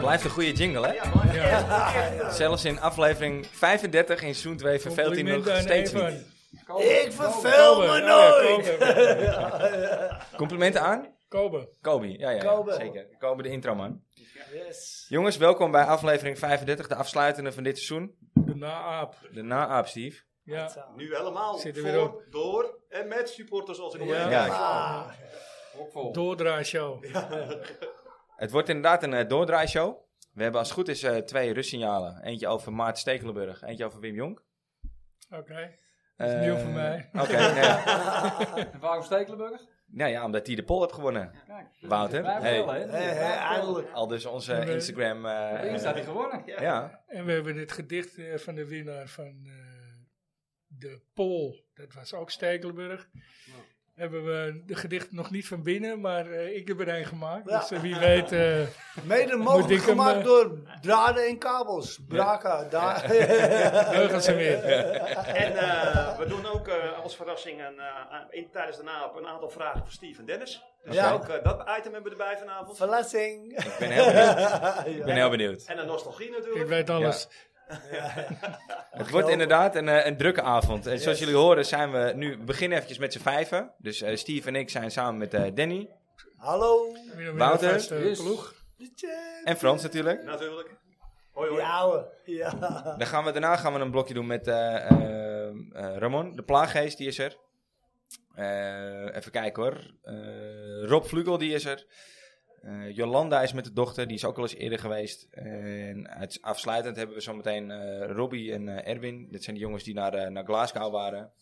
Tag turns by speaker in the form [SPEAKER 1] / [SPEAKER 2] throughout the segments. [SPEAKER 1] Blijft een goede jingle, hè? Zelfs in aflevering 35 in seizoen 2 verveelt hij nog
[SPEAKER 2] Complimenten aan
[SPEAKER 1] steeds
[SPEAKER 2] Evan.
[SPEAKER 1] niet.
[SPEAKER 3] Ik verveel me nooit.
[SPEAKER 1] Complimenten aan?
[SPEAKER 2] Kobe.
[SPEAKER 1] Kobe, ja, ja, ja,
[SPEAKER 3] Kobe.
[SPEAKER 1] zeker. Kobe de intro, man.
[SPEAKER 3] Yes.
[SPEAKER 1] Jongens, welkom bij aflevering 35, de afsluitende van dit seizoen.
[SPEAKER 2] De na-aap.
[SPEAKER 1] De na-aap, Steve.
[SPEAKER 2] Ja.
[SPEAKER 4] Nu helemaal
[SPEAKER 2] Zitten we
[SPEAKER 4] voor,
[SPEAKER 2] weer op.
[SPEAKER 4] door en met supporters als ik om me
[SPEAKER 2] Ja.
[SPEAKER 4] heen
[SPEAKER 1] Ja.
[SPEAKER 4] kijk.
[SPEAKER 3] Ah,
[SPEAKER 2] Doordraaishow.
[SPEAKER 1] Het wordt inderdaad een eh, doordraaishow. We hebben als het goed is eh, twee rustsignalen. Eentje over Maarten Stekelenburg, eentje over Wim Jong.
[SPEAKER 2] Oké. Dat is
[SPEAKER 1] Eh,
[SPEAKER 2] nieuw voor mij.
[SPEAKER 1] Oké, nou ja.
[SPEAKER 5] En waarom Stekelenburg?
[SPEAKER 1] Nou ja, omdat hij de poll heeft gewonnen.
[SPEAKER 5] Kijk,
[SPEAKER 1] Wouter,
[SPEAKER 5] wij
[SPEAKER 1] hey.
[SPEAKER 5] wel, hè?
[SPEAKER 3] eh, eh, eindelijk.
[SPEAKER 1] Al dus onze
[SPEAKER 2] Nee.
[SPEAKER 1] Instagram... eh,
[SPEAKER 5] Eens had hij gewonnen.
[SPEAKER 1] eh, ja,
[SPEAKER 2] En we hebben het gedicht eh, van de winnaar van eh, de Pool. Dat was ook Stekelenburg. Hebben we de gedicht nog niet van binnen, maar eh, ik heb er een gemaakt.
[SPEAKER 3] Ja.
[SPEAKER 2] Dus eh, wie weet. eh,
[SPEAKER 3] Mede
[SPEAKER 2] Moet ik
[SPEAKER 3] mogelijk
[SPEAKER 2] hem,
[SPEAKER 3] gemaakt
[SPEAKER 2] eh,
[SPEAKER 3] door draden en kabels. Braka, daar.
[SPEAKER 2] Leugens ze weer.
[SPEAKER 4] En eh, we doen ook eh, als verrassing een, eh, in, tijdens de naap een aantal vragen voor Steve en Dennis. Dus
[SPEAKER 3] Ja.
[SPEAKER 4] ook eh, dat item hebben we erbij vanavond.
[SPEAKER 3] Verlassing.
[SPEAKER 1] ik ben heel benieuwd. Ik ben heel benieuwd.
[SPEAKER 4] En een nostalgie
[SPEAKER 2] Ik
[SPEAKER 4] natuurlijk.
[SPEAKER 2] weet alles.
[SPEAKER 1] Het wordt inderdaad een, eh, een drukke avond. En zoals jullie horen zijn we nu, we beginnen eventjes met z'n vijven. Dus eh, Steve en ik zijn samen met eh, Danny
[SPEAKER 3] Hallo.
[SPEAKER 1] Wouter?
[SPEAKER 5] Yes.
[SPEAKER 2] ploeg.
[SPEAKER 1] en Frans natuurlijk.
[SPEAKER 4] Natuurlijk. Hoi hoi.
[SPEAKER 3] Die ouwe. Ja.
[SPEAKER 1] Dan gaan we, daarna gaan we een blokje doen met eh, eh, eh, Ramon, de plaaggeest, die is er. Eh, even kijken hoor. Eh, Rob Vlugel, die is er. Eh, Jolanda is met de dochter, die is ook al eens eerder geweest. En uit- afsluitend hebben we zometeen eh Robbie en eh, Erwin. Dit zijn de jongens die naar, eh, naar Glasgow waren.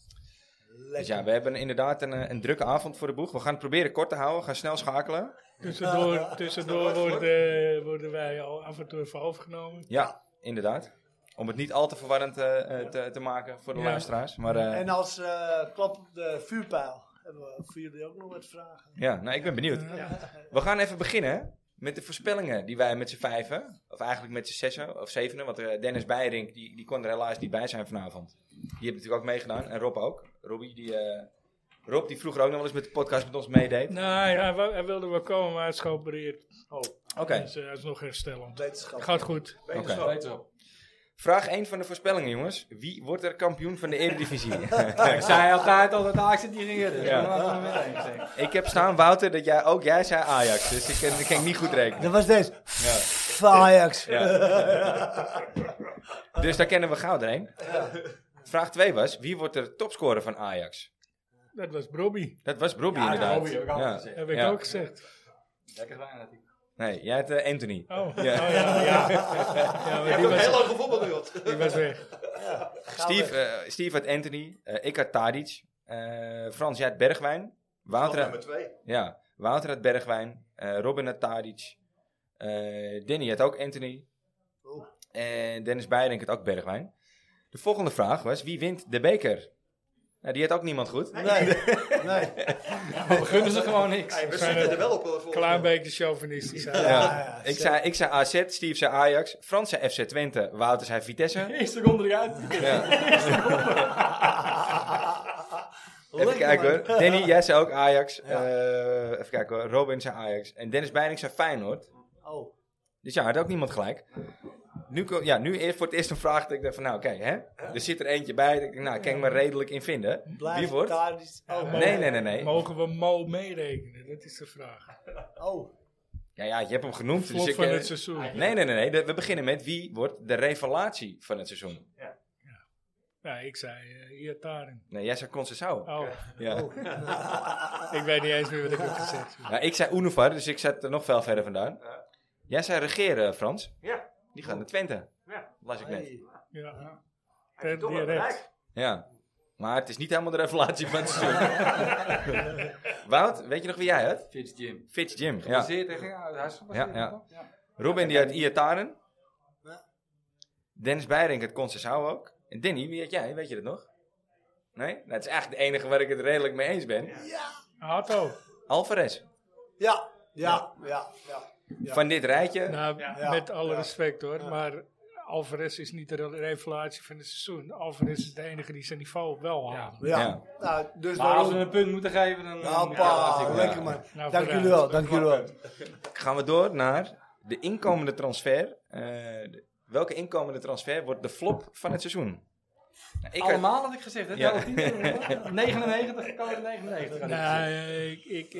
[SPEAKER 1] Dus ja, we hebben inderdaad een, eh, een drukke avond voor de boeg. We gaan het proberen kort te houden, we gaan snel schakelen.
[SPEAKER 2] Tussendoor, tussendoor worden, worden wij al af en toe even overgenomen.
[SPEAKER 1] Ja, inderdaad. Om het niet al te verwarrend eh, eh, te, te maken voor de
[SPEAKER 2] Ja.
[SPEAKER 1] luisteraars. Maar eh,
[SPEAKER 3] En als eh, klap op de vuurpijl hebben we voor jullie ook nog wat vragen.
[SPEAKER 1] ja, nou, ik ben benieuwd. We gaan even beginnen met de voorspellingen die wij met z'n vijven, of eigenlijk met z'n zessen of zevenen, want eh, Dennis Beirink die, die kon er helaas niet bij zijn vanavond. Die heeft natuurlijk ook meegedaan en Rob ook. Robbie, die, eh, Rob die vroeger ook nog wel eens met de podcast met ons meedeed.
[SPEAKER 2] Nou, hij, hij wou- hij wilde wel komen, maar hij is geopereerd.
[SPEAKER 1] Oh, Oké,
[SPEAKER 2] Dus eh, hij is nog herstellend.
[SPEAKER 3] Wetenschap.
[SPEAKER 2] Gaat goed.
[SPEAKER 1] oké.
[SPEAKER 5] Weet je wel.
[SPEAKER 1] vraag 1 van de voorspellingen jongens. Wie wordt er kampioen van de Eredivisie?
[SPEAKER 5] Ik zei altijd al dat Ajax het niet ging redden.
[SPEAKER 1] Ja.
[SPEAKER 5] Ja. Laten we het meteen zeggen.
[SPEAKER 1] ik heb staan Wouter dat jij, ook jij zei Ajax, dus ik kan, ik kan niet goed rekenen.
[SPEAKER 3] Dat was deze. Van Ajax.
[SPEAKER 1] Dus daar kennen we gauw doorheen. Vraag 2 was, wie wordt er topscorer van Ajax?
[SPEAKER 2] Dat was Bobby.
[SPEAKER 1] Dat was Robbie inderdaad.
[SPEAKER 5] Bobby, heb ik altijd
[SPEAKER 1] Ja.
[SPEAKER 5] gezegd.
[SPEAKER 2] Heb ik
[SPEAKER 1] Ja.
[SPEAKER 2] ook gezegd.
[SPEAKER 5] Lekker wijn had hij.
[SPEAKER 1] Nee, jij hebt eh, Anthony.
[SPEAKER 2] Oh, oh, ja.
[SPEAKER 1] Ja.
[SPEAKER 2] ja, ja. maar
[SPEAKER 4] Ik
[SPEAKER 2] die
[SPEAKER 4] heb heel
[SPEAKER 2] was,
[SPEAKER 4] lang gevoetbald.
[SPEAKER 2] die was weg.
[SPEAKER 1] Steve, eh, Steve had Anthony. eh, ik had Tadic. eh, Frans, jij had Bergwijn. Wouter,
[SPEAKER 4] Nummer
[SPEAKER 1] had,
[SPEAKER 4] twee.
[SPEAKER 1] ja, Wouter had Bergwijn. eh, Robin had Tadic. eh Danny had ook Anthony.
[SPEAKER 3] Oh.
[SPEAKER 1] En Dennis Beirink had ook Bergwijn. De volgende vraag was, wie wint de beker? Nou, die had ook niemand goed.
[SPEAKER 3] Nee, nee.
[SPEAKER 2] Nou,
[SPEAKER 5] We gunnen ze gewoon niks.
[SPEAKER 4] Hey, we
[SPEAKER 2] zijn
[SPEAKER 4] zitten
[SPEAKER 2] er
[SPEAKER 4] er wel op. eh, volgens
[SPEAKER 2] Klein
[SPEAKER 4] mij.
[SPEAKER 2] beetje chauvinistisch.
[SPEAKER 1] Ja,
[SPEAKER 2] eigenlijk.
[SPEAKER 3] ja,
[SPEAKER 1] ik,
[SPEAKER 3] zo.
[SPEAKER 1] zei, ik zei AZ, Steve zei Ajax, Frans zei FC Twente, Wouter zei Vitesse.
[SPEAKER 5] Eerste seconde eruit.
[SPEAKER 1] Ja. Even
[SPEAKER 3] Lekker,
[SPEAKER 1] kijken
[SPEAKER 3] man.
[SPEAKER 1] hoor. Danny, jij zei ook Ajax.
[SPEAKER 3] Ja.
[SPEAKER 1] Eh, even kijken hoor. Robin zei Ajax. En Dennis Beining zei Feyenoord.
[SPEAKER 3] Oh,
[SPEAKER 1] Dus ja, had ook niemand gelijk. Nu, ko- ja, nu eerst voor het eerst een vraag dat ik dacht van nou, kijk hè. Er zit er eentje bij. dat ik- Nou, ik kan ik me redelijk in vinden. Wie
[SPEAKER 3] blijf
[SPEAKER 1] wordt?
[SPEAKER 3] daar niet- Oh,
[SPEAKER 2] maar-
[SPEAKER 1] Nee, nee, nee, nee.
[SPEAKER 2] Mogen we Mo meerekenen? Dat is de vraag.
[SPEAKER 3] oh.
[SPEAKER 1] Ja, ja, je hebt hem genoemd. Dus
[SPEAKER 2] Vlot
[SPEAKER 1] ik,
[SPEAKER 2] van
[SPEAKER 1] eh,
[SPEAKER 2] het seizoen.
[SPEAKER 1] nee, nee, nee, nee. De- We beginnen met wie wordt de revelatie van het seizoen?
[SPEAKER 2] Ja, ik zei eh, hier Taring.
[SPEAKER 1] Nee, jij zei Concessao.
[SPEAKER 2] Oh,
[SPEAKER 1] Ja.
[SPEAKER 2] ik weet niet eens meer wat ik heb gezegd.
[SPEAKER 1] Nou, ik zei Unuvar, dus ik zat er nog veel verder vandaan. Jij zei regeren, Frans.
[SPEAKER 4] Ja.
[SPEAKER 1] Die gaan naar Twente.
[SPEAKER 4] Ja.
[SPEAKER 1] Las ik net.
[SPEAKER 3] Hey.
[SPEAKER 2] Ja.
[SPEAKER 4] Hij heeft
[SPEAKER 2] Die
[SPEAKER 4] toch wel
[SPEAKER 2] recht.
[SPEAKER 4] gelijk.
[SPEAKER 1] Ja. Maar het is niet helemaal de revelatie van het seizoen. Wout, weet je nog wie jij had?
[SPEAKER 5] Fitz Jim.
[SPEAKER 1] Fitz Jim.
[SPEAKER 5] Ja.
[SPEAKER 1] Ja.
[SPEAKER 5] Zeer tegen ja, hij is gebaseerd,
[SPEAKER 1] Ja, ja.
[SPEAKER 5] toch? ja.
[SPEAKER 1] Ruben die had Iataren.
[SPEAKER 3] Ja.
[SPEAKER 1] Dennis Beirink het Concessao ook. En Danny, wie had jij? Weet je dat nog? Nee? Nou, het is eigenlijk de enige waar ik het redelijk mee eens ben.
[SPEAKER 2] Hato.
[SPEAKER 1] Alvarez.
[SPEAKER 3] Ja, ja, ja, ja. Ja.
[SPEAKER 1] Van dit rijtje.
[SPEAKER 2] Nou,
[SPEAKER 3] Ja.
[SPEAKER 2] met alle
[SPEAKER 3] Ja.
[SPEAKER 2] respect hoor, maar Alvarez is niet de re- revelatie van het seizoen. Alvarez is de enige die zijn niveau wel
[SPEAKER 5] Ja.
[SPEAKER 2] haalt.
[SPEAKER 3] Ja.
[SPEAKER 1] Ja.
[SPEAKER 3] Nou, dus
[SPEAKER 5] Maar als
[SPEAKER 3] daarom.
[SPEAKER 5] we een punt moeten geven, dan...
[SPEAKER 3] Nou,
[SPEAKER 5] ja,
[SPEAKER 3] pa,
[SPEAKER 5] dat is-
[SPEAKER 3] lekker man.
[SPEAKER 2] Nou,
[SPEAKER 3] dank
[SPEAKER 2] vooruit.
[SPEAKER 3] jullie wel, dank jullie wel.
[SPEAKER 1] Gaan we door naar de inkomende transfer. eh, de- welke inkomende transfer wordt de flop van het seizoen? Nou, ik had-
[SPEAKER 5] Allemaal had ik gezegd, hè?
[SPEAKER 1] Ja.
[SPEAKER 5] Wel tien, hè? 99, ik kan het 99. had ik gezegd.
[SPEAKER 2] Nee, ik, ik,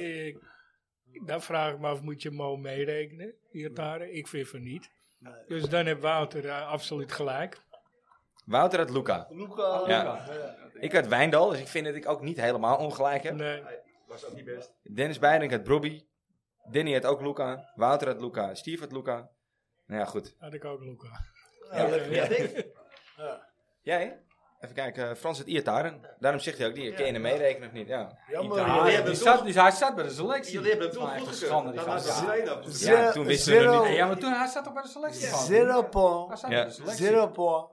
[SPEAKER 2] ik, dan vraag ik me af, moet je Mo meerekenen, Iataren? Ik vind van niet.
[SPEAKER 3] Nee.
[SPEAKER 2] Dus dan heeft Wouter eh, absoluut gelijk.
[SPEAKER 1] Wouter had Luca.
[SPEAKER 3] Luca.
[SPEAKER 1] Ja.
[SPEAKER 3] ja.
[SPEAKER 1] Ik had Wijndal, dus ik vind dat ik ook niet helemaal ongelijk heb.
[SPEAKER 2] Nee,
[SPEAKER 4] Was ook niet best.
[SPEAKER 1] Dennis Beiding had Brobby. Danny had ook Luca. Wouter had Luca. Steve had Luca. Nou ja, goed.
[SPEAKER 2] had ik ook Luca.
[SPEAKER 3] Ja,
[SPEAKER 2] Oké.
[SPEAKER 3] ja.
[SPEAKER 1] Jij? Even kijken, eh, Frans het Iertaren. Daarom zegt hij ook, die ken je hem meerekenen of niet? Ja.
[SPEAKER 3] Jammer.
[SPEAKER 5] Ja,
[SPEAKER 4] Jullie
[SPEAKER 5] die
[SPEAKER 4] hebben
[SPEAKER 5] zat,
[SPEAKER 4] toch-
[SPEAKER 5] die, hij zat bij de selectie.
[SPEAKER 4] Jullie hebben hem
[SPEAKER 5] Maar
[SPEAKER 4] toen
[SPEAKER 5] echt een
[SPEAKER 4] goed
[SPEAKER 5] schande,
[SPEAKER 4] gekund.
[SPEAKER 5] die
[SPEAKER 4] Dat was
[SPEAKER 5] gast.
[SPEAKER 4] een trainer.
[SPEAKER 1] Ja,
[SPEAKER 3] Zero-
[SPEAKER 1] toen wisten we hem
[SPEAKER 3] zero-
[SPEAKER 1] niet.
[SPEAKER 5] Ja, Ja, maar toen hij zat toch bij de selectie. gewoon.
[SPEAKER 3] Zero
[SPEAKER 5] Hij
[SPEAKER 3] point.
[SPEAKER 5] zat
[SPEAKER 1] Ja.
[SPEAKER 5] bij de selectie.
[SPEAKER 3] Zero point.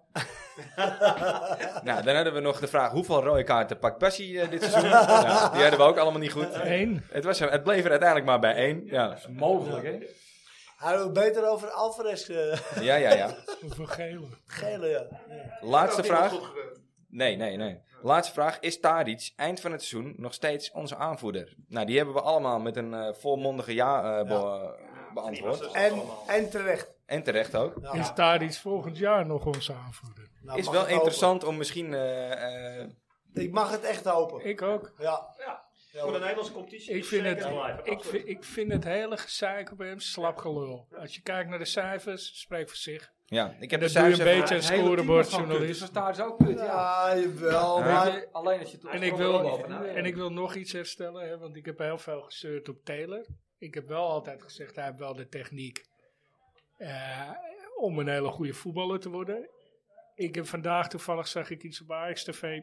[SPEAKER 1] Nou, dan hadden we nog de vraag, hoeveel rode kaarten pakt Bassi eh, dit seizoen? Ja, die hadden we ook allemaal niet goed.
[SPEAKER 2] Eén.
[SPEAKER 1] Het, was, er- het bleef er uiteindelijk maar bij één. Ja,
[SPEAKER 5] Mogelijk, hè?
[SPEAKER 3] Hij wil beter over Alvarez eh
[SPEAKER 1] ja, ja. ja.
[SPEAKER 2] Hoeveel gele?
[SPEAKER 3] gele, ja. ja.
[SPEAKER 1] Laatste
[SPEAKER 4] Dat was niet
[SPEAKER 1] vraag.
[SPEAKER 4] goed gebeurd.
[SPEAKER 1] Nee, nee, nee. Laatste vraag. Is Tadic eind van het seizoen nog steeds onze aanvoerder? Nou, die hebben we allemaal met een eh, volmondige ja, eh, be-
[SPEAKER 4] Die was
[SPEAKER 1] beantwoord.
[SPEAKER 4] dus
[SPEAKER 3] En,
[SPEAKER 4] allemaal.
[SPEAKER 3] en terecht.
[SPEAKER 1] En terecht ook.
[SPEAKER 3] Nou,
[SPEAKER 2] Is daar iets volgend jaar nog onze aanvoerder?
[SPEAKER 3] nou,
[SPEAKER 1] is
[SPEAKER 3] mag
[SPEAKER 1] wel
[SPEAKER 3] het
[SPEAKER 1] interessant om misschien... eh, eh,
[SPEAKER 3] hopen. Ik mag het echt hopen.
[SPEAKER 2] Ik ook.
[SPEAKER 3] Ja.
[SPEAKER 4] Voor de Nederlandse competitie.
[SPEAKER 2] Ik vind, het,
[SPEAKER 4] zeker blijven.
[SPEAKER 2] ik,
[SPEAKER 4] Absoluut.
[SPEAKER 2] vind, ik vind het hele gezeik op hem slap gelul. Als je kijkt naar de cijfers, spreekt voor zich.
[SPEAKER 1] ja, ik heb
[SPEAKER 2] dat
[SPEAKER 1] de
[SPEAKER 2] doe je
[SPEAKER 1] cijfers
[SPEAKER 2] een
[SPEAKER 1] even-
[SPEAKER 2] beetje-
[SPEAKER 5] Het hele
[SPEAKER 2] scorebord
[SPEAKER 5] team was gewoon kut,
[SPEAKER 2] journalist.
[SPEAKER 5] Dus dat staat is ook kut, ja.
[SPEAKER 3] Ja, jawel,
[SPEAKER 1] Ja.
[SPEAKER 3] maar...
[SPEAKER 5] Maar alleen dat je het
[SPEAKER 2] En ik,
[SPEAKER 5] overal
[SPEAKER 2] wil,
[SPEAKER 5] over na-
[SPEAKER 2] en ik wil nog iets herstellen, hè, want ik heb heel veel gezeurd op Taylor. Ik heb wel altijd gezegd, hij heeft wel de techniek eh, om een hele goede voetballer te worden. Ik heb vandaag toevallig, zag ik iets op Ajax TV.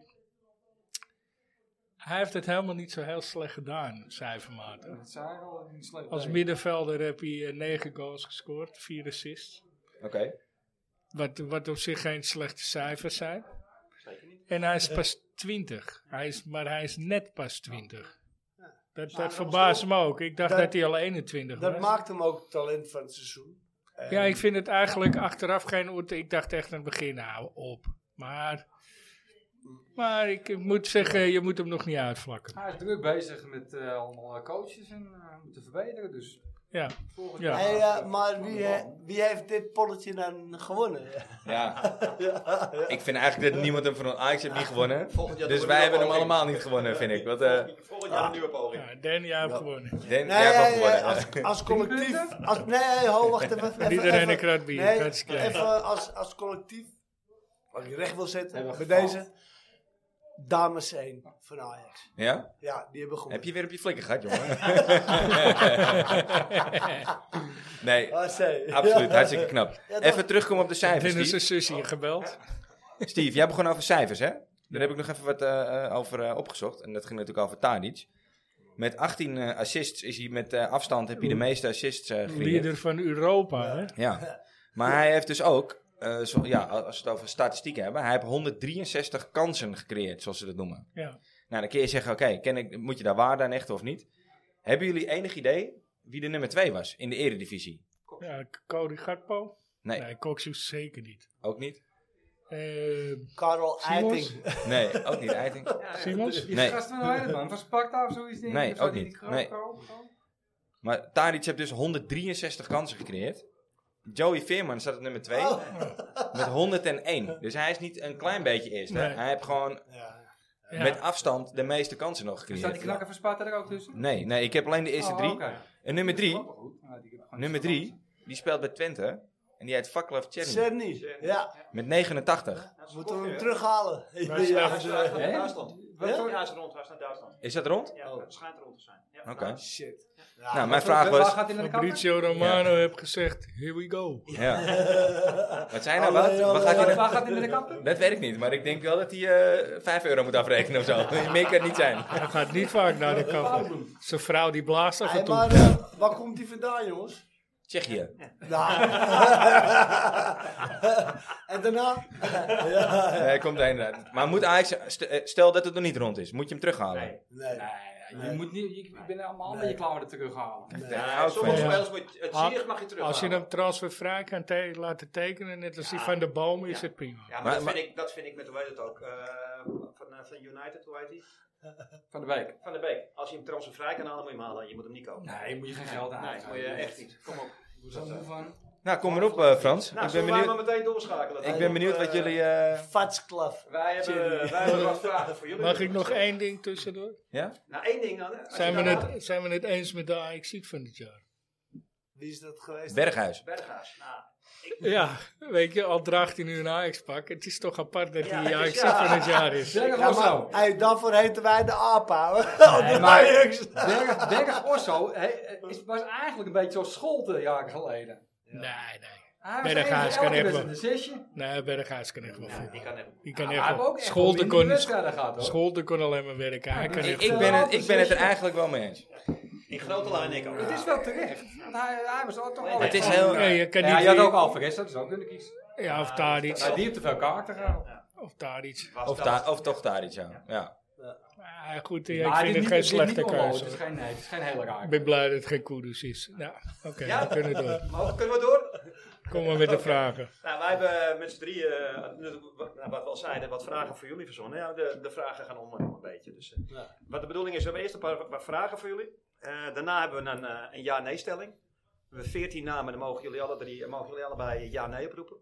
[SPEAKER 2] Hij heeft het helemaal niet zo heel slecht gedaan, cijfermatig.
[SPEAKER 5] Dat zei ik al, niet slecht.
[SPEAKER 2] Als
[SPEAKER 5] Nee.
[SPEAKER 2] middenvelder heb hij eh, negen goals gescoord, vier assists.
[SPEAKER 1] Oké.
[SPEAKER 2] Wat, wat op zich geen slechte cijfers zijn.
[SPEAKER 4] Zeker niet.
[SPEAKER 2] En hij is pas 20. Hij is, maar hij is net pas 20. Dat,
[SPEAKER 3] Maar
[SPEAKER 2] dat
[SPEAKER 3] Nou, dat
[SPEAKER 2] verbaast
[SPEAKER 3] was
[SPEAKER 2] me ook. Ik dacht
[SPEAKER 3] Dat-
[SPEAKER 2] dat, hij al 21
[SPEAKER 3] Dat
[SPEAKER 2] was.
[SPEAKER 3] maakt hem ook talent van het seizoen. En-
[SPEAKER 2] ja, ik vind het eigenlijk achteraf geen oort. Ik dacht echt aan het begin, nou op. Maar, maar ik moet zeggen, je moet hem nog niet uitvlakken.
[SPEAKER 5] Hij is druk bezig met eh, allemaal eh, coaches en eh, moeten verbeteren. Dus
[SPEAKER 2] Ja,
[SPEAKER 5] volgend
[SPEAKER 2] Ja.
[SPEAKER 5] jaar.
[SPEAKER 3] Hey, eh, maar wie, he- wie heeft dit polletje dan gewonnen?
[SPEAKER 1] Ja. Ik vind eigenlijk dat niemand hem van Ajax heeft niet gewonnen.
[SPEAKER 4] Volgend jaar
[SPEAKER 1] Dus
[SPEAKER 4] doen we
[SPEAKER 1] wij
[SPEAKER 4] weer
[SPEAKER 1] hebben
[SPEAKER 4] een
[SPEAKER 1] hem
[SPEAKER 4] poging.
[SPEAKER 1] allemaal niet gewonnen, vind ik. Want, eh
[SPEAKER 4] Volgend jaar een nieuwe poging.
[SPEAKER 2] ja Danny, jij hebt gewonnen.
[SPEAKER 1] Den,
[SPEAKER 3] Nee,
[SPEAKER 1] jij hebt wel
[SPEAKER 3] nee,
[SPEAKER 1] gewonnen.
[SPEAKER 3] nee, als, als collectief.
[SPEAKER 5] punten?
[SPEAKER 3] Als, nee, ho, wacht even. even
[SPEAKER 2] Iedereen
[SPEAKER 3] even-
[SPEAKER 2] een krat bier,
[SPEAKER 3] Nee,
[SPEAKER 2] dat is klaar.
[SPEAKER 1] Eh,
[SPEAKER 3] even als, als collectief. Wat ik recht wil zetten
[SPEAKER 5] Hebben we
[SPEAKER 3] bij
[SPEAKER 5] gefaald.
[SPEAKER 3] deze. Dames 1 van Ajax.
[SPEAKER 1] Ja?
[SPEAKER 3] Ja, die hebben gewonnen.
[SPEAKER 1] Heb je weer op je flikker gehad, jongen? nee,
[SPEAKER 3] Ah, zij.
[SPEAKER 1] absoluut.
[SPEAKER 3] Ja.
[SPEAKER 1] Hartstikke knap.
[SPEAKER 3] Ja, toch?
[SPEAKER 1] Even terugkomen op de cijfers,
[SPEAKER 2] Dennis
[SPEAKER 1] Steve.
[SPEAKER 2] is zus hier gebeld.
[SPEAKER 1] Steve, jij begon over cijfers, hè? Daar heb ik nog even wat eh, eh, over eh, opgezocht. En dat ging natuurlijk over Tadic. Met 18 eh, assists is hij met eh, afstand heb je de meeste assists eh gereden.
[SPEAKER 2] Leader van Europa, hè?
[SPEAKER 1] Ja. Maar hij heeft dus ook, eh, zo, ja, als we het over statistieken hebben, hij heeft 163 kansen gecreëerd, zoals ze dat noemen.
[SPEAKER 2] Ja.
[SPEAKER 1] Nou, dan kun je zeggen, oké, ken ik, moet je daar waarde aan hechten of niet? Hebben jullie enig idee wie de nummer 2 was in de eredivisie?
[SPEAKER 2] ja, Cody Gakpo?
[SPEAKER 1] Nee,
[SPEAKER 2] Nee, Coxus zeker niet.
[SPEAKER 1] ook niet?
[SPEAKER 2] Eh,
[SPEAKER 3] Karel
[SPEAKER 2] Simons?
[SPEAKER 3] Eiting.
[SPEAKER 1] Nee, ook niet, Eiting.
[SPEAKER 5] Ja,
[SPEAKER 2] Simons?
[SPEAKER 5] Die
[SPEAKER 1] Nee.
[SPEAKER 5] gast van Heidemann, man. Van Sparta of zoiets. denk ik.
[SPEAKER 1] Nee,
[SPEAKER 5] Of zou
[SPEAKER 1] ook
[SPEAKER 5] die
[SPEAKER 1] niet.
[SPEAKER 5] groot
[SPEAKER 1] Nee.
[SPEAKER 5] komen? Gewoon?
[SPEAKER 1] Maar Tadic heeft dus 163 kansen gecreëerd. Joey Veerman staat op nummer 2
[SPEAKER 5] Oh.
[SPEAKER 1] met 101. Dus hij is niet een klein beetje eerst. hè?
[SPEAKER 2] Nee.
[SPEAKER 1] Hij heeft gewoon
[SPEAKER 3] Ja.
[SPEAKER 2] ja.
[SPEAKER 1] met afstand de meeste kansen nog
[SPEAKER 5] Er Staat die
[SPEAKER 1] gecreëerd.
[SPEAKER 5] knakker van Sparta er ook tussen?
[SPEAKER 1] Nee, nee, ik heb alleen de eerste
[SPEAKER 5] Oh,
[SPEAKER 1] drie.
[SPEAKER 5] oké.
[SPEAKER 1] En nummer 3,
[SPEAKER 5] Oh, goed. Nou, die heb ik gewoon
[SPEAKER 1] nummer
[SPEAKER 5] niet
[SPEAKER 1] 3, die speelt bij Twente. En die heet Vaklav Tjerni
[SPEAKER 3] Cerny. Ja,
[SPEAKER 1] met 89.
[SPEAKER 3] moeten we hem terughalen.
[SPEAKER 2] Maar is
[SPEAKER 3] Ja,
[SPEAKER 2] echt-
[SPEAKER 4] Hij is naar
[SPEAKER 5] Hè?
[SPEAKER 4] Duitsland.
[SPEAKER 5] Wat voor-
[SPEAKER 4] Hij is rond, hij is naar Duitsland.
[SPEAKER 1] Is dat rond?
[SPEAKER 4] Ja,
[SPEAKER 3] Oh.
[SPEAKER 4] het schijnt rond te zijn. Ja.
[SPEAKER 1] Oké.
[SPEAKER 3] Shit.
[SPEAKER 1] Nou,
[SPEAKER 3] Ja.
[SPEAKER 1] mijn
[SPEAKER 5] Waar-
[SPEAKER 1] vraag
[SPEAKER 5] waar
[SPEAKER 1] was...
[SPEAKER 5] gaat hij naar de kapper?
[SPEAKER 2] Fabrizio Romano heeft gezegd, here we go.
[SPEAKER 1] Ja. Wat zijn nou
[SPEAKER 3] Allee,
[SPEAKER 1] wat? Waar
[SPEAKER 3] allee.
[SPEAKER 1] gaat hij
[SPEAKER 5] Waar
[SPEAKER 1] na-
[SPEAKER 5] waar gaat hij naar de kapper?
[SPEAKER 1] Dat weet ik niet, maar ik denk wel dat hij eh 5 euro moet afrekenen of zo. Meer kan het niet zijn.
[SPEAKER 2] Hij gaat niet vaak naar de kapper. Zijn vrouw die blaast af en
[SPEAKER 3] Hey,
[SPEAKER 2] toe.
[SPEAKER 3] maar eh, waar komt die vandaan, jongens?
[SPEAKER 1] Tsjechië.
[SPEAKER 3] Nou. en daarna? ja.
[SPEAKER 1] Eh komt hij inderdaad. Maar moet Ajax, st- eh, stel dat het nog niet rond is, moet je hem terughalen?
[SPEAKER 4] Nee.
[SPEAKER 3] Nee.
[SPEAKER 5] Nee, je moet niet. Ik ben allemaal een beetje klaar om het terughalen.
[SPEAKER 1] Daar
[SPEAKER 4] Ja,
[SPEAKER 1] hou ik
[SPEAKER 4] sommige
[SPEAKER 1] nou, van.
[SPEAKER 2] Ja.
[SPEAKER 4] spelers moet je, het
[SPEAKER 2] Ah,
[SPEAKER 4] Ziyech mag je terug.
[SPEAKER 2] Als je hem transfervrij kan te- laten tekenen, net als die
[SPEAKER 4] Ja.
[SPEAKER 2] van de boom, is
[SPEAKER 4] Ja.
[SPEAKER 2] het prima.
[SPEAKER 4] Ja, maar,
[SPEAKER 1] Maar-
[SPEAKER 4] dat,
[SPEAKER 1] maar-
[SPEAKER 4] vind ik, dat vind ik met, hoe heet het ook, eh, van, eh, van United, hoe heet die?
[SPEAKER 5] Van de week.
[SPEAKER 4] Van de Beek. Als je hem transfervrij kan halen, moet je hem halen. Je moet hem niet kopen.
[SPEAKER 5] Nee, moet je geen geld aan.
[SPEAKER 4] Nee, moet je echt niet. Kom op. Hoe
[SPEAKER 5] Zo
[SPEAKER 4] zou
[SPEAKER 5] moe
[SPEAKER 4] dat
[SPEAKER 5] van.
[SPEAKER 1] Nou, kom maar op, eh, Frans.
[SPEAKER 4] nou,
[SPEAKER 1] ik ben
[SPEAKER 4] we
[SPEAKER 1] benieuwd,
[SPEAKER 4] maar meteen doorschakelen.
[SPEAKER 1] ik ben benieuwd wat jullie... eh,
[SPEAKER 3] Fatsklaf.
[SPEAKER 4] Wij hebben, wij hebben wat vragen voor jullie.
[SPEAKER 2] Mag ik nog één ding tussendoor?
[SPEAKER 1] ja?
[SPEAKER 4] Nou, één ding dan. hè. Als
[SPEAKER 2] Zijn
[SPEAKER 4] je
[SPEAKER 2] we,
[SPEAKER 4] nou-
[SPEAKER 2] het, zijn we het eens met de AXC van dit jaar?
[SPEAKER 3] Wie is dat geweest?
[SPEAKER 1] Berghuis.
[SPEAKER 4] Berghuis. Nou,
[SPEAKER 2] Ja, weet je, al draagt hij nu een Ajax-pak. Het is toch apart dat
[SPEAKER 4] Ja,
[SPEAKER 2] hij
[SPEAKER 4] het
[SPEAKER 2] AXC
[SPEAKER 4] is- ja.
[SPEAKER 2] van het jaar is.
[SPEAKER 5] Berg
[SPEAKER 3] Ja,
[SPEAKER 5] Orso.
[SPEAKER 3] maar hey, daarvoor heten wij de aaphouwer.
[SPEAKER 5] Nee,
[SPEAKER 3] de
[SPEAKER 5] maar-
[SPEAKER 3] Ajax.
[SPEAKER 5] Berg, Berg Orso hè, is, was eigenlijk een beetje zoals Scholte jaren geleden.
[SPEAKER 2] Nee, nee.
[SPEAKER 5] Hij
[SPEAKER 2] Berghuis kan echt
[SPEAKER 5] echt
[SPEAKER 2] wel.
[SPEAKER 5] een zesje.
[SPEAKER 2] Nee, Berghuis kan echt wel
[SPEAKER 4] ja, die
[SPEAKER 2] voetballen.
[SPEAKER 4] kan echt.
[SPEAKER 2] Die kan
[SPEAKER 5] Maar
[SPEAKER 2] echt
[SPEAKER 5] hij heeft
[SPEAKER 2] wel.
[SPEAKER 5] ook echt wel
[SPEAKER 2] Scholten
[SPEAKER 5] minder
[SPEAKER 2] kon,
[SPEAKER 5] wedstrijden gehad, hoor.
[SPEAKER 2] Scholten kon alleen maar werken. Hij kan
[SPEAKER 1] Ik,
[SPEAKER 2] echt
[SPEAKER 1] ik
[SPEAKER 2] voetballen.
[SPEAKER 1] ben het, ik ben het er eigenlijk wel mee eens.
[SPEAKER 4] In grote lijn ik ook.
[SPEAKER 5] Het is wel terecht. Want hij, hij was ook toch
[SPEAKER 4] Het
[SPEAKER 5] al.
[SPEAKER 1] Het is heel...
[SPEAKER 2] Nee, je kan
[SPEAKER 5] Oh, Ja,
[SPEAKER 2] niet
[SPEAKER 5] hij had
[SPEAKER 2] weer-
[SPEAKER 5] ook Alvarez, dat is ook kunnen kiezen.
[SPEAKER 2] Ja, of daar iets.
[SPEAKER 5] Nou, die heeft te veel kaarten gehaald.
[SPEAKER 2] Of daar iets.
[SPEAKER 4] Was
[SPEAKER 1] Of,
[SPEAKER 4] dat-
[SPEAKER 1] daar- of toch daar iets aan. Ja.
[SPEAKER 2] Maar goed, ja, ik
[SPEAKER 5] Maar
[SPEAKER 2] vind
[SPEAKER 5] dit
[SPEAKER 2] het
[SPEAKER 5] is
[SPEAKER 2] geen
[SPEAKER 5] niet- dit is niet
[SPEAKER 2] slechte
[SPEAKER 5] onmogelijk.
[SPEAKER 2] keuze.
[SPEAKER 5] Het is
[SPEAKER 2] hoor.
[SPEAKER 5] geen, nee, het is geen hele raar.
[SPEAKER 2] Ik ben blij dat het geen koeders is. Nou, oké,
[SPEAKER 4] Ja.
[SPEAKER 2] we kunnen door.
[SPEAKER 4] Mogen- kunnen we door?
[SPEAKER 2] Kom maar met de vragen.
[SPEAKER 4] Nou, wij hebben met z'n drieën, eh, natuurlijk, wa- nou, wat we al zeiden, wat vragen voor jullie verzonnen. Ja, de, de vragen gaan om en om een beetje. Dus, eh,
[SPEAKER 3] Ja.
[SPEAKER 4] Wat de bedoeling is, we hebben eerst een paar, paar vragen voor jullie. Eh, daarna hebben we een, eh, een ja-nee-stelling. We hebben veertien namen, dan mogen jullie, alle drie, mogen jullie allebei ja-nee oproepen.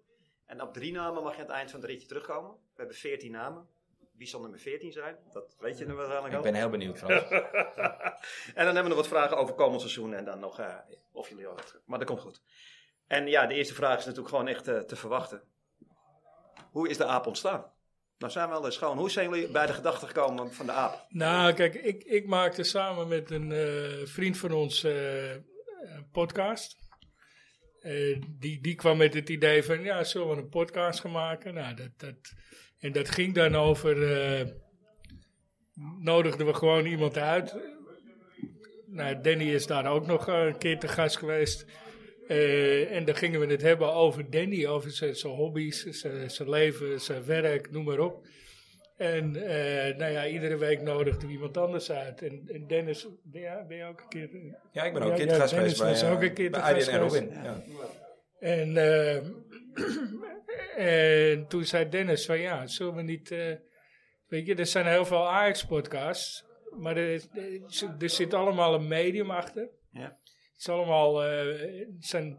[SPEAKER 4] En op drie namen mag je aan het eind van het ritje terugkomen. We hebben veertien namen. Wie zal nummer 14 zijn? Dat weet je nu waarschijnlijk
[SPEAKER 1] Ik
[SPEAKER 4] al.
[SPEAKER 1] ben heel benieuwd, Frans.
[SPEAKER 4] En dan hebben we nog wat vragen over komend seizoen en dan nog eh, of jullie al wat. Maar dat komt goed. En ja, de eerste vraag is natuurlijk gewoon echt eh, te verwachten. Hoe is de aap ontstaan? Nou zijn we al eens schoon. Hoe zijn jullie bij de gedachte gekomen van de aap?
[SPEAKER 2] Nou, kijk, ik, ik maakte samen met een eh, vriend van ons eh, een podcast. Eh, die, die kwam met het idee van, ja, zullen we een podcast gaan maken? Nou, dat, dat, en dat ging dan over, eh, nodigden we gewoon iemand uit. Nou, Danny is daar ook nog eh, een keer te gast geweest. Eh, en dan gingen we het hebben over Danny, over zijn zijn hobby's, zijn zijn leven, zijn werk, noem maar op. En eh, nou ja, iedere week nodigde we iemand anders uit. En, en Dennis, ben jij, ben jij ook een keer... eh,
[SPEAKER 1] Ja, ik ben ook een
[SPEAKER 2] Ja,
[SPEAKER 1] keer
[SPEAKER 2] ja,
[SPEAKER 1] te gast
[SPEAKER 2] Dennis
[SPEAKER 1] geweest bij,
[SPEAKER 2] was ook een keer
[SPEAKER 1] eh,
[SPEAKER 2] te
[SPEAKER 1] bij
[SPEAKER 2] gast
[SPEAKER 1] Arjen en
[SPEAKER 2] geweest.
[SPEAKER 1] Robin. Ja.
[SPEAKER 2] En, eh, en toen zei Dennis van ja, zullen we niet... eh, weet je, er zijn heel veel Ajax-podcasts, maar er, is- er- er zit allemaal een medium achter.
[SPEAKER 4] Ja.
[SPEAKER 2] Het is allemaal, eh, het zijn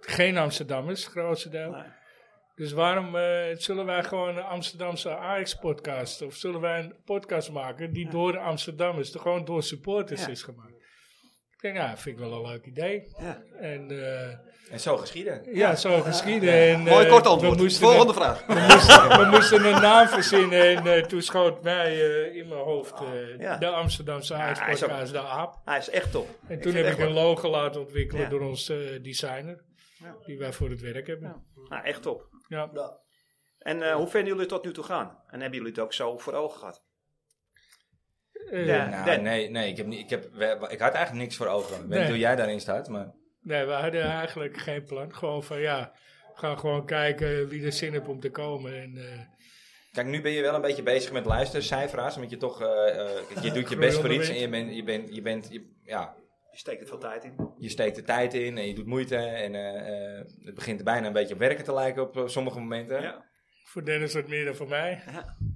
[SPEAKER 2] geen Amsterdammers, het grootste deel.
[SPEAKER 4] Nee.
[SPEAKER 2] Dus waarom eh, zullen wij gewoon een Amsterdamse Ajax-podcast... of zullen wij een podcast maken die door Amsterdammers, door- gewoon door supporters
[SPEAKER 4] Ja.
[SPEAKER 2] is gemaakt? Ik denk, nou, vind ik wel een leuk idee.
[SPEAKER 4] Ja.
[SPEAKER 2] En... eh,
[SPEAKER 1] En zo geschieden.
[SPEAKER 2] ja, zo geschieden. En,
[SPEAKER 4] Mooi
[SPEAKER 2] eh,
[SPEAKER 4] kort
[SPEAKER 2] We
[SPEAKER 4] antwoord.
[SPEAKER 2] moesten,
[SPEAKER 4] Volgende
[SPEAKER 2] een,
[SPEAKER 4] vraag.
[SPEAKER 2] we, moesten, we moesten een naam verzinnen en eh, toen schoot mij eh, in mijn hoofd eh,
[SPEAKER 4] Oh, Ja.
[SPEAKER 2] de Amsterdamse
[SPEAKER 4] hij is ook-
[SPEAKER 2] Ajax-podcast, de AAP.
[SPEAKER 4] Hij is echt top.
[SPEAKER 2] En
[SPEAKER 4] Ik
[SPEAKER 2] toen
[SPEAKER 4] vind
[SPEAKER 2] heb
[SPEAKER 4] het
[SPEAKER 2] ik een
[SPEAKER 4] echt
[SPEAKER 2] logo laten ontwikkelen
[SPEAKER 4] Ja.
[SPEAKER 2] door ons eh, designer,
[SPEAKER 4] Ja.
[SPEAKER 2] die wij voor het werk hebben.
[SPEAKER 4] leuk. Nou, echt top.
[SPEAKER 2] Ja.
[SPEAKER 3] Ja.
[SPEAKER 4] En eh, hoe vinden jullie het tot nu toe gaan? En hebben jullie het ook zo voor ogen gehad?
[SPEAKER 2] Eh,
[SPEAKER 4] Ja.
[SPEAKER 1] Nou,
[SPEAKER 4] Den.
[SPEAKER 1] nee, nee, ik, heb niet, ik, heb, we- ik had eigenlijk niks voor ogen. Ik weet
[SPEAKER 2] Nee.
[SPEAKER 1] niet hoe jij daarin staat, maar...
[SPEAKER 2] Nee, we hadden eigenlijk geen plan. Gewoon van ja, we gaan gewoon kijken wie er zin heeft om te komen. En, eh,
[SPEAKER 1] Kijk, nu ben je wel een beetje bezig met luistercijferaars, want je toch... eh, eh, je doet je best voor iets en je bent... Je bent, je bent je- ja,
[SPEAKER 4] Je steekt er veel tijd in.
[SPEAKER 1] je steekt de tijd in en je doet moeite en eh, eh, het begint bijna een beetje op werken te lijken op eh, sommige momenten.
[SPEAKER 4] Ja.
[SPEAKER 2] voor Dennis wat meer dan voor mij.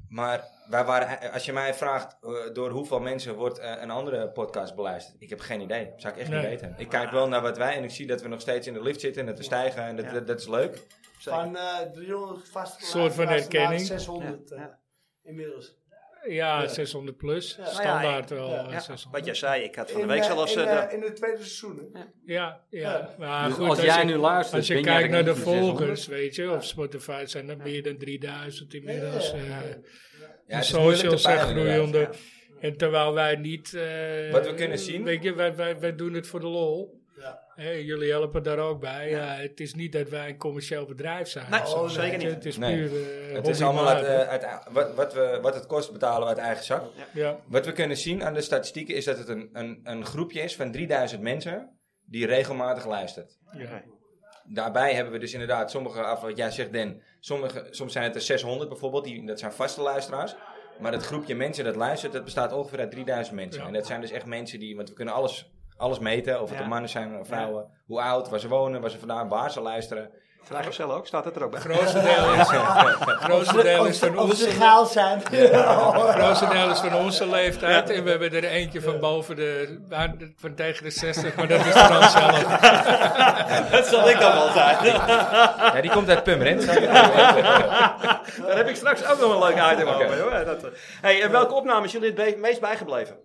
[SPEAKER 1] Maar wij waren, als je mij vraagt eh, door hoeveel mensen wordt eh, een andere podcast beluisterd, ik heb geen idee. Zou ik echt
[SPEAKER 2] Nee.
[SPEAKER 1] niet weten. Ik kijk wel naar wat wij en ik zie dat we nog steeds in de lift zitten en dat we stijgen en dat,
[SPEAKER 4] Ja.
[SPEAKER 1] dat, dat is leuk.
[SPEAKER 4] Zeker.
[SPEAKER 3] Van eh 300 vaste
[SPEAKER 2] Soort van
[SPEAKER 3] luisteraars naar
[SPEAKER 2] herkenning.
[SPEAKER 3] 600
[SPEAKER 4] Ja,
[SPEAKER 3] eh,
[SPEAKER 4] ja.
[SPEAKER 3] inmiddels.
[SPEAKER 2] Ja, 600 plus.
[SPEAKER 3] Ja.
[SPEAKER 2] Dus Standaard
[SPEAKER 3] Nou
[SPEAKER 2] wel.
[SPEAKER 3] ja, ik- ja,
[SPEAKER 2] eh,
[SPEAKER 4] Ja,
[SPEAKER 2] 600.
[SPEAKER 4] wat jij zei, ik had van de
[SPEAKER 3] In,
[SPEAKER 4] week
[SPEAKER 3] eh,
[SPEAKER 4] zelfs...
[SPEAKER 3] in,
[SPEAKER 4] eh,
[SPEAKER 3] eh,
[SPEAKER 4] de-
[SPEAKER 3] in het tweede seizoen. hè?
[SPEAKER 2] Ja, ja.
[SPEAKER 3] Ja.
[SPEAKER 2] Maar
[SPEAKER 5] Dus
[SPEAKER 2] goed,
[SPEAKER 5] als jij
[SPEAKER 2] je-
[SPEAKER 5] nu luistert,
[SPEAKER 2] Als je
[SPEAKER 5] ben jij
[SPEAKER 2] kijkt
[SPEAKER 5] er
[SPEAKER 2] naar de
[SPEAKER 5] niet van 600?
[SPEAKER 2] volgers, weet je, op Spotify zijn er meer dan 3000 inmiddels.
[SPEAKER 3] Ja, ja,
[SPEAKER 2] eh,
[SPEAKER 3] ja.
[SPEAKER 1] Ja,
[SPEAKER 2] de
[SPEAKER 1] het is moeilijk te
[SPEAKER 2] socials zijn
[SPEAKER 1] peilen inderdaad.
[SPEAKER 2] groeiende. En terwijl wij niet... eh,
[SPEAKER 1] Wat we kunnen zien.
[SPEAKER 2] Weet je, wij, wij, wij doen het voor de lol.
[SPEAKER 3] Ja.
[SPEAKER 2] Hè, jullie helpen daar ook bij. Ja. het is niet dat wij een commercieel bedrijf zijn.
[SPEAKER 4] Nee,
[SPEAKER 2] of
[SPEAKER 4] oh,
[SPEAKER 2] weet
[SPEAKER 4] zeker
[SPEAKER 2] je,
[SPEAKER 4] niet.
[SPEAKER 2] Het is
[SPEAKER 1] Nee.
[SPEAKER 2] puur eh,
[SPEAKER 1] Het is allemaal uit,
[SPEAKER 2] hobbymatig.
[SPEAKER 1] eh, uit- wat, wat, we, wat het kost betalen we uit eigen zak.
[SPEAKER 2] ja.
[SPEAKER 1] Wat we kunnen zien aan de statistieken is dat het een, een, een groepje is van 3000 mensen die regelmatig luistert.
[SPEAKER 2] Ja.
[SPEAKER 1] Daarbij hebben we dus inderdaad sommige, af wat jij zegt Den, sommige, soms zijn het er 600 bijvoorbeeld, die, dat zijn vaste luisteraars. Maar het groepje mensen dat luistert, dat bestaat ongeveer uit 3000 mensen.
[SPEAKER 2] Ja.
[SPEAKER 1] En dat zijn dus echt mensen die, want we kunnen alles, alles meten, of het
[SPEAKER 4] Ja.
[SPEAKER 1] er mannen zijn of vrouwen, hoe oud, waar ze wonen, waar ze vandaan, waar ze luisteren.
[SPEAKER 4] Vrijgezel ook, staat het er ook bij.
[SPEAKER 2] grootste deel is, grootste deel is van
[SPEAKER 3] Of ze
[SPEAKER 2] onze,
[SPEAKER 3] gaal zijn.
[SPEAKER 2] grootste deel is van onze leeftijd. En we hebben er eentje van boven de, nou, van tegen de 60, maar dat is Frans zelf.
[SPEAKER 4] Dat zal ik dan wel zijn.
[SPEAKER 1] Ja, die komt uit Pummerend.
[SPEAKER 4] Daar heb ik straks ook nog een leuk item over. hoor. Dat, eh. hey, en welke opname is jullie het be- meest bijgebleven?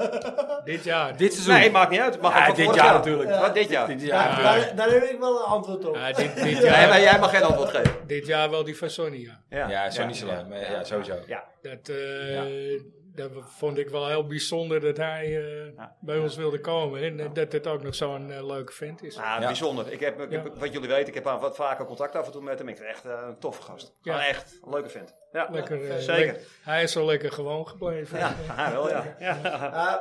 [SPEAKER 2] Dit jaar.
[SPEAKER 5] Dit seizoen.
[SPEAKER 4] Nee, maakt niet uit. Het Mag ook
[SPEAKER 5] ja,
[SPEAKER 4] van
[SPEAKER 5] dit
[SPEAKER 4] vorig
[SPEAKER 5] jaar natuurlijk.
[SPEAKER 4] Wat, dit jaar?
[SPEAKER 5] Dit
[SPEAKER 3] Ja,
[SPEAKER 5] jaar.
[SPEAKER 3] daar, daar heb ik wel een antwoord op.
[SPEAKER 2] Ja, dit, dit,
[SPEAKER 4] Nee, maar
[SPEAKER 2] jaar,
[SPEAKER 4] jij mag geen antwoord geven.
[SPEAKER 2] dit jaar wel die van Sonia.
[SPEAKER 1] Ja, zo niet zo lang. maar Ja, sowieso.
[SPEAKER 2] Dat, eh, dat vond ik wel heel bijzonder dat hij eh,
[SPEAKER 4] Ja.
[SPEAKER 2] bij ons wilde komen. En eh, dat het ook nog zo'n eh, leuke vent is.
[SPEAKER 4] Ah,
[SPEAKER 1] Ja.
[SPEAKER 4] Bijzonder. Ik heb, ik heb-
[SPEAKER 2] Ja.
[SPEAKER 4] Wat jullie weten, ik heb aan wat vaker contact af en toe met hem. Ik vind het echt eh, een toffe gast.
[SPEAKER 2] Ja.
[SPEAKER 4] Ja. echt een leuke vent. Ja,
[SPEAKER 2] Lekker, eh,
[SPEAKER 4] zeker.
[SPEAKER 2] lek- hij is zo lekker gewoon gebleven.
[SPEAKER 4] Ja, ja, wel ja.
[SPEAKER 3] Eh,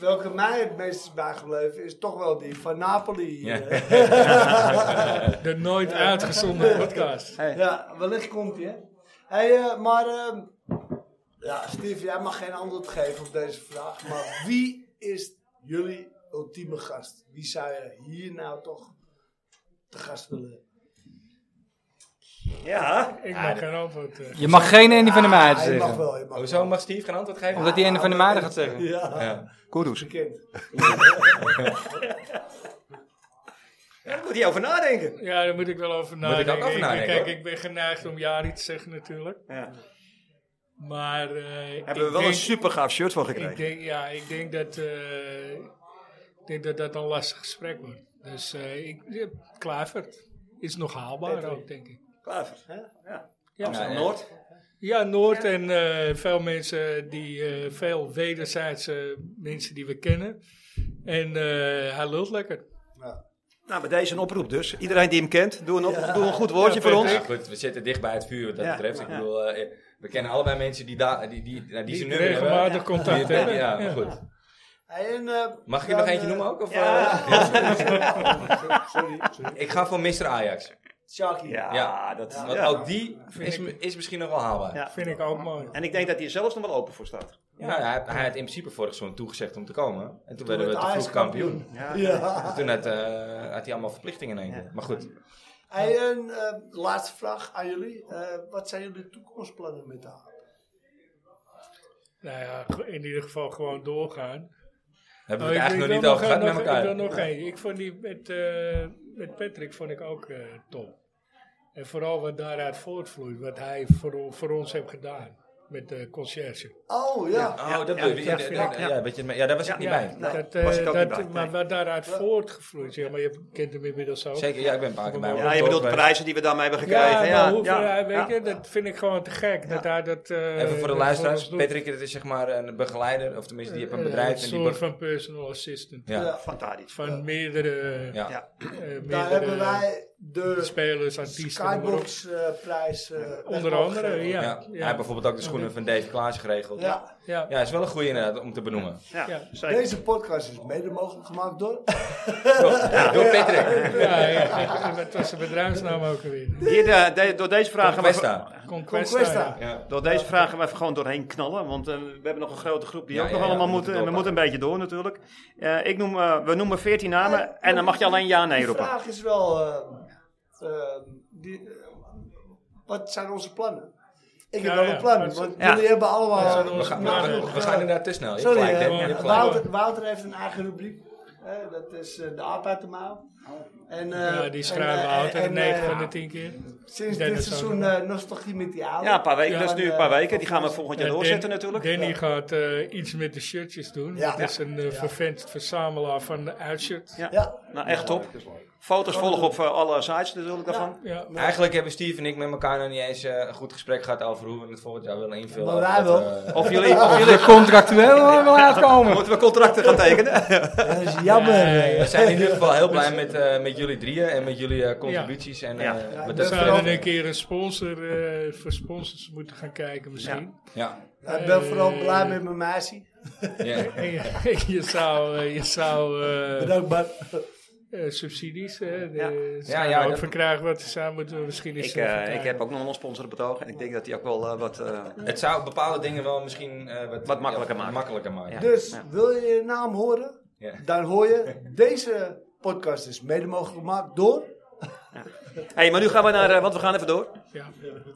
[SPEAKER 3] welke mij het meest is bijgebleven is toch wel die van Napoli.
[SPEAKER 1] Ja.
[SPEAKER 3] eh.
[SPEAKER 2] De nooit uitgezonden podcast.
[SPEAKER 3] Ja, wellicht komt hij, hè? Hey, eh, maar, ehm, ja, Steve, jij mag geen antwoord geven op deze vraag. Maar wie is jullie ultieme gast? Wie zou je hier nou toch te gast willen hebben?
[SPEAKER 4] Ja,
[SPEAKER 2] Ik mag geen antwoord. eh.
[SPEAKER 5] Je mag geen Andy van de
[SPEAKER 3] Ah,
[SPEAKER 5] Meijden
[SPEAKER 3] je mag
[SPEAKER 5] zeggen.
[SPEAKER 3] wel, je mag
[SPEAKER 1] Hoezo mag Steve geen antwoord geven?
[SPEAKER 5] Omdat die Andy van de Meijden gaat zeggen.
[SPEAKER 3] Ja,
[SPEAKER 1] Ja.
[SPEAKER 4] kudos.
[SPEAKER 3] bekend.
[SPEAKER 4] Daar moet hij over nadenken.
[SPEAKER 2] Ja, daar moet ik wel over
[SPEAKER 1] ik ook
[SPEAKER 2] nadenken.
[SPEAKER 1] over nadenken,
[SPEAKER 2] Kijk,
[SPEAKER 1] hoor.
[SPEAKER 2] ik ben geneigd om ja niet te zeggen natuurlijk.
[SPEAKER 4] Ja.
[SPEAKER 2] Maar eh, ik
[SPEAKER 4] Hebben we wel een
[SPEAKER 2] denk-
[SPEAKER 4] super gaaf shirt van gekregen.
[SPEAKER 2] Ik denk, ja, ik denk dat, eh, ik denk dat dat een lastig gesprek wordt. Dus eh ik, ja, Kluivert is nog haalbaar ook, denk ik.
[SPEAKER 4] Klaver. hè? Ja.
[SPEAKER 2] Ja.
[SPEAKER 4] Amsterdam
[SPEAKER 1] Ja, ja.
[SPEAKER 4] Noord.
[SPEAKER 2] Ja, Noord en eh, veel mensen die, eh, veel wederzijdse mensen die we kennen. En eh, hij lult lekker.
[SPEAKER 4] Nou, bij deze een oproep dus. Iedereen die hem kent, doe een, op, doe een goed woordje
[SPEAKER 2] Ja,
[SPEAKER 4] voor ons.
[SPEAKER 1] Ja, goed, we zitten dicht bij het vuur wat dat
[SPEAKER 4] Ja,
[SPEAKER 1] betreft. Ik
[SPEAKER 4] ja.
[SPEAKER 1] bedoel, eh, we kennen allebei mensen die, da- die, die, nou, die
[SPEAKER 2] Die
[SPEAKER 1] zijn nummer hebben.
[SPEAKER 2] regelmatig contact
[SPEAKER 1] Die-
[SPEAKER 2] hebben.
[SPEAKER 1] Ja,
[SPEAKER 2] Ja.
[SPEAKER 1] maar goed.
[SPEAKER 3] Hey, en, eh,
[SPEAKER 1] Mag ik er
[SPEAKER 3] dan,
[SPEAKER 1] nog eentje
[SPEAKER 3] eh,
[SPEAKER 1] noemen ook? Of,
[SPEAKER 4] ja.
[SPEAKER 3] sorry, sorry, sorry.
[SPEAKER 1] eh, ik ga voor Mr. Ajax.
[SPEAKER 3] Sharky.
[SPEAKER 4] Ja,
[SPEAKER 1] Ja.
[SPEAKER 4] dat
[SPEAKER 1] Want
[SPEAKER 4] ja.
[SPEAKER 1] ook die is, mi- is misschien nog wel haalbaar. Ja.
[SPEAKER 4] Ja.
[SPEAKER 2] Vind ik ook mooi.
[SPEAKER 4] En ik denk dat hij er zelfs nog wel open voor staat.
[SPEAKER 1] hij, had- hij had in principe vorig seizoen toegezegd om te komen. En toen werden we
[SPEAKER 3] werd
[SPEAKER 1] te
[SPEAKER 3] Ajax
[SPEAKER 1] vroeg kampioen.
[SPEAKER 4] Ja.
[SPEAKER 3] Ja.
[SPEAKER 1] Toen had, eh, had hij allemaal verplichtingen in één keer. Maar goed.
[SPEAKER 3] Hey, en, eh, laatste vraag aan jullie. Eh, wat zijn jullie toekomstplannen met de aap?
[SPEAKER 2] Nou ja, go- in ieder geval gewoon doorgaan.
[SPEAKER 1] Hebben
[SPEAKER 2] Oh,
[SPEAKER 1] we
[SPEAKER 2] ik-
[SPEAKER 1] het
[SPEAKER 2] ik
[SPEAKER 1] eigenlijk nog
[SPEAKER 2] wil
[SPEAKER 1] niet over gehad
[SPEAKER 2] nog-
[SPEAKER 1] met
[SPEAKER 2] Ik wil
[SPEAKER 1] elkaar.
[SPEAKER 2] nog één. Ik vond die met, eh, met Patrick vond ik ook eh, top. En vooral wat daaruit voortvloeit, wat hij voor, o- voor ons heeft gedaan met de conciërge.
[SPEAKER 3] Oh, ja.
[SPEAKER 1] Oh, dat
[SPEAKER 4] Ja,
[SPEAKER 1] bedoel je.
[SPEAKER 4] ja, ja,
[SPEAKER 1] Ja, ja,
[SPEAKER 4] ja.
[SPEAKER 1] ja, weet je, maar- ja, daar was ik niet bij.
[SPEAKER 4] nee,
[SPEAKER 2] dat, eh,
[SPEAKER 4] was ik ook
[SPEAKER 2] dat-
[SPEAKER 4] niet bij,
[SPEAKER 2] Maar
[SPEAKER 4] nee.
[SPEAKER 2] wat daaruit voortgevloeid, ja, maar je kent hem inmiddels ook.
[SPEAKER 1] Zeker, ja, ik ben een paar keer bij.
[SPEAKER 2] Ja,
[SPEAKER 1] hem
[SPEAKER 4] Ja, je
[SPEAKER 1] gekocht,
[SPEAKER 4] bedoelt de
[SPEAKER 1] maar-
[SPEAKER 4] prijzen die we daarmee hebben
[SPEAKER 2] Ja,
[SPEAKER 4] gekregen.
[SPEAKER 2] maar
[SPEAKER 4] Ja,
[SPEAKER 2] hoeveel,
[SPEAKER 4] ja,
[SPEAKER 2] hij- weet
[SPEAKER 4] ja.
[SPEAKER 2] je, dat vind ik gewoon te gek. Dat hij dat, eh,
[SPEAKER 1] Even voor de
[SPEAKER 2] dat
[SPEAKER 1] luisteraars,
[SPEAKER 2] voor ons doet.
[SPEAKER 1] Patrick dat is zeg maar een begeleider, of tenminste die heeft een
[SPEAKER 2] Eh,
[SPEAKER 1] bedrijf.
[SPEAKER 2] Een
[SPEAKER 1] en die
[SPEAKER 2] soort
[SPEAKER 1] be-
[SPEAKER 2] van personal assistant.
[SPEAKER 1] ja. Ja.
[SPEAKER 3] Ja.
[SPEAKER 4] Van Tadic.
[SPEAKER 2] Van meerdere, eh,
[SPEAKER 1] Ja.
[SPEAKER 4] Ja.
[SPEAKER 2] meerdere
[SPEAKER 3] Daar hebben wij de
[SPEAKER 2] spelers, artiesten, noem maar op.
[SPEAKER 3] eh, Skybox-prijs.
[SPEAKER 2] Onder andere, ja. ja.
[SPEAKER 1] Hij heeft bijvoorbeeld ook de schoenen van Dave Klaas geregeld. Ja.
[SPEAKER 3] Ja,
[SPEAKER 2] Ja.
[SPEAKER 1] is wel een goede inderdaad om te benoemen.
[SPEAKER 4] Ja,
[SPEAKER 2] Ja.
[SPEAKER 4] zeker.
[SPEAKER 3] deze podcast is mede mogelijk gemaakt door...
[SPEAKER 1] Door Patrick.
[SPEAKER 2] Ja, ja, wat was de bedrijfsnaam ook alweer?
[SPEAKER 4] Hier, de- de- door deze vragen gaan we-
[SPEAKER 1] Questa.
[SPEAKER 2] Conquesta.
[SPEAKER 3] Conquesta.
[SPEAKER 2] ja.
[SPEAKER 1] Ja.
[SPEAKER 4] Door deze vragen we even gewoon doorheen knallen, want eh, we hebben nog een grote groep die
[SPEAKER 1] Ja,
[SPEAKER 4] ook
[SPEAKER 1] ja,
[SPEAKER 4] nog
[SPEAKER 1] ja,
[SPEAKER 4] allemaal
[SPEAKER 1] we
[SPEAKER 4] moeten.
[SPEAKER 1] moeten
[SPEAKER 4] En we moeten een beetje door natuurlijk. Eh, ik noem, eh, we noemen 14 namen en dan mag je alleen ja nee
[SPEAKER 3] De
[SPEAKER 4] roepen.
[SPEAKER 3] vraag is wel... eh, ehm, die, eh, wat zijn onze plannen? Ik
[SPEAKER 2] Ja,
[SPEAKER 3] heb
[SPEAKER 2] ja.
[SPEAKER 3] wel
[SPEAKER 2] Nou,
[SPEAKER 3] een plan,
[SPEAKER 2] Wat-
[SPEAKER 3] want
[SPEAKER 4] Ja.
[SPEAKER 3] jullie hebben allemaal...
[SPEAKER 2] zijn
[SPEAKER 1] We gaan, we, we- we gaan inderdaad te snel. Je hebt
[SPEAKER 3] Sorry,
[SPEAKER 1] gelijk, hè?
[SPEAKER 3] eh,
[SPEAKER 1] Je hebt gelijk.
[SPEAKER 3] Wouter, Wouter heeft een eigen rubriek. Eh, dat is eh, de aap uit de mouw. En, eh,
[SPEAKER 2] die
[SPEAKER 3] en,
[SPEAKER 2] schrijven we
[SPEAKER 3] eh,
[SPEAKER 2] altijd
[SPEAKER 3] en,
[SPEAKER 2] 9
[SPEAKER 3] eh,
[SPEAKER 2] van de 10 keer.
[SPEAKER 3] Sinds dit
[SPEAKER 2] Dennis ook
[SPEAKER 3] seizoen
[SPEAKER 2] nog.
[SPEAKER 3] eh, nostalgie met die aap.
[SPEAKER 4] Ja, een paar weken.
[SPEAKER 2] Ja,
[SPEAKER 4] dat is nu
[SPEAKER 3] en,
[SPEAKER 4] een paar
[SPEAKER 3] eh,
[SPEAKER 4] weken. Die gaan we volgend jaar
[SPEAKER 2] Ja,
[SPEAKER 4] doorzetten
[SPEAKER 2] Dan-
[SPEAKER 4] natuurlijk.
[SPEAKER 2] Danny gaat eh, iets met de shirtjes doen.
[SPEAKER 3] Ja.
[SPEAKER 2] Dat is een eh, vervent verzamelaar van de uitshirts.
[SPEAKER 4] Ja.
[SPEAKER 3] Ja,
[SPEAKER 4] Nou, echt top. Foto's volgen op eh, alle sites natuurlijk daarvan.
[SPEAKER 2] Ja, maar-
[SPEAKER 1] Eigenlijk hebben Steve en ik met elkaar nog niet eens eh, een goed gesprek gehad over hoe we het volgend jaar willen invullen.
[SPEAKER 3] Maar wij
[SPEAKER 1] Wat,
[SPEAKER 3] wel.
[SPEAKER 1] eh,
[SPEAKER 4] Of jullie, of
[SPEAKER 5] Of
[SPEAKER 4] jullie
[SPEAKER 5] je contractueel wil uitkomen.
[SPEAKER 4] moeten we contracten gaan tekenen.
[SPEAKER 3] dat is jammer.
[SPEAKER 2] Ja, ja,
[SPEAKER 3] eh.
[SPEAKER 1] we zijn in ieder geval heel blij met, eh, met jullie drieën en met jullie eh, contributies. En, eh,
[SPEAKER 4] Ja.
[SPEAKER 1] wat dat
[SPEAKER 2] dus we
[SPEAKER 1] betreft.
[SPEAKER 2] zouden een keer een sponsor eh, voor sponsors moeten Eh, gaan kijken misschien.
[SPEAKER 1] Ja.
[SPEAKER 3] Ik ben vooral blij met mijn meisje.
[SPEAKER 1] Ja.
[SPEAKER 2] En je, je zou, eh, je zou eh,
[SPEAKER 3] Bedankt, man.
[SPEAKER 2] eh, subsidies, hè, de,
[SPEAKER 4] Ja.
[SPEAKER 2] ja,
[SPEAKER 1] Ja, ja,
[SPEAKER 2] ook
[SPEAKER 1] dat-
[SPEAKER 2] voor krijgen wat ze samen moeten. Misschien is
[SPEAKER 4] Ik, eh, ik heb ook nog wel een sponsor betoog. En ik denk dat die ook wel eh, wat... eh,
[SPEAKER 1] Het zou bepaalde dingen wel misschien eh, wat,
[SPEAKER 4] Wat makkelijker
[SPEAKER 1] ja,
[SPEAKER 4] maken.
[SPEAKER 1] makkelijker maken.
[SPEAKER 4] Ja.
[SPEAKER 3] Dus, wil je je naam horen?
[SPEAKER 1] Ja.
[SPEAKER 3] Dan hoor je, deze podcast is mede mogelijk gemaakt door...
[SPEAKER 4] hey, maar nu gaan we naar, eh, want we gaan even door.
[SPEAKER 2] Ja,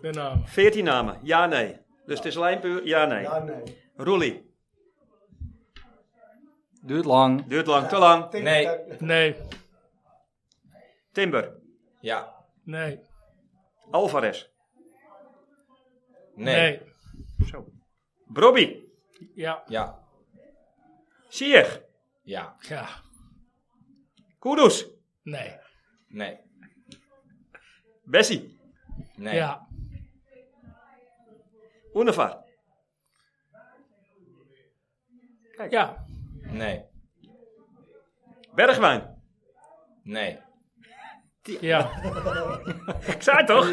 [SPEAKER 2] de naam.
[SPEAKER 4] 14 namen, ja, nee. Dus het is alleen puur ja, nee.
[SPEAKER 3] Ja, nee.
[SPEAKER 4] Roelie,
[SPEAKER 5] Duurt lang.
[SPEAKER 4] duurt lang, te lang.
[SPEAKER 1] Nee.
[SPEAKER 2] Nee,
[SPEAKER 4] Timber,
[SPEAKER 1] Ja.
[SPEAKER 2] nee,
[SPEAKER 4] Alvarez,
[SPEAKER 1] Nee.
[SPEAKER 2] nee.
[SPEAKER 4] Brobby,
[SPEAKER 2] Ja,
[SPEAKER 1] Ja.
[SPEAKER 4] Sieg,
[SPEAKER 1] Ja.
[SPEAKER 2] ja,
[SPEAKER 4] Kudus,
[SPEAKER 2] nee.
[SPEAKER 1] Nee.
[SPEAKER 4] Bessie,
[SPEAKER 1] Nee.
[SPEAKER 2] Ja,
[SPEAKER 4] Unifar,
[SPEAKER 2] ja,
[SPEAKER 1] Nee.
[SPEAKER 4] Bergwijn.
[SPEAKER 1] Nee.
[SPEAKER 2] ja,
[SPEAKER 4] Ik zei het toch?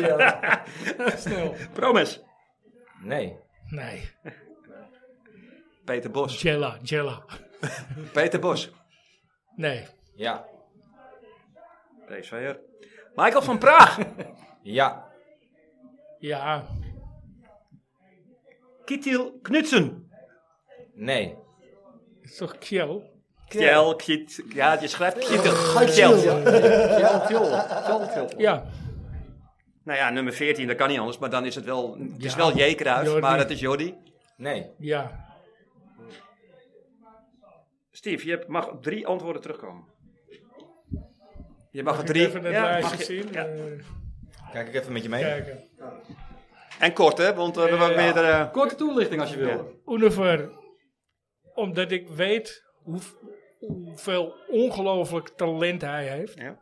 [SPEAKER 2] snel.
[SPEAKER 4] Promes.
[SPEAKER 1] Nee.
[SPEAKER 2] Nee,
[SPEAKER 4] Peter Bos.
[SPEAKER 2] Jella, Jella.
[SPEAKER 4] Peter Bos.
[SPEAKER 2] Nee,
[SPEAKER 1] Ja.
[SPEAKER 4] PSV'er. Michael van Praag.
[SPEAKER 1] Ja.
[SPEAKER 2] ja,
[SPEAKER 4] Kittil Knutsen.
[SPEAKER 1] Nee.
[SPEAKER 2] is toch Kjell?
[SPEAKER 4] Kjell, Kjit. Ja, je schrijft Kittil.
[SPEAKER 3] Gatjel.
[SPEAKER 4] Kjell.
[SPEAKER 5] Tjel, tjel, tjel, tjel.
[SPEAKER 2] Ja,
[SPEAKER 4] Nou ja, nummer 14, dat kan niet anders. Maar dan is het wel... Het is
[SPEAKER 2] Ja.
[SPEAKER 4] wel J. Kruijf,
[SPEAKER 2] Jordi.
[SPEAKER 4] maar het is Jordi.
[SPEAKER 1] Nee.
[SPEAKER 2] ja,
[SPEAKER 4] Steve, je hebt- mag op drie antwoorden terugkomen. Je mag op
[SPEAKER 2] ik
[SPEAKER 4] drie...
[SPEAKER 2] even het
[SPEAKER 4] ja,
[SPEAKER 2] lijstje
[SPEAKER 4] mag je-
[SPEAKER 2] zien.
[SPEAKER 4] ja.
[SPEAKER 2] eh,
[SPEAKER 1] Kijk ik even met je mee.
[SPEAKER 2] kijken.
[SPEAKER 4] En kort, hè? Want eh, Nou, we hebben ook
[SPEAKER 2] Ja.
[SPEAKER 4] meerdere...
[SPEAKER 5] Korte toelichting als je wil.
[SPEAKER 2] Univer, omdat ik weet hoe, hoeveel ongelooflijk talent hij heeft.
[SPEAKER 4] Ja.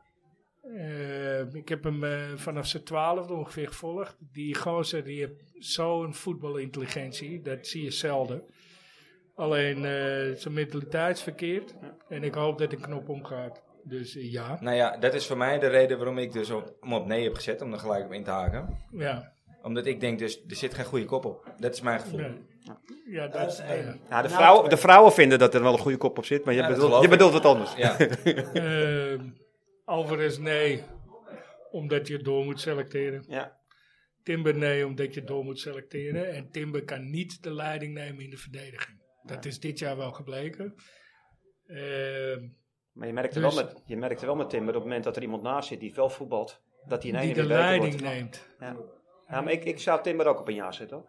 [SPEAKER 2] Eh, ik heb hem eh, vanaf zijn twaalfde ongeveer gevolgd. Die gozer die heeft zo'n voetbalintelligentie, dat zie je zelden. Alleen eh, zijn mentaliteit is verkeerd. En ik hoop dat de knop omgaat. Dus eh, ja.
[SPEAKER 1] Nou ja, dat is voor mij de reden waarom ik dus op, hem op nee heb gezet. Om er gelijk op in te haken.
[SPEAKER 2] Ja,
[SPEAKER 1] Omdat ik denk dus, er zit geen goede kop op. Dat is mijn gevoel.
[SPEAKER 2] Nee. ja dat,
[SPEAKER 3] Dat is
[SPEAKER 2] is
[SPEAKER 3] één.
[SPEAKER 4] Ja, de,
[SPEAKER 3] Nou,
[SPEAKER 4] vrouw,
[SPEAKER 3] twee.
[SPEAKER 4] de vrouwen vinden dat er wel een goede kop op zit, maar je,
[SPEAKER 1] Ja, dat
[SPEAKER 4] bedoelt,
[SPEAKER 1] geloof
[SPEAKER 4] je
[SPEAKER 1] ik.
[SPEAKER 4] bedoelt wat anders.
[SPEAKER 1] Ja.
[SPEAKER 2] Eh, Alvarez, nee. Omdat je door moet selecteren.
[SPEAKER 4] Ja.
[SPEAKER 2] Timber, nee, omdat je door moet selecteren. En Timber kan niet de leiding nemen in de verdediging. Dat is dit jaar wel gebleken. Ehm,
[SPEAKER 4] Maar je merkte,
[SPEAKER 2] Dus-
[SPEAKER 4] wel met, je merkte wel met Timmer op het moment dat er iemand naast zit die wel voetbalt, dat hij in
[SPEAKER 2] die
[SPEAKER 4] één
[SPEAKER 2] de
[SPEAKER 4] keer beter wordt.
[SPEAKER 2] leiding neemt.
[SPEAKER 4] Ja. Ja, maar ik, ik zou Timmer ook op een jaar zetten. hoor.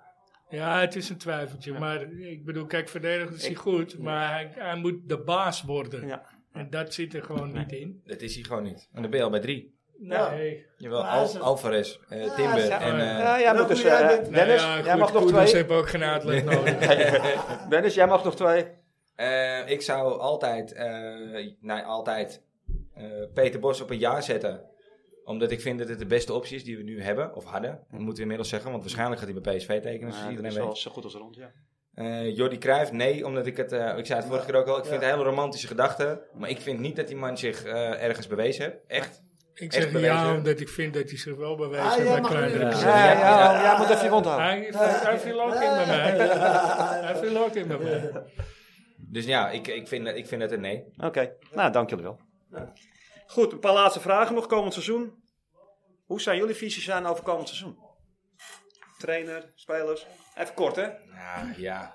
[SPEAKER 2] Ja, het is een twijfeltje. Maar ik bedoel, kijk, verdedigend is hij
[SPEAKER 4] Ik-
[SPEAKER 2] goed. Maar hij, hij moet de baas worden.
[SPEAKER 4] Ja.
[SPEAKER 2] En dat zit er gewoon niet in.
[SPEAKER 1] Dat is hij gewoon niet. En dan ben je al bij drie.
[SPEAKER 2] Nee.
[SPEAKER 1] Jawel,
[SPEAKER 3] Ja,
[SPEAKER 1] Al-
[SPEAKER 3] hij is een-
[SPEAKER 1] Alvarez, eh, Timber
[SPEAKER 4] Ja,
[SPEAKER 1] en... eh,
[SPEAKER 4] ja, jij moet
[SPEAKER 3] dat
[SPEAKER 4] dus,
[SPEAKER 3] moet jij
[SPEAKER 4] eh,
[SPEAKER 3] dit- Nou
[SPEAKER 2] Nou
[SPEAKER 4] Dennis,
[SPEAKER 2] ja,
[SPEAKER 4] jij
[SPEAKER 2] goed,
[SPEAKER 4] mag nog
[SPEAKER 2] Koeders
[SPEAKER 4] twee.
[SPEAKER 2] heeft ook geen outlet nodig.
[SPEAKER 4] Dennis, jij mag nog twee.
[SPEAKER 1] Eh, ik zou altijd, eh, nee, altijd eh, Peter Bos op een ja zetten. Omdat ik vind dat het de beste optie is die we nu hebben, of hadden. Dat moeten we inmiddels zeggen, want waarschijnlijk gaat hij bij PSV tekenen. zoals
[SPEAKER 4] Ja, dat
[SPEAKER 1] iedereen
[SPEAKER 4] is
[SPEAKER 1] weet.
[SPEAKER 4] wel zo goed als rond, ja.
[SPEAKER 1] Eh, Jordi Cruijff, nee, omdat ik het, eh, ik zei het vorige keer ook al, ik vind het een hele romantische gedachte. Maar ik vind niet dat die man zich eh, ergens bewezen heeft. Echt.
[SPEAKER 2] Ik
[SPEAKER 1] Echt
[SPEAKER 2] zeg ja,
[SPEAKER 1] bewezen.
[SPEAKER 2] omdat ik vind dat hij zich wel bewezen
[SPEAKER 3] Ah,
[SPEAKER 2] heeft
[SPEAKER 3] jij
[SPEAKER 2] bij
[SPEAKER 3] mag
[SPEAKER 2] kleinere
[SPEAKER 3] nu.
[SPEAKER 2] clubs.
[SPEAKER 4] Ja, ja,
[SPEAKER 1] ja.
[SPEAKER 4] jij moet even je mond houden.
[SPEAKER 2] Hij, hij viel ook in bij mij. Hij viel ook in bij mij.
[SPEAKER 1] Dus ja, ik, ik, vind, dat- ik vind dat een nee.
[SPEAKER 4] Oké, nou, dank jullie wel. Goed, een paar laatste vragen nog komend seizoen. Hoe zijn jullie visies aan over komend seizoen? Trainer, spelers. Even kort, hè?
[SPEAKER 1] Nou ja,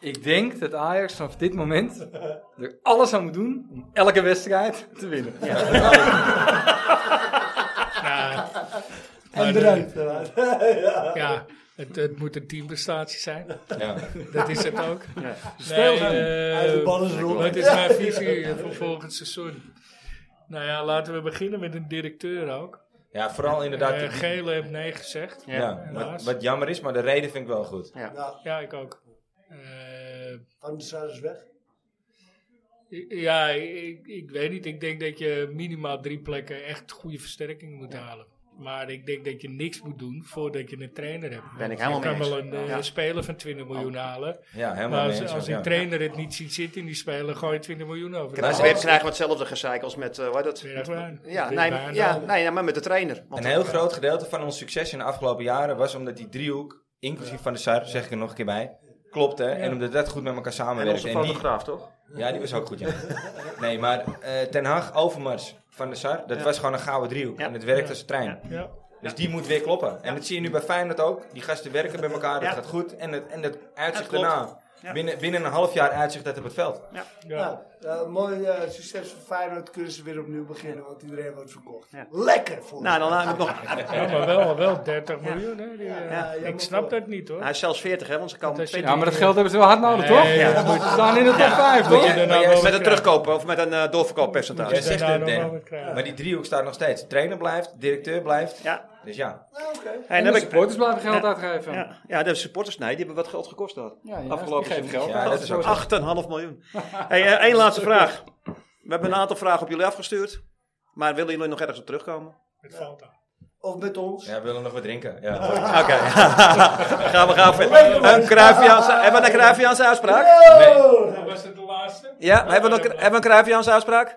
[SPEAKER 5] Ik denk dat Ajax vanaf dit moment er alles aan moet doen om elke wedstrijd te winnen.
[SPEAKER 2] Nou, Maar, eh,
[SPEAKER 3] En eruit. eh, Ja.
[SPEAKER 2] ja, het, het moet een teamprestatie zijn.
[SPEAKER 1] ja.
[SPEAKER 2] Dat is het ook.
[SPEAKER 5] Speel
[SPEAKER 2] Nee,
[SPEAKER 5] hem.
[SPEAKER 2] eh,
[SPEAKER 3] Hij heeft de bal is rond.
[SPEAKER 2] Wat is mijn visie voor volgend seizoen? Nou ja, laten we beginnen met een directeur ook.
[SPEAKER 1] ja, vooral inderdaad.
[SPEAKER 2] Eh,
[SPEAKER 1] die-
[SPEAKER 2] Gele heeft nee gezegd.
[SPEAKER 1] ja, wat,
[SPEAKER 2] helaas.
[SPEAKER 1] wat jammer is, maar de reden vind ik wel goed.
[SPEAKER 3] Nou,
[SPEAKER 2] Ja, ik ook. Eh,
[SPEAKER 3] Van de Sar is dus weg.
[SPEAKER 2] Ja, ik, ik weet niet. Ik denk dat je minimaal drie plekken echt goede versterkingen moet halen. Maar ik denk dat je niks moet doen voordat je een trainer hebt.
[SPEAKER 4] Ben ik
[SPEAKER 2] Want
[SPEAKER 4] helemaal mee
[SPEAKER 2] Je kan wel
[SPEAKER 4] eens.
[SPEAKER 2] een eh,
[SPEAKER 4] Ja.
[SPEAKER 2] speler van 20 miljoen halen.
[SPEAKER 1] Ja, helemaal
[SPEAKER 2] Maar
[SPEAKER 1] mee
[SPEAKER 2] als,
[SPEAKER 1] eens,
[SPEAKER 2] als een
[SPEAKER 1] ja.
[SPEAKER 2] trainer het niet ziet zitten in die speler, gooi je 20 miljoen over.
[SPEAKER 1] Krijg-
[SPEAKER 4] Ze weer Nou, krijgen we hetzelfde gezeik als met, eh, hoe heet dat?
[SPEAKER 2] Bergwijn.
[SPEAKER 4] Ja, nee,
[SPEAKER 2] Bergwijn.
[SPEAKER 4] maar- ja, nee, ja, maar met de trainer. Want eh,
[SPEAKER 1] Een heel groot gedeelte van ons succes in de afgelopen jaren was omdat die driehoek, inclusief van de Sar, zeg ik er nog een keer bij, klopte. En omdat dat goed met elkaar
[SPEAKER 4] en
[SPEAKER 1] samenwerkte.
[SPEAKER 4] onze
[SPEAKER 1] En die,
[SPEAKER 4] fotograaf, toch?
[SPEAKER 1] ja, die was ook goed, ja. Nee, maar eh, Ten Hag, Overmars, Van de Sar, dat was gewoon een gouden driehoek.
[SPEAKER 4] Ja.
[SPEAKER 1] En het werkt als een trein.
[SPEAKER 2] Ja.
[SPEAKER 1] Dus die moet weer kloppen. En dat zie je nu bij Feyenoord ook. Die gasten werken bij elkaar, dat
[SPEAKER 4] Ja.
[SPEAKER 1] gaat goed. En het, en het uitzicht
[SPEAKER 4] klopt.
[SPEAKER 1] daarna
[SPEAKER 4] Ja.
[SPEAKER 1] binnen, binnen een half jaar uitzicht uit op het veld.
[SPEAKER 2] Ja.
[SPEAKER 3] Nou, eh, mooi eh, succes voor Feyenoord. Kunnen ze weer opnieuw beginnen, want iedereen wordt verkocht.
[SPEAKER 4] Ja.
[SPEAKER 3] Lekker voor
[SPEAKER 4] Nou, dan hebben we het nog.
[SPEAKER 2] Ja, maar wel, wel 30 miljoen. Hè, die, eh,
[SPEAKER 4] Ja,
[SPEAKER 3] ja,
[SPEAKER 2] ik
[SPEAKER 3] maar
[SPEAKER 2] snap
[SPEAKER 3] voor-
[SPEAKER 2] dat niet hoor.
[SPEAKER 4] Hij is zelfs 40, hè, want ze komen
[SPEAKER 2] Dat is-
[SPEAKER 4] twee-
[SPEAKER 5] Ja, maar dat geld hebben ze wel hard nodig, toch?
[SPEAKER 2] Nee, ja, dat moet-
[SPEAKER 5] Ze staan in de top 5,
[SPEAKER 1] Moet
[SPEAKER 5] toch?
[SPEAKER 1] je- maar
[SPEAKER 2] nou
[SPEAKER 1] jij-
[SPEAKER 4] met een terugkopen of met een eh, doorverkooppercentage.
[SPEAKER 1] Jij zegt
[SPEAKER 2] Daarna
[SPEAKER 1] het,
[SPEAKER 2] nou nog wel
[SPEAKER 1] Dan.
[SPEAKER 2] wat krijgen.
[SPEAKER 1] Maar die driehoek staat nog steeds. Trainer blijft, directeur blijft.
[SPEAKER 4] Ja.
[SPEAKER 1] Dus ja.
[SPEAKER 3] Ah, oké.
[SPEAKER 4] Hey,
[SPEAKER 5] En
[SPEAKER 4] dan
[SPEAKER 5] de
[SPEAKER 4] heb ik,
[SPEAKER 5] supporters blijven geld uitgeven. Ja,
[SPEAKER 4] ja, ja, de supporters, nee, die hebben wat geld gekost dat.
[SPEAKER 5] ja,
[SPEAKER 4] Afgelopen
[SPEAKER 5] die geven
[SPEAKER 4] seizoen.
[SPEAKER 5] geld.
[SPEAKER 1] Ja, dat is ook zo.
[SPEAKER 4] 8,5 miljoen. hey, eh, één laatste vraag. We hebben een aantal vragen op jullie afgestuurd. Maar willen jullie nog ergens op terugkomen?
[SPEAKER 2] Het valt aan.
[SPEAKER 3] Of met ons.
[SPEAKER 1] Ja, we willen nog wat drinken. Ja.
[SPEAKER 4] Oké, gaan we gauw verder. Een Cruyffiaanse- hebben we een Cruyffiaanse uitspraak?
[SPEAKER 3] Oh!
[SPEAKER 2] Was het de laatste?
[SPEAKER 4] Ja, hebben we, nog, hebben we een Cruyffiaanse uitspraak?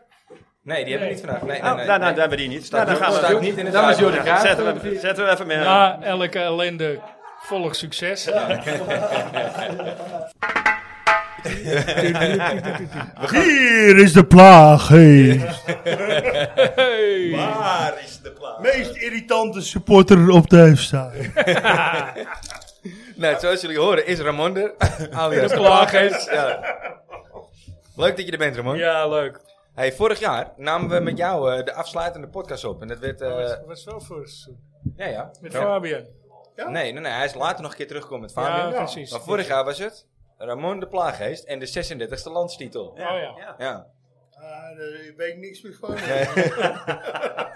[SPEAKER 1] Nee, die hebben we niet vandaag. Nee, nee,
[SPEAKER 4] Oh,
[SPEAKER 1] nee,
[SPEAKER 4] nou, nou,
[SPEAKER 1] nee.
[SPEAKER 4] dan hebben we die niet. Nou, dan gaan
[SPEAKER 1] staat
[SPEAKER 4] we.
[SPEAKER 1] niet in het
[SPEAKER 5] Dan is Jordi
[SPEAKER 1] draaiboek.
[SPEAKER 5] Graaf.
[SPEAKER 4] Zetten we, hem- zetten we even mee.
[SPEAKER 2] Na elke ellende volg succes.
[SPEAKER 6] Hier is de plaaggeest.
[SPEAKER 2] Hey.
[SPEAKER 1] Waar is de plaats?
[SPEAKER 6] Meest irritante supporter op de Heefstaat. Ah,
[SPEAKER 1] Nou, zoals jullie horen is Ramon er. Alias
[SPEAKER 2] De plaaggeest.
[SPEAKER 1] Ja. Leuk dat je er bent, Ramon.
[SPEAKER 2] Ja, leuk.
[SPEAKER 1] Hey, vorig jaar namen we met jou eh, de afsluitende podcast op. En dat werd... eh,
[SPEAKER 2] Dat was wel voor seizoen.
[SPEAKER 1] ja, ja.
[SPEAKER 2] Met
[SPEAKER 1] Ja.
[SPEAKER 2] Fabian.
[SPEAKER 1] Nee, nee, nee, hij is later nog een keer teruggekomen met Fabian.
[SPEAKER 2] Ja, precies.
[SPEAKER 1] Maar vorig jaar was het Ramon de Plaaggeest en de 36e landstitel.
[SPEAKER 2] Oh ja.
[SPEAKER 1] Ja.
[SPEAKER 6] Ah, daar weet ik niks meer van.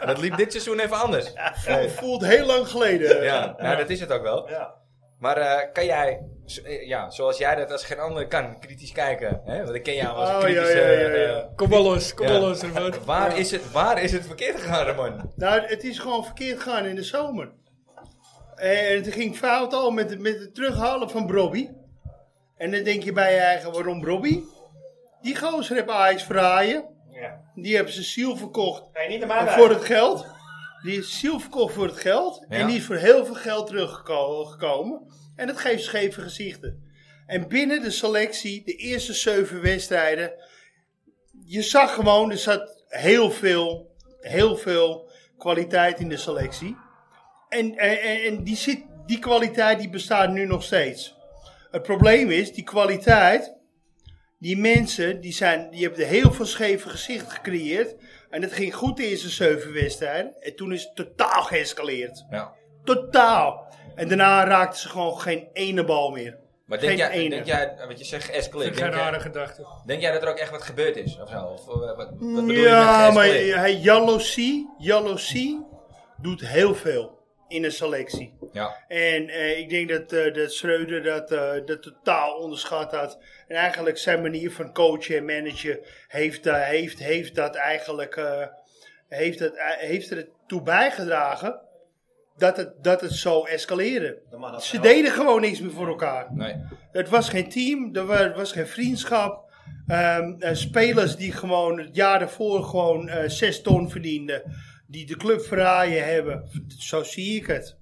[SPEAKER 1] Dat liep dit seizoen even anders.
[SPEAKER 6] Het voelt heel lang geleden.
[SPEAKER 1] Ja, nou, dat is het ook wel.
[SPEAKER 6] Ja.
[SPEAKER 1] Maar eh, kan jij, zo- eh, ja, zoals jij dat als geen ander kan, kritisch kijken? Hè? Want ik ken jou als een
[SPEAKER 6] Oh, ja,
[SPEAKER 1] kritische...
[SPEAKER 6] ja, ja, ja.
[SPEAKER 1] eh,
[SPEAKER 2] Kom maar los, kom maar
[SPEAKER 1] Ja.
[SPEAKER 2] los. Robert.
[SPEAKER 1] waar, is het, waar is het verkeerd gegaan, Ramon?
[SPEAKER 6] Nou, het is gewoon verkeerd gegaan in de zomer. En het ging fout al met het, met het terughalen van Bobby. En dan denk je bij je eigen, waarom Bobby? Die gozer heeft Ajax verraaien. Die hebben zijn ziel verkocht
[SPEAKER 4] niet
[SPEAKER 6] voor het geld. Die is ziel verkocht voor het geld.
[SPEAKER 1] Ja.
[SPEAKER 6] En die is voor heel veel geld teruggeko- gekomen. En dat geeft scheve gezichten. En binnen de selectie, de eerste zeven wedstrijden. Je zag gewoon, er zat heel veel, heel veel kwaliteit in de selectie. En, en, en- en die, zit, die kwaliteit die bestaat nu nog steeds. Het probleem is, die kwaliteit, die mensen, die, zijn, die hebben heel veel scheve gezichten gecreëerd. En het ging goed de eerste zeven wedstrijden. En toen is het totaal geëscaleerd.
[SPEAKER 1] Ja.
[SPEAKER 6] Totaal. En daarna raakten ze gewoon geen ene bal meer.
[SPEAKER 1] Maar denk
[SPEAKER 6] Geen
[SPEAKER 1] jij,
[SPEAKER 6] ene.
[SPEAKER 1] denk jij, wat je zegt, escalate.
[SPEAKER 2] Geen
[SPEAKER 1] Denk,
[SPEAKER 2] rare
[SPEAKER 1] jij-
[SPEAKER 2] gedachten.
[SPEAKER 1] denk jij dat er ook echt wat gebeurd is? Of zo? Of, eh, wat, wat bedoel je
[SPEAKER 6] Ja,
[SPEAKER 1] met
[SPEAKER 6] maar
[SPEAKER 1] geëscalate?
[SPEAKER 6] hij, jaloezie, jaloezie doet heel veel in een selectie.
[SPEAKER 1] Ja.
[SPEAKER 6] En eh, ik denk dat, eh dat Schreuder dat, eh, dat totaal onderschat had. En eigenlijk zijn manier van coachen en managen heeft, daar heeft, heeft dat eigenlijk eh, heeft dat, eh, heeft er toe bijgedragen dat het, dat het zo escaleren. Ze deden gewoon niks meer voor elkaar.
[SPEAKER 1] Nee.
[SPEAKER 6] Het was geen team, er wa- er was geen vriendschap. Ehm, eh, spelers die gewoon het jaar daarvoor gewoon eh, zes ton verdienden. Die de club verraaien hebben. Zo zie ik het.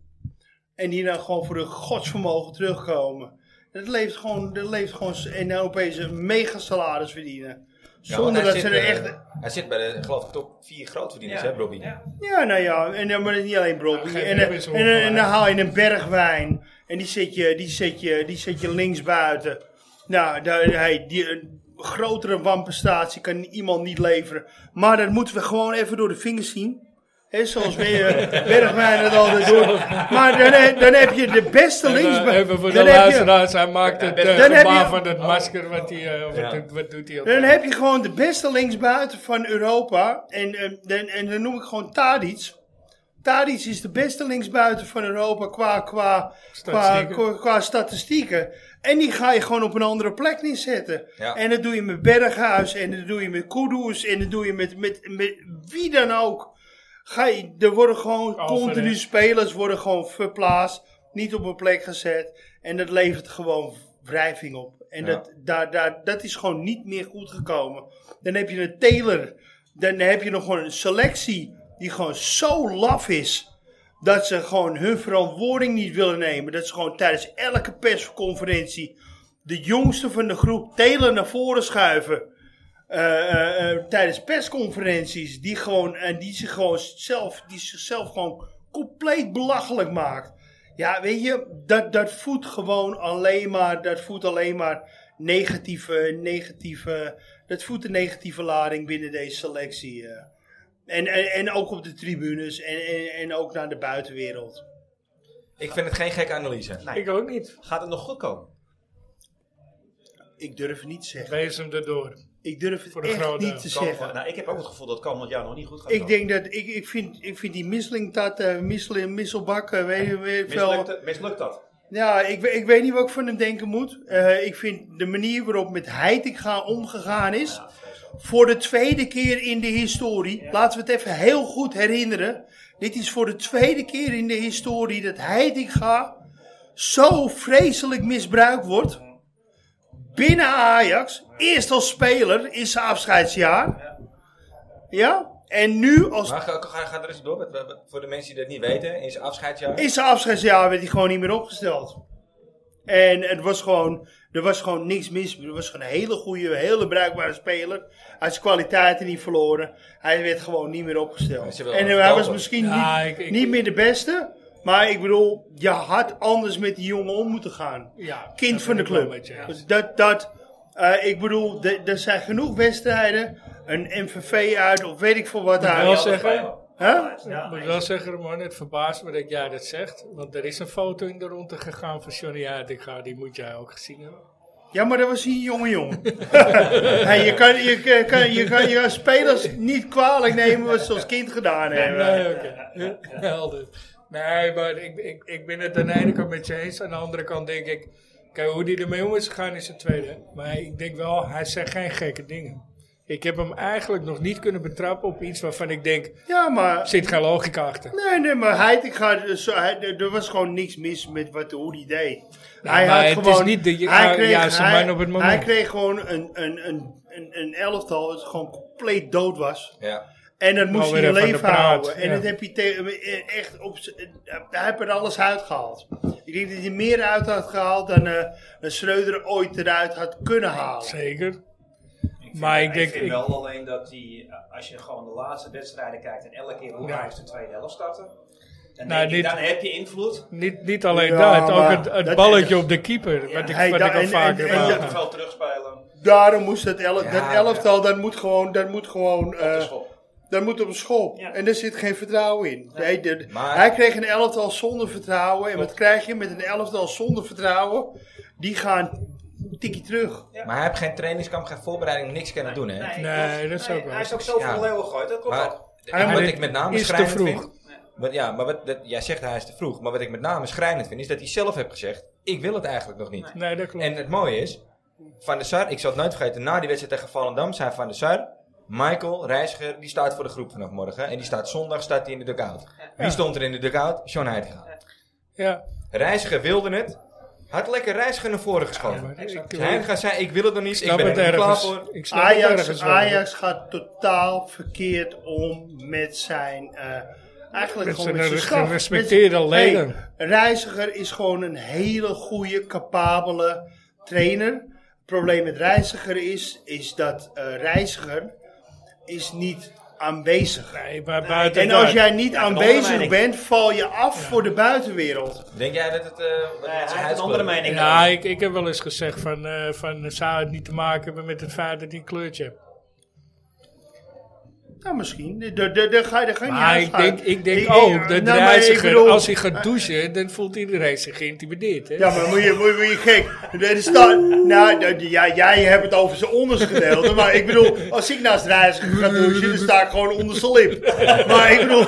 [SPEAKER 6] En die dan gewoon voor hun godsvermogen terugkomen. Dat leeft gewoon, dat leeft gewoon s- en dan opeens een mega salaris verdienen.
[SPEAKER 1] Ja, want
[SPEAKER 6] Zonder
[SPEAKER 1] hij
[SPEAKER 6] dat ze
[SPEAKER 1] zit,
[SPEAKER 6] er
[SPEAKER 1] eh,
[SPEAKER 6] echt...
[SPEAKER 1] Hij zit bij de, geloof ik, top 4 grootverdieners, hè, Bobby?
[SPEAKER 6] Ja, nou ja, en dan maar het is niet alleen Bobby.
[SPEAKER 2] Ja, geen
[SPEAKER 6] en, dan-
[SPEAKER 2] Bobby is
[SPEAKER 6] en, dan- en dan
[SPEAKER 2] ongelijk.
[SPEAKER 6] haal je een berg wijn. En die zet je, die zet je, die zet je links buiten. Nou, daar, hij, die, een grotere wanprestatie kan iemand niet leveren. Maar dat moeten we gewoon even door de vingers zien. Hè, zoals weer, eh, Bergwijn het altijd doet. Maar dan, he- dan heb je de beste linksbuiten.
[SPEAKER 2] eh, Even voor de
[SPEAKER 6] dan, heb je,
[SPEAKER 2] luisteraars, hij maakt het eh,
[SPEAKER 6] Dan heb
[SPEAKER 2] gebaar
[SPEAKER 6] je-
[SPEAKER 2] van het masker. Wat, hij, eh, wat,
[SPEAKER 1] Ja.
[SPEAKER 2] doet- wat doet hij ook?
[SPEAKER 6] dan heb je gewoon de beste linksbuiten van Europa. En, eh, dan, en dan noem ik gewoon Tadic. Tadic is de beste linksbuiten van Europa qua, qua, qua,
[SPEAKER 2] Statistieken.
[SPEAKER 6] qua, qua statistieken. En die ga je gewoon op een andere plek neerzetten.
[SPEAKER 1] Ja.
[SPEAKER 6] En dat doe je met Berghuis, en dat doe je met Kudus, en dat doe je met, met, met wie dan ook. Ga je, er worden gewoon
[SPEAKER 2] Alvarez.
[SPEAKER 6] continu spelers worden gewoon verplaatst, niet op een plek gezet. En dat levert gewoon wrijving op. En
[SPEAKER 1] Ja.
[SPEAKER 6] dat, daar, daar, dat is gewoon niet meer goed gekomen. Dan heb je een Taylor, dan heb je nog gewoon een selectie die gewoon zo laf is dat ze gewoon hun verantwoording niet willen nemen. Dat ze gewoon tijdens elke persconferentie de jongste van de groep Taylor naar voren schuiven. Eh, eh, eh, tijdens persconferenties die gewoon en die zich gewoon zelf die zichzelf gewoon compleet belachelijk maakt. Ja, weet je, dat, dat voedt gewoon alleen maar dat voedt alleen maar negatieve, negatieve, dat voedt een negatieve lading binnen deze selectie. eh. En, en, en ook op de tribunes en, en, en ook naar de buitenwereld.
[SPEAKER 1] Ik vind het geen gekke analyse.
[SPEAKER 4] Nee.
[SPEAKER 2] Ik ook niet.
[SPEAKER 4] Gaat het nog goed komen?
[SPEAKER 6] Ik durf het niet te zeggen.
[SPEAKER 2] Wees hem erdoor.
[SPEAKER 6] Ik durf het
[SPEAKER 2] Voor de
[SPEAKER 6] echt
[SPEAKER 2] grote
[SPEAKER 6] niet te
[SPEAKER 4] Komend-
[SPEAKER 6] zeggen.
[SPEAKER 4] nou, ik heb ook het gevoel dat komend jaar nog niet goed gaat
[SPEAKER 6] Ik
[SPEAKER 4] komen.
[SPEAKER 6] denk dat, ik, ik, vind, ik vind die misselingtat, eh missel, misselbak, eh, weet je weet ik
[SPEAKER 4] Mislukt,
[SPEAKER 6] veel.
[SPEAKER 4] het- mislukt dat?
[SPEAKER 6] Ja, ik, we- ik weet niet wat ik van hem denken moet. Eh, ik vind de manier waarop met Heitinga omgegaan is, voor de tweede keer in de historie, laten we het even heel goed herinneren. Dit is voor de tweede keer in de historie dat Heitinga zo vreselijk misbruikt wordt. Binnen Ajax, eerst als speler in zijn afscheidsjaar. Ja? En nu als
[SPEAKER 1] Maar ga, ga, ga er eens door. want we hebben- voor de mensen die dat niet weten, in zijn afscheidsjaar.
[SPEAKER 6] In zijn afscheidsjaar werd hij gewoon niet meer opgesteld. En het was gewoon, er was gewoon niks mis. Er was gewoon een hele goede, hele bruikbare speler. Hij had zijn kwaliteiten niet verloren. Hij werd gewoon niet meer
[SPEAKER 1] Ze
[SPEAKER 6] opgesteld.
[SPEAKER 1] hebben
[SPEAKER 6] En
[SPEAKER 1] wel
[SPEAKER 6] hij was
[SPEAKER 1] verteld,
[SPEAKER 6] misschien
[SPEAKER 2] Ja,
[SPEAKER 6] niet,
[SPEAKER 2] ik- ik-
[SPEAKER 6] niet meer de beste. Maar ik bedoel, je had anders met die jongen om moeten gaan.
[SPEAKER 2] Ja,
[SPEAKER 6] Kind
[SPEAKER 2] dat
[SPEAKER 6] van de
[SPEAKER 2] ben ik wel
[SPEAKER 6] club.
[SPEAKER 2] met je eens.
[SPEAKER 6] Dus dat, dat, eh, ik bedoel, de- er zijn genoeg wedstrijden. Een MVV uit of weet ik veel wat
[SPEAKER 2] Ik wil
[SPEAKER 6] uit.
[SPEAKER 2] zeggen,
[SPEAKER 6] Huh?
[SPEAKER 2] ik moet wel zeggen, Ramon, het verbaast me dat jij dat zegt. Want er is een foto in de ronde gegaan van Johnny Heitinga. Die moet jij ook gezien hebben.
[SPEAKER 6] Ja, maar dat was hij een jonge jongen. Hey, je, kan, je, kan- kan, je, kan, je kan spelers niet kwalijk nemen wat ze als kind gedaan hebben.
[SPEAKER 2] Nee, oké. Helder. Nee, maar ik, ik, ik ben het aan de ene kant met je eens. Aan de andere kant denk ik... Kijk, hoe die ermee om is gegaan is het tweede. Maar ik denk wel, hij zegt geen gekke dingen. Ik heb hem eigenlijk nog niet kunnen betrappen op iets waarvan ik denk...
[SPEAKER 6] Ja, maar...
[SPEAKER 2] Er zit geen logica achter.
[SPEAKER 6] Nee, nee, maar hij, ik ga, zo, hij, er- er was gewoon niks mis met wat, hoe hij deed.
[SPEAKER 2] Nou,
[SPEAKER 6] hij
[SPEAKER 2] maar het is niet ah, de ju-
[SPEAKER 6] hij
[SPEAKER 2] juiste
[SPEAKER 6] hij-
[SPEAKER 2] man op het moment.
[SPEAKER 6] Hij kreeg gewoon een, een, een, een, een elftal dat gewoon compleet dood was.
[SPEAKER 1] Ja.
[SPEAKER 6] En dat moest
[SPEAKER 2] weer
[SPEAKER 6] hij
[SPEAKER 2] even aan
[SPEAKER 6] in
[SPEAKER 2] de
[SPEAKER 6] leven
[SPEAKER 2] praat,
[SPEAKER 6] houden. En
[SPEAKER 2] ja.
[SPEAKER 6] dat heb je te- eh, echt op z- eh, hij heeft er alles uitgehaald. Ik denk dat hij meer uit had gehaald dan eh een Schreuder ooit eruit had kunnen halen.
[SPEAKER 2] Zeker. Maar ik denk...
[SPEAKER 4] vind
[SPEAKER 2] ik-
[SPEAKER 4] wel alleen dat die, eh, als je gewoon de laatste wedstrijden kijkt en elke keer hoe
[SPEAKER 2] Ja.
[SPEAKER 4] Ajax de tweede helft starten, dan,
[SPEAKER 2] Nou,
[SPEAKER 4] denk ik,
[SPEAKER 2] dit-
[SPEAKER 4] dan heb je invloed.
[SPEAKER 2] Niet, niet alleen
[SPEAKER 6] Ja,
[SPEAKER 2] dat, ook
[SPEAKER 6] maar
[SPEAKER 2] het, het
[SPEAKER 6] dat-
[SPEAKER 2] balletje op de keeper. Wat ik,
[SPEAKER 6] Hey,
[SPEAKER 2] wat
[SPEAKER 6] daar-
[SPEAKER 2] ik al
[SPEAKER 6] en-
[SPEAKER 2] vaker heb
[SPEAKER 6] en-
[SPEAKER 4] Je
[SPEAKER 6] en- Ja.
[SPEAKER 4] moet
[SPEAKER 2] aangehaald.
[SPEAKER 4] veel terugspelen.
[SPEAKER 6] Daarom moest dat, elf, dat
[SPEAKER 1] Ja,
[SPEAKER 6] elftal, dat moet gewoon, dat moet gewoon,
[SPEAKER 4] Dat
[SPEAKER 6] eh,
[SPEAKER 4] is goed.
[SPEAKER 6] dat moet op een school.
[SPEAKER 4] Ja.
[SPEAKER 6] En daar zit geen vertrouwen in. Hij, de-
[SPEAKER 1] Maar-
[SPEAKER 6] hij kreeg een elftal zonder vertrouwen. En wat krijg je met een elftal zonder vertrouwen? Die gaan een tikkie terug.
[SPEAKER 1] Maar hij heeft geen trainingskamp, geen voorbereiding, niks kunnen doen. Hè?
[SPEAKER 2] Nee, dat is ook wel.
[SPEAKER 4] Hij is ook zo van
[SPEAKER 1] Ja.
[SPEAKER 4] de leeuwen gegooid, dat klopt
[SPEAKER 1] Maar
[SPEAKER 4] ook.
[SPEAKER 1] en wat
[SPEAKER 2] dit
[SPEAKER 1] ik met name
[SPEAKER 2] is te
[SPEAKER 1] schrijnend
[SPEAKER 2] vroeg.
[SPEAKER 1] vind... Wat, ja, maar wat, dat, jij zegt hij is te vroeg. Maar wat ik met name schrijnend vind, is dat hij zelf heeft gezegd... Ik wil het eigenlijk nog niet.
[SPEAKER 2] Nee, dat klopt.
[SPEAKER 1] En het mooie is... Van der Sar, ik zal het nooit vergeten, na die wedstrijd tegen Volendam zei Van der Sar... Michael Reiziger, die staat voor de groep vanaf morgen. En die staat zondag staat hij in de dugout. Wie
[SPEAKER 2] Ja.
[SPEAKER 1] stond er in de dugout? John Heitinga.
[SPEAKER 2] Ja,
[SPEAKER 1] Reiziger wilde het. Had lekker Reiziger naar voren geschoven.
[SPEAKER 2] maar ik, ik
[SPEAKER 1] Heitinga zei, ik wil het nog niet. Ik
[SPEAKER 2] snap
[SPEAKER 1] ben
[SPEAKER 2] het
[SPEAKER 1] er niet klaar
[SPEAKER 2] ergens.
[SPEAKER 1] voor.
[SPEAKER 2] Ik snap het
[SPEAKER 6] Ajax,
[SPEAKER 2] ergens wel.
[SPEAKER 6] Ajax gaat totaal verkeerd om met zijn. eh, eigenlijk
[SPEAKER 2] Met
[SPEAKER 6] gewoon
[SPEAKER 2] zijn
[SPEAKER 6] met zijn
[SPEAKER 2] re-
[SPEAKER 6] staf.
[SPEAKER 2] gerespecteerde
[SPEAKER 6] Met zijn-
[SPEAKER 2] leden.
[SPEAKER 6] Hey, Reiziger is gewoon een hele goede, capabele trainer. Het probleem met Reiziger is, is dat eh, Reiziger is niet aanwezig is.
[SPEAKER 2] Nee, maar buiten
[SPEAKER 6] En als
[SPEAKER 2] dat-
[SPEAKER 6] jij niet
[SPEAKER 4] een andere
[SPEAKER 6] aanwezig
[SPEAKER 4] mening.
[SPEAKER 6] bent, val je af voor de buitenwereld.
[SPEAKER 1] Denk jij dat het... eh, wat
[SPEAKER 4] Nee,
[SPEAKER 1] mensen
[SPEAKER 4] hij heeft een
[SPEAKER 1] huidskleur-
[SPEAKER 4] andere mening.
[SPEAKER 2] Ja, ik, ik heb wel eens gezegd van, eh, van zou het niet te maken hebben met het feit dat hij een kleurtje heeft.
[SPEAKER 6] Nou, misschien. Daar- daar- daar ga je, daar ga je niet
[SPEAKER 2] Maar ik
[SPEAKER 6] uitsluiten.
[SPEAKER 2] denk, ik denk
[SPEAKER 6] eh,
[SPEAKER 2] ook dat
[SPEAKER 6] nou, maar ik
[SPEAKER 2] reiziger,
[SPEAKER 6] bedoel-
[SPEAKER 2] als hij gaat douchen, dan voelt iedereen zich geïntimideerd. Hè?
[SPEAKER 6] Ja, maar moet je, moet je, moet je gek. Er staat, nou, d- d- ja, jij hebt het over zijn onderste gedeelte. Maar ik bedoel, als ik naast reiziger ga douchen, dan sta ik gewoon onder zijn lip. Maar ik bedoel.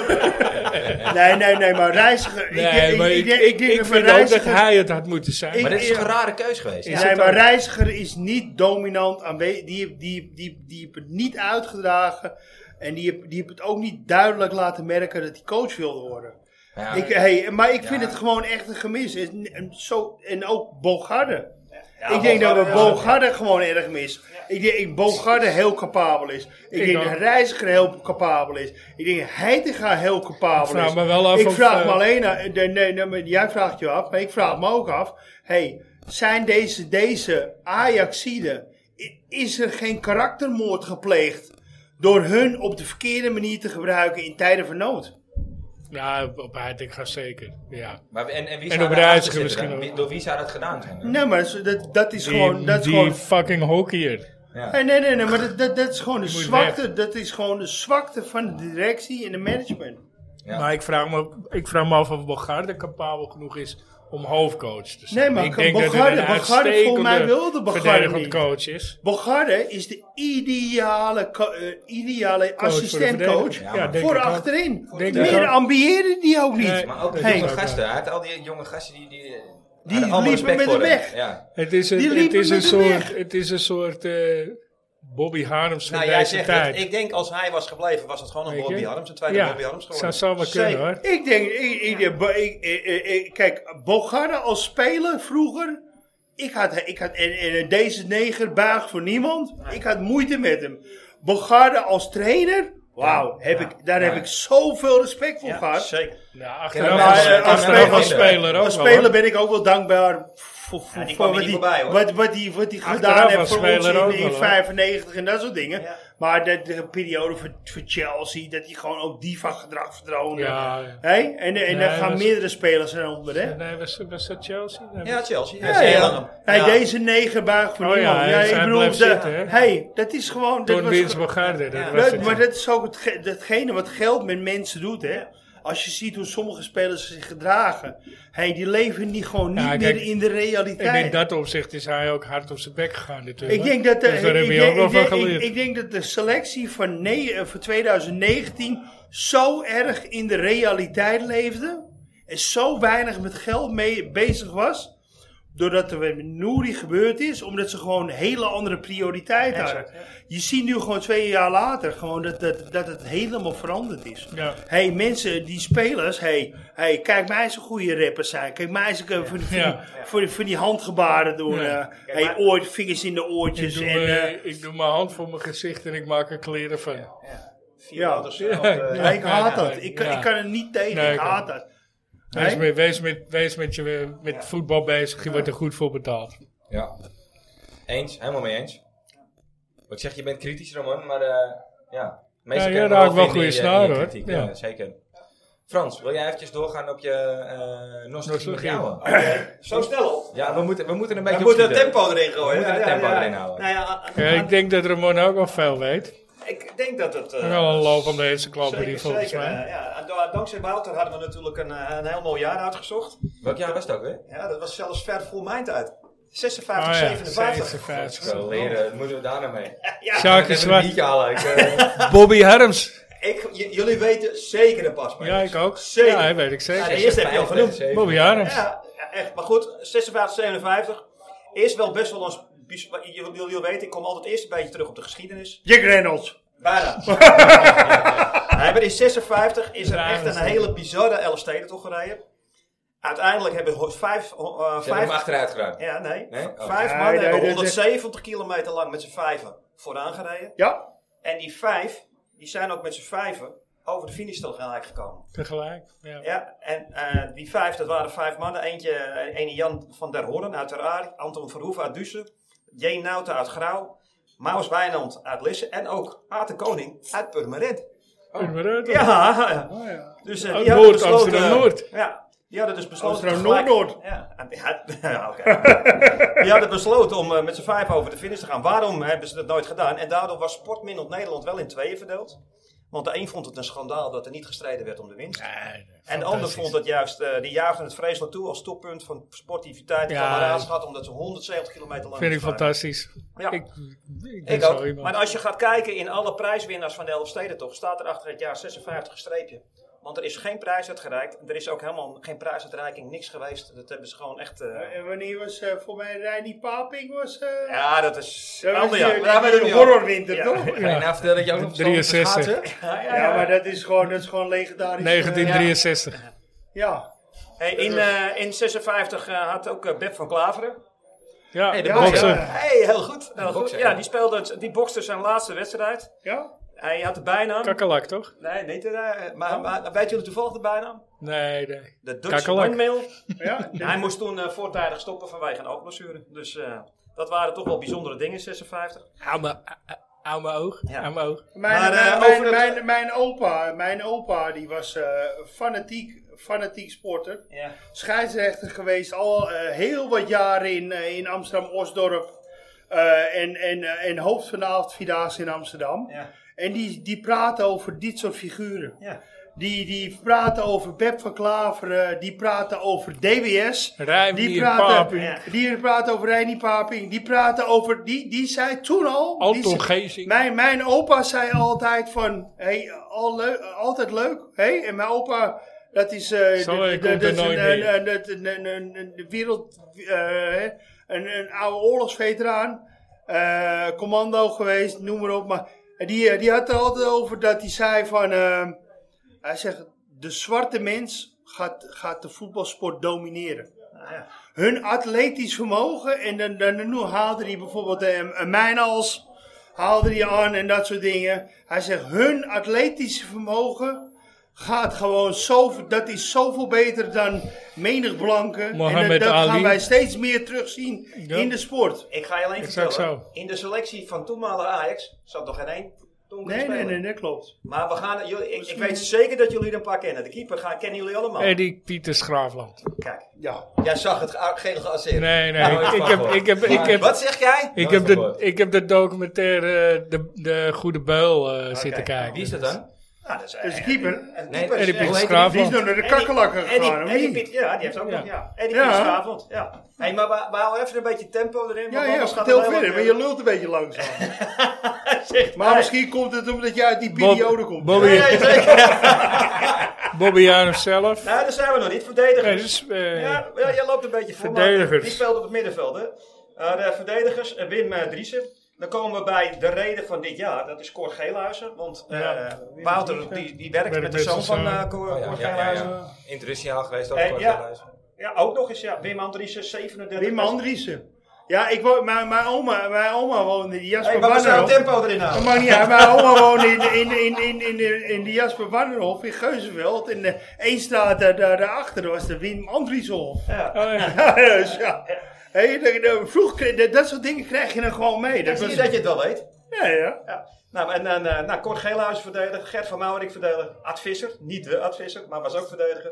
[SPEAKER 6] Nee, nee, nee, maar reiziger.
[SPEAKER 2] nee,
[SPEAKER 6] ik, denk-
[SPEAKER 2] maar
[SPEAKER 6] ik,
[SPEAKER 2] ik,
[SPEAKER 6] denk-
[SPEAKER 2] ik,
[SPEAKER 6] denk
[SPEAKER 2] vind
[SPEAKER 6] dat we
[SPEAKER 2] ook dat
[SPEAKER 6] reiziger-
[SPEAKER 2] hij het had moeten zijn.
[SPEAKER 1] Maar
[SPEAKER 6] Ik-
[SPEAKER 1] dit is toch een rare keus geweest?
[SPEAKER 2] Ja.
[SPEAKER 6] Nee,
[SPEAKER 2] het
[SPEAKER 6] maar
[SPEAKER 2] ook.
[SPEAKER 6] reiziger is niet dominant aanwezig. Die, heeft- die, die, die heeft het niet uitgedragen. En die heeft, die heeft het ook niet duidelijk laten merken dat hij coach wilde worden.
[SPEAKER 1] Ja.
[SPEAKER 6] Ik, hey, maar ik vind
[SPEAKER 1] Ja.
[SPEAKER 6] het gewoon echt een gemis. En, en zo, en ook Bogarde.
[SPEAKER 4] Ja,
[SPEAKER 6] ik denk dat we
[SPEAKER 4] Bogarde-
[SPEAKER 6] Bogarde gewoon erg mis. Ik denk dat Bogarde heel capabel is. Ik,
[SPEAKER 2] Ik
[SPEAKER 6] denk
[SPEAKER 2] ook.
[SPEAKER 6] dat Reiziger heel capabel is. Ik denk dat Heitinga heel capabel
[SPEAKER 2] Ik vraag
[SPEAKER 6] is.
[SPEAKER 2] me wel af
[SPEAKER 6] ik
[SPEAKER 2] of,
[SPEAKER 6] vraag me
[SPEAKER 2] eh,
[SPEAKER 6] alleen... af- Nee, nee, nee, maar jij vraagt je af, maar ik vraag me ook af... Hey, zijn deze, deze Ajaxiden... i- Is er geen karaktermoord gepleegd... door hun op de verkeerde manier te gebruiken in tijden van nood?
[SPEAKER 2] Ja, op Heiting gaat zeker. Ja.
[SPEAKER 1] Maar, en, en wie
[SPEAKER 2] En
[SPEAKER 1] zou
[SPEAKER 2] op
[SPEAKER 1] daarachter
[SPEAKER 2] Reiziger
[SPEAKER 1] zitten
[SPEAKER 2] misschien
[SPEAKER 1] dan?
[SPEAKER 2] ook.
[SPEAKER 1] Wie- Door wie zou dat gedaan zijn? dan?
[SPEAKER 6] Nee, maar dat is- dat, dat is
[SPEAKER 2] Die,
[SPEAKER 6] gewoon... Dat is
[SPEAKER 2] die
[SPEAKER 6] gewoon
[SPEAKER 2] fucking hockeyer.
[SPEAKER 1] Ja.
[SPEAKER 6] Hey, nee, nee, nee, maar dat, dat, dat is gewoon de
[SPEAKER 2] moet
[SPEAKER 6] zwakte. Dat is gewoon de zwakte van de directie en de management.
[SPEAKER 1] Ja.
[SPEAKER 2] Maar ik vraag, me, ik vraag me af of Bogarde capabel genoeg is om hoofdcoach te zijn.
[SPEAKER 6] Nee, maar
[SPEAKER 2] Dus ik
[SPEAKER 6] kan- Bogarde- Bogarde,
[SPEAKER 2] uitstekende
[SPEAKER 6] volgens mij wilde Bogarde
[SPEAKER 2] verdedigend
[SPEAKER 6] niet.
[SPEAKER 2] coach is.
[SPEAKER 6] Bogarde is de ideale, co- eh, ideale
[SPEAKER 2] Coach voor de
[SPEAKER 6] assistentcoach
[SPEAKER 2] verdediging.
[SPEAKER 1] Ja,
[SPEAKER 6] voor,
[SPEAKER 1] maar-
[SPEAKER 2] denk ik ook.
[SPEAKER 6] achterin.
[SPEAKER 2] Denk ik
[SPEAKER 6] Meer
[SPEAKER 2] ook.
[SPEAKER 6] ambiëren die ook niet.
[SPEAKER 2] Nee.
[SPEAKER 1] Maar ook de
[SPEAKER 6] Hey.
[SPEAKER 1] jonge gasten. Hij had al die jonge gasten die... Die, eh,
[SPEAKER 6] Die
[SPEAKER 1] hadden allemaal
[SPEAKER 6] liepen
[SPEAKER 1] respect
[SPEAKER 6] met
[SPEAKER 1] voor
[SPEAKER 6] hem
[SPEAKER 1] hem.
[SPEAKER 6] weg.
[SPEAKER 1] Ja.
[SPEAKER 2] Het is
[SPEAKER 6] Die
[SPEAKER 2] een, het
[SPEAKER 6] liepen
[SPEAKER 2] is een
[SPEAKER 6] met hem
[SPEAKER 2] soort,
[SPEAKER 6] weg.
[SPEAKER 2] het is een soort eh, Bobby Harms van
[SPEAKER 1] Nou, jij
[SPEAKER 2] deze
[SPEAKER 1] zegt
[SPEAKER 2] tijd.
[SPEAKER 1] het. Ik denk als hij was gebleven, was het gewoon een
[SPEAKER 2] Weet je?
[SPEAKER 1] Bobby Harms. Een tweede Bobby Harms geworden.
[SPEAKER 2] zou zo maar kunnen hoor.
[SPEAKER 6] Ik denk, ik, ik, ik- ik- ik- ik- kijk, Bogarde als speler vroeger. Ik had, ik had, en, en deze neger buigt voor niemand. Ik had moeite met hem. Bogarde als trainer. Wauw, heb ik, daar heb ik zoveel respect voor
[SPEAKER 4] Ja,
[SPEAKER 6] gehad.
[SPEAKER 4] zeker.
[SPEAKER 2] Nou,
[SPEAKER 1] Ja,
[SPEAKER 2] achteraf
[SPEAKER 1] maar,
[SPEAKER 2] als,
[SPEAKER 1] eh,
[SPEAKER 2] achteraf
[SPEAKER 1] als speler-
[SPEAKER 2] als speler ook
[SPEAKER 6] Als
[SPEAKER 2] wel,
[SPEAKER 6] speler
[SPEAKER 2] hoor.
[SPEAKER 6] ben ik ook wel dankbaar voor, voor,
[SPEAKER 1] die
[SPEAKER 6] voor
[SPEAKER 1] kwam er
[SPEAKER 6] wat
[SPEAKER 1] niet
[SPEAKER 6] hij
[SPEAKER 1] voorbij, hoor.
[SPEAKER 6] wat, wat die, wat die
[SPEAKER 2] Achteraf
[SPEAKER 6] gedaan heeft
[SPEAKER 2] als
[SPEAKER 6] voor ons
[SPEAKER 2] speler ook
[SPEAKER 6] in,
[SPEAKER 2] wel,
[SPEAKER 6] in
[SPEAKER 2] hoor.
[SPEAKER 6] 95 en dat soort dingen.
[SPEAKER 1] Ja.
[SPEAKER 6] Maar de, de periode voor, voor Chelsea, dat hij gewoon ook diva gedrag verdroonde.
[SPEAKER 2] Ja, ja.
[SPEAKER 6] Hé? En, en daar
[SPEAKER 2] Nee,
[SPEAKER 6] gaan
[SPEAKER 2] dat is-
[SPEAKER 6] meerdere spelers eronder, hè?
[SPEAKER 2] Nee, was, was dat Chelsea? Nee,
[SPEAKER 1] Ja, Chelsea.
[SPEAKER 6] Ja,
[SPEAKER 1] heel
[SPEAKER 6] ja.
[SPEAKER 1] lang.
[SPEAKER 6] Hey,
[SPEAKER 1] Ja.
[SPEAKER 6] Deze negen buig voor
[SPEAKER 2] Oh ja,
[SPEAKER 6] niemand. Ja,
[SPEAKER 2] hij-
[SPEAKER 6] ik
[SPEAKER 2] hij
[SPEAKER 6] bedoel,
[SPEAKER 2] blijft
[SPEAKER 6] de-
[SPEAKER 2] zitten, hè?
[SPEAKER 6] hey, dat is gewoon... Dat
[SPEAKER 2] Toen
[SPEAKER 6] was,
[SPEAKER 2] Wins Bogarde, dat
[SPEAKER 1] Ja.
[SPEAKER 2] was
[SPEAKER 6] dat,
[SPEAKER 2] het.
[SPEAKER 6] maar dat is ook hetge- datgene wat geld met mensen doet, hè? Als je ziet hoe sommige spelers zich gedragen. Hey, die leven niet, gewoon niet
[SPEAKER 2] Ja, kijk,
[SPEAKER 6] meer in de realiteit.
[SPEAKER 2] En in dat opzicht is hij ook hard op zijn bek gegaan natuurlijk.
[SPEAKER 6] Ik denk dat de,
[SPEAKER 2] Dus daar
[SPEAKER 6] ik,
[SPEAKER 2] heb je
[SPEAKER 6] denk-
[SPEAKER 2] ook wel
[SPEAKER 6] ik
[SPEAKER 2] van
[SPEAKER 6] denk- ik-
[SPEAKER 2] geleerd.
[SPEAKER 6] ik denk dat de selectie van, nee, eh, van 2019 zo erg in de realiteit leefde. En zo weinig met geld mee bezig was. Doordat er met Nouri gebeurd is. Omdat ze gewoon hele andere prioriteiten hadden. Je ziet nu gewoon twee jaar later gewoon dat, dat, dat het helemaal veranderd is.
[SPEAKER 2] Ja.
[SPEAKER 6] hey, mensen, die spelers, hey, hey, kijk mij eens een goede rappers zijn. Kijk mij eens een keer voor, die- voor,
[SPEAKER 2] Ja.
[SPEAKER 6] die- voor die- voor die handgebaren doen.
[SPEAKER 2] Ja.
[SPEAKER 6] eh, hey,
[SPEAKER 4] maar-
[SPEAKER 6] oor, vingers in de
[SPEAKER 2] ik,
[SPEAKER 6] oortjes.
[SPEAKER 2] doe,
[SPEAKER 6] en,
[SPEAKER 2] eh,
[SPEAKER 6] eh,
[SPEAKER 2] ik doe mijn hand voor mijn gezicht en ik maak er kleren van.
[SPEAKER 1] Vier
[SPEAKER 6] Ja.
[SPEAKER 1] auto's, eh, op de-
[SPEAKER 6] ja, ik haat
[SPEAKER 2] ja,
[SPEAKER 6] dat.
[SPEAKER 2] ja.
[SPEAKER 6] Ik, kan- ik kan er niet tegen.
[SPEAKER 2] Nee,
[SPEAKER 6] ik
[SPEAKER 2] ik
[SPEAKER 6] haat dat.
[SPEAKER 2] Wees,
[SPEAKER 6] Nee?
[SPEAKER 2] met, wees, met, wees met je met voetbal bezig, je wordt er goed voor betaald.
[SPEAKER 1] Ja. Eens, helemaal mee eens. Wat ik zeg, je bent kritisch, Ramon, maar eh ja. Meestal
[SPEAKER 2] Ja,
[SPEAKER 1] kan
[SPEAKER 2] je
[SPEAKER 1] je nog
[SPEAKER 2] raakt wel
[SPEAKER 1] vinden in
[SPEAKER 2] goede
[SPEAKER 1] je- in
[SPEAKER 2] snaren,
[SPEAKER 1] je
[SPEAKER 2] hoor.
[SPEAKER 1] kritiek, Ja.
[SPEAKER 2] Ja.
[SPEAKER 1] zeker. Frans, wil jij eventjes doorgaan op je eh nostalgie met
[SPEAKER 2] Nostalgie.
[SPEAKER 1] jou?
[SPEAKER 4] Zo snel op.
[SPEAKER 1] Ja, we moeten, we moeten een beetje
[SPEAKER 4] We moeten
[SPEAKER 1] opschieten.
[SPEAKER 4] tempo erin gooien.
[SPEAKER 1] We moeten
[SPEAKER 4] Ja,
[SPEAKER 1] het tempo
[SPEAKER 4] ja, ja.
[SPEAKER 1] erin houden.
[SPEAKER 4] Nou ja, aan-
[SPEAKER 2] Ja, ik denk dat Ramon ook al veel weet.
[SPEAKER 4] aan- ik denk dat het... eh,
[SPEAKER 2] Wel een lopende
[SPEAKER 4] zeker,
[SPEAKER 2] encyclopedie volgens
[SPEAKER 4] zeker,
[SPEAKER 2] mij.
[SPEAKER 4] eh, ja. En da- Dankzij Wouter hadden we natuurlijk een, eh, een heel mooi jaar uitgezocht.
[SPEAKER 1] Welk jaar was het ook weer?
[SPEAKER 4] Ja, dat was zelfs ver voor mijn tijd. 56,
[SPEAKER 2] Ah ja,
[SPEAKER 4] 57.
[SPEAKER 2] 56.
[SPEAKER 1] Zo leren, moeten we daar nou mee? Ik
[SPEAKER 2] Sjaakje
[SPEAKER 1] heb een
[SPEAKER 2] Zwart.
[SPEAKER 1] biertje halen. Ik, eh,
[SPEAKER 2] Bobby Harms.
[SPEAKER 4] Ik, j- jullie weten zeker een paspoort.
[SPEAKER 2] Ja, ik ook.
[SPEAKER 4] Zeker.
[SPEAKER 2] Ja, weet ik
[SPEAKER 4] Ja, de
[SPEAKER 2] zeker.
[SPEAKER 4] eerste heb je al genoemd.
[SPEAKER 1] 57.
[SPEAKER 2] Bobby Harms.
[SPEAKER 4] Ja, ja, echt. Maar goed, 56, 57 is wel best wel ons... bijz- maar Jullie jullie weten, ik kom altijd eerst een beetje terug op de geschiedenis.
[SPEAKER 6] Jack Reynolds.
[SPEAKER 4] Bijna. Nee, maar in 56 is er
[SPEAKER 2] Ja,
[SPEAKER 4] echt
[SPEAKER 2] dat
[SPEAKER 4] een
[SPEAKER 2] is
[SPEAKER 4] hele bizarre elfsteden toch gereden. Uiteindelijk hebben ho- vijf... ho- eh,
[SPEAKER 1] Ze hebben hem
[SPEAKER 4] vijf
[SPEAKER 1] achteruit gedaan.
[SPEAKER 4] ja, nee.
[SPEAKER 1] Nee? Oh.
[SPEAKER 4] Vijf
[SPEAKER 6] Nee,
[SPEAKER 4] mannen
[SPEAKER 6] nee,
[SPEAKER 4] hebben
[SPEAKER 6] nee,
[SPEAKER 4] 170 kilometer lang met z'n vijven vooraan gereden.
[SPEAKER 6] Ja.
[SPEAKER 4] En die vijf, die zijn ook met z'n vijven over de finishstelgelijk gekomen.
[SPEAKER 2] Tegelijk. Ja.
[SPEAKER 4] Ja, en eh, die vijf, dat waren vijf mannen. Eentje, eh, ene Jan van der Hoorn uit Ter Aar, Anton Verhoeven uit Dussen, J. Nauta uit Grauw, Maus Wijnand uit Lisse en ook Aad de Koning uit Purmerend.
[SPEAKER 2] Purmerend. Oh,
[SPEAKER 4] Ja, dus eh,
[SPEAKER 2] Uit
[SPEAKER 4] die hadden
[SPEAKER 2] Noord,
[SPEAKER 4] besloten...
[SPEAKER 2] Amsterdam-Noord.
[SPEAKER 4] Ja, die hadden dus besloten...
[SPEAKER 6] Amsterdam-Noord-Noord.
[SPEAKER 4] gelijk- Ja, en die had- ja oké. die hadden besloten om eh, met z'n vijf over de finish te gaan. Waarom hebben ze dat nooit gedaan? En daardoor was Sportmiddel Nederland wel in tweeën verdeeld. Want de een vond het een schandaal dat er niet gestreden werd om de winst. En de ander vond dat juist, eh, die jaagden het vreselijk toe als toppunt van sportiviteit en
[SPEAKER 2] Ja.
[SPEAKER 4] kameraadschap, omdat ze 170 kilometer lang
[SPEAKER 2] Vind ik
[SPEAKER 4] moesten varen.
[SPEAKER 2] fantastisch.
[SPEAKER 4] Ja.
[SPEAKER 2] Ik, ik, ben
[SPEAKER 4] Ik
[SPEAKER 2] zo
[SPEAKER 4] ook.
[SPEAKER 2] iemand.
[SPEAKER 4] Maar als je gaat kijken in alle prijswinnaars van de Elfstedentocht, staat er achter het jaar 56 een streepje. Want er is geen prijs uitgereikt. Er is ook helemaal geen prijsuitreiking, niks geweest. Dat hebben ze gewoon echt... eh,
[SPEAKER 6] En wanneer was eh, voor mij Reini Paping? Was, eh
[SPEAKER 4] ja, dat is...
[SPEAKER 6] dat was
[SPEAKER 4] Ander jaar.
[SPEAKER 6] die-
[SPEAKER 4] Maar daar
[SPEAKER 6] die-
[SPEAKER 4] hebben we
[SPEAKER 6] die
[SPEAKER 4] het niet over.
[SPEAKER 6] horrorwinter,
[SPEAKER 4] Ja.
[SPEAKER 6] toch?
[SPEAKER 1] Ga je nou vertellen dat je ook nog op stand te
[SPEAKER 2] 63.
[SPEAKER 1] schaatsen?
[SPEAKER 6] Ja, maar dat is gewoon, dat is gewoon legendarisch. eh,
[SPEAKER 2] 1963.
[SPEAKER 6] Ja.
[SPEAKER 4] Hey, in, eh, in 56 eh, had ook eh, Beb van Klaveren.
[SPEAKER 2] Ja,
[SPEAKER 1] Hey, de
[SPEAKER 2] ja,
[SPEAKER 1] bokser.
[SPEAKER 2] ja.
[SPEAKER 4] hey, heel goed. Heel goed.
[SPEAKER 1] bokser,
[SPEAKER 4] Ja,
[SPEAKER 1] ja.
[SPEAKER 4] die, speelde, het- die bokste zijn laatste wedstrijd.
[SPEAKER 6] Ja.
[SPEAKER 4] Hij had de bijnaam.
[SPEAKER 2] Kakkerlak, toch?
[SPEAKER 4] nee, niet de, eh, maar, maar weet jullie toevallig de bijnaam?
[SPEAKER 2] Nee, nee.
[SPEAKER 4] De Dutch
[SPEAKER 2] Kakkerlak.
[SPEAKER 4] Windmill.
[SPEAKER 6] Ja. ja.
[SPEAKER 4] Hij moest toen eh, voortijdig stoppen vanwege een oogblessure. Dus eh, dat waren toch wel bijzondere dingen in 56.
[SPEAKER 2] Ja, maar eh, eh, Hou mijn oog,
[SPEAKER 4] Ja.
[SPEAKER 2] hou mijn oog.
[SPEAKER 6] Mijn,
[SPEAKER 4] Maar, eh,
[SPEAKER 6] mijn, mijn,
[SPEAKER 4] over het-
[SPEAKER 6] mijn, mijn opa, mijn opa die was eh, fanatiek, fanatiek sporter.
[SPEAKER 4] Ja.
[SPEAKER 6] Scheidsrechter geweest al eh, heel wat jaren in, eh, in Amsterdam-Osdorp. eh, en, en, eh, en hoofd van de avondvierdaagse in Amsterdam.
[SPEAKER 4] Ja.
[SPEAKER 6] En die, die praten over dit soort figuren.
[SPEAKER 4] Ja.
[SPEAKER 6] Die, die praten over Beb van Klaveren, die praten over DWS. Die
[SPEAKER 2] Rijmier, Paap,
[SPEAKER 6] praten,
[SPEAKER 4] Ja.
[SPEAKER 6] die praten over Reini Paping. Die praten over. Die, die zei toen al. die
[SPEAKER 2] Anton
[SPEAKER 6] zei-
[SPEAKER 2] Geesing.
[SPEAKER 6] mijn, mijn opa zei altijd van, hey, al leu- altijd leuk. Hey? En mijn opa, dat is, eh,
[SPEAKER 2] Zo,
[SPEAKER 6] dat-
[SPEAKER 2] hij
[SPEAKER 6] dat-
[SPEAKER 2] komt er
[SPEAKER 6] dat is
[SPEAKER 2] nooit
[SPEAKER 6] een,
[SPEAKER 2] meer.
[SPEAKER 6] een, een, een, een, een- een wereld, eh, een, een oude oorlogsveteraan, eh, commando geweest, noem maar op. Maar die, eh, die had er altijd over dat hij zei van, eh, hij zegt, de zwarte mens gaat, gaat de voetbalsport domineren
[SPEAKER 3] Ah,
[SPEAKER 6] hun atletisch vermogen. En dan, dan, dan haalde hij bijvoorbeeld eh, een Mijnals, haalde hij aan en dat soort dingen. Hij zegt, hun atletische vermogen gaat gewoon zo, dat is zoveel beter dan menig blanke. en dat,
[SPEAKER 2] Mohammed
[SPEAKER 6] dat gaan
[SPEAKER 2] Ali.
[SPEAKER 6] wij steeds meer terugzien
[SPEAKER 2] Ja.
[SPEAKER 6] in de sport.
[SPEAKER 4] Ik ga je alleen
[SPEAKER 2] Exact
[SPEAKER 4] vertellen,
[SPEAKER 2] zo.
[SPEAKER 4] in de selectie van toenmalige Ajax zat nog geen één donkere
[SPEAKER 6] Nee, nee,
[SPEAKER 4] speler.
[SPEAKER 6] nee, dat klopt.
[SPEAKER 4] Maar we gaan, jullie, ik, ik weet zeker dat jullie er een paar kennen. De keeper gaan, kennen jullie
[SPEAKER 1] Oh.
[SPEAKER 4] allemaal.
[SPEAKER 2] Eddie Pieter Schraafland.
[SPEAKER 4] Kijk,
[SPEAKER 6] Ja.
[SPEAKER 4] jij zag het a- gele geasseerd.
[SPEAKER 2] Nee, nee.
[SPEAKER 1] Nooit
[SPEAKER 2] ik- Ik
[SPEAKER 1] van
[SPEAKER 2] heb,
[SPEAKER 1] gehoord.
[SPEAKER 2] ik heb, ik
[SPEAKER 1] Maar
[SPEAKER 2] heb,
[SPEAKER 4] Wat zeg jij?
[SPEAKER 2] ik
[SPEAKER 1] Nooit
[SPEAKER 2] heb,
[SPEAKER 1] van
[SPEAKER 2] de,
[SPEAKER 1] gehoord.
[SPEAKER 2] ik heb de documentaire eh, de, de Goede Beul eh, zitten kijken.
[SPEAKER 1] Wie is dat dan?
[SPEAKER 4] Nou, dat is,
[SPEAKER 6] Dus de keeper,
[SPEAKER 4] een
[SPEAKER 1] Nee,
[SPEAKER 4] keeper.
[SPEAKER 2] Eddie
[SPEAKER 4] Hoe heet
[SPEAKER 2] Pieter
[SPEAKER 4] die?
[SPEAKER 6] die is
[SPEAKER 2] Schraafland.
[SPEAKER 6] door naar de kakkelakker
[SPEAKER 4] Eddie-
[SPEAKER 6] gegaan, of
[SPEAKER 4] Eddie
[SPEAKER 6] niet?
[SPEAKER 4] Piet- ja, die heeft ook
[SPEAKER 2] Ja.
[SPEAKER 4] nog. Ja. Eddie
[SPEAKER 6] Ja.
[SPEAKER 4] Piet Schraafland, ja. Hey, maar we, we houden even een beetje tempo erin.
[SPEAKER 6] Ja,
[SPEAKER 4] want
[SPEAKER 6] ja,
[SPEAKER 4] anders gaat
[SPEAKER 6] vertel
[SPEAKER 4] het heel
[SPEAKER 6] verder, maar
[SPEAKER 4] lang
[SPEAKER 6] je
[SPEAKER 4] duren.
[SPEAKER 6] lult een beetje langzaam.
[SPEAKER 4] Zegt
[SPEAKER 6] Maar
[SPEAKER 4] hij.
[SPEAKER 6] misschien komt het omdat je uit die
[SPEAKER 2] Bob-
[SPEAKER 6] periode komt.
[SPEAKER 2] Bobby,
[SPEAKER 4] Nee, nee, zeker.
[SPEAKER 2] Bobby Janus zelf.
[SPEAKER 4] Nou, daar zijn we nog niet. Verdedigers.
[SPEAKER 2] Nee, dus, eh,
[SPEAKER 4] Ja, ja, jij loopt een beetje voor. maar
[SPEAKER 2] Verdedigers.
[SPEAKER 4] Die speelt op het middenveld, hè? Eh, de verdedigers, eh, Wim eh, Driessen. Dan komen we bij de reden van dit jaar. Dat is Cor Geelhuizen. Want eh,
[SPEAKER 2] Ja.
[SPEAKER 4] Wouter die, die werkt
[SPEAKER 2] Werkt
[SPEAKER 4] met de
[SPEAKER 2] met
[SPEAKER 4] zoon
[SPEAKER 2] zijn
[SPEAKER 4] van eh
[SPEAKER 2] zoon.
[SPEAKER 4] Cor,
[SPEAKER 1] Oh, ja,
[SPEAKER 4] Cor
[SPEAKER 1] ja, ja,
[SPEAKER 4] Geelhuizen.
[SPEAKER 1] ja. Internationaal geweest ook.
[SPEAKER 4] Eh,
[SPEAKER 1] Cor
[SPEAKER 4] ja.
[SPEAKER 1] Gelhuizen.
[SPEAKER 4] Ja, ook nog eens. Ja, Wim Andriessen, 37.
[SPEAKER 6] Wim Andriessen. Ja, ik woon, mijn, mijn, oma, mijn oma woonde in de Jasper
[SPEAKER 4] Hey, maar we zouden
[SPEAKER 6] Wannerhof.
[SPEAKER 4] tempo erin
[SPEAKER 6] Dat
[SPEAKER 4] houden.
[SPEAKER 6] maakt niet uit. Mijn oma woonde in, in, in, in, in, in, in de Jasper Wannerhof in Geuzenveld. En de Eemstraat daar, daar, daarachter was de Wim Andrieshof.
[SPEAKER 4] Ja.
[SPEAKER 2] Oh, ja.
[SPEAKER 6] Ja, dus ja. Hey, dat- dat- vroeg, kreeg- dat, dat soort dingen krijg je dan gewoon mee.
[SPEAKER 4] Ik
[SPEAKER 6] Dat
[SPEAKER 4] zie
[SPEAKER 6] was,
[SPEAKER 4] je dat je het wel weet.
[SPEAKER 6] ja, ja.
[SPEAKER 4] Ja. Nou, en dan eh nou, Cor Geelhuizen verdediger, Gert van Maurik verdediger, Ad Visser, niet de Ad Visser, maar was ook verdediger.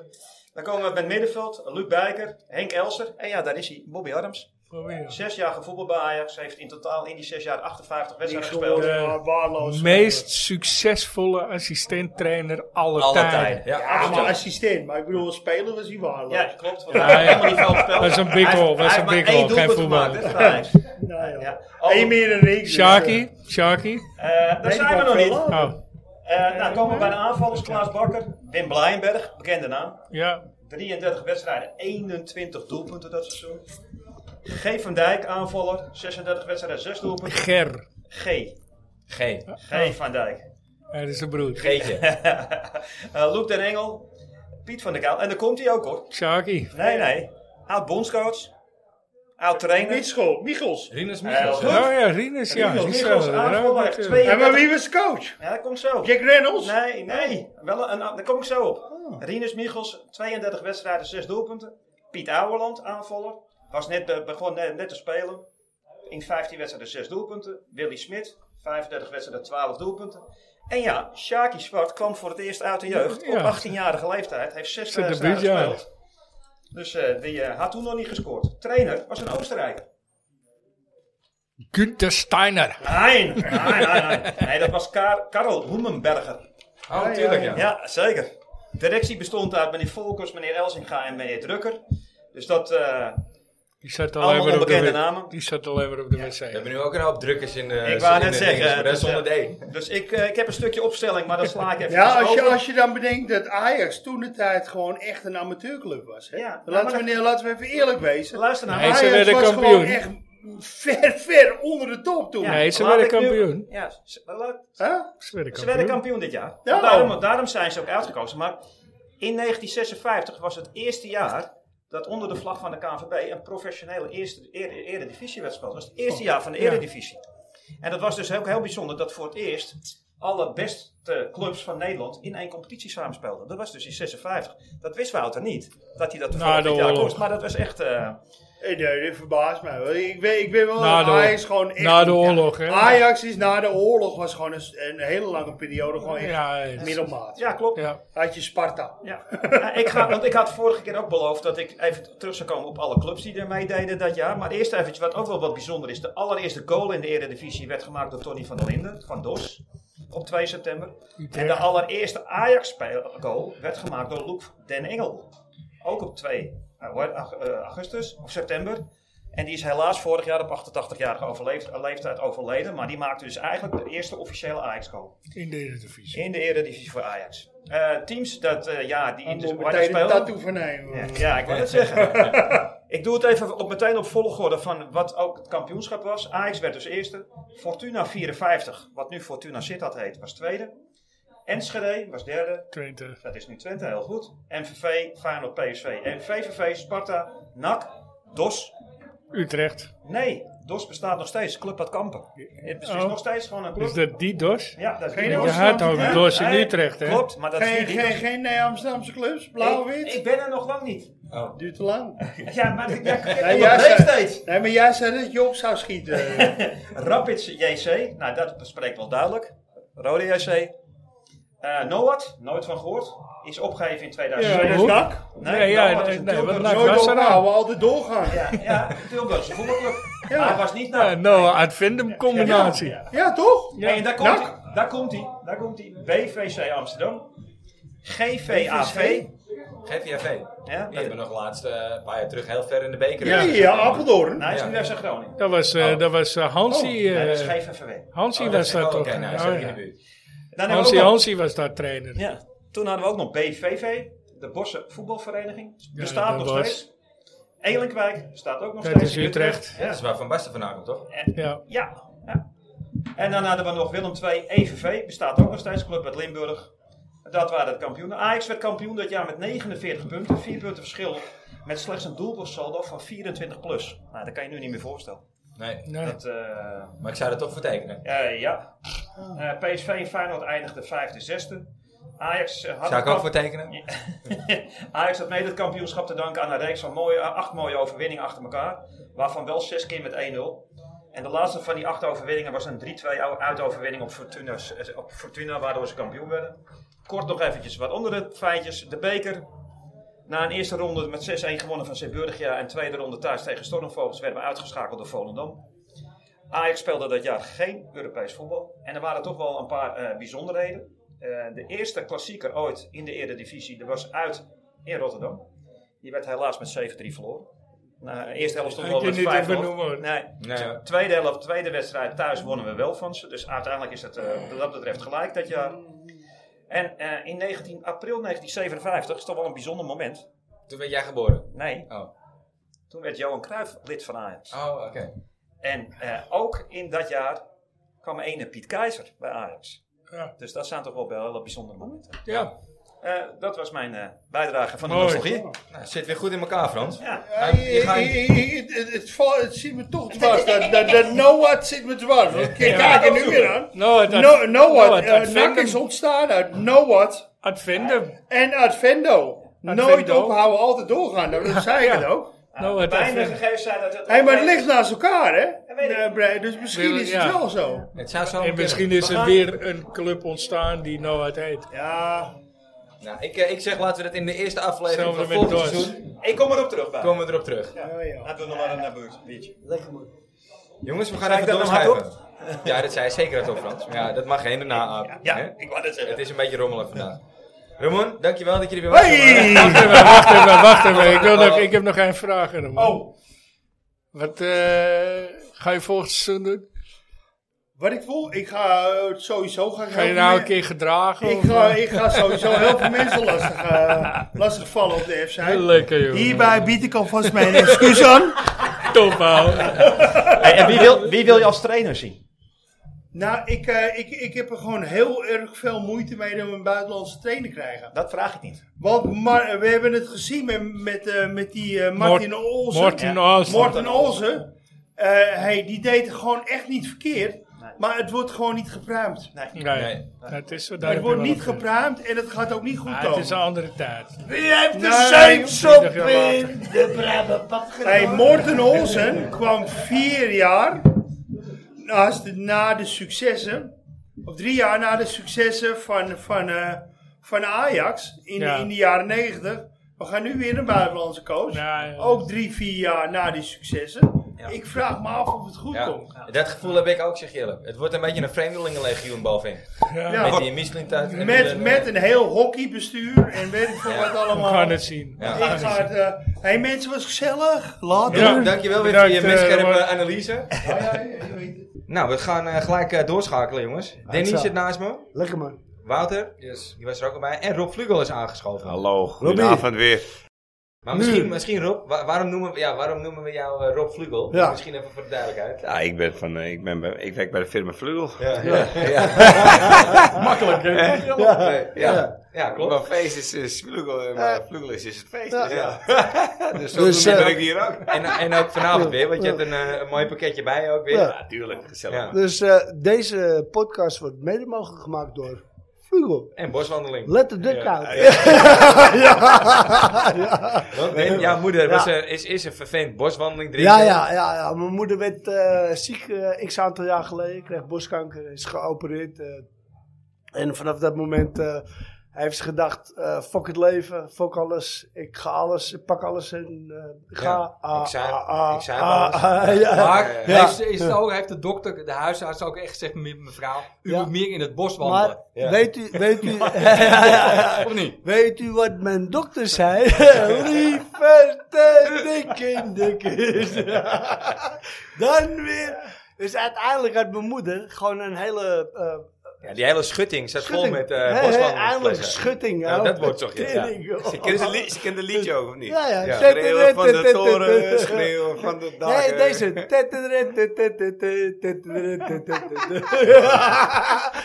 [SPEAKER 4] Dan komen we met middenveld, Luc Bijker, Henk Elser en ja, daar is hij, Bobby Arms.
[SPEAKER 2] Bobby Janus.
[SPEAKER 4] Zes jaar gevoetbald bij Ajax, heeft in totaal in die zes jaar 58 wedstrijden gespeeld.
[SPEAKER 6] Gewoon, eh, waardeloos.
[SPEAKER 2] Meest succesvolle assistent-trainer aller,
[SPEAKER 1] Alle
[SPEAKER 2] tijden.
[SPEAKER 1] tijden. Ja,
[SPEAKER 6] Ja, maar
[SPEAKER 1] absoluut.
[SPEAKER 6] assistent. Maar ik bedoel, als speler was hij waardeloos.
[SPEAKER 4] Ja, klopt. Want
[SPEAKER 2] Ja,
[SPEAKER 4] hij heeft
[SPEAKER 2] ja.
[SPEAKER 4] helemaal niet veel gespeeld.
[SPEAKER 2] Dat is een
[SPEAKER 4] Hij heeft-
[SPEAKER 2] bikkel, dat is
[SPEAKER 4] hij
[SPEAKER 2] een
[SPEAKER 4] heeft maar
[SPEAKER 2] bikkel,
[SPEAKER 4] één doelpunt
[SPEAKER 2] geen voetballer.
[SPEAKER 4] gemaakt, hè, voor Ajax.
[SPEAKER 6] Nou, ja.
[SPEAKER 4] Ja.
[SPEAKER 1] Oh.
[SPEAKER 6] Eén meer dan ik. dus,
[SPEAKER 2] Sharky, Sharky.
[SPEAKER 4] Eh, daar
[SPEAKER 6] eh,
[SPEAKER 4] zijn we nog
[SPEAKER 6] veel
[SPEAKER 4] niet.
[SPEAKER 6] later.
[SPEAKER 2] Oh,
[SPEAKER 4] Eh nou, komen we bij de aanvallers, Klaas Bakker, Wim Blijenberg, bekende naam.
[SPEAKER 2] ja.
[SPEAKER 4] 33 wedstrijden, 21 doelpunten dat seizoen. G. van Dijk, aanvaller, 36 wedstrijden, 6 doelpunten.
[SPEAKER 2] Ger.
[SPEAKER 4] G.
[SPEAKER 1] G.
[SPEAKER 4] G. van Dijk.
[SPEAKER 2] Ja, dat is een broer.
[SPEAKER 1] Geetje.
[SPEAKER 4] Eh Loek den Engel, Piet van der Kaal. En daar komt hij ook hoor.
[SPEAKER 2] Sharky.
[SPEAKER 4] Nee, nee. Oud bondscoach, oud trainer.
[SPEAKER 6] Mitschel, Michels.
[SPEAKER 1] Rinus
[SPEAKER 4] Michels.
[SPEAKER 1] Michels.
[SPEAKER 2] Oh ja, Rinus. Ja,
[SPEAKER 4] Rinus,
[SPEAKER 2] die
[SPEAKER 4] Rinus,
[SPEAKER 2] zullen er
[SPEAKER 4] aanvaller,
[SPEAKER 2] ook natuurlijk.
[SPEAKER 4] twee-
[SPEAKER 6] Ja, maar wie was coach?
[SPEAKER 4] Ja, dat komt zo.
[SPEAKER 6] Jack Reynolds?
[SPEAKER 4] Nee, nee. Wel een, daar kom ik zo op. Rinus Michels, 32 wedstrijden, 6 doelpunten. Piet Ouweland, aanvaller. Was net, be- begon net, net te spelen. In 15 wedstrijden 6 doelpunten. Willy Smit, 35 wedstrijden 12 doelpunten. En ja, Sjaki Zwart kwam voor het eerst uit de jeugd.
[SPEAKER 2] Ja.
[SPEAKER 4] Op 18-jarige leeftijd. Heeft 6
[SPEAKER 2] Zijn
[SPEAKER 4] wedstrijden
[SPEAKER 2] debuut, ja.
[SPEAKER 4] gespeeld. Dus eh, die eh, had toen nog niet gescoord. Trainer was een Oostenrijker.
[SPEAKER 2] Günther Steiner.
[SPEAKER 4] Nee, nee, nee. Nee, nee dat was Kar Karel Hoemenberger.
[SPEAKER 1] Oh, natuurlijk ja.
[SPEAKER 4] Ja, zeker. De directie bestond uit meneer Volkers, meneer Elsinga en meneer Drukker. Dus dat, eh,
[SPEAKER 2] Die zat alleen
[SPEAKER 4] allemaal
[SPEAKER 2] maar op de
[SPEAKER 4] onbekende
[SPEAKER 2] wc.
[SPEAKER 4] namen.
[SPEAKER 2] Die zat alleen maar op de
[SPEAKER 1] We
[SPEAKER 2] wc.
[SPEAKER 1] hebben nu ook een hoop drukkers in de...
[SPEAKER 4] Ik wou
[SPEAKER 1] in
[SPEAKER 4] net
[SPEAKER 1] de
[SPEAKER 4] zeggen,
[SPEAKER 1] dinges, maar dat is
[SPEAKER 4] dus,
[SPEAKER 1] zonder D.
[SPEAKER 4] Dus ik, eh, ik heb een stukje opstelling, maar dat sla ik even dus
[SPEAKER 6] Ja, als je,
[SPEAKER 4] over.
[SPEAKER 6] als je dan bedenkt dat Ajax toen de tijd gewoon echt een amateurclub was. Hè?
[SPEAKER 4] Ja,
[SPEAKER 6] Dan
[SPEAKER 4] ja, maar
[SPEAKER 6] laten, we,
[SPEAKER 4] dat-
[SPEAKER 6] nee, laten we even eerlijk wezen.
[SPEAKER 4] Luister nou.
[SPEAKER 2] Nee,
[SPEAKER 6] Ajax
[SPEAKER 2] ze werden
[SPEAKER 6] was
[SPEAKER 2] kampioen.
[SPEAKER 6] gewoon echt ver, ver onder de top toen.
[SPEAKER 4] Ja,
[SPEAKER 2] Nee, ze
[SPEAKER 4] laat
[SPEAKER 2] werden
[SPEAKER 4] ik nu-
[SPEAKER 2] kampioen.
[SPEAKER 4] Ja, ze, laat-
[SPEAKER 6] Hè?
[SPEAKER 2] Ze werden
[SPEAKER 4] ze werden
[SPEAKER 2] kampioen.
[SPEAKER 4] kampioen dit jaar.
[SPEAKER 6] Ja.
[SPEAKER 4] Daarom, daarom zijn ze ook uitgekozen. Maar in 1956 was het eerste jaar dat onder de vlag van de KNVB een professionele eerste, er- eredivisie werd gespeeld. Dat was het eerste jaar van de
[SPEAKER 2] ja.
[SPEAKER 4] eredivisie. En dat was dus ook heel bijzonder dat voor het eerst alle beste clubs van Nederland in één competitie samenspeelden. Dat was dus in 56. Dat wist Wouter niet, dat hij dat toevallig
[SPEAKER 2] Na de
[SPEAKER 4] dit jaar
[SPEAKER 2] oorlog.
[SPEAKER 4] kost. Maar dat was echt... eh,
[SPEAKER 6] Eh, Nee, dit verbaast mij. wel. Ik ben, ik ben wel
[SPEAKER 2] Na de-
[SPEAKER 6] Ajax gewoon echt...
[SPEAKER 2] Na de oorlog, hè?
[SPEAKER 6] Ajax is na de oorlog was gewoon een, s- een hele lange periode gewoon echt
[SPEAKER 2] Ja, ja.
[SPEAKER 6] middelmaat.
[SPEAKER 4] Ja, klopt.
[SPEAKER 2] ja.
[SPEAKER 6] Had je Sparta.
[SPEAKER 4] Ja. Ja, ik ga, want ik had vorige keer ook beloofd dat ik even terug zou komen op alle clubs die er meededen dat jaar. Maar eerst eventjes wat ook wel wat bijzonder is. De allereerste goal in de Eredivisie werd gemaakt door Tony van der Linden van DOS op 2 september. En de allereerste Ajax-goal werd gemaakt door Loek den Engel. Ook op 2 ag- eh, augustus of september. En die is helaas vorig jaar op 88-jarige overleef- leeftijd overleden. Maar die maakte dus eigenlijk de eerste officiële Ajax-goal.
[SPEAKER 2] in de Eredivisie.
[SPEAKER 4] In de Eredivisie voor Ajax. Eh, teams dat, eh, ja, die in
[SPEAKER 6] Dan
[SPEAKER 4] de
[SPEAKER 6] moet
[SPEAKER 4] waar
[SPEAKER 6] meteen
[SPEAKER 4] die
[SPEAKER 6] een
[SPEAKER 4] spelen.
[SPEAKER 6] tattoo vernemen.
[SPEAKER 4] Ja, ja, ik wou het zeggen. ik doe het even op, meteen op volgorde van wat ook het kampioenschap was. Ajax werd dus eerste. Fortuna 54, wat nu Fortuna Sittard heet, was tweede. Enschede was derde.
[SPEAKER 2] Twente.
[SPEAKER 4] Dat is nu Twente, heel goed. MVV, Feyenoord, PSV. En VVV, Sparta, NAC, DOS.
[SPEAKER 2] Utrecht.
[SPEAKER 4] Nee, DOS bestaat nog steeds. Club uit Kampen. Het is
[SPEAKER 2] Oh.
[SPEAKER 4] nog steeds gewoon een club.
[SPEAKER 2] Is dat die DOS?
[SPEAKER 4] Ja, dat is
[SPEAKER 6] Geen
[SPEAKER 4] DOS.
[SPEAKER 2] Je had ook DOS in
[SPEAKER 4] Nee,
[SPEAKER 2] Utrecht, hè?
[SPEAKER 4] Klopt, maar dat is
[SPEAKER 6] Geen,
[SPEAKER 4] niet-
[SPEAKER 6] geen, geen nee, Amsterdamse clubs, blauw-wit. Oh.
[SPEAKER 4] Ik, ik ben er nog lang niet.
[SPEAKER 6] Duurt te lang.
[SPEAKER 4] Ja, maar ik ja, ja,
[SPEAKER 6] Nee,
[SPEAKER 4] ja,
[SPEAKER 6] jij
[SPEAKER 4] nog
[SPEAKER 6] zei,
[SPEAKER 4] steeds.
[SPEAKER 6] nee, maar jij zei dat Job zou schieten.
[SPEAKER 4] Rapids JC, nou dat bespreekt wel duidelijk. Rode JC. Eh Noat, nooit van gehoord. Is opgegeven in
[SPEAKER 2] Ja,
[SPEAKER 4] 2007.
[SPEAKER 2] hoe?
[SPEAKER 6] Nak.
[SPEAKER 2] Nee, ja,
[SPEAKER 4] Noat is
[SPEAKER 2] nee,
[SPEAKER 4] een
[SPEAKER 2] nee,
[SPEAKER 4] Tilburgse-
[SPEAKER 2] wat Nou,
[SPEAKER 6] Nooit
[SPEAKER 2] was er
[SPEAKER 6] ophouden, altijd doorgaan. Ja,
[SPEAKER 4] Ja, ja, een Tilburgse voetbalclub. Maar hij was niet
[SPEAKER 2] Ja,
[SPEAKER 4] naar...
[SPEAKER 2] nou, uitvindem combinatie.
[SPEAKER 6] toch?
[SPEAKER 4] Nee, en daar komt hij. Daar komt hij. Daar komt hij. BVC Amsterdam. GVAV.
[SPEAKER 1] GVAV.
[SPEAKER 4] Ja,
[SPEAKER 1] Die hebben nog laatst, eh, een paar jaar terug, heel ver in de beker.
[SPEAKER 6] Ja, ja, Apeldoorn.
[SPEAKER 4] Nou, hij is nu
[SPEAKER 1] Ja.
[SPEAKER 4] FC Groningen. Oh,
[SPEAKER 2] Dat was, eh,
[SPEAKER 1] Oh.
[SPEAKER 2] dat was eh, Hansi. eh
[SPEAKER 4] Nee, dat is GVVW.
[SPEAKER 2] Hansi
[SPEAKER 1] Oh,
[SPEAKER 2] was
[SPEAKER 1] is-
[SPEAKER 2] daar
[SPEAKER 1] oh,
[SPEAKER 2] toch?
[SPEAKER 1] Oké, nou,
[SPEAKER 2] Oh,
[SPEAKER 1] is ook in
[SPEAKER 2] ja.
[SPEAKER 1] de buurt.
[SPEAKER 4] Dan hebben we
[SPEAKER 2] Hansi,
[SPEAKER 4] Nou, ook nog-
[SPEAKER 2] Hansi was daar trainer.
[SPEAKER 4] Ja. Toen hadden we ook nog BVV, de Bosse Voetbalvereniging. Bestaat
[SPEAKER 2] dat
[SPEAKER 4] nog
[SPEAKER 2] was-
[SPEAKER 4] steeds. Elinkwijk bestaat ook nog
[SPEAKER 2] Dat
[SPEAKER 4] steeds.
[SPEAKER 2] is
[SPEAKER 4] in
[SPEAKER 2] Utrecht.
[SPEAKER 1] Ja, dat is waar Van Basten vandaan komt, toch?
[SPEAKER 4] En-
[SPEAKER 2] Ja.
[SPEAKER 4] ja, ja. En dan hadden we nog Willem II, EVV, bestaat ook nog steeds, club uit Limburg. Dat waren de kampioenen. Ajax werd kampioen dat jaar met 49 punten, 4 punten verschil. Met slechts een doelpuntsaldo van 24 plus. Nou, dat kan je nu niet meer voorstellen.
[SPEAKER 1] Nee.
[SPEAKER 2] Nee.
[SPEAKER 4] Dat, eh,
[SPEAKER 1] Maar ik zou er toch voor tekenen.
[SPEAKER 4] eh, ja. Eh, PSV en Feyenoord eindigden vijfde, zesde. Ajax eh, had
[SPEAKER 1] Zou
[SPEAKER 4] een
[SPEAKER 1] ik ook
[SPEAKER 4] kamp-
[SPEAKER 1] voor tekenen?
[SPEAKER 4] Ajax had mede het kampioenschap te danken aan een reeks van mooie, eh, acht mooie overwinningen achter elkaar. Waarvan wel zes keer met 1-0. En de laatste van die acht overwinningen was een 3-2 ou- uitoverwinning op Fortuna, eh, op Fortuna, waardoor ze kampioen werden. Kort nog eventjes wat onder de feitjes. De beker. Na een eerste ronde met 6-1 gewonnen van Zeeburgia en tweede ronde thuis tegen Stormvogels werden we uitgeschakeld door Volendam. Ajax speelde dat jaar geen Europees voetbal. En er waren toch wel een paar eh, bijzonderheden. Eh, de eerste klassieker ooit in de Eredivisie, dat was uit in Rotterdam. Die werd helaas met 7-3 verloren. Nou, eerste helft stond
[SPEAKER 2] Ik
[SPEAKER 4] wel
[SPEAKER 2] kan
[SPEAKER 4] met 5-0.
[SPEAKER 2] niet even noemen, hoor.
[SPEAKER 4] Nee.
[SPEAKER 1] Nee, hoor.
[SPEAKER 4] Tweede helft, tweede wedstrijd thuis wonnen we wel van ze. Dus uiteindelijk is het eh, wat dat betreft gelijk dat jaar. En eh, in 19 april 1957, is toch wel een bijzonder moment.
[SPEAKER 1] Toen werd jij geboren.
[SPEAKER 4] Nee,
[SPEAKER 1] Oh,
[SPEAKER 4] toen werd Johan Cruijff lid van Ajax.
[SPEAKER 1] oh oké.
[SPEAKER 4] En eh, ook in dat jaar kwam ene Piet Keizer bij Ajax.
[SPEAKER 2] Ja.
[SPEAKER 4] Dus dat zijn toch wel wel hele bijzondere momenten.
[SPEAKER 2] Ja.
[SPEAKER 4] Eh, dat was mijn eh, bijdrage van de
[SPEAKER 2] Mooi.
[SPEAKER 4] nostalgie.
[SPEAKER 1] Nou, zit weer goed in elkaar, Frans.
[SPEAKER 4] Ja. Nou,
[SPEAKER 6] Ja,
[SPEAKER 1] Hij- je
[SPEAKER 6] ik-
[SPEAKER 1] gaat-
[SPEAKER 6] ik- ik- het- het- Het val- het zit me toch dwars. Dat- Dat dat no what zit me dwars. Want Kijk kijk er nu weer aan.
[SPEAKER 2] Nou, dat,
[SPEAKER 6] No, no what.
[SPEAKER 2] Nou,
[SPEAKER 6] eh, NAC is
[SPEAKER 2] Advendum.
[SPEAKER 6] ontstaan uit no what
[SPEAKER 2] Advendum.
[SPEAKER 6] en Advendo. Nooit
[SPEAKER 2] Advendo.
[SPEAKER 6] ophouden, altijd doorgaan. Nou, Dat zei ik het ook.
[SPEAKER 2] Nou, het
[SPEAKER 4] Weinig
[SPEAKER 2] Advendum.
[SPEAKER 4] gegevens zijn dat het... eh,
[SPEAKER 6] Hé, maar het ligt naast elkaar, hè?
[SPEAKER 4] weet ik.
[SPEAKER 6] Eh, Bre- Dus misschien is het
[SPEAKER 2] Ja.
[SPEAKER 6] wel zo.
[SPEAKER 1] Het zou zo
[SPEAKER 2] En
[SPEAKER 1] kunnen.
[SPEAKER 2] misschien is
[SPEAKER 4] We
[SPEAKER 2] er
[SPEAKER 4] gaan-
[SPEAKER 2] weer een club ontstaan die Noat heet.
[SPEAKER 6] Ja,
[SPEAKER 1] Nou, ik, eh, ik zeg, laten we dat in de eerste aflevering
[SPEAKER 2] Zelfde
[SPEAKER 1] van
[SPEAKER 2] met
[SPEAKER 1] volgend
[SPEAKER 2] Dorst.
[SPEAKER 1] seizoen...
[SPEAKER 4] Ik kom erop terug bij. Kom.
[SPEAKER 1] komen we erop terug.
[SPEAKER 6] ja, ja.
[SPEAKER 4] Laten we nog maar een naar buurt. biertje.
[SPEAKER 3] Lekker man.
[SPEAKER 1] Jongens, we gaan
[SPEAKER 4] Zei ik
[SPEAKER 1] even
[SPEAKER 4] dat nou hardop?
[SPEAKER 1] doorschuiven. Ja, dat zei je zeker dat op, Frans. Ja, dat mag geen daarna aap.
[SPEAKER 4] Ja,
[SPEAKER 1] hè?
[SPEAKER 4] ik wou dat zeggen.
[SPEAKER 1] Het is een beetje rommelig vandaag. Ramon, dankjewel dat je er weer was.
[SPEAKER 2] Wacht even, wacht even, wacht even. Ik,
[SPEAKER 1] Oh.
[SPEAKER 2] wil nog, ik heb nog één vraag. Herman.
[SPEAKER 6] Oh,
[SPEAKER 2] Wat eh, ga je volgend seizoen doen?
[SPEAKER 6] wat ik voel, ik ga eh, sowieso gaan
[SPEAKER 2] Ga je nou een keer gedragen?
[SPEAKER 6] Ik
[SPEAKER 2] of,
[SPEAKER 6] ga,
[SPEAKER 2] eh?
[SPEAKER 6] ik ga sowieso heel veel mensen lastig, eh, lastig vallen op de F-site.
[SPEAKER 2] Lekker joh.
[SPEAKER 6] Hierbij bied ik alvast mijn excuus aan.
[SPEAKER 2] Top houden.
[SPEAKER 4] en wie wil, wie wil je als trainer zien?
[SPEAKER 6] Nou, ik, eh, ik, ik heb er gewoon heel erg veel moeite mee om een buitenlandse trainer te krijgen.
[SPEAKER 4] Dat vraag ik niet.
[SPEAKER 6] Want Mar- we hebben het gezien met, met, eh, met die eh, Martin
[SPEAKER 2] Mort-
[SPEAKER 6] Olsen.
[SPEAKER 2] Morten
[SPEAKER 4] Ja.
[SPEAKER 2] Olsen.
[SPEAKER 6] Morten Olsen. eh, hey, die deed het gewoon echt niet verkeerd.
[SPEAKER 4] Nee.
[SPEAKER 6] Maar het wordt gewoon niet gepruimd.
[SPEAKER 4] Nee.
[SPEAKER 2] Nee,
[SPEAKER 1] Nee.
[SPEAKER 2] het is zo. daar
[SPEAKER 6] Het
[SPEAKER 2] heb je
[SPEAKER 6] wordt
[SPEAKER 2] wel
[SPEAKER 6] niet
[SPEAKER 2] een punt.
[SPEAKER 6] gepruimd en het gaat ook niet goed
[SPEAKER 2] Ah,
[SPEAKER 6] komen.
[SPEAKER 2] het is een andere tijd.
[SPEAKER 3] Wie heeft de
[SPEAKER 6] Nee,
[SPEAKER 3] zeepsop
[SPEAKER 2] twintig jaar later.
[SPEAKER 3] in de Brabantpad
[SPEAKER 6] Hey,
[SPEAKER 3] gedaan?
[SPEAKER 6] Morten Olsen kwam vier jaar naast de- na de successen, of drie jaar na de successen van, van, eh, van Ajax in,
[SPEAKER 2] Ja.
[SPEAKER 6] in de jaren negentig. We gaan nu weer een buitenlandse coach.
[SPEAKER 2] Ja, ja.
[SPEAKER 6] Ook drie, vier jaar na die successen. Ik vraag me af of het goed
[SPEAKER 1] Ja.
[SPEAKER 6] komt.
[SPEAKER 1] Dat gevoel heb ik ook, zeg je eerlijk. Het wordt een beetje een vreemdelingenlegioen bovenin.
[SPEAKER 6] Ja.
[SPEAKER 1] Met die Michelin thuis. en
[SPEAKER 6] Met,
[SPEAKER 1] die- eh,
[SPEAKER 6] met een heel hockeybestuur en weet ik veel
[SPEAKER 1] Ja.
[SPEAKER 6] wat
[SPEAKER 2] We
[SPEAKER 6] allemaal.
[SPEAKER 2] gaan het zien.
[SPEAKER 1] Ja.
[SPEAKER 6] Ik ga het, eh, hey mensen, was gezellig. Later.
[SPEAKER 2] Ja.
[SPEAKER 1] Dankjewel weer voor
[SPEAKER 2] Bedankt,
[SPEAKER 1] je
[SPEAKER 2] eh,
[SPEAKER 1] menscherpe
[SPEAKER 2] Mark.
[SPEAKER 1] analyse.
[SPEAKER 6] Ja, ja, ja, je weet het.
[SPEAKER 1] Nou, we gaan eh, gelijk eh, doorschakelen, jongens. Danny
[SPEAKER 3] zo.
[SPEAKER 1] zit naast me.
[SPEAKER 3] Lekker man.
[SPEAKER 1] Wouter,
[SPEAKER 5] Yes.
[SPEAKER 1] die was er ook al bij. En Rob Vlugel is aangeschoven.
[SPEAKER 7] Hallo, goedenavond weer.
[SPEAKER 1] Maar
[SPEAKER 3] Nu.
[SPEAKER 1] misschien, misschien Rob, wa- waarom, noemen we, ja, waarom noemen we jou eh, Rob Vlugel?
[SPEAKER 3] Ja.
[SPEAKER 1] Misschien even voor de duidelijkheid.
[SPEAKER 7] Ja, ik, ben van, eh, ik, ben bij, ik werk bij de firma Vlugel.
[SPEAKER 1] Ja,
[SPEAKER 2] Makkelijk, hè?
[SPEAKER 1] ja. ja.
[SPEAKER 3] Ja.
[SPEAKER 1] klopt.
[SPEAKER 7] Maar feest is, is Vlugel en maar Vlugel is, is het feest.
[SPEAKER 3] Ja.
[SPEAKER 7] Dus, ja. dus zo
[SPEAKER 3] Dus, eh,
[SPEAKER 7] ben ik hier ook.
[SPEAKER 1] En, en ook vanavond weer, want je hebt een, eh, een mooi pakketje bij je ook weer.
[SPEAKER 3] Ja.
[SPEAKER 7] Ja, tuurlijk, gezellig.
[SPEAKER 1] Ja.
[SPEAKER 3] Dus eh, deze podcast wordt mede mogelijk gemaakt door Vugel.
[SPEAKER 1] En boswandeling.
[SPEAKER 3] Let the duck out.
[SPEAKER 1] Want, eh, jouw moeder was, eh, is, is een vervent boswandeling drinken.
[SPEAKER 3] Ja, ja, ja, ja. Mijn moeder werd eh, ziek eh, x aantal jaar geleden. Kreeg borstkanker, is geopereerd. eh. en vanaf dat moment eh, heeft ze gedacht: eh fuck het leven, fuck alles. Ik ga alles, ik pak alles en eh, ik ga.
[SPEAKER 1] Ja,
[SPEAKER 3] ah,
[SPEAKER 1] ik zei-
[SPEAKER 3] ah, ah,
[SPEAKER 1] ik zei
[SPEAKER 3] ah,
[SPEAKER 1] alles.
[SPEAKER 3] ah, ja.
[SPEAKER 5] Maar
[SPEAKER 1] eh,
[SPEAKER 3] Ja.
[SPEAKER 5] heeft, ze- is het ook, heeft de dokter, de huisarts ook echt gezegd, me- mevrouw, u
[SPEAKER 3] Ja.
[SPEAKER 5] moet meer in het bos
[SPEAKER 3] Maar
[SPEAKER 5] wandelen.
[SPEAKER 1] Ja.
[SPEAKER 3] weet u, weet u, Ja, ja, ja, ja.
[SPEAKER 5] Of niet?
[SPEAKER 3] weet u wat mijn dokter zei? Liever te dik in de kist. Dan weer. Dus uiteindelijk had mijn moeder gewoon een hele eh,
[SPEAKER 1] Ja, die hele schutting zat vol
[SPEAKER 3] Schutting.
[SPEAKER 1] met eh
[SPEAKER 3] Hè, hè, Eindelijk
[SPEAKER 1] boswandelingsflessen.
[SPEAKER 3] schutting.
[SPEAKER 1] Ja,
[SPEAKER 3] hè.
[SPEAKER 1] dat wordt toch, ja.
[SPEAKER 3] Tering, joh.
[SPEAKER 7] Ze kennen li- ze kennen het liedje ook, of niet?
[SPEAKER 3] Ja, ja.
[SPEAKER 7] Schreeuwen van de toren, schreeuwen van de daken.
[SPEAKER 3] Nee, deze.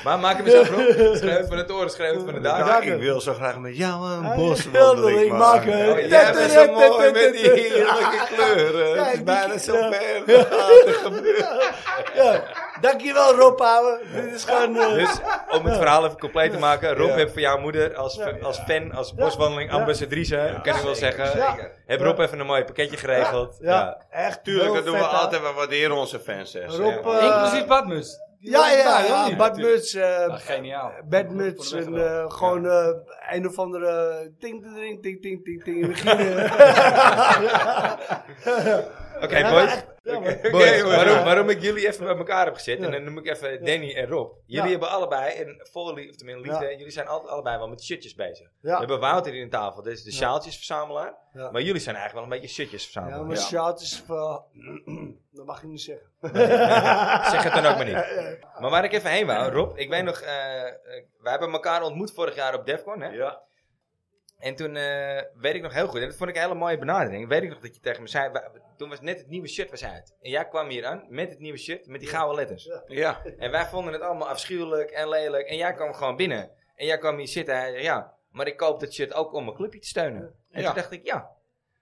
[SPEAKER 1] Maar maak hem eens af, Rob. Schreeuwt van het oren, schreeuwt van de
[SPEAKER 7] Ja,
[SPEAKER 1] daken.
[SPEAKER 7] ik wil zo graag met jou een
[SPEAKER 3] Ah,
[SPEAKER 7] boswandeling
[SPEAKER 3] wildeling
[SPEAKER 7] maken.
[SPEAKER 3] maken.
[SPEAKER 7] Oh, jij bent zo mooi met die heerlijke kleuren.
[SPEAKER 3] Ja,
[SPEAKER 7] het is
[SPEAKER 3] die
[SPEAKER 7] bijna zo
[SPEAKER 3] kleur.
[SPEAKER 7] ver gaat te gebeuren.
[SPEAKER 3] Ja, Dankjewel, Rob Ouwe. Dit is gewoon... eh,
[SPEAKER 1] Dus om het verhaal even compleet te maken. Rob heeft voor jouw moeder als, als fan, als boswandeling ambassadrice, kan ik wel zeggen.
[SPEAKER 3] Ja.
[SPEAKER 1] Heb Rob even een mooi pakketje geregeld. Ja.
[SPEAKER 3] Ja, echt.
[SPEAKER 7] Tuurlijk,
[SPEAKER 3] heel
[SPEAKER 7] dat doen we
[SPEAKER 3] vet, hè.
[SPEAKER 7] altijd. We waarderen onze fans. Hè.
[SPEAKER 3] Rob... eh,
[SPEAKER 5] Inclusief badmus.
[SPEAKER 3] Ja, ja, ja.
[SPEAKER 5] Ja,
[SPEAKER 3] Bart Muts, eh,
[SPEAKER 5] Nou, geniaal.
[SPEAKER 3] bedmuts en eh, gewoon eh, een of andere eh, ting ting ting ting ting ting ting. We gingen-
[SPEAKER 1] Oké, boys.
[SPEAKER 3] Ja, man.
[SPEAKER 1] Boys, waarom, waarom ik jullie even bij elkaar heb gezet, en dan noem ik even Danny en Rob. Jullie
[SPEAKER 3] Ja.
[SPEAKER 1] hebben allebei, en voor liefde, of tenminste liefde, jullie zijn altijd allebei wel met shirtjes bezig. We
[SPEAKER 3] Ja,
[SPEAKER 1] hebben Wouter hier aan tafel, dat is de sjaaltjesverzamelaar.
[SPEAKER 3] Ja.
[SPEAKER 1] Maar jullie zijn eigenlijk wel een beetje shirtjesverzamelaar.
[SPEAKER 3] ja, maar
[SPEAKER 1] Ja.
[SPEAKER 3] shout is voor... Dat mag je niet zeggen.
[SPEAKER 1] Zeg het dan ook maar niet. Maar waar ik even heen wou, Rob, ik weet nog, eh, eh, wij hebben elkaar ontmoet vorig jaar op Defcon, hè?
[SPEAKER 4] Ja.
[SPEAKER 1] En toen eh, weet ik nog heel goed, en dat vond ik een hele mooie benadering, weet ik nog dat je tegen me zei, wa- toen was net het nieuwe shirt was uit. En jij kwam hier aan met het nieuwe shirt, met die gouden letters.
[SPEAKER 7] Ja,
[SPEAKER 1] En wij vonden het allemaal afschuwelijk en lelijk. En jij kwam gewoon binnen. En jij kwam hier zitten. En hij zei, ja, maar ik koop dat shit ook om mijn clubje te steunen. En
[SPEAKER 7] Ja.
[SPEAKER 1] toen dacht ik, ja,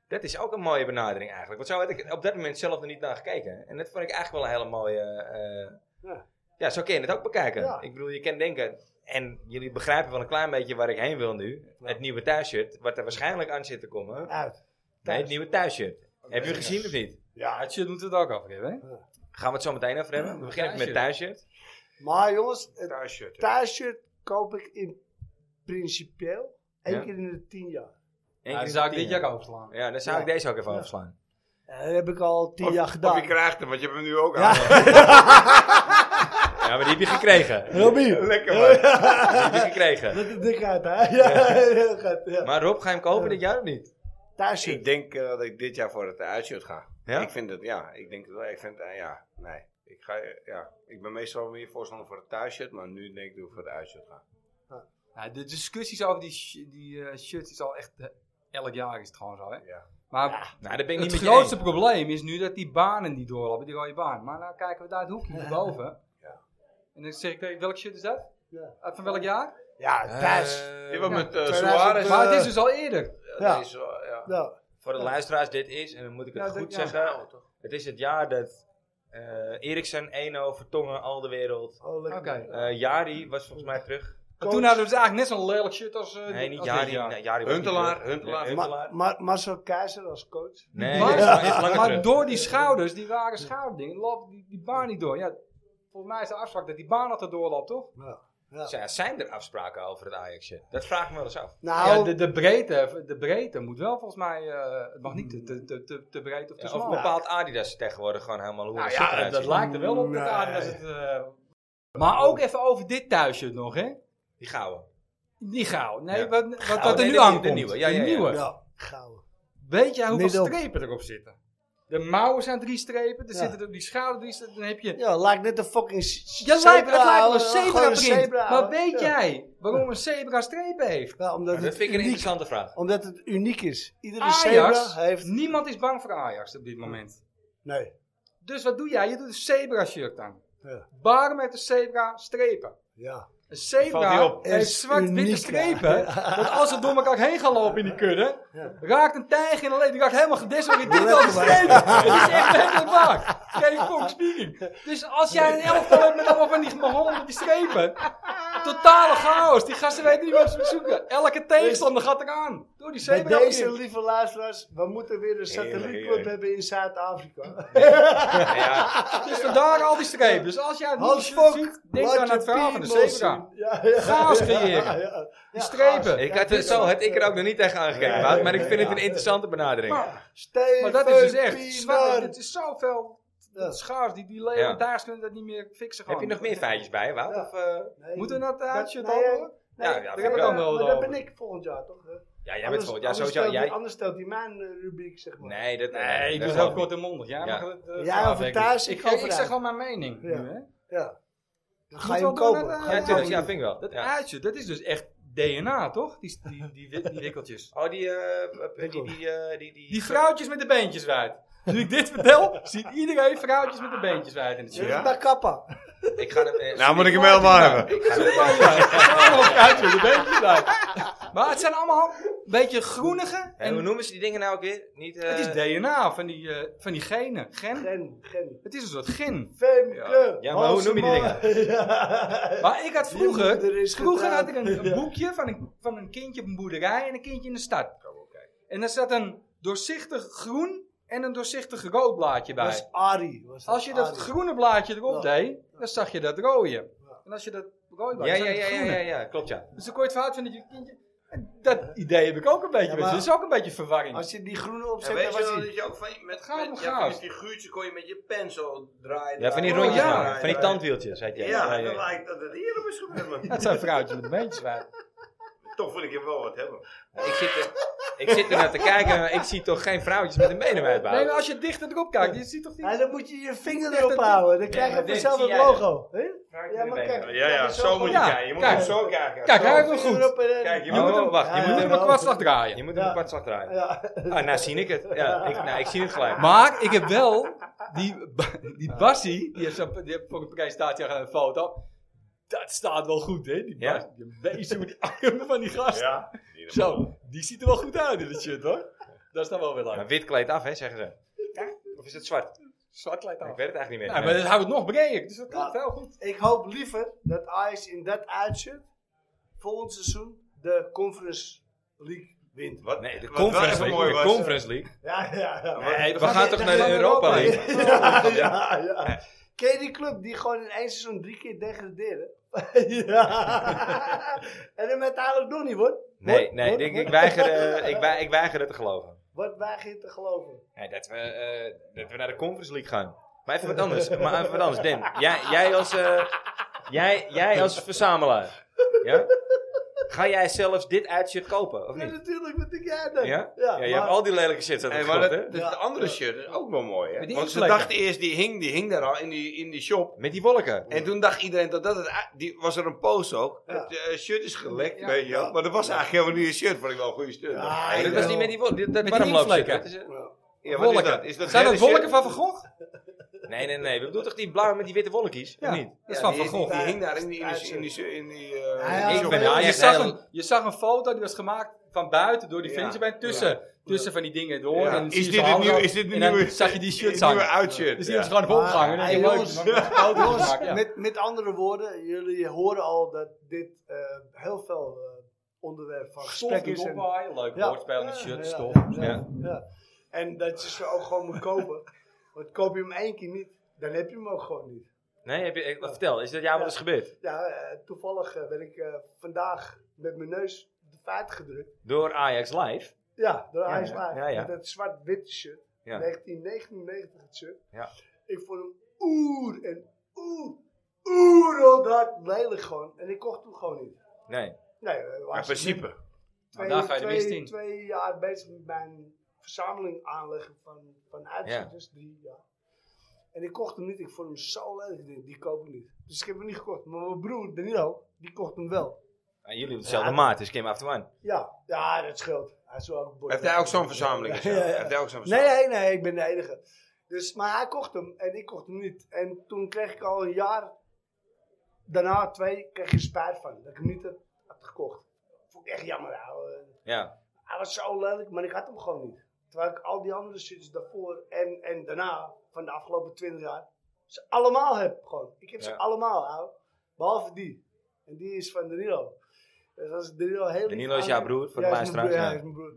[SPEAKER 1] dat is ook een mooie benadering eigenlijk. Want zo had ik op dat moment zelf er niet naar gekeken. En dat vond ik eigenlijk wel een hele mooie... eh, ja.
[SPEAKER 3] Ja.
[SPEAKER 1] zo kun je het ook bekijken.
[SPEAKER 3] Ja.
[SPEAKER 1] Ik bedoel, je kan denken... En jullie begrijpen wel een klein beetje waar ik heen wil nu. Het nieuwe thuisshirt, wat er waarschijnlijk aan zit te komen.
[SPEAKER 3] Uit.
[SPEAKER 1] Nee, het nieuwe thuisshirt. Heb je gezien of niet?
[SPEAKER 5] Ja, het shit moeten we het ook afgeven, hè?
[SPEAKER 1] Gaan we het zo meteen over hebben? We beginnen even met thuisshirt.
[SPEAKER 3] Maar jongens, het
[SPEAKER 7] thuisshirt. hè.
[SPEAKER 3] thuisshirt koop ik in principieel één
[SPEAKER 1] Ja.
[SPEAKER 3] keer in de tien jaar.
[SPEAKER 1] Eén
[SPEAKER 5] Ja,
[SPEAKER 1] keer
[SPEAKER 5] die zou ik
[SPEAKER 1] tien
[SPEAKER 5] dit
[SPEAKER 1] jaar.
[SPEAKER 5] jaar overslaan.
[SPEAKER 1] Ja, dan zou ik
[SPEAKER 3] Ja.
[SPEAKER 1] deze ook even afslaan.
[SPEAKER 3] En dat heb ik al tien
[SPEAKER 7] Of-
[SPEAKER 3] jaar
[SPEAKER 7] Of je
[SPEAKER 3] gedaan.
[SPEAKER 7] krijgt hem, want je hebt hem nu ook
[SPEAKER 3] Ja.
[SPEAKER 7] aan.
[SPEAKER 1] Ja, maar die heb je gekregen.
[SPEAKER 3] Robbie,
[SPEAKER 7] Lekker man.
[SPEAKER 1] Die heb je gekregen.
[SPEAKER 3] dat is dik uit, hè? Ja, heel goed, ja.
[SPEAKER 1] Maar Rob, ga je hem kopen dit jaar of niet?
[SPEAKER 3] Thuisshirt.
[SPEAKER 7] Ik denk eh, dat ik dit jaar voor het uitshirt ga.
[SPEAKER 1] Ja?
[SPEAKER 7] Ik vind het, ja, ik denk het wel. Ik vind, eh, ja, nee. Ik, ga, eh, ja. ik ben meestal meer voorstander voor het thuisshirt, maar nu denk ik dat ik voor het uitshirt ga.
[SPEAKER 5] Ja, de discussies over die, sh- die eh, shirts is al echt... eh, elk jaar is het gewoon zo, hè?
[SPEAKER 7] Ja.
[SPEAKER 5] Maar
[SPEAKER 1] Nou, dat ben ik
[SPEAKER 5] het
[SPEAKER 1] niet met je eens.
[SPEAKER 5] grootste probleem is nu dat die banen die doorlopen, die rode baan. Maar nou kijken we daar het hoekje hierboven.
[SPEAKER 7] Ja.
[SPEAKER 5] En dan zeg ik, tegen, welk shit is dat?
[SPEAKER 3] Ja.
[SPEAKER 5] Uit Van welk jaar?
[SPEAKER 3] Ja, thuis.
[SPEAKER 1] Eh,
[SPEAKER 7] Dit was met eh,
[SPEAKER 3] 2000,
[SPEAKER 7] Suarez.
[SPEAKER 5] maar het is dus al eerder.
[SPEAKER 3] ja.
[SPEAKER 7] Deze, ja.
[SPEAKER 3] Ja.
[SPEAKER 1] Voor de luisteraars, dit is, en dan moet ik het
[SPEAKER 5] Ja, dat-
[SPEAKER 1] goed
[SPEAKER 5] ja.
[SPEAKER 1] zeggen. Het is het jaar dat Eh Eriksen, Eno, Vertongen, Aldewereld.
[SPEAKER 3] Oh, lekker.
[SPEAKER 5] Oké.
[SPEAKER 1] Eh Jari was volgens mij terug.
[SPEAKER 5] Maar toen hadden we dus eigenlijk net zo'n lelijk shirt als... eh,
[SPEAKER 1] Nee,
[SPEAKER 5] dit-
[SPEAKER 1] niet
[SPEAKER 5] als dit
[SPEAKER 1] Jari.
[SPEAKER 5] jaar.
[SPEAKER 1] Nee, Jari was
[SPEAKER 7] Huntelaar,
[SPEAKER 1] niet terug.
[SPEAKER 7] Huntelaar.
[SPEAKER 1] Nee,
[SPEAKER 3] Ma Ma Marcel Keizer als coach.
[SPEAKER 1] Nee,
[SPEAKER 5] maar
[SPEAKER 1] is lang- is langer
[SPEAKER 5] maar
[SPEAKER 1] terug.
[SPEAKER 5] door die schouders, die rare schouderdingen, loopt die, die baan niet door. Ja, volgens mij is de afspraak dat die baan altijd doorloopt, toch?
[SPEAKER 1] Ja, zijn er afspraken over het Ajax? Dat vraag ik me wel eens af.
[SPEAKER 3] Nou,
[SPEAKER 5] Ja, de, de, breedte, de breedte moet wel volgens mij... eh, het mag niet te, te, te, te, te breed of te
[SPEAKER 1] Ja,
[SPEAKER 5] smal.
[SPEAKER 1] of bepaalt Adidas tegenwoordig gewoon helemaal hoe
[SPEAKER 5] Nou
[SPEAKER 1] het
[SPEAKER 5] ja,
[SPEAKER 1] eruit
[SPEAKER 5] dat
[SPEAKER 1] ziet?
[SPEAKER 5] lijkt er wel op.
[SPEAKER 3] Nee.
[SPEAKER 5] dat Adidas het, eh, maar ook even over dit thuisje nog, hè?
[SPEAKER 1] Die gouden.
[SPEAKER 5] Die gauw. Nee,
[SPEAKER 1] Ja.
[SPEAKER 5] wat, wat,
[SPEAKER 1] Gouden,
[SPEAKER 5] wat er
[SPEAKER 1] nee,
[SPEAKER 5] nu
[SPEAKER 1] de- de
[SPEAKER 5] aankomt.
[SPEAKER 1] nieuwe, ja,
[SPEAKER 5] De
[SPEAKER 1] ja, ja.
[SPEAKER 5] nieuwe.
[SPEAKER 3] ja, gauw.
[SPEAKER 5] Weet jij hoeveel
[SPEAKER 3] Middel.
[SPEAKER 5] strepen erop zitten? De mouwen zijn drie strepen, er
[SPEAKER 3] Ja.
[SPEAKER 5] zitten er die schouder drie strepen, dan heb je...
[SPEAKER 3] Ja, lijkt net een fucking z-
[SPEAKER 5] Je
[SPEAKER 3] zebra.
[SPEAKER 5] lijkt, het lijkt wel
[SPEAKER 3] ouwe.
[SPEAKER 5] een
[SPEAKER 3] Gewoon
[SPEAKER 5] zebra
[SPEAKER 3] een
[SPEAKER 5] print.
[SPEAKER 3] zebra,
[SPEAKER 5] Maar
[SPEAKER 3] ouwe.
[SPEAKER 5] weet
[SPEAKER 3] Ja.
[SPEAKER 5] jij waarom een zebra strepen heeft?
[SPEAKER 3] Ja, omdat,
[SPEAKER 1] Dat
[SPEAKER 3] het
[SPEAKER 1] vind ik een
[SPEAKER 3] uniek,
[SPEAKER 1] interessante vraag.
[SPEAKER 3] omdat het uniek is. Iedere
[SPEAKER 7] Ah, Oh,
[SPEAKER 5] Ajax,
[SPEAKER 3] zebra heeft...
[SPEAKER 5] niemand is bang voor Ajax op dit moment.
[SPEAKER 3] Nee.
[SPEAKER 5] Dus wat doe jij? Je doet een zebra shirt aan.
[SPEAKER 3] Ja.
[SPEAKER 5] Waarom heeft een zebra strepen?
[SPEAKER 3] Ja.
[SPEAKER 5] Een
[SPEAKER 6] Valt die
[SPEAKER 5] zebra
[SPEAKER 6] op?
[SPEAKER 5] heeft
[SPEAKER 3] Is
[SPEAKER 5] zwart-witte
[SPEAKER 3] uniek,
[SPEAKER 5] strepen.
[SPEAKER 3] ja.
[SPEAKER 5] Want als ze door elkaar heen gaan lopen in die kudde,
[SPEAKER 3] Ja.
[SPEAKER 5] raakt een tijger in de leed. Die raakt helemaal gedesoriënteerd door de strepen. Het is echt helemaal vaak. Geen Fox speaking. Dus als jij een elftal hebt met allemaal van die mahonden op die strepen. Totale chaos. Die gasten weten niet wat ze moeten zoeken. Elke tegenstander gaat eraan. Door die
[SPEAKER 3] Bij
[SPEAKER 5] zebra.
[SPEAKER 3] deze lieve luisteraars, we moeten weer een satellietclub
[SPEAKER 7] heerlijk.
[SPEAKER 3] hebben in Zuid-Afrika.
[SPEAKER 1] Ja, ja.
[SPEAKER 5] Dus vandaar al die strepen. Dus als jij het nieuwe
[SPEAKER 3] Hans
[SPEAKER 5] shirt
[SPEAKER 3] Fok,
[SPEAKER 5] ziet, denk aan het verhaal van de zebra.
[SPEAKER 3] Ja, ja,
[SPEAKER 5] Chaos
[SPEAKER 3] ja,
[SPEAKER 5] creëren.
[SPEAKER 3] ja, ja.
[SPEAKER 5] Die
[SPEAKER 3] Ja,
[SPEAKER 5] strepen.
[SPEAKER 1] Ik had, zo had ik er ook nog niet tegen aangekeken,
[SPEAKER 7] Nee,
[SPEAKER 1] Wout, maar ik
[SPEAKER 7] nee,
[SPEAKER 1] vind het
[SPEAKER 7] ja.
[SPEAKER 1] een interessante benadering.
[SPEAKER 5] Maar-
[SPEAKER 3] Steven
[SPEAKER 5] Maar dat is dus echt.
[SPEAKER 3] Pienaar.
[SPEAKER 5] Zwart, het is zoveel
[SPEAKER 3] Ja.
[SPEAKER 5] schaars. Die, die
[SPEAKER 1] Ja.
[SPEAKER 5] leeuwendaars kunnen dat niet meer fixen.
[SPEAKER 1] Heb
[SPEAKER 5] Gewoon.
[SPEAKER 1] je nog meer feitjes bij, Wout?
[SPEAKER 3] Ja.
[SPEAKER 1] Of, eh,
[SPEAKER 3] Nee,
[SPEAKER 5] Moeten we dat uitje
[SPEAKER 3] nee,
[SPEAKER 5] dan hoor?
[SPEAKER 3] nee,
[SPEAKER 1] Ja, ja,
[SPEAKER 3] nee,
[SPEAKER 1] vind ik
[SPEAKER 3] maar
[SPEAKER 1] wel.
[SPEAKER 3] dat-
[SPEAKER 5] wel
[SPEAKER 3] maar dat
[SPEAKER 5] over.
[SPEAKER 3] ben ik volgend jaar toch? hè?
[SPEAKER 1] ja, jij bent
[SPEAKER 3] Anders-
[SPEAKER 1] volgend jaar
[SPEAKER 3] anders
[SPEAKER 1] sowieso.
[SPEAKER 3] stelt hij-
[SPEAKER 1] Jij,
[SPEAKER 3] Anders stelt hij mijn eh, rubriek, zeg maar.
[SPEAKER 1] nee, dat
[SPEAKER 5] Nee, ik
[SPEAKER 1] dat
[SPEAKER 5] doe het
[SPEAKER 1] geloof
[SPEAKER 5] heel
[SPEAKER 1] ik
[SPEAKER 5] kort en mondig. Jij
[SPEAKER 1] Ja.
[SPEAKER 5] mag het, eh,
[SPEAKER 3] Jij over
[SPEAKER 5] afdekken.
[SPEAKER 3] thuis, ik
[SPEAKER 5] Ik,
[SPEAKER 3] over
[SPEAKER 5] ik, zeg
[SPEAKER 3] uit.
[SPEAKER 5] gewoon mijn mening.
[SPEAKER 3] Ja.
[SPEAKER 5] nu, hè.
[SPEAKER 3] Ja. Dan ga
[SPEAKER 5] Moeten
[SPEAKER 3] je hem
[SPEAKER 5] we ook wel
[SPEAKER 3] kopen.
[SPEAKER 5] naar de-
[SPEAKER 3] Ga
[SPEAKER 1] niet. Ja,
[SPEAKER 3] je hem
[SPEAKER 1] tuurlijk,
[SPEAKER 3] kopen.
[SPEAKER 1] ja, vind ik wel.
[SPEAKER 5] Dat
[SPEAKER 1] Ja.
[SPEAKER 5] uitje, dat is dus echt DNA toch? Die, die, die, wi- die wikkeltjes.
[SPEAKER 1] Oh, die, eh, die, die, die, eh, die, die,
[SPEAKER 5] Die vrouwtjes met de beentjes uit. Nu ik dit vertel, ziet iedereen vrouwtjes met de beentjes uit in het
[SPEAKER 3] Je
[SPEAKER 5] shirt.
[SPEAKER 3] bent Bij kappa.
[SPEAKER 1] Ik ga hem... eh,
[SPEAKER 7] Nou moet ik hem helemaal hebben.
[SPEAKER 5] Ik zoek maar je uit. Het zijn allemaal vrouwtjes met de beentjes uit. Maar het zijn allemaal een beetje groenige
[SPEAKER 1] en hoe
[SPEAKER 5] en
[SPEAKER 1] noemen ze die dingen nou ook weer? Niet, eh,
[SPEAKER 5] Het is DNA van die, eh, van die genen. Gen.
[SPEAKER 3] Gen, gen.
[SPEAKER 5] Het is een soort gen.
[SPEAKER 3] Femke.
[SPEAKER 1] Ja, maar hoe noem je die dingen?
[SPEAKER 3] dingen?
[SPEAKER 5] Maar ik had
[SPEAKER 3] Die moeder
[SPEAKER 5] vroeger,
[SPEAKER 3] is
[SPEAKER 5] vroeger had
[SPEAKER 3] getrouwd.
[SPEAKER 5] ik een, een boekje van een, van een kindje op een boerderij en een kindje in de stad. En daar zat een doorzichtig groen en een doorzichtig rood blaadje
[SPEAKER 3] Dat is
[SPEAKER 5] bij.
[SPEAKER 3] Ari. was
[SPEAKER 5] Als je dat
[SPEAKER 3] Ari.
[SPEAKER 5] groene blaadje erop
[SPEAKER 3] Ja.
[SPEAKER 5] deed, dan zag je dat rode.
[SPEAKER 3] Ja.
[SPEAKER 5] En als je dat rode
[SPEAKER 1] Ja,
[SPEAKER 5] blaadje,
[SPEAKER 1] ja,
[SPEAKER 5] zag je
[SPEAKER 1] ja,
[SPEAKER 5] het
[SPEAKER 1] ja, ja,
[SPEAKER 5] groene.
[SPEAKER 1] ja, klopt ja.
[SPEAKER 5] Dus dan kon je het verhaal van dat kindje... En Dat idee heb ik ook een beetje.
[SPEAKER 3] Ja,
[SPEAKER 5] met.
[SPEAKER 3] maar-
[SPEAKER 5] dat is ook een beetje verwarring.
[SPEAKER 3] Als je die groene
[SPEAKER 7] Ja,
[SPEAKER 3] opzet,
[SPEAKER 7] weet
[SPEAKER 3] dan
[SPEAKER 7] je
[SPEAKER 3] was
[SPEAKER 7] wel
[SPEAKER 3] hij.
[SPEAKER 7] dat je ook van, met,
[SPEAKER 5] gaat om
[SPEAKER 7] met, ja,
[SPEAKER 5] chaos.
[SPEAKER 7] met die guurtje kon je met je pen zo draaien.
[SPEAKER 1] Ja, van die
[SPEAKER 7] draaien,
[SPEAKER 1] rondjes,
[SPEAKER 5] ja.
[SPEAKER 1] man. van die tandwieltjes, had
[SPEAKER 7] Ja,
[SPEAKER 1] jij.
[SPEAKER 7] en dan lijkt dat het hier op is gebeurd.
[SPEAKER 5] Dat zijn vrouwtjes met beentjes bij.
[SPEAKER 7] Toch wil ik hem wel wat hebben.
[SPEAKER 1] Ik zit, er, ik zit er naar te kijken, maar ik zie toch geen vrouwtjes met een benen bij het
[SPEAKER 5] Nee,
[SPEAKER 1] bouwen.
[SPEAKER 5] maar als je dichter erop kijkt, je ziet toch niet...
[SPEAKER 3] Ja, dan moet je je vinger
[SPEAKER 5] Echt, dat-
[SPEAKER 3] erop houden. Dan krijg
[SPEAKER 1] maar
[SPEAKER 3] je
[SPEAKER 1] dit
[SPEAKER 3] vanzelf
[SPEAKER 1] zie
[SPEAKER 3] het
[SPEAKER 1] jij dan.
[SPEAKER 3] logo. hè? Ja, maar kijk.
[SPEAKER 7] Ja, ja, zo moet je
[SPEAKER 5] Ja,
[SPEAKER 7] kijken. Je moet
[SPEAKER 5] kijk.
[SPEAKER 7] hem zo kijken.
[SPEAKER 5] Kijk,
[SPEAKER 7] Zo.
[SPEAKER 5] hij heeft hem
[SPEAKER 3] Vinger
[SPEAKER 5] goed.
[SPEAKER 3] erop en-
[SPEAKER 7] Kijk, je
[SPEAKER 1] Oh,
[SPEAKER 7] moet hem...
[SPEAKER 1] wacht, je
[SPEAKER 3] Ja,
[SPEAKER 1] moet
[SPEAKER 3] ja,
[SPEAKER 1] hem
[SPEAKER 5] Een kwartslag
[SPEAKER 1] Ja,
[SPEAKER 5] draaien.
[SPEAKER 1] Je moet hem
[SPEAKER 3] Ja.
[SPEAKER 1] een kwartslag draaien.
[SPEAKER 3] Ja.
[SPEAKER 1] Ah, nou zie ik het. Ja, ik, nou, ik zie het gelijk.
[SPEAKER 5] Maar ik heb wel die, die Bassie, die heeft, zo, die heeft voor een presentatie gedaan, een foto. Dat staat wel goed, hè? Die
[SPEAKER 1] Ja?
[SPEAKER 5] Bas, die wezen met die armen van die gast.
[SPEAKER 7] Ja.
[SPEAKER 5] Zo, die ziet er wel goed uit in het shirt, hoor. Dat is dan wel weer
[SPEAKER 1] Maar
[SPEAKER 5] leuk.
[SPEAKER 1] wit kleed af, hè, zeggen ze. Of is het zwart?
[SPEAKER 5] Zwart lijkt
[SPEAKER 1] Ik
[SPEAKER 5] af.
[SPEAKER 1] weet het eigenlijk niet meer.
[SPEAKER 5] Nou, maar dat houdt het nog breder, dus dat klopt
[SPEAKER 3] Ja.
[SPEAKER 5] heel goed.
[SPEAKER 3] Nou, Ik hoop liever dat Ajax in dat uitshirt volgend seizoen de Conference League wint.
[SPEAKER 7] Wat?
[SPEAKER 1] Nee, de
[SPEAKER 7] wat wel
[SPEAKER 1] Conference
[SPEAKER 7] even
[SPEAKER 1] League.
[SPEAKER 7] mooi
[SPEAKER 1] De
[SPEAKER 7] was-
[SPEAKER 1] Conference League.
[SPEAKER 3] Ja, ja, ja.
[SPEAKER 1] Nee, we
[SPEAKER 3] gaan
[SPEAKER 1] gaan
[SPEAKER 3] we-
[SPEAKER 1] toch
[SPEAKER 3] dan
[SPEAKER 1] naar de
[SPEAKER 3] gaan we
[SPEAKER 1] Europa
[SPEAKER 3] Europa
[SPEAKER 1] League.
[SPEAKER 3] ja, ja, ja. Ken je die club die gewoon in één seizoen drie keer degraderen? ja. en dan met eigenlijk nog niet, wordt.
[SPEAKER 1] Nee, nee, ik, ik, weiger, eh, ik, wei- ik weiger het te geloven.
[SPEAKER 3] Wat weiger je te geloven?
[SPEAKER 1] Nee, dat, we, eh, dat we naar de Conference League gaan. Maar even wat anders. Maar even wat anders. Dim, jij, jij, als, eh, jij, jij als verzamelaar. Ja? Ga jij zelfs dit uitshirt kopen, of
[SPEAKER 3] Ja,
[SPEAKER 1] niet?
[SPEAKER 3] natuurlijk, wat denk jij
[SPEAKER 1] Ja?
[SPEAKER 3] dan?
[SPEAKER 1] ja,
[SPEAKER 3] ja,
[SPEAKER 1] je hebt
[SPEAKER 3] maar-
[SPEAKER 1] al die lelijke shit aan
[SPEAKER 7] Hey,
[SPEAKER 1] het
[SPEAKER 7] maar
[SPEAKER 1] gehad,
[SPEAKER 7] dat,
[SPEAKER 1] hè?
[SPEAKER 7] dat-
[SPEAKER 3] Ja.
[SPEAKER 7] de andere shirt is ook wel mooi, hè?
[SPEAKER 5] Met die
[SPEAKER 7] Want ze
[SPEAKER 5] inktvlekken.
[SPEAKER 7] dachten eerst, die hing, die hing daar al in die, in die shop.
[SPEAKER 1] Met die wolken.
[SPEAKER 7] En toen dacht iedereen dat dat het... a- Die, was er een post ook.
[SPEAKER 3] Ja.
[SPEAKER 7] Het eh, shirt is gelekt,
[SPEAKER 5] Ja.
[SPEAKER 7] weet je wel. Maar dat was eigenlijk helemaal niet een shirt, vond ik wel een goede shirt.
[SPEAKER 3] Ja,
[SPEAKER 1] dat was niet met die wolken. Dit- Dat
[SPEAKER 5] die
[SPEAKER 1] warmloopshirt.
[SPEAKER 5] inktvlekken.
[SPEAKER 1] dat is, eh,
[SPEAKER 7] Ja, wat
[SPEAKER 5] Wolken.
[SPEAKER 7] is dat? Is dat
[SPEAKER 5] Zijn
[SPEAKER 7] gele
[SPEAKER 5] dat wolken
[SPEAKER 7] shirt?
[SPEAKER 5] van Van Gogh?
[SPEAKER 1] Nee, nee, nee. We bedoelen toch die blauwe met die witte wolkjes?
[SPEAKER 5] Ja,
[SPEAKER 1] Of niet?
[SPEAKER 5] dat is
[SPEAKER 7] Ja,
[SPEAKER 5] van
[SPEAKER 7] die,
[SPEAKER 5] Van Gogh.
[SPEAKER 7] die hing daar in die... In die, in die, in die, eh,
[SPEAKER 3] Ja, ja,
[SPEAKER 7] shop.
[SPEAKER 3] ik
[SPEAKER 1] ben-
[SPEAKER 5] Ja,
[SPEAKER 1] Ja,
[SPEAKER 5] je,
[SPEAKER 1] echt
[SPEAKER 5] zag
[SPEAKER 1] heel-
[SPEAKER 5] een, je zag een foto die was gemaakt van buiten door die
[SPEAKER 7] Ja.
[SPEAKER 5] Vinci bij tussen. tussen van die dingen door.
[SPEAKER 7] Ja.
[SPEAKER 5] En dan zie
[SPEAKER 7] Is
[SPEAKER 5] je
[SPEAKER 7] dit
[SPEAKER 5] ze
[SPEAKER 7] het
[SPEAKER 5] hangen.
[SPEAKER 7] nieuwe- is dit de
[SPEAKER 5] En dan
[SPEAKER 7] nieuwe-
[SPEAKER 5] zag je die shirts
[SPEAKER 7] nieuwe
[SPEAKER 5] hangen.
[SPEAKER 7] outshirt,
[SPEAKER 5] Dus die hebben ze
[SPEAKER 7] ja.
[SPEAKER 5] gewoon op opgehangen.
[SPEAKER 3] Maar,
[SPEAKER 5] En
[SPEAKER 3] hey,
[SPEAKER 5] dan
[SPEAKER 3] jongens, Jongens, met, met andere woorden, jullie horen al dat dit eh, heel veel eh, onderwerp van gesprek is. en-
[SPEAKER 5] Leuk
[SPEAKER 3] Ja.
[SPEAKER 5] woordspel met
[SPEAKER 3] Ja,
[SPEAKER 5] shirts,
[SPEAKER 3] ja,
[SPEAKER 5] stof.
[SPEAKER 3] ja, ja, ja. En dat je ze ook gewoon moet kopen. Want koop je hem één keer niet, dan heb je hem ook gewoon niet.
[SPEAKER 1] Nee, heb je, eh, vertel, is dat jou wel eens gebeurd?
[SPEAKER 3] Ja, eh, toevallig eh, ben ik eh, vandaag met mijn neus de vaart gedrukt.
[SPEAKER 1] Door Ajax Live?
[SPEAKER 3] Ja, door
[SPEAKER 1] Ja,
[SPEAKER 3] IJs
[SPEAKER 1] ja,
[SPEAKER 3] Laar.
[SPEAKER 1] ja, ja.
[SPEAKER 3] Met dat zwart-witte shirt.
[SPEAKER 1] Ja.
[SPEAKER 3] 1999 het shirt.
[SPEAKER 1] Ja.
[SPEAKER 3] Ik vond hem oer en oer, oereldaad lelijk gewoon. En ik kocht hem gewoon niet.
[SPEAKER 1] Nee.
[SPEAKER 3] Nee, eh,
[SPEAKER 7] In
[SPEAKER 3] was-
[SPEAKER 7] principe.
[SPEAKER 3] twee,
[SPEAKER 5] daar ga je de mist
[SPEAKER 3] twee,
[SPEAKER 5] in.
[SPEAKER 3] twee jaar bezig met mijn verzameling aanleggen van, van uitzichters. Drie jaar. En ik kocht hem niet. Ik vond hem zo leuk. Ik denk, die koop ik niet. Dus ik heb hem niet gekocht. Maar mijn broer, Danilo, die kocht hem wel.
[SPEAKER 1] Ah, jullie hebben dezelfde maat, dus Kim After One.
[SPEAKER 3] Ja, ja dat scheelt. Hij is wel een bord.
[SPEAKER 7] Heeft hij ook zo'n verzameling? of zo?
[SPEAKER 3] Ja, ja, ja.
[SPEAKER 7] Heeft hij ook zo'n
[SPEAKER 3] Nee,
[SPEAKER 7] verzameling?
[SPEAKER 3] nee, nee, ik ben de enige. Dus, maar hij kocht hem en ik kocht hem niet. En toen kreeg ik al een jaar, daarna twee, kreeg ik er spijt van. Dat ik hem niet had, had gekocht. Vond ik echt jammer. ouwe.
[SPEAKER 1] Ja.
[SPEAKER 3] Hij was zo lelijk, maar ik had hem gewoon niet. Terwijl ik al die andere shirts daarvoor en, en daarna, van de afgelopen 20 jaar, ze allemaal heb gewoon. Ik heb
[SPEAKER 1] Ja.
[SPEAKER 3] ze allemaal, ouwe. Behalve die. En die is van Danilo. Dus als Danilo heel lief
[SPEAKER 1] Danilo is
[SPEAKER 3] aan-
[SPEAKER 1] jouw broer, voor de
[SPEAKER 3] Ja, is mijn
[SPEAKER 1] luisteraars,
[SPEAKER 3] broer, Ja,
[SPEAKER 1] ja.
[SPEAKER 3] is mijn broer.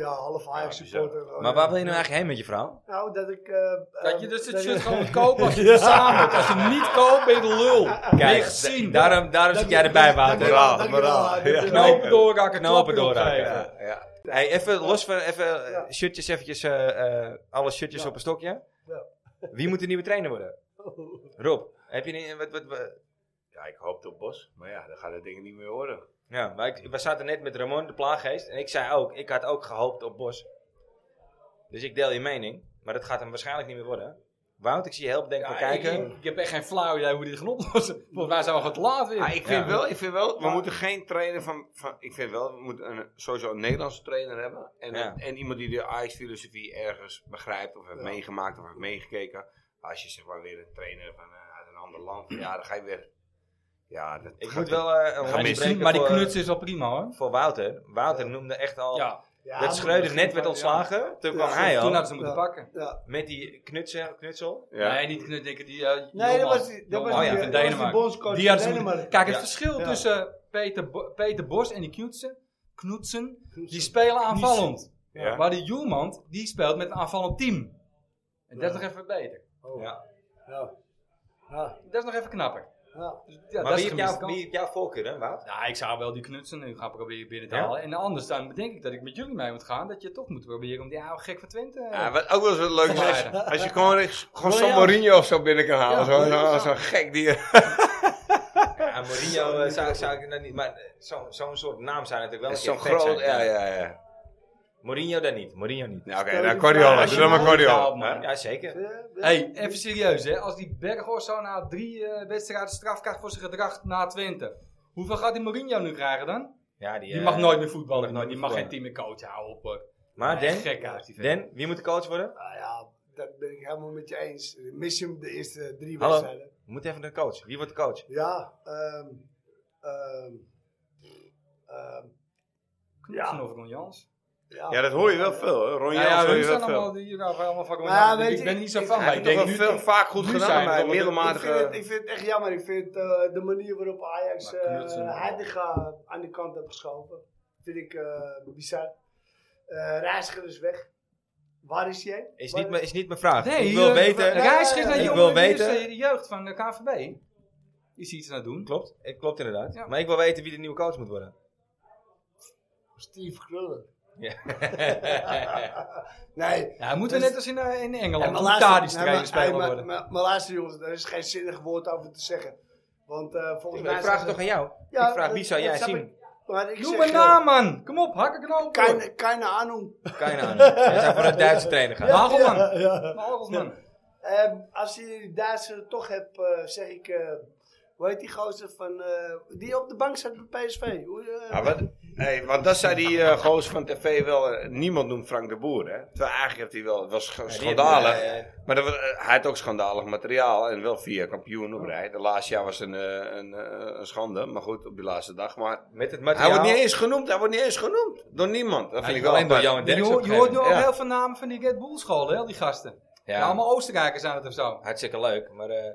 [SPEAKER 3] Ja, half Ajax
[SPEAKER 7] bizar.
[SPEAKER 3] supporter. gewoon.
[SPEAKER 1] Maar waar wil je nou eigenlijk heen met je vrouw?
[SPEAKER 3] Nou, dat ik... eh,
[SPEAKER 5] Dat je
[SPEAKER 3] eh,
[SPEAKER 5] dus het
[SPEAKER 3] dat
[SPEAKER 5] shirt
[SPEAKER 3] ik-
[SPEAKER 5] gewoon moet kopen als je het verzamelt. Als je het niet koopt, ben je de lul. Ben je
[SPEAKER 1] Kijk,
[SPEAKER 5] gezien.
[SPEAKER 1] da- daarom, daarom zit jij erbij, Wouter.
[SPEAKER 3] Dankjewel,
[SPEAKER 7] Moraal,
[SPEAKER 3] dankjewel,
[SPEAKER 7] moraal.
[SPEAKER 3] dankjewel.
[SPEAKER 7] Ja.
[SPEAKER 5] Knopen doorhakken,
[SPEAKER 1] Knopen doorhakken.
[SPEAKER 7] Ja,
[SPEAKER 5] opgeven.
[SPEAKER 7] ja.
[SPEAKER 1] Hey, even los van even, eh,
[SPEAKER 3] Ja.
[SPEAKER 1] shirtjes, eventjes, eh, eh, alle shirtjes
[SPEAKER 3] Ja.
[SPEAKER 1] op een stokje.
[SPEAKER 3] Ja.
[SPEAKER 1] Wie moet de nieuwe trainer worden? Rob, heb je een, wat, wat, wat-
[SPEAKER 7] Ja, ik hoopte op Bos. Maar ja, dan gaan de dingen niet meer horen.
[SPEAKER 1] Ja, maar ik, we zaten net met Ramon, de plaaggeest. En ik zei ook, ik had ook gehoopt op Bos. Dus ik deel je mening. Maar dat gaat hem waarschijnlijk niet meer worden. Wout, ik zie je heel bedenken
[SPEAKER 5] Ja,
[SPEAKER 1] van kijken.
[SPEAKER 5] Ik, ik heb echt geen flauw idee hoe dit gaan oplossen. Volgens mij zijn we gewoon te laat weer.
[SPEAKER 7] Ah, ik, vind
[SPEAKER 1] Ja.
[SPEAKER 7] wel, ik vind wel, we moeten geen trainer van, van... Ik vind wel, we moeten een, sowieso een Nederlandse trainer hebben. En,
[SPEAKER 1] Ja.
[SPEAKER 7] en iemand die de Ajax-filosofie ergens begrijpt of heeft
[SPEAKER 3] Ja.
[SPEAKER 7] meegemaakt of heeft meegekeken. Als je zeg maar weer een trainer van, eh, uit een ander land... Ja, dan ga je weer... Ja, dat
[SPEAKER 1] Ik
[SPEAKER 7] gaat
[SPEAKER 1] moet
[SPEAKER 7] weer-
[SPEAKER 1] wel eh, een
[SPEAKER 7] Ga
[SPEAKER 5] maar,
[SPEAKER 1] rondje
[SPEAKER 5] die,
[SPEAKER 7] missen.
[SPEAKER 1] breken
[SPEAKER 5] maar die
[SPEAKER 1] voor, eh,
[SPEAKER 5] knuts is wel prima hoor.
[SPEAKER 1] voor Wouter. Wouter noemde echt al...
[SPEAKER 5] Ja,
[SPEAKER 3] Ja,
[SPEAKER 1] dat
[SPEAKER 3] maar-
[SPEAKER 1] Schreuder net werd ontslagen. Toen kwam
[SPEAKER 3] Ja,
[SPEAKER 1] hij
[SPEAKER 5] toen
[SPEAKER 1] al.
[SPEAKER 5] hadden ze moeten
[SPEAKER 3] Ja.
[SPEAKER 5] pakken.
[SPEAKER 3] Ja.
[SPEAKER 1] Met die knutsen, knutsel.
[SPEAKER 7] Ja.
[SPEAKER 5] Nee, niet knuts, denk ik. Die, eh,
[SPEAKER 3] Nee, dat
[SPEAKER 5] Joman.
[SPEAKER 3] was, die- dat was,
[SPEAKER 1] Oh
[SPEAKER 5] Joman
[SPEAKER 1] ja,
[SPEAKER 3] die-
[SPEAKER 5] van
[SPEAKER 3] dat was die
[SPEAKER 5] Denemarken.
[SPEAKER 3] bondscoach
[SPEAKER 5] Die
[SPEAKER 3] van
[SPEAKER 5] hadden ze moeten-
[SPEAKER 3] Denemarken.
[SPEAKER 5] Kijk, het
[SPEAKER 1] Ja.
[SPEAKER 5] verschil
[SPEAKER 3] Ja.
[SPEAKER 5] tussen eh, Peter, Bo- Peter Bos en die Knutsen, Knutsen, die spelen aanvallend.
[SPEAKER 7] Ja.
[SPEAKER 5] Maar die Joelman, die speelt met een aanvallend team. En dat is nog even beter.
[SPEAKER 3] Oh.
[SPEAKER 1] Ja.
[SPEAKER 3] Ja. Ja.
[SPEAKER 5] Dat is nog even knapper.
[SPEAKER 3] Ja.
[SPEAKER 5] Dus ja,
[SPEAKER 1] maar
[SPEAKER 5] dat
[SPEAKER 1] wie heeft,
[SPEAKER 5] is gemiste
[SPEAKER 1] jou,
[SPEAKER 5] kans.
[SPEAKER 1] wie heeft jouw voorkeur, hè, Wout?
[SPEAKER 5] Nou, ik zou wel die knutsen nu gaan proberen binnen te
[SPEAKER 1] Ja?
[SPEAKER 5] halen. En anders dan bedenk ik dat ik met jullie mee moet gaan. Dat je toch moet proberen om die oude gek van Twente... eh,
[SPEAKER 7] Ja, wat ook wel eens leuk is, als,
[SPEAKER 5] Vermaarden.
[SPEAKER 7] als je gewoon, echt- gewoon San
[SPEAKER 3] Royals.
[SPEAKER 7] Mourinho of zo binnen kan halen.
[SPEAKER 5] Ja,
[SPEAKER 7] Zo'n zo,
[SPEAKER 5] Royals.
[SPEAKER 7] zo'n gek die...
[SPEAKER 1] Ja, Mourinho eh, zou, zou ik dat niet... Maar eh, zo- zo'n soort naam zou natuurlijk wel een
[SPEAKER 7] Zo'n
[SPEAKER 1] keer vet
[SPEAKER 7] groot... Ja,
[SPEAKER 1] zijn.
[SPEAKER 7] ja, ja.
[SPEAKER 1] Mourinho dan niet. Mourinho niet.
[SPEAKER 7] Nou, Oké,
[SPEAKER 3] Stel je
[SPEAKER 7] nou,
[SPEAKER 3] voor,
[SPEAKER 7] Coriolis.
[SPEAKER 3] als
[SPEAKER 7] Doe
[SPEAKER 3] je
[SPEAKER 7] dan maar
[SPEAKER 5] hem
[SPEAKER 7] Coriolis.
[SPEAKER 5] ophaalt, man.
[SPEAKER 1] Ja, zeker.
[SPEAKER 5] Eh,
[SPEAKER 3] Ja.
[SPEAKER 5] Hey, even serieus hè. Als die Berghuis zo na drie eh, wedstrijden straf krijgt voor zijn gedrag na Twente. Hoeveel gaat die Mourinho nu krijgen dan?
[SPEAKER 1] Ja, die,
[SPEAKER 5] Die
[SPEAKER 1] eh,
[SPEAKER 5] mag nooit meer voetballen.
[SPEAKER 1] mag nooit
[SPEAKER 5] die
[SPEAKER 1] meer
[SPEAKER 5] mag geen
[SPEAKER 1] voetballen.
[SPEAKER 5] team meer coachen. Hou op hoor.
[SPEAKER 1] Maar
[SPEAKER 5] Hij is
[SPEAKER 1] Den,
[SPEAKER 5] eh, gek uit die vent. Ah,
[SPEAKER 1] Den, wie moet de coach worden?
[SPEAKER 3] Nou ja, dat ben ik helemaal met je eens. Mis je hem de eerste drie
[SPEAKER 1] Hallo.
[SPEAKER 3] wedstrijden.
[SPEAKER 1] We moeten even een coach. Wie wordt de coach?
[SPEAKER 3] Ja, ehm ehm ehm,
[SPEAKER 5] Knutsen of Ron Jans.
[SPEAKER 3] ja.
[SPEAKER 7] Ja, dat hoor je wel veel. hè. Ron
[SPEAKER 5] Nou Ja,
[SPEAKER 7] Jans
[SPEAKER 5] ja,
[SPEAKER 7] hoor
[SPEAKER 5] hun
[SPEAKER 7] je
[SPEAKER 5] zijn
[SPEAKER 7] wel veel.
[SPEAKER 5] allemaal, die raken allemaal van Ron
[SPEAKER 3] Maar ja,
[SPEAKER 5] Jans.
[SPEAKER 3] weet
[SPEAKER 5] Ik
[SPEAKER 3] je,
[SPEAKER 5] ben niet zo
[SPEAKER 3] ik-
[SPEAKER 5] van.
[SPEAKER 3] ik-
[SPEAKER 5] Maar
[SPEAKER 7] Hij
[SPEAKER 5] ik
[SPEAKER 7] heeft toch
[SPEAKER 5] denk
[SPEAKER 7] wel
[SPEAKER 5] nu...
[SPEAKER 7] veel, vaak goed
[SPEAKER 5] nu
[SPEAKER 7] gedaan,
[SPEAKER 5] zijn we
[SPEAKER 7] maar
[SPEAKER 5] nog
[SPEAKER 3] ik, vind
[SPEAKER 5] een-
[SPEAKER 3] het,
[SPEAKER 7] middelmatige...
[SPEAKER 3] ik vind het echt jammer. Ik vind eh, de manier waarop Ajax
[SPEAKER 5] Maar Knutsen-
[SPEAKER 3] eh Heidega aan de kant heeft geschoven, vind ik eh bizar. Eh Reiziger is weg. Waar is jij?
[SPEAKER 1] Is
[SPEAKER 3] Waar-
[SPEAKER 1] niet, mijn- is niet mijn vraag.
[SPEAKER 5] Nee,
[SPEAKER 1] ik wil
[SPEAKER 5] eh,
[SPEAKER 1] weten.
[SPEAKER 5] Reis ging naar
[SPEAKER 1] Ik
[SPEAKER 5] jongen,
[SPEAKER 1] wil
[SPEAKER 5] die is,
[SPEAKER 1] weten-
[SPEAKER 5] eh, de jeugd van de KVB. Is hier iets aan het doen.
[SPEAKER 1] Klopt, eh, klopt inderdaad.
[SPEAKER 5] Ja.
[SPEAKER 1] Maar ik wil weten wie de nieuwe coach moet worden.
[SPEAKER 3] Steve Krullen.
[SPEAKER 1] Ja.
[SPEAKER 3] Nee,
[SPEAKER 5] Ja, moeten we
[SPEAKER 3] Dus-
[SPEAKER 5] net als in, eh, in
[SPEAKER 3] Ja,
[SPEAKER 5] Engeland.
[SPEAKER 3] maar
[SPEAKER 5] moet
[SPEAKER 3] luister-
[SPEAKER 5] daar
[SPEAKER 3] nee,
[SPEAKER 5] die
[SPEAKER 3] maar-
[SPEAKER 5] trainer
[SPEAKER 3] hey,
[SPEAKER 5] speler
[SPEAKER 3] maar-
[SPEAKER 5] worden.
[SPEAKER 3] Maar, maar luister jongens, daar is geen zinnig woord over te zeggen. Want eh volgens
[SPEAKER 1] ik
[SPEAKER 3] mij...
[SPEAKER 1] vraag het toch aan jou?
[SPEAKER 3] Ja,
[SPEAKER 1] ik vraag wie zou
[SPEAKER 3] dat-
[SPEAKER 1] jij
[SPEAKER 3] dat snap
[SPEAKER 1] zien?
[SPEAKER 3] ik. Maar ik
[SPEAKER 5] Noem
[SPEAKER 3] zeg,
[SPEAKER 5] een
[SPEAKER 3] eh,
[SPEAKER 5] naam man. Kom op, hak een knoop. door.
[SPEAKER 3] Keine, keine Ahnung.
[SPEAKER 1] Keine Ahnung. Hij zou voor een Duitse trainer gaan.
[SPEAKER 5] Hagelman.
[SPEAKER 3] Ja, ja.
[SPEAKER 5] Hagelman.
[SPEAKER 3] Ehm, als je die Duitsers toch hebt, eh, zeg ik eh Hoe heet die gozer van... eh, die op de bank zat bij PSV? Hoe, eh,
[SPEAKER 7] Ja, Nou, wat, hey, want dat zei die eh goos van tv wel. eh, niemand noemt Frank de Boer, hè? Terwijl eigenlijk heeft hij wel. Het was sch- schandalig. maar dat, was- eh, hij had ook schandalig materiaal. En wel vier kampioenen op rij. De laatste jaar was een, eh, een, eh, een schande. Maar goed, op die laatste dag. Maar
[SPEAKER 1] Met het
[SPEAKER 7] hij
[SPEAKER 1] materiaal.
[SPEAKER 7] wordt niet eens genoemd. Hij wordt niet eens genoemd. Door niemand. Dat vind
[SPEAKER 1] Hij
[SPEAKER 7] ik
[SPEAKER 1] is
[SPEAKER 7] wel
[SPEAKER 1] alleen door
[SPEAKER 7] apart.
[SPEAKER 1] jou en
[SPEAKER 5] Je,
[SPEAKER 1] Dirk.
[SPEAKER 5] hoort- je hoort nu ook
[SPEAKER 7] Ja.
[SPEAKER 5] heel veel namen van die Red Bull scholen, hè, al die gasten. Ja.
[SPEAKER 1] Ja,
[SPEAKER 5] allemaal Oostenrijkers zijn het of zo.
[SPEAKER 1] hartstikke leuk. Maar eh,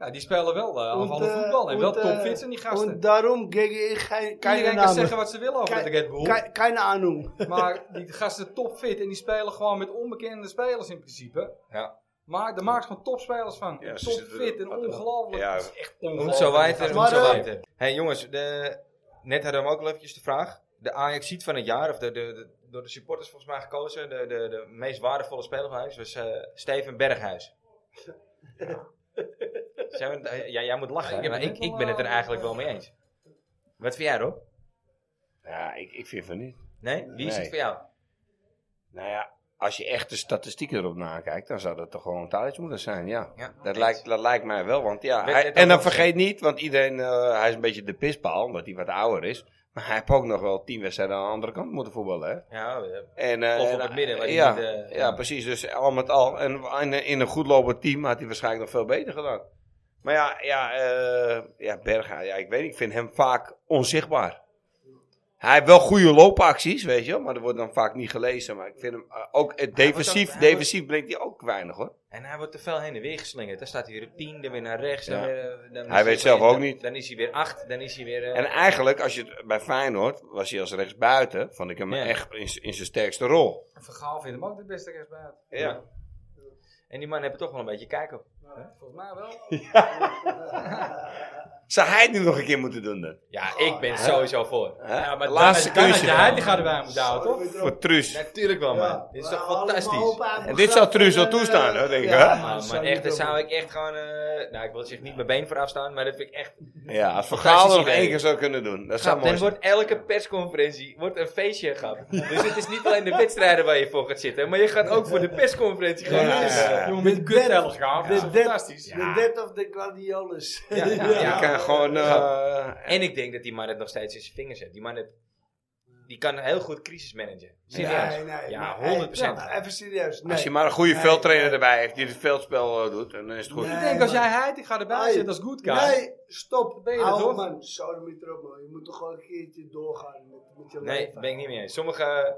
[SPEAKER 5] Ja, die spelen wel
[SPEAKER 3] Und,
[SPEAKER 5] eh aanvallend
[SPEAKER 3] eh,
[SPEAKER 5] voetbal en wel
[SPEAKER 3] und, eh,
[SPEAKER 5] topfit zijn die
[SPEAKER 3] En
[SPEAKER 5] gasten.
[SPEAKER 3] daarom kreeg ik geen,
[SPEAKER 5] Iedereen
[SPEAKER 3] keine
[SPEAKER 5] kan
[SPEAKER 3] namen.
[SPEAKER 5] zeggen wat ze willen over
[SPEAKER 3] Kijk,
[SPEAKER 5] de Red Bull.
[SPEAKER 3] Ke- Keine Ahnung.
[SPEAKER 5] Maar die gasten topfit en die spelen gewoon met onbekende spelers in principe.
[SPEAKER 1] Ja.
[SPEAKER 5] Maar daar maakt gewoon topspelers van.
[SPEAKER 7] Ja, ze
[SPEAKER 5] topfit
[SPEAKER 7] zitten
[SPEAKER 5] en
[SPEAKER 7] er-
[SPEAKER 5] ongelooflijk.
[SPEAKER 7] Ja.
[SPEAKER 5] Het is echt
[SPEAKER 1] hoe
[SPEAKER 5] ongelooflijk.
[SPEAKER 1] zo weiter, hoe
[SPEAKER 3] Maar,
[SPEAKER 1] zo
[SPEAKER 3] eh,
[SPEAKER 1] weiter. hey, jongens, de, net hadden we hem ook al eventjes de vraag. De Ajax-ziet van het jaar, of de, de, de- door de supporters volgens mij gekozen, de, de, de meest waardevolle speler van huis was eh, Steven Berghuis. Zijn we- eh, ja, jij moet lachen,
[SPEAKER 5] Ja, ik
[SPEAKER 1] maar
[SPEAKER 5] ben
[SPEAKER 1] ik,
[SPEAKER 5] het wel,
[SPEAKER 1] ik ben het er
[SPEAKER 5] eh,
[SPEAKER 1] eigenlijk wel mee eens. Wat vind jij, Rob?
[SPEAKER 7] Ja, ik, ik vind van niet.
[SPEAKER 1] Nee? Wie is
[SPEAKER 7] Nee.
[SPEAKER 1] het voor jou?
[SPEAKER 7] Nou ja, als je echt de statistieken erop nakijkt, dan zou dat toch gewoon Tadic moeten zijn, ja.
[SPEAKER 1] Ja,
[SPEAKER 7] Dat lijkt, dat lijkt mij wel, want ja.
[SPEAKER 1] Werd
[SPEAKER 7] hij-
[SPEAKER 1] net ook
[SPEAKER 7] en dan
[SPEAKER 1] al
[SPEAKER 7] vergeet niet, want iedereen, eh, hij is een beetje de pispaal, omdat hij wat ouder is. Maar hij heeft ook nog wel tien wedstrijden aan de andere kant moeten voetballen, hè.
[SPEAKER 1] Ja, eh,
[SPEAKER 7] En, eh,
[SPEAKER 1] Of op
[SPEAKER 7] en,
[SPEAKER 1] het midden, waar hij
[SPEAKER 7] ja,
[SPEAKER 1] niet, eh,
[SPEAKER 7] ja, precies. Dus al met al. En in, in een goed lopend team had hij waarschijnlijk nog veel beter gedaan. Maar ja, ja, eh, ja Berga, ja, ik weet niet, ik vind hem vaak onzichtbaar. Hij heeft wel goede loopacties, weet je wel, maar dat wordt dan vaak niet gelezen. Maar ik vind hem eh, ook eh, defensief,
[SPEAKER 1] wordt ook- hij
[SPEAKER 7] defensief brengt hij ook weinig hoor.
[SPEAKER 1] En hij wordt te veel heen en weer geslingerd. Dan staat hij weer op 10, dan weer naar rechts. Dan
[SPEAKER 7] Ja.
[SPEAKER 1] weer, eh, dan is
[SPEAKER 7] weet
[SPEAKER 1] weer-
[SPEAKER 7] zelf ook
[SPEAKER 1] dan-
[SPEAKER 7] niet.
[SPEAKER 1] Dan is hij weer 8, dan is hij weer... eh,
[SPEAKER 7] En eigenlijk, als je het bij Feyenoord, was hij als rechtsbuiten, vond ik hem
[SPEAKER 1] Ja.
[SPEAKER 7] echt in, z- in zijn sterkste rol.
[SPEAKER 5] Vergaal vindt hem ook de beste rechtsbuiten.
[SPEAKER 1] Ja. en die man hebben toch wel een beetje kijk op.
[SPEAKER 5] Volgens mij wel.
[SPEAKER 7] Zou hij het nu nog een keer moeten doen dan?
[SPEAKER 1] Ja, ik
[SPEAKER 3] Oh,
[SPEAKER 1] ben sowieso voor.
[SPEAKER 7] Hè?
[SPEAKER 5] Ja, maar
[SPEAKER 7] Laatste
[SPEAKER 5] dan,
[SPEAKER 7] keuze.
[SPEAKER 5] dan, dan, die gaat erbij moeten houden, toch?
[SPEAKER 3] Ja,
[SPEAKER 7] Voor Truus.
[SPEAKER 1] Natuurlijk wel, man. Dit is
[SPEAKER 3] we
[SPEAKER 1] toch
[SPEAKER 3] halen hem
[SPEAKER 1] fantastisch?
[SPEAKER 3] open aan
[SPEAKER 7] En
[SPEAKER 3] de
[SPEAKER 7] dit
[SPEAKER 3] grap
[SPEAKER 7] zou Truus wel
[SPEAKER 3] en, eh,
[SPEAKER 7] toestaan, hoor, denk ik,
[SPEAKER 3] ja,
[SPEAKER 7] hè?
[SPEAKER 3] maar
[SPEAKER 1] Ah,
[SPEAKER 3] dat
[SPEAKER 1] maar
[SPEAKER 3] zou
[SPEAKER 1] echt,
[SPEAKER 3] ik
[SPEAKER 1] daar
[SPEAKER 3] ook
[SPEAKER 1] zou ik echt gewoon... eh, nou, ik wil zich niet mijn been voor afstaan, maar dat vind ik echt...
[SPEAKER 7] Ja, als Van
[SPEAKER 1] Fantastisch
[SPEAKER 7] Gaal er nog
[SPEAKER 1] idee.
[SPEAKER 7] één keer zou kunnen doen. Dat zou
[SPEAKER 1] Grap,
[SPEAKER 7] mooi
[SPEAKER 1] dan
[SPEAKER 7] zijn.
[SPEAKER 1] wordt elke persconferentie wordt een feestje, grap. Dus het is niet alleen de wedstrijden waar je voor gaat zitten, maar je gaat ook voor de persconferentie gewoon
[SPEAKER 3] Ja.
[SPEAKER 1] zitten.
[SPEAKER 7] Ja.
[SPEAKER 5] Jongen, met een kuttellig gaan.
[SPEAKER 3] doen.
[SPEAKER 5] Dat
[SPEAKER 3] The
[SPEAKER 5] is
[SPEAKER 3] death-
[SPEAKER 5] fantastisch.
[SPEAKER 3] The death of the gladiolas.
[SPEAKER 1] Ja, ja,
[SPEAKER 7] Je
[SPEAKER 1] ja.
[SPEAKER 7] kan gewoon... eh,
[SPEAKER 1] En ik denk dat die man het nog steeds in zijn vingers heeft. Die man heeft, die kan heel goed crisis managen. Serieus.
[SPEAKER 3] Nee, nee.
[SPEAKER 1] ja,
[SPEAKER 3] nee.
[SPEAKER 1] 100%.
[SPEAKER 3] Ja, Even serieus. Nee.
[SPEAKER 7] Als je maar een goede
[SPEAKER 3] Nee.
[SPEAKER 7] veldtrainer erbij heeft die het veldspel eh, doet, dan is het goed.
[SPEAKER 3] Nee.
[SPEAKER 5] Ik denk, als jij heid, ik ga erbij
[SPEAKER 3] Hey.
[SPEAKER 5] zitten, dat is goed, guy.
[SPEAKER 3] Nee, stop.
[SPEAKER 5] Ben je er
[SPEAKER 3] Hou
[SPEAKER 5] toch?
[SPEAKER 3] man. Sorry, met erop, man. Je moet toch gewoon een keertje doorgaan met, met je
[SPEAKER 1] Nee,
[SPEAKER 3] leven.
[SPEAKER 1] ben ik niet mee eens. Sommige,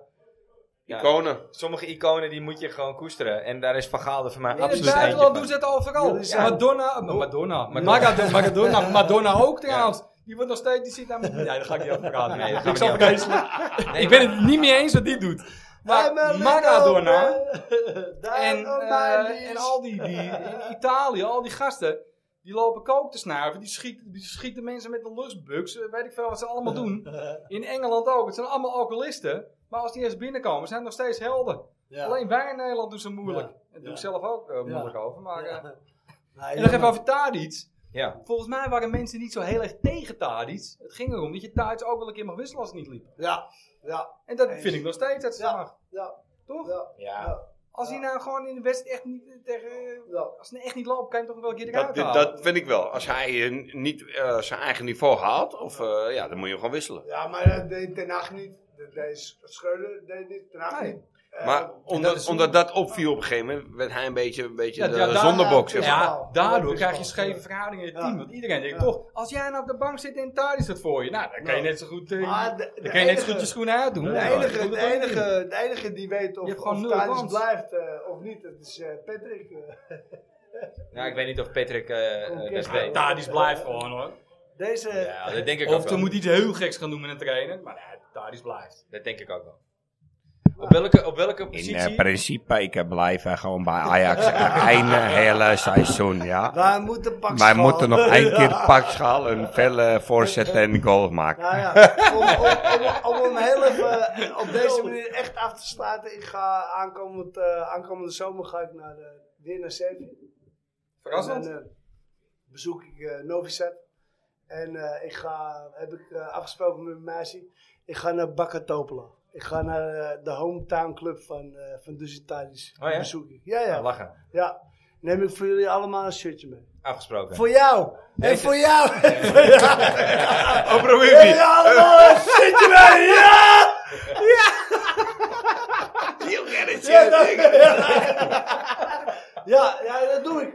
[SPEAKER 1] ja,
[SPEAKER 7] Iconen.
[SPEAKER 1] sommige iconen die moet je gewoon koesteren. En daar is Van Gaal er voor mij
[SPEAKER 5] In het
[SPEAKER 1] absoluut eentje
[SPEAKER 5] buitenland
[SPEAKER 1] van.
[SPEAKER 5] doen ze het overal.
[SPEAKER 3] Jullie zijn-
[SPEAKER 5] Madonna, Ma- Madonna, Ma- Maradona, Maradona, Madonna ook trouwens. Die wordt nog steeds, die zit daar met... Nee, daar ga ik niet over praten.
[SPEAKER 1] Nee, dat
[SPEAKER 5] ik,
[SPEAKER 1] gaan
[SPEAKER 5] zal
[SPEAKER 1] we niet
[SPEAKER 5] vergeven. ik ben het niet meer eens wat die doet. Maar Maradona en, eh, en al die, die, in Italië, al die gasten, die lopen kook te snuiven, die schieten, die schieten mensen met een lustbuks, eh, weet ik veel wat ze allemaal doen. In Engeland ook, het zijn allemaal alcoholisten, maar als die eerst binnenkomen, zijn het nog steeds helden.
[SPEAKER 3] Ja.
[SPEAKER 5] Alleen wij in Nederland doen ze moeilijk.
[SPEAKER 3] Ja.
[SPEAKER 5] En doe ik
[SPEAKER 3] Ja.
[SPEAKER 5] zelf ook eh, moeilijk over. Maar, eh,
[SPEAKER 3] Nee,
[SPEAKER 5] en nog even
[SPEAKER 3] jongen.
[SPEAKER 5] over Tadic.
[SPEAKER 1] Ja.
[SPEAKER 5] Volgens mij waren mensen niet zo heel erg tegen Tadic. Het ging erom dat je Tadic ook wel een keer mag wisselen als het niet liep.
[SPEAKER 3] Ja, ja,
[SPEAKER 5] En dat
[SPEAKER 3] Eens.
[SPEAKER 5] vind ik nog steeds dat ze
[SPEAKER 3] Ja.
[SPEAKER 5] mag.
[SPEAKER 3] ja,
[SPEAKER 5] Toch?
[SPEAKER 3] ja,
[SPEAKER 1] Ja.
[SPEAKER 5] Als hij nou gewoon in de wedstrijd echt niet eh, tegen...
[SPEAKER 3] ja.
[SPEAKER 5] Als hij nou echt niet loopt, kan je hem toch wel een keer
[SPEAKER 7] Dat,
[SPEAKER 5] eruit
[SPEAKER 7] dat-
[SPEAKER 5] halen.
[SPEAKER 7] dat vind ik wel. Als hij eh, niet eh, zijn eigen niveau haalt, of, eh, ja, dan moet je hem gewoon wisselen.
[SPEAKER 3] Ja, maar dat deed Ten Hag niet. Dat deed Schreuder deed niet. Ten Hag
[SPEAKER 5] Nee.
[SPEAKER 3] niet. Eh,
[SPEAKER 7] Maar omdat
[SPEAKER 5] is
[SPEAKER 7] dat,
[SPEAKER 5] zo-
[SPEAKER 7] omdat dat opviel op een gegeven moment, werd hij een beetje, een beetje
[SPEAKER 5] Ja,
[SPEAKER 7] de
[SPEAKER 5] ja, daar-
[SPEAKER 7] zondebok. zeg
[SPEAKER 3] dat
[SPEAKER 5] Ja,
[SPEAKER 3] is
[SPEAKER 7] maar.
[SPEAKER 3] wel. Dat
[SPEAKER 5] daardoor
[SPEAKER 3] is
[SPEAKER 5] krijg je
[SPEAKER 3] wel.
[SPEAKER 5] scheve verhoudingen in het
[SPEAKER 3] Ja.
[SPEAKER 5] team. Want iedereen denkt
[SPEAKER 3] Ja.
[SPEAKER 5] toch, als jij nou op de bank zit en Tadic dat voor je, nou, dan kan je
[SPEAKER 3] Ja.
[SPEAKER 5] net zo goed, eh,
[SPEAKER 3] Maar de, de
[SPEAKER 5] dan kan je net zo
[SPEAKER 3] enige-
[SPEAKER 5] goed je schoenen uitdoen.
[SPEAKER 3] De
[SPEAKER 5] Ja.
[SPEAKER 3] enige, de,
[SPEAKER 5] Doe dat ook niet.
[SPEAKER 3] enige, de enige die weet
[SPEAKER 5] Je
[SPEAKER 3] of,
[SPEAKER 5] hebt gewoon
[SPEAKER 3] of
[SPEAKER 5] nul
[SPEAKER 3] Tadic
[SPEAKER 5] kans.
[SPEAKER 3] blijft eh, of niet, dat is eh, Patrick. eh.
[SPEAKER 1] Nou, ik weet niet of Patrick eh, eh,
[SPEAKER 3] Oké.
[SPEAKER 1] dat weet.
[SPEAKER 5] Tadic blijft gewoon hoor.
[SPEAKER 3] Deze.
[SPEAKER 1] Ja, dat denk ik ook
[SPEAKER 5] Of er
[SPEAKER 1] wel.
[SPEAKER 5] moet iets heel geks gaan doen met een trainer. Maar nee, Tadic blijft.
[SPEAKER 1] Dat denk ik ook wel. Op welke, op welke
[SPEAKER 7] In
[SPEAKER 1] positie?
[SPEAKER 7] eh, principe, ik blijf eh, gewoon bij Ajax het einde hele seizoen, ja.
[SPEAKER 3] Wij moeten pakken.
[SPEAKER 7] Wij moeten nog één keer pakschaal, een felle voorzet en goal maken.
[SPEAKER 3] Eh, Nou ja, om, om, om, om hem heel even eh, op deze manier echt af te sluiten. Ik ga aankomend, eh, aankomende zomer ga ik naar de, weer naar Servië.
[SPEAKER 5] Verrassend.
[SPEAKER 3] En dan, eh, bezoek ik eh, Novi Sad. En eh, ik ga, heb ik eh, afgesproken met mijn meisje. Ik ga naar Bakatopla. Ik ga naar eh, de hometown club van, eh van Dus Italisch.
[SPEAKER 1] Oh ja?
[SPEAKER 3] Bezoek ik. Ja, ja.
[SPEAKER 1] Ah, lachen.
[SPEAKER 3] Ja, neem ik voor jullie allemaal een shirtje mee.
[SPEAKER 1] Afgesproken.
[SPEAKER 3] Voor jou. En voor jou. En voor jou.
[SPEAKER 7] Oh, probeer Oh.
[SPEAKER 3] Jullie allemaal een shirtje mee. Ja! Ja, dat, ja, ja, dat doe ik.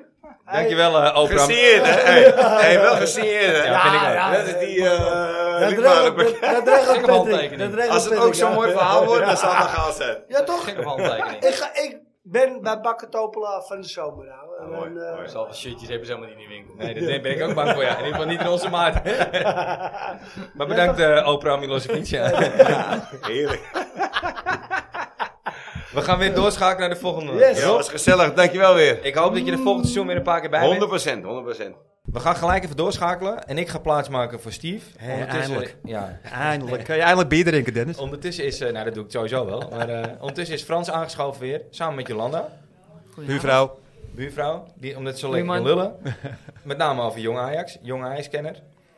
[SPEAKER 1] Dankjewel, eh Oprah.
[SPEAKER 7] Gesigneerd, hè? Hey, hey, wel gesigneerd, hè?
[SPEAKER 1] Ja, vind ik ook.
[SPEAKER 7] Dat is die... eh,
[SPEAKER 3] Dat
[SPEAKER 7] Ruud
[SPEAKER 3] regelt
[SPEAKER 7] Marenburg.
[SPEAKER 3] dat- dat regelt
[SPEAKER 5] Gekke
[SPEAKER 3] Patrick.
[SPEAKER 5] handtekening.
[SPEAKER 3] Dat regelt
[SPEAKER 7] Als het
[SPEAKER 3] Patrick,
[SPEAKER 7] ook zo'n
[SPEAKER 3] ja.
[SPEAKER 7] mooi verhaal wordt, dan zal het nog gaaf zijn.
[SPEAKER 3] Ja, toch?
[SPEAKER 5] Gekke handtekening.
[SPEAKER 3] Ik, ga, ik ben bij Bakker Topelaar van de zomer. Nou. En,
[SPEAKER 7] mooi,
[SPEAKER 3] eh,
[SPEAKER 7] mooi.
[SPEAKER 5] Zoveel shirtjes hebben ze helemaal niet in de winkel.
[SPEAKER 1] Nee, dat ben ik ook bang voor, ja. In ieder geval niet in onze maat. maar bedankt, eh Oprah Milosevic. ja.
[SPEAKER 7] Heerlijk.
[SPEAKER 1] We gaan weer doorschakelen naar de volgende.
[SPEAKER 3] Yes.
[SPEAKER 7] Ja, was gezellig. Dankjewel weer.
[SPEAKER 1] Ik hoop dat je de volgende seizoen weer een paar keer bij
[SPEAKER 7] 100
[SPEAKER 1] bent.
[SPEAKER 7] procent, 100 procent.
[SPEAKER 1] We gaan gelijk even doorschakelen. En ik ga plaatsmaken voor Steve.
[SPEAKER 8] Hey,
[SPEAKER 1] Ondertussen-
[SPEAKER 8] eindelijk.
[SPEAKER 1] Ja.
[SPEAKER 8] Eindelijk. Kan je eindelijk bier drinken, Dennis?
[SPEAKER 1] Ondertussen is, eh, nou dat doe ik sowieso wel, maar eh, ondertussen is Frans aangeschoven weer, samen met Jolanda,
[SPEAKER 8] Buurvrouw.
[SPEAKER 1] buurvrouw, die, omdat ze zo lekker kan
[SPEAKER 8] Buurman.
[SPEAKER 1] lullen. Met name over jong Ajax, jong Ajax-kenner.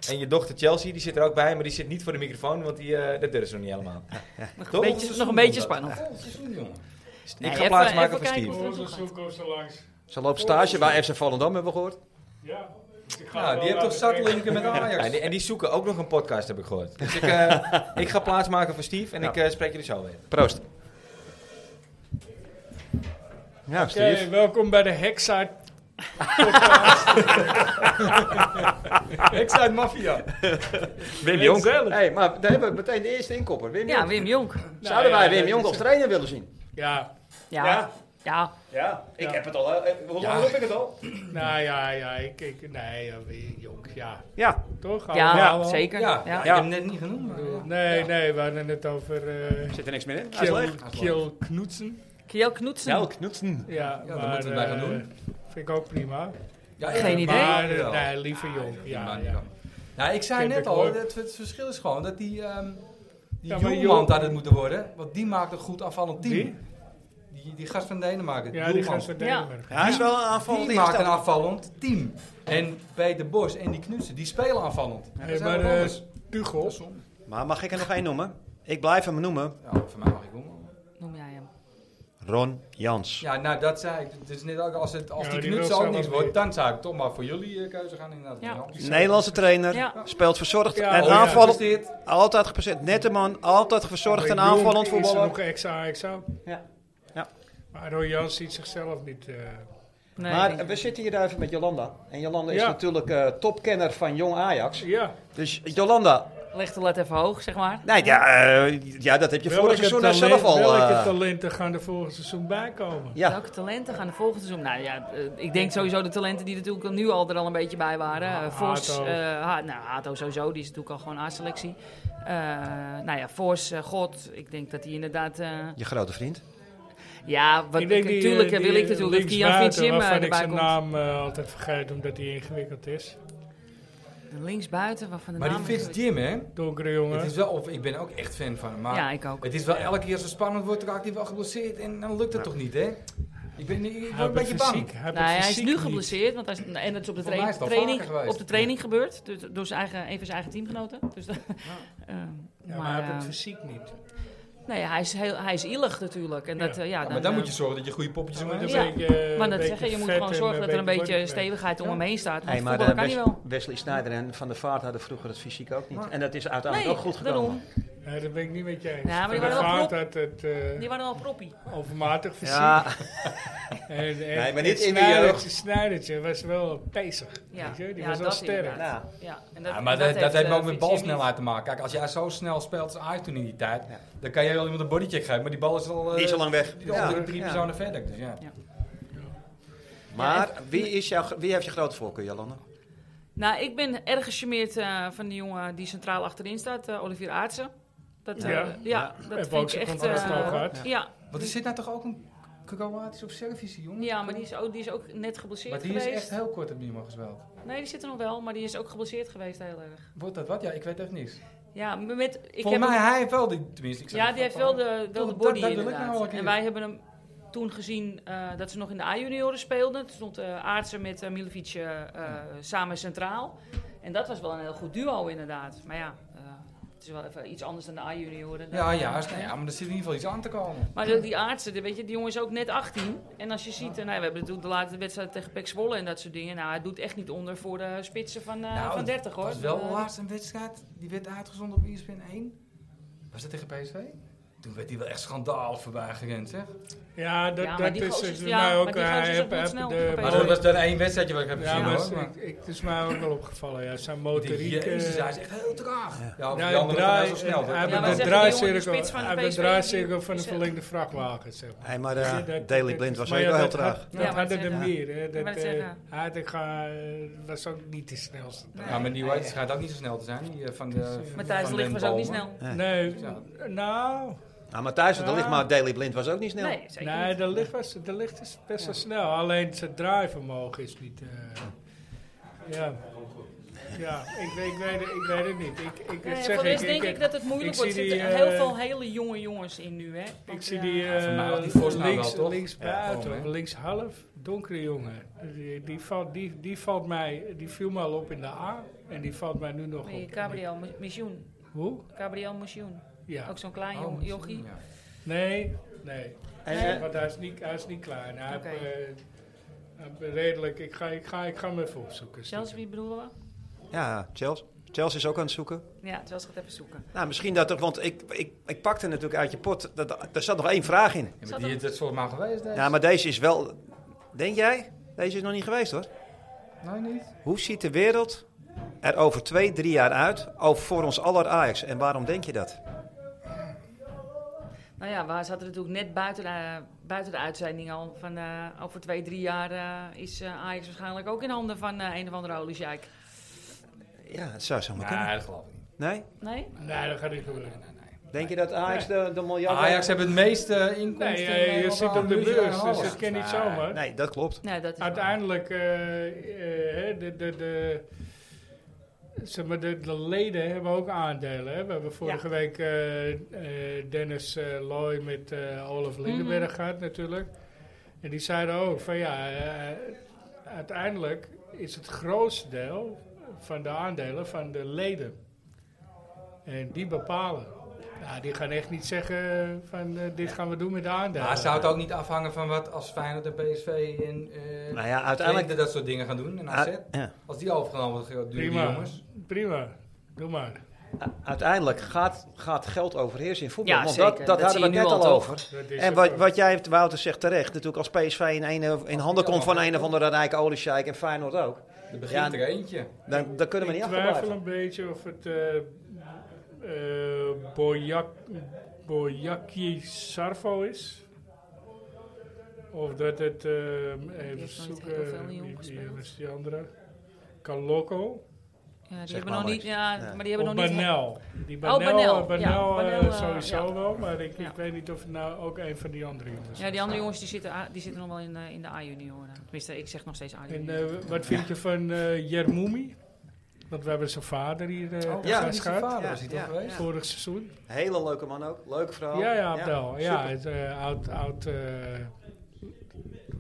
[SPEAKER 1] En je dochter Chelsea, die zit er ook bij, maar die zit niet voor de microfoon, want die, eh, dat durft ze nog niet helemaal.
[SPEAKER 9] Nog een
[SPEAKER 1] Toch?
[SPEAKER 9] beetje, nog een beetje spannend.
[SPEAKER 1] Volgend seizoen, jongen.
[SPEAKER 9] Nee,
[SPEAKER 1] Dus ik ga
[SPEAKER 9] even-
[SPEAKER 1] plaatsmaken
[SPEAKER 9] even
[SPEAKER 1] voor
[SPEAKER 9] kijken
[SPEAKER 1] Steve.
[SPEAKER 9] hoe het
[SPEAKER 2] Onze zoek komt er langs.
[SPEAKER 8] Ze loopt stage bij FC Volendam, hebben we gehoord.
[SPEAKER 2] Ja. Dus ik ga
[SPEAKER 1] Nou,
[SPEAKER 5] Ah,
[SPEAKER 2] wel
[SPEAKER 1] die heeft
[SPEAKER 2] naar
[SPEAKER 1] toch
[SPEAKER 2] de
[SPEAKER 1] zat
[SPEAKER 2] training.
[SPEAKER 1] linken met Ajax. En die, en die zoeken ook nog een podcast, heb ik gehoord. Dus ik, eh, ik ga plaatsmaken voor Steve en ik eh, spreek jullie zo weer.
[SPEAKER 8] Proost. Ja,
[SPEAKER 2] Oké,
[SPEAKER 8] Steve.
[SPEAKER 2] welkom bij de Hexa.
[SPEAKER 8] Exit Mafia.
[SPEAKER 1] Wim
[SPEAKER 2] Jong.
[SPEAKER 8] hey, maar daar hebben we meteen de eerste inkopper. Wim
[SPEAKER 9] Ja,
[SPEAKER 8] Jong.
[SPEAKER 9] Wim Jonk.
[SPEAKER 8] Zouden wij
[SPEAKER 2] ja,
[SPEAKER 8] Wim
[SPEAKER 2] dat
[SPEAKER 8] Jong
[SPEAKER 2] is-
[SPEAKER 8] als trainer willen zien?
[SPEAKER 2] Ja,
[SPEAKER 9] Ja.
[SPEAKER 4] Ja.
[SPEAKER 9] Ja.
[SPEAKER 4] Ja, ik heb het al. hè. Eh, Hoe lang heb ik het al?
[SPEAKER 2] nou ja, ja, ik, ik nee, ja, Wim Jonk, ja.
[SPEAKER 8] Ja.
[SPEAKER 2] Toch?
[SPEAKER 9] Ja,
[SPEAKER 2] Allemaal.
[SPEAKER 9] zeker.
[SPEAKER 1] Ja.
[SPEAKER 9] Ja.
[SPEAKER 8] Ja.
[SPEAKER 5] hem net niet genoemd. maar, eh,
[SPEAKER 2] Nee, nee, we hadden het over eh
[SPEAKER 5] zit er niks meer in.
[SPEAKER 2] Kiel, Kiel Knoetsen.
[SPEAKER 9] Kiel Knoetsen.
[SPEAKER 5] Snel knutsen.
[SPEAKER 2] Ja,
[SPEAKER 5] dat
[SPEAKER 2] maar,
[SPEAKER 5] moeten we maar gaan
[SPEAKER 2] eh,
[SPEAKER 5] doen.
[SPEAKER 2] Vind ik ook prima.
[SPEAKER 5] Ja,
[SPEAKER 9] Geen idee.
[SPEAKER 2] Maar, eh,
[SPEAKER 5] Jawel.
[SPEAKER 2] nee, liever Jonk, ja,
[SPEAKER 5] maar
[SPEAKER 2] ja.
[SPEAKER 1] eh,
[SPEAKER 5] Nou, ik zei
[SPEAKER 2] Vind
[SPEAKER 5] net
[SPEAKER 2] ik
[SPEAKER 5] al,
[SPEAKER 2] leuk.
[SPEAKER 5] het, het verschil is gewoon dat die, ehm die
[SPEAKER 2] Ja, maar
[SPEAKER 5] Jongman
[SPEAKER 2] Jong-
[SPEAKER 5] daar het moeten worden. Want die maakt een goed afvallend team.
[SPEAKER 2] Wie?
[SPEAKER 5] Die, die gast van Denemarken.
[SPEAKER 2] Ja, die
[SPEAKER 5] Jongman.
[SPEAKER 2] gaat verdedigen.
[SPEAKER 8] Hij is wel een
[SPEAKER 5] Die maakt een afvallend team. En Peter Bos en die Knutsen, die spelen aanvallend.
[SPEAKER 2] Hey,
[SPEAKER 5] Dat is
[SPEAKER 2] maar
[SPEAKER 5] helemaal
[SPEAKER 2] eh,
[SPEAKER 5] anders.
[SPEAKER 2] Tuchel,
[SPEAKER 4] Maar mag ik er nog één noemen? Ik blijf hem noemen.
[SPEAKER 5] Ja, voor mij mag ik Jongman.
[SPEAKER 9] Noem jij hem.
[SPEAKER 4] Ron Jans.
[SPEAKER 5] Ja, nou dat zei ik. Het is net ook als, het, als
[SPEAKER 2] Ja,
[SPEAKER 5] die
[SPEAKER 2] die wil
[SPEAKER 5] Knutsen ook
[SPEAKER 2] zelf
[SPEAKER 5] niks
[SPEAKER 2] ook
[SPEAKER 5] wordt,
[SPEAKER 2] niet.
[SPEAKER 5] dan zou ik toch maar voor jullie eh, keuze gaan inderdaad.
[SPEAKER 9] Ja.
[SPEAKER 4] Nederlandse trainer.
[SPEAKER 9] Ja.
[SPEAKER 4] Speelt verzorgd
[SPEAKER 2] Ja,
[SPEAKER 4] en
[SPEAKER 2] oh ja.
[SPEAKER 4] aanvallend.
[SPEAKER 5] dit.
[SPEAKER 4] Altijd gepasseerd. Nette man. Altijd verzorgd en
[SPEAKER 2] Bij Jong
[SPEAKER 4] aanvallend
[SPEAKER 2] Is er
[SPEAKER 4] voetballer.
[SPEAKER 2] nog extra, extra?
[SPEAKER 4] Ja. Ja.
[SPEAKER 2] Maar Royan ziet zichzelf niet. eh,
[SPEAKER 9] Nee,
[SPEAKER 8] Maar
[SPEAKER 9] nee.
[SPEAKER 8] eh, we zitten hier even met Jolanda. En Jolanda is
[SPEAKER 2] Ja.
[SPEAKER 8] natuurlijk eh, topkenner van jong Ajax.
[SPEAKER 2] ja,
[SPEAKER 8] Dus Jolanda,
[SPEAKER 9] Leg de lat even hoog, zeg maar.
[SPEAKER 8] nee, ja, eh, ja, dat heb je vorig seizoen daar zelf al.
[SPEAKER 2] welke
[SPEAKER 8] eh,
[SPEAKER 2] talenten gaan er volgend seizoen bij komen?
[SPEAKER 8] Ja.
[SPEAKER 9] Welke talenten gaan de volgende seizoen? Nou ja, eh, ik denk sowieso de talenten die natuurlijk al nu al er al een beetje bij waren. Eh, Vos,
[SPEAKER 2] Hato.
[SPEAKER 9] eh, Ha- nou Hato sowieso, die is natuurlijk al gewoon A-selectie. Eh, nou ja, Vos, eh, God, ik denk dat hij inderdaad... eh,
[SPEAKER 8] je grote vriend.
[SPEAKER 9] ja, wat,
[SPEAKER 2] Ik denk die,
[SPEAKER 9] natuurlijk
[SPEAKER 2] eh,
[SPEAKER 9] eh, wil
[SPEAKER 2] die
[SPEAKER 9] ik natuurlijk dat Kian
[SPEAKER 2] linksbuiten,
[SPEAKER 9] Fitzim eh,
[SPEAKER 2] waarvan ik
[SPEAKER 9] erbij
[SPEAKER 2] zijn
[SPEAKER 9] komt.
[SPEAKER 2] naam eh, altijd vergeet omdat hij ingewikkeld is.
[SPEAKER 9] Een Linksbuiten, waarvan de
[SPEAKER 5] Maar die
[SPEAKER 9] naam...
[SPEAKER 5] Fitz Jim, hè?
[SPEAKER 2] Donkere
[SPEAKER 5] Het
[SPEAKER 2] jongen.
[SPEAKER 5] is wel, of, ik ben ook echt fan van hem. Maar
[SPEAKER 9] Ja, ik ook.
[SPEAKER 5] Het is wel elke keer als het spannend wordt, raakt hij wel geblesseerd en dan lukt het toch niet, hè? Ik ben ik
[SPEAKER 2] Hij
[SPEAKER 5] word een
[SPEAKER 2] heeft
[SPEAKER 5] beetje
[SPEAKER 2] het
[SPEAKER 5] bang.
[SPEAKER 2] fysiek. Hij, heeft
[SPEAKER 9] Nou,
[SPEAKER 2] het
[SPEAKER 9] hij is
[SPEAKER 2] fysiek
[SPEAKER 9] nu
[SPEAKER 2] niet.
[SPEAKER 9] geblesseerd, want hij is, en dat is op de,
[SPEAKER 5] Voor mij
[SPEAKER 9] tra-
[SPEAKER 5] is het al vaker
[SPEAKER 9] training,
[SPEAKER 5] geweest.
[SPEAKER 9] op de training gebeurd. Dus, door zijn eigen, een van zijn eigen teamgenoten. Dus, dat- ehm,
[SPEAKER 2] Ja, maar, hij
[SPEAKER 9] maar,
[SPEAKER 2] heeft het
[SPEAKER 9] ehm,
[SPEAKER 2] fysiek niet.
[SPEAKER 9] nee, hij is, heel, hij is ielig natuurlijk. En dat,
[SPEAKER 2] Ja.
[SPEAKER 9] eh, ja,
[SPEAKER 5] Ja,
[SPEAKER 9] dan,
[SPEAKER 5] maar dan
[SPEAKER 9] eh,
[SPEAKER 5] moet je zorgen dat je goede poppetjes om
[SPEAKER 2] Met een
[SPEAKER 5] hebt.
[SPEAKER 9] Ja.
[SPEAKER 2] beetje, eh,
[SPEAKER 9] maar dat
[SPEAKER 2] beetje
[SPEAKER 9] zeggen, je moet
[SPEAKER 2] vet
[SPEAKER 9] gewoon
[SPEAKER 2] en
[SPEAKER 9] zorgen dat er een beetje
[SPEAKER 2] bodybuild.
[SPEAKER 9] stevigheid om hem heen staat. Want
[SPEAKER 8] Hey, maar
[SPEAKER 9] voetballen
[SPEAKER 8] eh,
[SPEAKER 9] kan hij
[SPEAKER 8] Wes-
[SPEAKER 9] wel.
[SPEAKER 8] Wesley Sneijder en Van der Vaart hadden vroeger het fysiek ook niet. En dat is uiteindelijk
[SPEAKER 9] Nee,
[SPEAKER 8] ook goed gekomen.
[SPEAKER 9] daarom.
[SPEAKER 2] Nee, dat ben ik niet met je eens.
[SPEAKER 9] Ja, maar die
[SPEAKER 2] Van der
[SPEAKER 9] waren wel
[SPEAKER 2] Vaart
[SPEAKER 9] prop.
[SPEAKER 2] had het eh,
[SPEAKER 9] Die waren al proppie.
[SPEAKER 2] overmatig fysiek.
[SPEAKER 8] Ja,
[SPEAKER 2] En, en,
[SPEAKER 7] Nee, maar niet
[SPEAKER 2] en
[SPEAKER 7] in de jeugd.
[SPEAKER 2] Snijdertje- Snijdertje was wel pezig.
[SPEAKER 9] Ja,
[SPEAKER 2] weet je? Die
[SPEAKER 9] ja,
[SPEAKER 2] was wel
[SPEAKER 9] dat
[SPEAKER 2] sterk.
[SPEAKER 9] inderdaad.
[SPEAKER 8] nou,
[SPEAKER 9] Ja, en
[SPEAKER 5] Ja, maar dat, dat, heeft
[SPEAKER 9] eh,
[SPEAKER 5] ook met
[SPEAKER 9] Fitzjim
[SPEAKER 5] balsnelheid te maken. Kijk, als jij zo snel speelt als Ajax toen in die tijd,
[SPEAKER 8] Ja.
[SPEAKER 5] dan kan jij wel iemand een bodycheck geven, maar die bal is al eh,
[SPEAKER 4] Niet zo lang weg.
[SPEAKER 5] die is al
[SPEAKER 8] Ja.
[SPEAKER 5] drie
[SPEAKER 8] Ja.
[SPEAKER 5] personen verder. Dus ja.
[SPEAKER 8] maar wie, is jouw, wie heeft je grote voorkeur, Jolanda?
[SPEAKER 9] niet. Nou, ik ben erg gecharmeerd eh, van die jongen die centraal achterin staat, eh, Olivier Aartsen. Dat, eh,
[SPEAKER 2] Ja.
[SPEAKER 9] ja.
[SPEAKER 2] Ja.
[SPEAKER 9] dat
[SPEAKER 2] Heb ook
[SPEAKER 9] vind ik
[SPEAKER 2] zijn
[SPEAKER 9] echt...
[SPEAKER 2] contract
[SPEAKER 9] eh,
[SPEAKER 2] al gehad.
[SPEAKER 9] ja,
[SPEAKER 5] Want er zit nou toch ook een Kroatisch of Servische jongen?
[SPEAKER 9] Ja, maar die is ook, die is ook net geblesseerd
[SPEAKER 5] Maar die is
[SPEAKER 9] geweest.
[SPEAKER 5] echt heel kort op die man gespeeld.
[SPEAKER 9] Nee, die zit er nog wel, maar die is ook geblesseerd geweest heel erg.
[SPEAKER 5] Wordt dat wat? Ja, ik weet echt niks.
[SPEAKER 9] Ja, met, ik heb
[SPEAKER 5] Volgens mij,
[SPEAKER 9] hem-
[SPEAKER 5] hij heeft wel die, tenminste. Ik zag
[SPEAKER 9] ja
[SPEAKER 5] het
[SPEAKER 9] die heeft wel
[SPEAKER 5] van-
[SPEAKER 9] de, wel de
[SPEAKER 5] Dat- dat
[SPEAKER 9] body
[SPEAKER 5] wil ik nou wel een
[SPEAKER 9] inderdaad.
[SPEAKER 5] keer.
[SPEAKER 9] En wij hebben hem toen gezien eh, dat ze nog in de A-junioren speelden. Toen stond eh Aartsen met eh, Milovic eh, eh, samen centraal. En dat was wel een heel goed duo inderdaad. Maar ja, eh, Het is wel even iets anders dan de A-junioren.
[SPEAKER 5] Ja, juist. Nou Ja, maar er zit in ieder geval iets aan te komen.
[SPEAKER 9] Maar ook die eh, aardse, die- weet je, die jongen is ook net 18. En als je ziet, eh, nou, we hebben natuurlijk de laatste wedstrijd tegen Pek Zwolle en dat soort dingen. Nou, hij doet echt niet onder voor de spitsen van, eh,
[SPEAKER 5] Nou,
[SPEAKER 9] van 30 hoor.
[SPEAKER 5] Dat was wel de
[SPEAKER 9] Eh,
[SPEAKER 5] laatste wedstrijd. Die werd uitgezonden op E ESPN 1. Was dat tegen PSV? Toen werd hij wel echt schandaal voorbij gerend, zeg.
[SPEAKER 2] Ja, dat,
[SPEAKER 9] Ja, maar
[SPEAKER 2] dat
[SPEAKER 9] die
[SPEAKER 2] is
[SPEAKER 9] gozers-
[SPEAKER 2] het
[SPEAKER 9] ja,
[SPEAKER 2] mij
[SPEAKER 9] maar
[SPEAKER 2] ook.
[SPEAKER 9] die gozers
[SPEAKER 2] Hij
[SPEAKER 9] zijn
[SPEAKER 2] heb-
[SPEAKER 9] goed
[SPEAKER 2] heb
[SPEAKER 9] snel
[SPEAKER 2] de-
[SPEAKER 5] Maar dat was dan één wedstrijdje wat ik heb
[SPEAKER 2] Ja,
[SPEAKER 5] gezien,
[SPEAKER 2] maar
[SPEAKER 5] hoor.
[SPEAKER 2] het is- ik- ik- het is mij ook wel opgevallen. Ja. Zijn motoriek... eh,
[SPEAKER 5] Jezus, hij is echt heel traag. Ja, over
[SPEAKER 2] ja,
[SPEAKER 5] die andere
[SPEAKER 2] draai-
[SPEAKER 5] was hij zo snel.
[SPEAKER 2] hij heeft
[SPEAKER 9] Ja, maar
[SPEAKER 2] de
[SPEAKER 9] zeg, die jongen, die
[SPEAKER 2] draaicirkel
[SPEAKER 9] spits van
[SPEAKER 2] hij heeft
[SPEAKER 9] PSV,
[SPEAKER 2] de draaicirkel
[SPEAKER 9] die-
[SPEAKER 2] van de
[SPEAKER 9] is- eh,
[SPEAKER 2] verlijnde vrachtwagen. Zeg maar.
[SPEAKER 4] Hey, maar
[SPEAKER 2] Ja,
[SPEAKER 4] eh,
[SPEAKER 2] dat-
[SPEAKER 4] Daily
[SPEAKER 2] dat-
[SPEAKER 4] Blind was
[SPEAKER 2] maar
[SPEAKER 4] ook
[SPEAKER 2] ja,
[SPEAKER 4] wel heel
[SPEAKER 2] dat had-
[SPEAKER 4] traag.
[SPEAKER 9] Ja,
[SPEAKER 2] Dat
[SPEAKER 9] maar
[SPEAKER 2] hadden
[SPEAKER 9] het
[SPEAKER 2] er
[SPEAKER 9] zeggen.
[SPEAKER 2] meer. Hè.
[SPEAKER 9] maar het
[SPEAKER 2] Dat, eh,
[SPEAKER 9] zeggen.
[SPEAKER 2] hij had ik ga, was ook niet de snelste.
[SPEAKER 5] Ja, maar die White schijnt ook niet zo snel te zijn. Die, eh, van de,
[SPEAKER 9] Matthijs
[SPEAKER 5] van
[SPEAKER 9] Ligt
[SPEAKER 5] Den
[SPEAKER 9] was ook niet
[SPEAKER 5] Bomen.
[SPEAKER 9] snel.
[SPEAKER 2] Nee, nou,
[SPEAKER 4] Nou, maar thuis, want
[SPEAKER 2] Ja.
[SPEAKER 4] dat ligt maar Daily Blind was ook niet snel.
[SPEAKER 9] Nee, zeker
[SPEAKER 2] nee
[SPEAKER 9] niet.
[SPEAKER 2] de, licht was, de licht is best wel snel. Alleen zijn draaivermogen is niet. eh, ja. Ja, ik, weet- ik, weet, het- ik weet het niet. Ik, ik,
[SPEAKER 9] Nee,
[SPEAKER 2] zeg,
[SPEAKER 9] voor de rest
[SPEAKER 2] ik,
[SPEAKER 9] denk
[SPEAKER 2] ik-
[SPEAKER 9] ik dat het moeilijk
[SPEAKER 2] ik
[SPEAKER 9] wordt. Er
[SPEAKER 2] zie
[SPEAKER 9] zitten
[SPEAKER 2] die,
[SPEAKER 9] heel
[SPEAKER 2] eh,
[SPEAKER 9] veel hele jonge jongens in nu, hè.
[SPEAKER 2] Ik
[SPEAKER 9] Want,
[SPEAKER 2] zie
[SPEAKER 9] ja,
[SPEAKER 2] die, eh,
[SPEAKER 5] voor mij was die Vos nou
[SPEAKER 2] links,
[SPEAKER 5] wel, toch?
[SPEAKER 2] links
[SPEAKER 5] Ja,
[SPEAKER 2] buiten,
[SPEAKER 5] gewoon,
[SPEAKER 2] of
[SPEAKER 5] hè?
[SPEAKER 2] links half, donkere jongen. Die, die, valt, die, die, valt mij, die viel mij al op in de A en die valt mij nu nog
[SPEAKER 9] die
[SPEAKER 2] op.
[SPEAKER 9] Gabriel Mi- Missioen.
[SPEAKER 2] Hoe?
[SPEAKER 9] Gabriel Missioen.
[SPEAKER 2] Ja.
[SPEAKER 9] Ook zo'n klein
[SPEAKER 5] Oh,
[SPEAKER 9] jong- jochie.
[SPEAKER 5] ja.
[SPEAKER 2] Nee, nee.
[SPEAKER 4] En,
[SPEAKER 2] Nee,
[SPEAKER 4] eh,
[SPEAKER 2] want hij is niet, hij is niet klein. Hij
[SPEAKER 9] Oké.
[SPEAKER 2] heeft, eh, hij heeft redelijk, ik ga, ik ga, ik ga hem even opzoeken.
[SPEAKER 9] Zelfs wie bedoelen we?
[SPEAKER 4] ja, Chelsea. Chelsea is ook aan het zoeken.
[SPEAKER 9] Ja, terwijl ze gaat even zoeken.
[SPEAKER 4] Nou, misschien dat er, want ik, ik, ik pakte natuurlijk uit je pot. Dat, er zat nog één vraag in.
[SPEAKER 5] Ja, maar die is het volgens mij geweest, hè?
[SPEAKER 4] Ja, maar deze is wel. Denk jij? Deze is nog niet geweest hoor.
[SPEAKER 5] Nee, niet.
[SPEAKER 4] Hoe ziet de wereld er over twee, drie jaar uit over voor ons aller Ajax? En waarom denk je dat?
[SPEAKER 9] Nou ja, we zaten natuurlijk net buiten de, buiten de uitzending al. Van, eh, over twee, drie jaar eh, is eh, Ajax waarschijnlijk ook in handen van eh, een of andere oliesjijk.
[SPEAKER 4] Ja, het zou zo maar kunnen.
[SPEAKER 5] Nee, dat geloof ik niet.
[SPEAKER 4] Nee?
[SPEAKER 9] Nee?
[SPEAKER 2] Nee, dat gaat niet gebeuren.
[SPEAKER 4] Denk je dat Ajax de, de miljard...
[SPEAKER 5] Ajax heeft het meeste inkomsten.
[SPEAKER 2] Nee, je, je
[SPEAKER 5] eh,
[SPEAKER 2] zit op
[SPEAKER 5] aan
[SPEAKER 2] de
[SPEAKER 5] muziek en
[SPEAKER 2] beurs, dus
[SPEAKER 5] alles.
[SPEAKER 2] dat kan niet
[SPEAKER 5] Nee.
[SPEAKER 2] zomaar.
[SPEAKER 4] Nee, dat klopt.
[SPEAKER 9] Nee, dat is
[SPEAKER 2] Uiteindelijk, eh, eh, de, de, de, zeg maar, de, de leden hebben ook aandelen. Hè? We hebben vorige week eh, eh, Dennis eh Loy met eh, Olaf Lindenberg
[SPEAKER 9] Mhm.
[SPEAKER 2] gehad natuurlijk. En die zeiden ook van ja, eh, uiteindelijk is het grootste deel van de aandelen van de leden. En die bepalen. Nou, die gaan echt niet zeggen van eh, dit gaan we doen met de aandelen.
[SPEAKER 5] Maar zou het ook niet afhangen van wat als Feyenoord en PSV en eh
[SPEAKER 4] Nou ja,
[SPEAKER 5] uiteindelijk
[SPEAKER 4] uiteindelijk... Ah,
[SPEAKER 5] dat soort dingen gaan doen en AZ?
[SPEAKER 4] ja.
[SPEAKER 5] Als die overgenomen worden, duur die
[SPEAKER 2] Prima,
[SPEAKER 5] jongens.
[SPEAKER 2] prima. Doe maar.
[SPEAKER 4] U- Uiteindelijk gaat, gaat geld overheersen in voetbal.
[SPEAKER 9] Ja,
[SPEAKER 4] want
[SPEAKER 9] zeker.
[SPEAKER 4] dat, dat,
[SPEAKER 9] Dat
[SPEAKER 4] hadden we
[SPEAKER 9] zie je
[SPEAKER 4] net
[SPEAKER 9] nu
[SPEAKER 4] al
[SPEAKER 9] al, toch?
[SPEAKER 4] over.
[SPEAKER 2] Dat is
[SPEAKER 4] En
[SPEAKER 2] ook
[SPEAKER 4] wat,
[SPEAKER 2] wel.
[SPEAKER 4] wat jij, heeft, Wouter zegt terecht, natuurlijk als PSV in, een, in handen komt van een of andere rijke oliesjeik en Feyenoord ook,
[SPEAKER 5] Er begint
[SPEAKER 4] Ja.
[SPEAKER 5] er eentje.
[SPEAKER 4] dan, dan kunnen we
[SPEAKER 2] ik
[SPEAKER 4] niet
[SPEAKER 2] twijfel
[SPEAKER 4] achterblijven.
[SPEAKER 2] een beetje of het eh eh, Boyak, Boyaki Sarvo is. Of dat het, eh, even
[SPEAKER 9] nooit
[SPEAKER 2] zoeken,
[SPEAKER 9] heel veel in
[SPEAKER 2] wie-
[SPEAKER 9] Jong
[SPEAKER 2] wie
[SPEAKER 9] gespeeld.
[SPEAKER 2] was die andere? Caloco.
[SPEAKER 9] Ja, die
[SPEAKER 4] Zeg
[SPEAKER 9] hebben
[SPEAKER 4] maar
[SPEAKER 9] nog niet...
[SPEAKER 4] niks.
[SPEAKER 9] Ja,
[SPEAKER 4] Nee.
[SPEAKER 9] maar die hebben
[SPEAKER 2] Of
[SPEAKER 9] nog niet...
[SPEAKER 2] Banel. Die Banel,
[SPEAKER 9] Oh, Banel,
[SPEAKER 2] Banel,
[SPEAKER 9] ja,
[SPEAKER 2] eh,
[SPEAKER 9] Banel, eh,
[SPEAKER 2] sowieso
[SPEAKER 9] ja.
[SPEAKER 2] wel, maar ik, ik
[SPEAKER 9] Ja.
[SPEAKER 2] weet niet of het nou ook een van die andere jongens
[SPEAKER 9] Ja,
[SPEAKER 2] is.
[SPEAKER 9] die andere jongens die zitten, a- die zitten nog wel in, eh, in de A-junioren. Tenminste, ik zeg nog steeds
[SPEAKER 2] En
[SPEAKER 9] A-junioren.
[SPEAKER 2] eh, wat vind je van eh Jermoumi? Want we hebben zijn vader hier eh te
[SPEAKER 4] ja,
[SPEAKER 5] Dat
[SPEAKER 2] gast
[SPEAKER 5] Oh, is zijn
[SPEAKER 2] gehad.
[SPEAKER 5] vader,
[SPEAKER 4] Ja,
[SPEAKER 5] is hij
[SPEAKER 4] ja.
[SPEAKER 5] toch geweest?
[SPEAKER 2] Vorig seizoen.
[SPEAKER 4] Hele leuke man ook, leuke vrouw.
[SPEAKER 2] Ja, ja, Abdel. Ja,
[SPEAKER 4] super.
[SPEAKER 2] het, eh, oud, oud eh,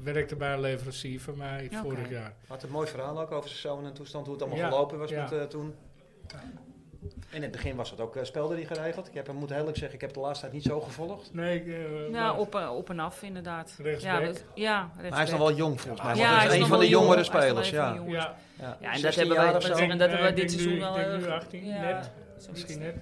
[SPEAKER 2] werkte bij een leverancier van mij
[SPEAKER 9] Oké.
[SPEAKER 2] vorig jaar.
[SPEAKER 4] Had een mooi verhaal ook over zijn zoon en toestand, hoe het allemaal
[SPEAKER 2] Ja,
[SPEAKER 4] gelopen was
[SPEAKER 2] ja.
[SPEAKER 4] met, eh, toen. En in het begin was het ook eh, spelderie geregeld. Ik heb, ik moet eerlijk zeggen, ik heb de laatste tijd niet zo gevolgd.
[SPEAKER 2] Nee, ik, eh,
[SPEAKER 9] Ja,
[SPEAKER 2] maar-
[SPEAKER 9] op, eh, op en af inderdaad. Ja,
[SPEAKER 2] Rechtsback.
[SPEAKER 9] dat- ja,
[SPEAKER 4] Maar hij is nog wel jong volgens mij.
[SPEAKER 9] rechtsback.
[SPEAKER 4] want hij
[SPEAKER 9] hij
[SPEAKER 4] is een
[SPEAKER 9] nog
[SPEAKER 4] van de
[SPEAKER 9] wel jong.
[SPEAKER 4] jongere
[SPEAKER 9] Hij is nog wel
[SPEAKER 4] spelers.
[SPEAKER 9] een van
[SPEAKER 4] Ja.
[SPEAKER 9] de jongens.
[SPEAKER 2] ja,
[SPEAKER 9] Ja, en dat
[SPEAKER 4] 16
[SPEAKER 9] hebben wij
[SPEAKER 4] jaar of
[SPEAKER 9] gezien.
[SPEAKER 4] zo.
[SPEAKER 9] En dat hebben we
[SPEAKER 2] Ik denk
[SPEAKER 9] dit seizoen
[SPEAKER 2] nu-
[SPEAKER 9] wel...
[SPEAKER 2] ik denk
[SPEAKER 9] heel
[SPEAKER 2] nu
[SPEAKER 9] erg-
[SPEAKER 2] 18,
[SPEAKER 9] ja,
[SPEAKER 2] net.
[SPEAKER 9] zoiets.
[SPEAKER 2] misschien net.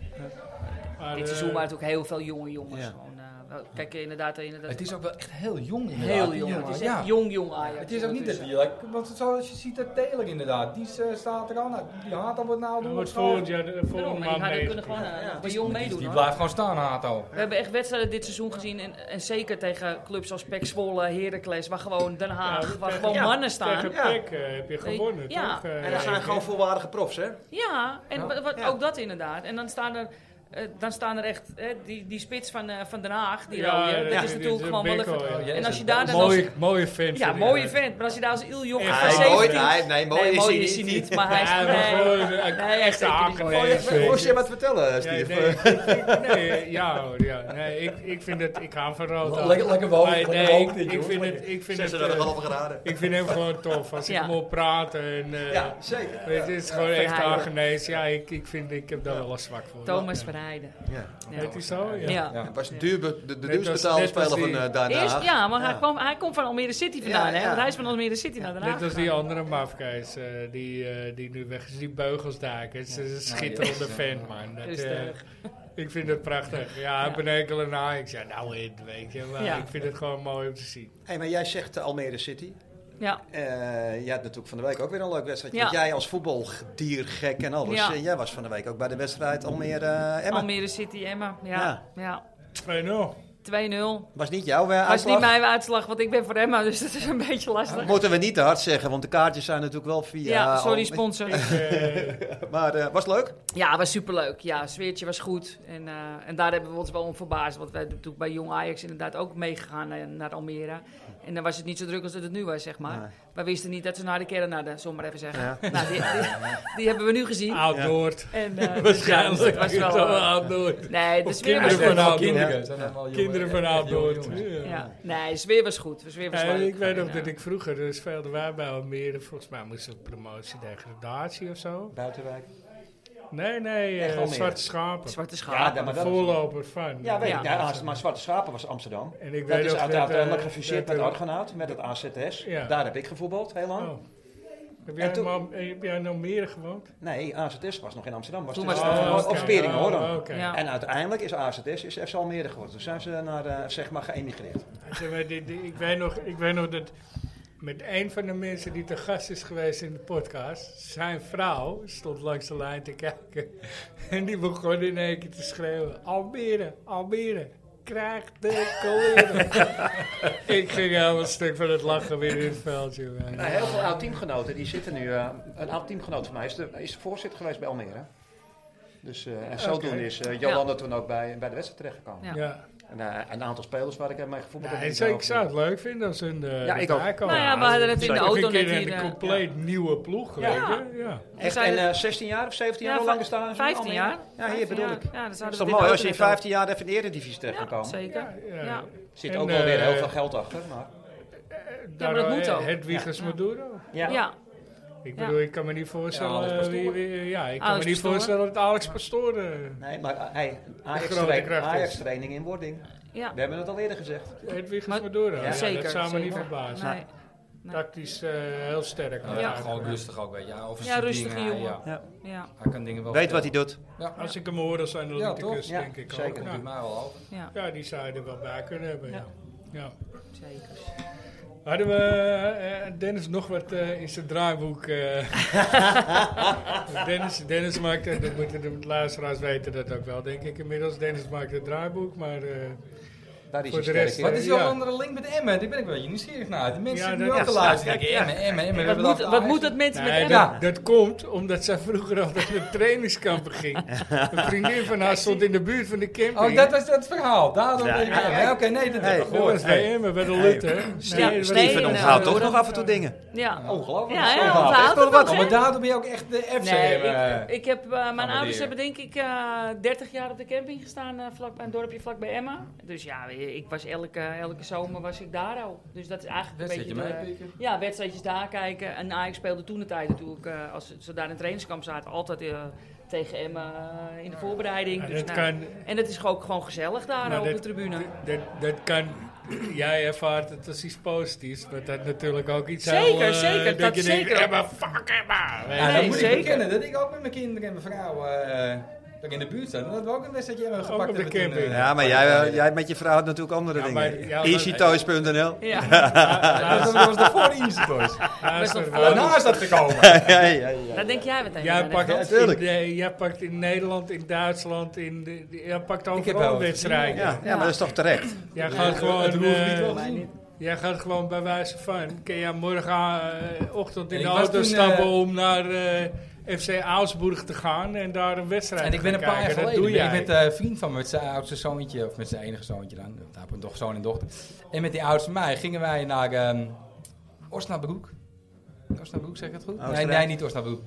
[SPEAKER 2] Maar,
[SPEAKER 9] Dit
[SPEAKER 2] eh,
[SPEAKER 9] seizoen waren het ook heel veel jonge jongens.
[SPEAKER 4] Ja.
[SPEAKER 9] Gewoon, eh, wel- kijk, inderdaad, inderdaad
[SPEAKER 5] Het is ook wel echt heel jong inderdaad.
[SPEAKER 9] heel
[SPEAKER 5] die
[SPEAKER 9] jong.
[SPEAKER 5] jongen.
[SPEAKER 9] Het is
[SPEAKER 5] Ja.
[SPEAKER 9] echt jong, jong Ajax. dus-
[SPEAKER 5] Het is ook niet dat
[SPEAKER 9] ondertussen.
[SPEAKER 5] die, want zoals je ziet, dat Taylor inderdaad, die eh, staat er al, nou, die Hato wordt nou
[SPEAKER 2] dan
[SPEAKER 5] doen.
[SPEAKER 2] wordt
[SPEAKER 5] of zo.
[SPEAKER 2] volgend jaar de
[SPEAKER 9] Daarom, maar
[SPEAKER 2] volgende
[SPEAKER 9] die
[SPEAKER 2] maand
[SPEAKER 9] hadden
[SPEAKER 2] mee.
[SPEAKER 9] kunnen gewoon eh,
[SPEAKER 4] Ja,
[SPEAKER 9] bij jong meedoen.
[SPEAKER 5] Die
[SPEAKER 9] hoor.
[SPEAKER 5] blijft gewoon staan, Hato.
[SPEAKER 9] We hebben echt wedstrijden dit seizoen gezien. En, en zeker tegen clubs als PEC Zwolle, Heracles, waar gewoon Den Haag, waar gewoon mannen staan.
[SPEAKER 2] Tegen Peck eh, heb je gewonnen,
[SPEAKER 9] Ja.
[SPEAKER 2] toch? Eh,
[SPEAKER 4] En dat zijn
[SPEAKER 2] ik-
[SPEAKER 4] gewoon volwaardige profs, hè?
[SPEAKER 9] Ja, en wa- wat,
[SPEAKER 4] Ja.
[SPEAKER 9] ook dat inderdaad. En dan staan er eh, dan staan er echt eh, die, die spits van, eh, van Den Haag, die
[SPEAKER 2] Ja,
[SPEAKER 9] rode. Dat is
[SPEAKER 2] ja, die-
[SPEAKER 9] natuurlijk
[SPEAKER 2] die
[SPEAKER 9] gewoon wel
[SPEAKER 2] Beko,
[SPEAKER 9] even...
[SPEAKER 2] ja.
[SPEAKER 9] En als je daar dan als...
[SPEAKER 2] Mooie, mooie vent.
[SPEAKER 9] Ja,
[SPEAKER 2] vind ik
[SPEAKER 9] mooie
[SPEAKER 2] dat.
[SPEAKER 9] vent. Maar als je daar als Iljong
[SPEAKER 2] Echt,
[SPEAKER 9] van
[SPEAKER 2] hij-
[SPEAKER 9] 17...
[SPEAKER 2] hij-
[SPEAKER 9] nee, mooi is hij niet. maar hij is...
[SPEAKER 2] Ja, hij was
[SPEAKER 9] nee.
[SPEAKER 2] gewoon een
[SPEAKER 9] Nee, echt
[SPEAKER 2] echte
[SPEAKER 9] zeker niet.
[SPEAKER 2] akel,
[SPEAKER 9] Oh,
[SPEAKER 2] ja,
[SPEAKER 9] ja,
[SPEAKER 2] zeker.
[SPEAKER 5] Moest je wat vertellen,
[SPEAKER 2] Ja,
[SPEAKER 5] eh, Steve?
[SPEAKER 2] nee, ik- ik- nee, ja hoor, ja. Nee, ik, ik vind het, ik hou van rood. aan.
[SPEAKER 5] Lekker- lekker woke,
[SPEAKER 2] Maar
[SPEAKER 5] lekker
[SPEAKER 2] nee,
[SPEAKER 5] woke
[SPEAKER 2] ik-
[SPEAKER 5] dit,
[SPEAKER 2] ik
[SPEAKER 5] joh.
[SPEAKER 2] vind het, ik vind het,
[SPEAKER 5] 36,5
[SPEAKER 2] eh,
[SPEAKER 5] graden.
[SPEAKER 2] Ik vind hem gewoon tof, als ik
[SPEAKER 9] Ja.
[SPEAKER 2] hem hoor praten en... eh,
[SPEAKER 5] Ja, zeker.
[SPEAKER 2] Het is gewoon echt
[SPEAKER 9] Verheijden.
[SPEAKER 2] aangenees. Ja, ik, ik vind, ik heb daar wel een zwak voor.
[SPEAKER 9] Thomas Verheijden.
[SPEAKER 5] Ja.
[SPEAKER 2] Het is zo, ja.
[SPEAKER 9] Ja.
[SPEAKER 5] Hij was de
[SPEAKER 9] Ja.
[SPEAKER 5] duurbe- de, de
[SPEAKER 2] Net
[SPEAKER 5] duurst
[SPEAKER 2] als-
[SPEAKER 5] betaalde
[SPEAKER 2] net als
[SPEAKER 5] speler van
[SPEAKER 2] die-
[SPEAKER 5] eh Den
[SPEAKER 9] Eerst,
[SPEAKER 5] Haag.
[SPEAKER 9] ja, maar Hij, kwam, hij komt van Almere City vandaan,
[SPEAKER 5] Ja,
[SPEAKER 9] hè?
[SPEAKER 5] ja.
[SPEAKER 9] Want hij is van Almere City naar Den Haag
[SPEAKER 2] Net als die
[SPEAKER 9] gegaan.
[SPEAKER 2] andere mafkees eh, die, eh, die nu weg is, die Beugelsdijk. Het is
[SPEAKER 9] Nou,
[SPEAKER 2] een schitterende fan, man. Dat, eh,
[SPEAKER 9] Rustig.
[SPEAKER 2] ik vind het prachtig. Ja, ik ben enkel een Ajax. Ik zei, nou, in, weet je. Maar
[SPEAKER 9] Ja.
[SPEAKER 2] ik vind het gewoon mooi om te zien.
[SPEAKER 4] Hey, maar jij zegt eh, Almere City.
[SPEAKER 9] Ja.
[SPEAKER 4] Eh, jij had natuurlijk van de week ook weer een leuk wedstrijd.
[SPEAKER 9] Ja.
[SPEAKER 4] Want jij als voetbaldiergek en alles.
[SPEAKER 9] Ja.
[SPEAKER 4] eh, jij was van de week ook bij de wedstrijd Almere eh Emma.
[SPEAKER 9] Almere City, Emma. Ja. ja.
[SPEAKER 2] 2-0.
[SPEAKER 9] 2-0.
[SPEAKER 4] Was niet jouw eh,
[SPEAKER 9] Dat is
[SPEAKER 4] uitslag.
[SPEAKER 9] niet mijn uitslag, want ik ben voor Emma, dus dat is een beetje lastig.
[SPEAKER 4] Moeten we niet te hard zeggen, want de kaartjes zijn natuurlijk wel via...
[SPEAKER 9] Ja, sorry
[SPEAKER 4] Almere.
[SPEAKER 9] sponsor.
[SPEAKER 4] Maar eh, was leuk?
[SPEAKER 9] Ja, was superleuk. Ja, sfeertje was goed. En, eh, en daar hebben we ons wel om verbaasd. Want wij zijn natuurlijk bij Jong Ajax inderdaad ook meegegaan naar, naar Almere. En dan was het niet zo druk als dat het nu was, zeg maar.
[SPEAKER 4] Nee.
[SPEAKER 9] Wij wisten niet dat ze naar de kern hadden, zullen we maar even zeggen.
[SPEAKER 4] Ja.
[SPEAKER 9] Nou, die, die, die hebben we nu gezien.
[SPEAKER 2] Oud Noord.
[SPEAKER 9] En, eh,
[SPEAKER 2] Waarschijnlijk.
[SPEAKER 9] dus het was wel, eh,
[SPEAKER 2] Oud Noord.
[SPEAKER 9] nee, de
[SPEAKER 2] Of
[SPEAKER 9] sfeer
[SPEAKER 2] kinderen
[SPEAKER 9] was goed.
[SPEAKER 2] van Oud Noord.
[SPEAKER 5] Kinderen. Zijn allemaal jongen-
[SPEAKER 2] Kinderen van
[SPEAKER 5] echt
[SPEAKER 2] Oud
[SPEAKER 5] jonge
[SPEAKER 2] Noord.
[SPEAKER 5] jongens.
[SPEAKER 2] Ja.
[SPEAKER 9] Ja. Nee, de sfeer was goed. De sfeer was
[SPEAKER 2] Ja,
[SPEAKER 9] leuk.
[SPEAKER 2] ik weet nog
[SPEAKER 9] En,
[SPEAKER 2] dat
[SPEAKER 9] eh,
[SPEAKER 2] ik vroeger dus speelden wij bij Almere. Volgens mij moesten we promotie degradatie of zo.
[SPEAKER 4] Buitenwijk.
[SPEAKER 2] Nee, nee, eh,
[SPEAKER 4] Echt Almere.
[SPEAKER 2] Zwarte Schapen.
[SPEAKER 9] Zwarte schaap.
[SPEAKER 4] Ja, maar
[SPEAKER 2] de
[SPEAKER 4] dat-
[SPEAKER 2] voorloper van.
[SPEAKER 4] Ja, weet
[SPEAKER 9] Ja.
[SPEAKER 4] ik. Ja, maar Zwarte Schapen was Amsterdam.
[SPEAKER 2] En ik
[SPEAKER 4] dat
[SPEAKER 2] weet
[SPEAKER 4] is
[SPEAKER 2] nog dat,
[SPEAKER 4] uiteindelijk
[SPEAKER 2] eh,
[SPEAKER 4] gefuseerd
[SPEAKER 2] dat,
[SPEAKER 4] met
[SPEAKER 2] eh,
[SPEAKER 4] Argonaut, met het AZS.
[SPEAKER 2] Ja.
[SPEAKER 4] Daar heb ik gevoetbald, heel lang.
[SPEAKER 2] Oh. Heb jij,
[SPEAKER 4] En toen-
[SPEAKER 2] in Al- heb jij in Almere gewoond?
[SPEAKER 4] Nee, AZS was nog in Amsterdam. Was
[SPEAKER 9] Toen
[SPEAKER 4] toen
[SPEAKER 9] was
[SPEAKER 4] was
[SPEAKER 9] het nog-
[SPEAKER 4] of Speringen, hoor dan.
[SPEAKER 2] Oh, oké.
[SPEAKER 9] Ja.
[SPEAKER 4] En uiteindelijk is AZS is FC Almere geworden. Toen zijn ze naar, eh, zeg maar, geëmigreerd.
[SPEAKER 2] Zeg maar, die- die- ik, weet nog, ik weet nog dat met een van de mensen die te gast is geweest in de podcast, zijn vrouw stond langs de lijn te kijken. En die begon in één keer te schreeuwen: Almere, Almere. Krijg de koleren. ik ging helemaal stuk van het lachen weer in het veld, jongen.
[SPEAKER 4] Nou, heel veel oud-teamgenoten die zitten nu. eh, een oud-teamgenoot van mij is de, is de voorzitter geweest bij Almere. Dus eh, en zodoende is eh Jolanda toen ook bij, bij de wedstrijd
[SPEAKER 9] Ja.
[SPEAKER 4] terechtgekomen.
[SPEAKER 2] Ja.
[SPEAKER 4] En eh, een aantal spelers waar ik eh, mee gevoetbald
[SPEAKER 2] Nou,
[SPEAKER 4] heb.
[SPEAKER 2] ik zou- ik zou het leuk vinden als een. Uh,
[SPEAKER 4] Ja, ik ook.
[SPEAKER 9] Nou ja, we hadden het in de auto net
[SPEAKER 2] Een
[SPEAKER 9] hier, eh,
[SPEAKER 2] compleet nieuwe ploeg. weet je? Ja.
[SPEAKER 4] Echt,
[SPEAKER 9] zijn
[SPEAKER 4] en
[SPEAKER 9] het-
[SPEAKER 4] eh, 16 jaar of 17
[SPEAKER 9] Ja,
[SPEAKER 4] jaar, hoe
[SPEAKER 9] va-
[SPEAKER 4] lang is daar? in
[SPEAKER 9] 15
[SPEAKER 4] Almere?
[SPEAKER 9] jaar.
[SPEAKER 4] Ja, hier
[SPEAKER 9] 15
[SPEAKER 4] bedoel
[SPEAKER 9] jaar.
[SPEAKER 4] ik.
[SPEAKER 9] Ja, dat
[SPEAKER 4] Dat is
[SPEAKER 9] zouden
[SPEAKER 4] toch
[SPEAKER 9] we
[SPEAKER 4] mooi
[SPEAKER 9] dit
[SPEAKER 4] als je in
[SPEAKER 9] ook net over-
[SPEAKER 4] 15 jaar even in de Eredivisie terecht kan
[SPEAKER 9] Ja,
[SPEAKER 4] komen.
[SPEAKER 9] zeker.
[SPEAKER 2] Ja,
[SPEAKER 9] Ja.
[SPEAKER 4] Er zit
[SPEAKER 2] En,
[SPEAKER 4] ook wel weer heel
[SPEAKER 2] eh,
[SPEAKER 4] veel geld achter. Maar...
[SPEAKER 9] Ja, maar dat moet ook.
[SPEAKER 2] Hedwiges
[SPEAKER 9] Ja.
[SPEAKER 2] Maduro.
[SPEAKER 9] Ja.
[SPEAKER 2] Ik
[SPEAKER 9] Ja.
[SPEAKER 2] bedoel, ik kan me niet
[SPEAKER 4] Ja,
[SPEAKER 2] voorstellen.
[SPEAKER 4] Alex
[SPEAKER 2] eh,
[SPEAKER 4] Pastoor.
[SPEAKER 2] wie, wie- ja, ik kan
[SPEAKER 9] Alex
[SPEAKER 2] me niet
[SPEAKER 9] Pastoor.
[SPEAKER 2] voorstellen dat Alex Pastoor. eh,
[SPEAKER 4] Nee, maar eh, hey,
[SPEAKER 2] grote kracht is.
[SPEAKER 4] Ajax-training in wording.
[SPEAKER 9] Ja.
[SPEAKER 4] We hebben het al eerder gezegd.
[SPEAKER 2] Hedwiges
[SPEAKER 9] Maar-
[SPEAKER 2] Maduro. Ja,
[SPEAKER 9] zeker.
[SPEAKER 2] dat zou me
[SPEAKER 9] zeker.
[SPEAKER 2] niet verbazen.
[SPEAKER 9] Nee.
[SPEAKER 2] Tactisch eh, heel sterk.
[SPEAKER 9] Ja.
[SPEAKER 2] Ja.
[SPEAKER 5] Gewoon rustig ook, weet je. Ja,
[SPEAKER 9] Ja, rustige
[SPEAKER 5] dingen,
[SPEAKER 9] jongen.
[SPEAKER 5] Ja.
[SPEAKER 9] Ja,
[SPEAKER 5] Hij kan dingen wel
[SPEAKER 4] Weet wat hij
[SPEAKER 5] vertellen.
[SPEAKER 4] doet.
[SPEAKER 2] Als ik hem hoor, zijn de
[SPEAKER 5] Ja,
[SPEAKER 2] Olympiërs,
[SPEAKER 4] toch?
[SPEAKER 2] denk ik
[SPEAKER 4] Ja, zeker.
[SPEAKER 2] ook.
[SPEAKER 5] Doet
[SPEAKER 2] Ja.
[SPEAKER 5] mij wel over.
[SPEAKER 9] ja,
[SPEAKER 2] ja, die zou je er wel bij kunnen hebben. Ja. Ja.
[SPEAKER 9] zeker.
[SPEAKER 2] Hadden we eh, Dennis nog wat eh, in zijn draaiboek? eh. Dennis, Dennis maakte, dat moeten de luisteraars weten dat ook wel, denk ik inmiddels. Dennis maakt het draaiboek, maar eh,
[SPEAKER 4] Daar is
[SPEAKER 2] Voor
[SPEAKER 4] hij
[SPEAKER 2] de
[SPEAKER 4] sterk
[SPEAKER 2] rest, eh,
[SPEAKER 4] in.
[SPEAKER 5] Wat is jouw
[SPEAKER 2] Ja.
[SPEAKER 5] andere link met Emmen? Daar ben ik wel nieuwsgierig naar. De mensen
[SPEAKER 2] Ja,
[SPEAKER 5] die nu
[SPEAKER 2] dat-
[SPEAKER 5] ook te
[SPEAKER 2] ja,
[SPEAKER 5] luisteren. Kijk, Emmen, Emmen, Emmen. we
[SPEAKER 9] Wat
[SPEAKER 5] hebben
[SPEAKER 9] moet,
[SPEAKER 5] het
[SPEAKER 9] wat
[SPEAKER 5] over
[SPEAKER 9] moet dat mensen met
[SPEAKER 2] Nee,
[SPEAKER 9] Emma?
[SPEAKER 2] dat, dat komt omdat zij vroeger altijd naar trainingskampen ging. Een vriendin van haar stond in de buurt van de camping.
[SPEAKER 5] Ajax. Oh, dat was het verhaal. Daarom ben ik
[SPEAKER 4] Ja.
[SPEAKER 5] Ja, Oké, nee, dat heb ik
[SPEAKER 2] Dat
[SPEAKER 5] gehoord.
[SPEAKER 2] was bij Emmen, bij de Lutte.
[SPEAKER 9] Steven
[SPEAKER 2] dat was-
[SPEAKER 9] Steven
[SPEAKER 4] Steven
[SPEAKER 9] eh,
[SPEAKER 4] onthoudt Nou, toch
[SPEAKER 9] hoor,
[SPEAKER 4] nog
[SPEAKER 9] dat,
[SPEAKER 4] af en toe dingen.
[SPEAKER 9] Ja.
[SPEAKER 4] Ongelooflijk.
[SPEAKER 9] Ja, ja,
[SPEAKER 4] Onthoudt echt
[SPEAKER 9] onthoudt
[SPEAKER 4] nog
[SPEAKER 9] het
[SPEAKER 4] wat.
[SPEAKER 9] nog,
[SPEAKER 5] Oh,
[SPEAKER 9] hè?
[SPEAKER 5] maar daardoor ben je ook echt de FC
[SPEAKER 9] Nee,
[SPEAKER 5] Emmen.
[SPEAKER 9] ik, ik heb, eh, mijn
[SPEAKER 5] Amadeo.
[SPEAKER 9] ouders hebben denk ik eh 30 jaar op de camping gestaan, eh vlak bij een dorpje vlakbij Emma. Dus ja, ik was elke, elke zomer was ik daar al. Dus dat is eigenlijk een beetje...
[SPEAKER 5] Wedstrijdje
[SPEAKER 9] de-
[SPEAKER 5] meepikken.
[SPEAKER 9] Ja, wedstrijdjes daar kijken. En Ajax speelde toen de tijd natuurlijk, eh, als ze daar in het trainingskamp zaten, altijd eh, tegen Emma eh, in de voorbereiding.
[SPEAKER 2] Ja,
[SPEAKER 9] dus,
[SPEAKER 2] dat
[SPEAKER 9] nou,
[SPEAKER 2] kan-
[SPEAKER 9] En het is ook gewoon gezellig daar
[SPEAKER 2] Maar
[SPEAKER 9] op
[SPEAKER 2] dat-
[SPEAKER 9] de tribune.
[SPEAKER 2] Dat, dat kan... Jij ervaart het als iets positiefs, maar dat natuurlijk ook iets
[SPEAKER 9] Zeker,
[SPEAKER 2] heel, eh,
[SPEAKER 9] zeker,
[SPEAKER 2] Dat,
[SPEAKER 9] dat
[SPEAKER 2] je denkt,
[SPEAKER 9] zeker.
[SPEAKER 2] Emma, fuck Emma. weet je.
[SPEAKER 5] Ja, dat
[SPEAKER 9] Nee,
[SPEAKER 5] moet
[SPEAKER 9] zeker.
[SPEAKER 5] ik bekennen. Dat ik ook met mijn kinderen en mijn vrouw... eh, dat ik in de buurt zat. Dat we ook een wedstrijdje Emmen gepakt
[SPEAKER 2] op de
[SPEAKER 5] hebben. toen,
[SPEAKER 2] camping.
[SPEAKER 5] eh,
[SPEAKER 4] Ja, maar jij, eh, jij met je vrouw had natuurlijk andere
[SPEAKER 2] Ja, maar-
[SPEAKER 4] dingen.
[SPEAKER 2] ja, maar-
[SPEAKER 4] Easytoys.nl.
[SPEAKER 9] Ja.
[SPEAKER 5] Dat was de voor Easy Boys.
[SPEAKER 2] Naast
[SPEAKER 9] nog
[SPEAKER 2] haar
[SPEAKER 9] voor-
[SPEAKER 2] woont-
[SPEAKER 5] Daarna is dat gekomen.
[SPEAKER 4] Ja, ja, ja.
[SPEAKER 9] Daar denk jij meteen
[SPEAKER 2] Jij
[SPEAKER 9] aan, hè,
[SPEAKER 2] pakt,
[SPEAKER 9] Gert?
[SPEAKER 2] in,
[SPEAKER 4] tuurlijk.
[SPEAKER 2] eh, jij pakt in Nederland, in Duitsland, in de, jij pakt
[SPEAKER 5] heb wel
[SPEAKER 2] overal
[SPEAKER 5] wat
[SPEAKER 2] wedstrijden.
[SPEAKER 4] Ja, ja, maar dat is toch terecht?
[SPEAKER 2] Jij gaat gewoon...
[SPEAKER 5] Het hoeft niet
[SPEAKER 2] eh,
[SPEAKER 5] wel te zien.
[SPEAKER 2] Jij gaat gewoon bij wijze van. Kun jij morgenochtend eh, in
[SPEAKER 5] Ik
[SPEAKER 2] de
[SPEAKER 5] was
[SPEAKER 2] auto
[SPEAKER 5] toen,
[SPEAKER 2] stappen
[SPEAKER 5] eh,
[SPEAKER 2] om naar eh FC Augsburg te gaan en daar een wedstrijd
[SPEAKER 5] En ik ben
[SPEAKER 2] te
[SPEAKER 5] een
[SPEAKER 2] gaan
[SPEAKER 5] paar jaar
[SPEAKER 2] kijken.
[SPEAKER 5] geleden
[SPEAKER 2] Dat doe
[SPEAKER 5] ben
[SPEAKER 2] jij.
[SPEAKER 5] ik met een vriend van me, met zijn oudste zoontje, of met zijn enige zoontje dan. eh, nou, Daar heb ik toch zoon en dochter. En met die oudste van mij gingen wij naar ehm Osnabroek. Osnabroek, zeg ik het goed? nee,
[SPEAKER 2] Oostenrijk.
[SPEAKER 5] nee, niet Osnabroek.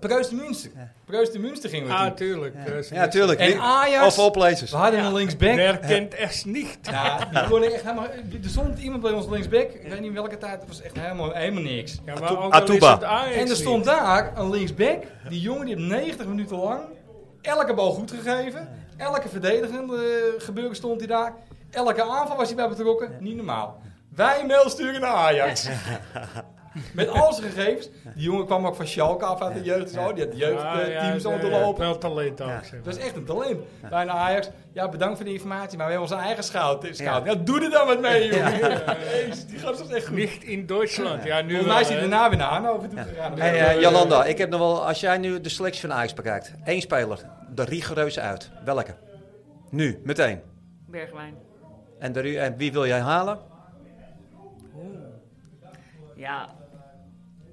[SPEAKER 5] Preus de Münster. Preus de Münster gingen we
[SPEAKER 2] Ah,
[SPEAKER 5] toe.
[SPEAKER 2] tuurlijk, Ja. Preus de
[SPEAKER 5] Ja,
[SPEAKER 2] Münster.
[SPEAKER 5] tuurlijk. En Ajax.
[SPEAKER 2] Of all places.
[SPEAKER 5] We hadden
[SPEAKER 2] Dus Ja.
[SPEAKER 5] een linksback.
[SPEAKER 2] Wer kent echt niet.
[SPEAKER 5] Ja, die worden echt helemaal, er stond iemand bij ons linksback. Ik weet niet welke tijd. Het was echt helemaal, helemaal niks.
[SPEAKER 2] Ja, maar ook al Atuba. is het Ajax
[SPEAKER 5] En er
[SPEAKER 2] niet.
[SPEAKER 5] stond daar een linksback. Die jongen die heeft 90 minuten lang elke bal goed gegeven. Elke verdedigende eh, gebeuren stond hij daar. Elke aanval was hij bij betrokken. Niet normaal. Wij een mail sturen naar Ajax. Met al zijn gegevens. Die jongen kwam ook van Schalke af uit de jeugd. eh, en Zo. Oh, Die had de jeugdteams al doorlopen.
[SPEAKER 2] Wel talent ook, zeg maar.
[SPEAKER 5] Dat is echt een talent. Bijna Ajax. Ja, bedankt voor de informatie, maar we hebben onze eigen scout. scout. Ja.
[SPEAKER 2] Ja.
[SPEAKER 5] doe er dan wat mee, jongen.
[SPEAKER 2] Ja.
[SPEAKER 5] Jezus, die gast was echt goed.
[SPEAKER 2] Nicht in Duitsland. Ja, nu
[SPEAKER 5] Volgens mij
[SPEAKER 2] wel,
[SPEAKER 5] is hij
[SPEAKER 2] hè.
[SPEAKER 5] daarna weer naar Hannover toe gegaan.
[SPEAKER 4] Hey, eh, Jolanda, ik heb nog wel, als jij nu de selectie van Ajax bekijkt, één speler, de rigoureuze uit, welke? Nu, meteen.
[SPEAKER 9] Bergwijn.
[SPEAKER 4] En, de, ru- en wie wil jij halen?
[SPEAKER 9] Ja.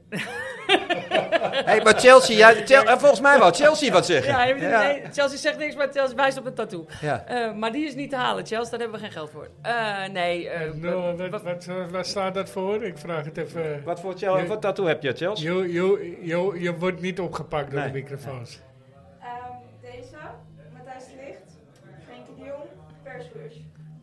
[SPEAKER 4] hey, maar Chelsea, jij, Chel- eh, volgens mij wou Chelsea wat zeggen.
[SPEAKER 9] Ja, je moet- nee, Chelsea zegt niks, maar Chelsea wijst op een tattoo.
[SPEAKER 4] Ja.
[SPEAKER 9] Eh, maar die is niet te halen, Chelsea, daar hebben we geen geld voor. Eh, nee, eh,
[SPEAKER 2] Nul, wat, wat, wat, wat staat dat voor? Ik vraag het even.
[SPEAKER 4] Wat voor Chelsea?
[SPEAKER 2] Je,
[SPEAKER 4] Wat tattoo heb je, Chelsea?
[SPEAKER 2] je, je, je, je wordt niet opgepakt door
[SPEAKER 4] Nee.
[SPEAKER 2] de microfoons.
[SPEAKER 10] Ehm, deze, Matthijs de Licht, Frenkie de Jong, Persbeurs.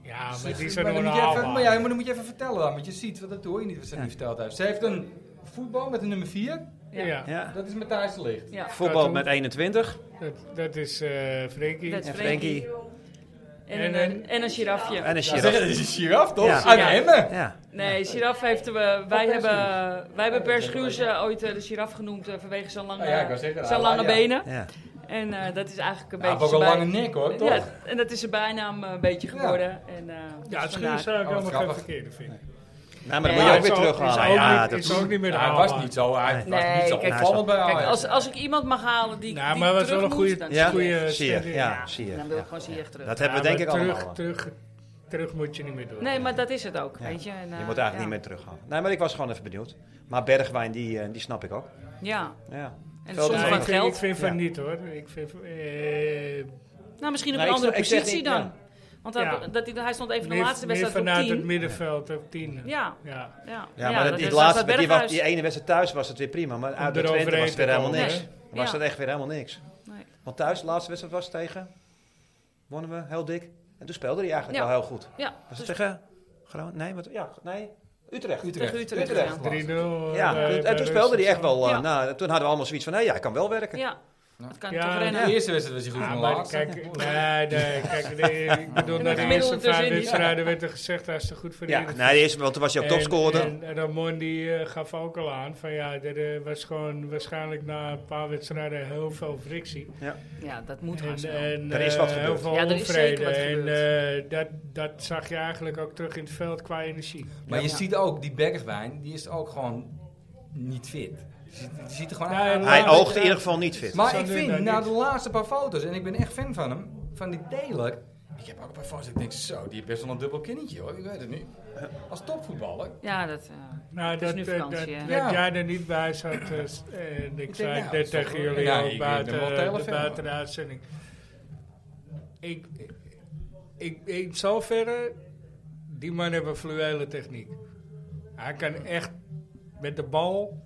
[SPEAKER 2] Ja, maar
[SPEAKER 5] Zeg,
[SPEAKER 2] die zijn
[SPEAKER 5] maar dan moet je
[SPEAKER 2] normaal,
[SPEAKER 5] even-
[SPEAKER 2] man.
[SPEAKER 5] Maar ja, maar dan moet je even vertellen dan, want je ziet, want dat hoor je niet wat ze nu verteld heeft. Ze heeft een voetbal met een nummer 4.
[SPEAKER 2] Ja. Ja.
[SPEAKER 5] Dat is Matthijs de Ligt.
[SPEAKER 9] Ja.
[SPEAKER 4] Voetbal met 21.
[SPEAKER 2] Dat, dat is eh Frenkie.
[SPEAKER 9] Dat is
[SPEAKER 4] En Frenkie.
[SPEAKER 9] Frenkie. En, een- en, een girafje.
[SPEAKER 4] En een
[SPEAKER 5] Ja,
[SPEAKER 4] giraf.
[SPEAKER 5] zeg, dat is een giraf, toch?
[SPEAKER 4] Ja.
[SPEAKER 5] Uit Emmen.
[SPEAKER 4] Ja.
[SPEAKER 9] Nee, giraf heeft... we. wij,
[SPEAKER 5] Van
[SPEAKER 9] hebben,
[SPEAKER 5] Perschuurs.
[SPEAKER 9] wij hebben
[SPEAKER 5] Ja, dat is
[SPEAKER 9] Perschuurs
[SPEAKER 5] wel
[SPEAKER 9] eh, ooit eh, de giraf genoemd eh, vanwege zijn lange,
[SPEAKER 5] Ah ja, ik wou zeggen,
[SPEAKER 9] zijn
[SPEAKER 5] ah,
[SPEAKER 9] lange
[SPEAKER 5] ja.
[SPEAKER 9] benen.
[SPEAKER 5] Ja.
[SPEAKER 9] En eh, dat is eigenlijk een
[SPEAKER 5] Hij heeft
[SPEAKER 9] beetje...
[SPEAKER 5] ook een
[SPEAKER 9] zijn bij-
[SPEAKER 5] lange nek, hoor,
[SPEAKER 9] Ja,
[SPEAKER 5] toch?
[SPEAKER 9] en dat is zijn bijnaam eh, een beetje geworden. Ja, en, eh, dus
[SPEAKER 2] Ja, het
[SPEAKER 9] vandaar.
[SPEAKER 2] schuur zou ik
[SPEAKER 5] Oh,
[SPEAKER 2] helemaal geen
[SPEAKER 5] grappig.
[SPEAKER 2] verkeerde vinden.
[SPEAKER 4] Nou,
[SPEAKER 9] maar
[SPEAKER 4] maar
[SPEAKER 9] dat
[SPEAKER 4] dan
[SPEAKER 9] Ja,
[SPEAKER 4] moet je ook
[SPEAKER 2] is
[SPEAKER 4] weer
[SPEAKER 2] ook-
[SPEAKER 4] terughalen.
[SPEAKER 2] is ook
[SPEAKER 4] ja,
[SPEAKER 2] niet-
[SPEAKER 4] dat
[SPEAKER 2] is ook niet meer
[SPEAKER 5] Hij
[SPEAKER 2] haalbaar.
[SPEAKER 5] was niet zo, hij was niet
[SPEAKER 9] Nee,
[SPEAKER 5] zo
[SPEAKER 9] kijk,
[SPEAKER 5] opvallend bij
[SPEAKER 9] Kijk,
[SPEAKER 5] Ajax. Nou,
[SPEAKER 9] als, als ik iemand mag halen die.
[SPEAKER 2] Ja,
[SPEAKER 9] die
[SPEAKER 2] maar dat is
[SPEAKER 9] terug
[SPEAKER 2] wel een
[SPEAKER 9] moet,
[SPEAKER 2] goede-
[SPEAKER 9] dan
[SPEAKER 4] Ja,
[SPEAKER 9] Ziyech.
[SPEAKER 2] goede
[SPEAKER 4] Ziyech,
[SPEAKER 2] stelling.
[SPEAKER 4] ja, Ziyech,
[SPEAKER 9] Dan wil ik
[SPEAKER 4] ja.
[SPEAKER 9] gewoon Ziyech terug.
[SPEAKER 4] Dat hebben we
[SPEAKER 2] Ja,
[SPEAKER 4] denk ik
[SPEAKER 2] maar
[SPEAKER 4] allemaal.
[SPEAKER 2] terug,
[SPEAKER 4] wel.
[SPEAKER 2] terug, terug moet je niet meer door.
[SPEAKER 9] Nee, maar dat is het ook. Weet je, en,
[SPEAKER 4] Je
[SPEAKER 9] eh,
[SPEAKER 4] moet eigenlijk niet meer terughalen. Nee, maar ik was gewoon even benieuwd. Maar Bergwijn, die, eh, die snap ik ook.
[SPEAKER 9] Ja.
[SPEAKER 4] Ja.
[SPEAKER 9] En
[SPEAKER 4] Velden-
[SPEAKER 9] soms
[SPEAKER 2] Ja,
[SPEAKER 9] wat
[SPEAKER 2] ik, vind, ik
[SPEAKER 9] geld.
[SPEAKER 2] vind van
[SPEAKER 4] Ja.
[SPEAKER 2] niet hoor. Ik vind, van- eh,
[SPEAKER 9] Nou, misschien op
[SPEAKER 4] Nee,
[SPEAKER 9] een
[SPEAKER 4] ik
[SPEAKER 9] andere
[SPEAKER 4] zeg- ik zeg
[SPEAKER 9] positie
[SPEAKER 4] niet,
[SPEAKER 9] dan.
[SPEAKER 4] ja.
[SPEAKER 9] Want hij,
[SPEAKER 2] Ja.
[SPEAKER 9] dat, hij, hij stond een van de
[SPEAKER 2] meer-
[SPEAKER 9] laatste
[SPEAKER 2] meer
[SPEAKER 9] wedstrijden op
[SPEAKER 2] vanuit
[SPEAKER 9] 10.
[SPEAKER 2] het middenveld op 10.
[SPEAKER 9] Ja.
[SPEAKER 2] Ja.
[SPEAKER 9] Ja,
[SPEAKER 4] Ja, maar dat,
[SPEAKER 9] is
[SPEAKER 4] die, laatste,
[SPEAKER 9] als
[SPEAKER 4] die, was,
[SPEAKER 9] Berghuis.
[SPEAKER 4] die ene wedstrijd thuis was het weer prima. Maar uit de
[SPEAKER 2] eroverheen
[SPEAKER 4] Twente was het weer
[SPEAKER 2] te
[SPEAKER 4] helemaal
[SPEAKER 2] komen,
[SPEAKER 4] niks.
[SPEAKER 9] hè?
[SPEAKER 4] Dan was
[SPEAKER 9] Ja.
[SPEAKER 4] het echt weer helemaal niks.
[SPEAKER 9] Nee.
[SPEAKER 4] Want thuis, de laatste wedstrijd was tegen... Wonnen we, heel dik. En toen speelde hij eigenlijk
[SPEAKER 9] Ja.
[SPEAKER 4] wel heel goed.
[SPEAKER 9] Ja,
[SPEAKER 4] Was
[SPEAKER 9] dus
[SPEAKER 4] het tegen... Groningen? Nee, wat, ja, nee, Utrecht.
[SPEAKER 9] tegen Utrecht.
[SPEAKER 4] Utrecht.
[SPEAKER 9] ja.
[SPEAKER 2] 3-0.
[SPEAKER 4] Ja,
[SPEAKER 2] bij-
[SPEAKER 4] toen-
[SPEAKER 2] bij
[SPEAKER 4] en toen speelde hij
[SPEAKER 2] Russen.
[SPEAKER 4] echt wel... eh,
[SPEAKER 9] Ja.
[SPEAKER 4] nou, toen hadden we allemaal zoiets van... Nee, ja, hij kan wel werken.
[SPEAKER 9] Ja, dat kan
[SPEAKER 2] Ja,
[SPEAKER 9] toch
[SPEAKER 5] Nou. De
[SPEAKER 9] rennen.
[SPEAKER 5] eerste wedstrijd was hij goed,
[SPEAKER 2] Ja,
[SPEAKER 5] maar
[SPEAKER 2] maar
[SPEAKER 5] laatst-
[SPEAKER 2] kijk, nee, nee, kijk, nee, ik bedoel,
[SPEAKER 9] En
[SPEAKER 2] na
[SPEAKER 9] dat
[SPEAKER 2] de
[SPEAKER 9] gemiddelde
[SPEAKER 2] eerste vijf
[SPEAKER 9] tussenin.
[SPEAKER 2] wedstrijden werd er gezegd, hij is te goed voor de
[SPEAKER 4] Ja,
[SPEAKER 2] Eredivisie.
[SPEAKER 4] nee, eerst, want toen was hij ook topscorer.
[SPEAKER 2] En, en Ramon die eh, gaf ook al aan van ja, er eh, was gewoon waarschijnlijk na een paar wedstrijden heel veel frictie.
[SPEAKER 9] Ja, dat moet gaan
[SPEAKER 2] En,
[SPEAKER 9] zo.
[SPEAKER 2] en,
[SPEAKER 4] Er is
[SPEAKER 2] eh,
[SPEAKER 4] wat
[SPEAKER 2] heel
[SPEAKER 4] gebeurd.
[SPEAKER 2] veel
[SPEAKER 9] Ja, er is zeker
[SPEAKER 2] onvrede.
[SPEAKER 9] wat
[SPEAKER 2] En
[SPEAKER 9] gebeurd.
[SPEAKER 2] eh, dat, dat zag je eigenlijk ook terug in het veld qua energie.
[SPEAKER 5] Maar je
[SPEAKER 9] Ja.
[SPEAKER 5] ziet ook, die Bergwijn, die is ook gewoon niet fit. Je ziet, je ziet er gewoon
[SPEAKER 2] Ja,
[SPEAKER 5] uit.
[SPEAKER 2] en
[SPEAKER 4] Hij
[SPEAKER 2] laatste-
[SPEAKER 4] oogde in ieder geval niet fit.
[SPEAKER 5] Maar
[SPEAKER 2] Zo
[SPEAKER 5] ik
[SPEAKER 2] nu daar
[SPEAKER 5] vind, na
[SPEAKER 2] niet.
[SPEAKER 5] de laatste paar foto's, en ik ben echt fan van hem, van die Taylor. Ik heb ook een paar foto's, ik denk zo, die heeft best wel een dubbel kinnetje hoor, ik weet het niet. Als topvoetballer.
[SPEAKER 9] Ja, dat. eh,
[SPEAKER 2] Nou,
[SPEAKER 9] Het is
[SPEAKER 2] dat,
[SPEAKER 9] nu
[SPEAKER 2] dat-
[SPEAKER 9] vakantie,
[SPEAKER 2] dat-
[SPEAKER 9] hè?
[SPEAKER 2] dat
[SPEAKER 5] Ja.
[SPEAKER 2] jij er niet bij zat. dus, en ik zei
[SPEAKER 5] nou,
[SPEAKER 2] dit
[SPEAKER 5] is toch
[SPEAKER 2] tegen
[SPEAKER 5] wel-
[SPEAKER 2] jullie
[SPEAKER 5] Ja, ik-
[SPEAKER 2] ook
[SPEAKER 5] ik
[SPEAKER 2] buiten,
[SPEAKER 5] ben wel
[SPEAKER 2] eh, de,
[SPEAKER 5] telefan.
[SPEAKER 2] buiten de uitzending. Ik, ik, in zoverre, die man heeft een fluwele techniek. Hij kan echt met de bal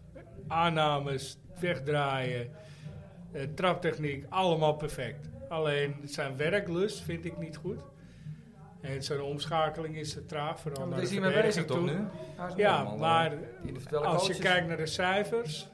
[SPEAKER 2] aannames wegdraaien, eh, traptechniek, allemaal perfect. Alleen zijn werklust vind ik niet goed. En zijn omschakeling is te traag, vooral
[SPEAKER 5] Want
[SPEAKER 2] naar
[SPEAKER 5] daar
[SPEAKER 2] de
[SPEAKER 5] Oh, is hij mee bezig
[SPEAKER 2] verdediging
[SPEAKER 5] toch
[SPEAKER 2] toe.
[SPEAKER 5] nu? Hij is
[SPEAKER 2] Ja,
[SPEAKER 5] allemaal, eh,
[SPEAKER 2] maar
[SPEAKER 5] individuele
[SPEAKER 2] als je
[SPEAKER 5] coaches.
[SPEAKER 2] kijkt naar de cijfers,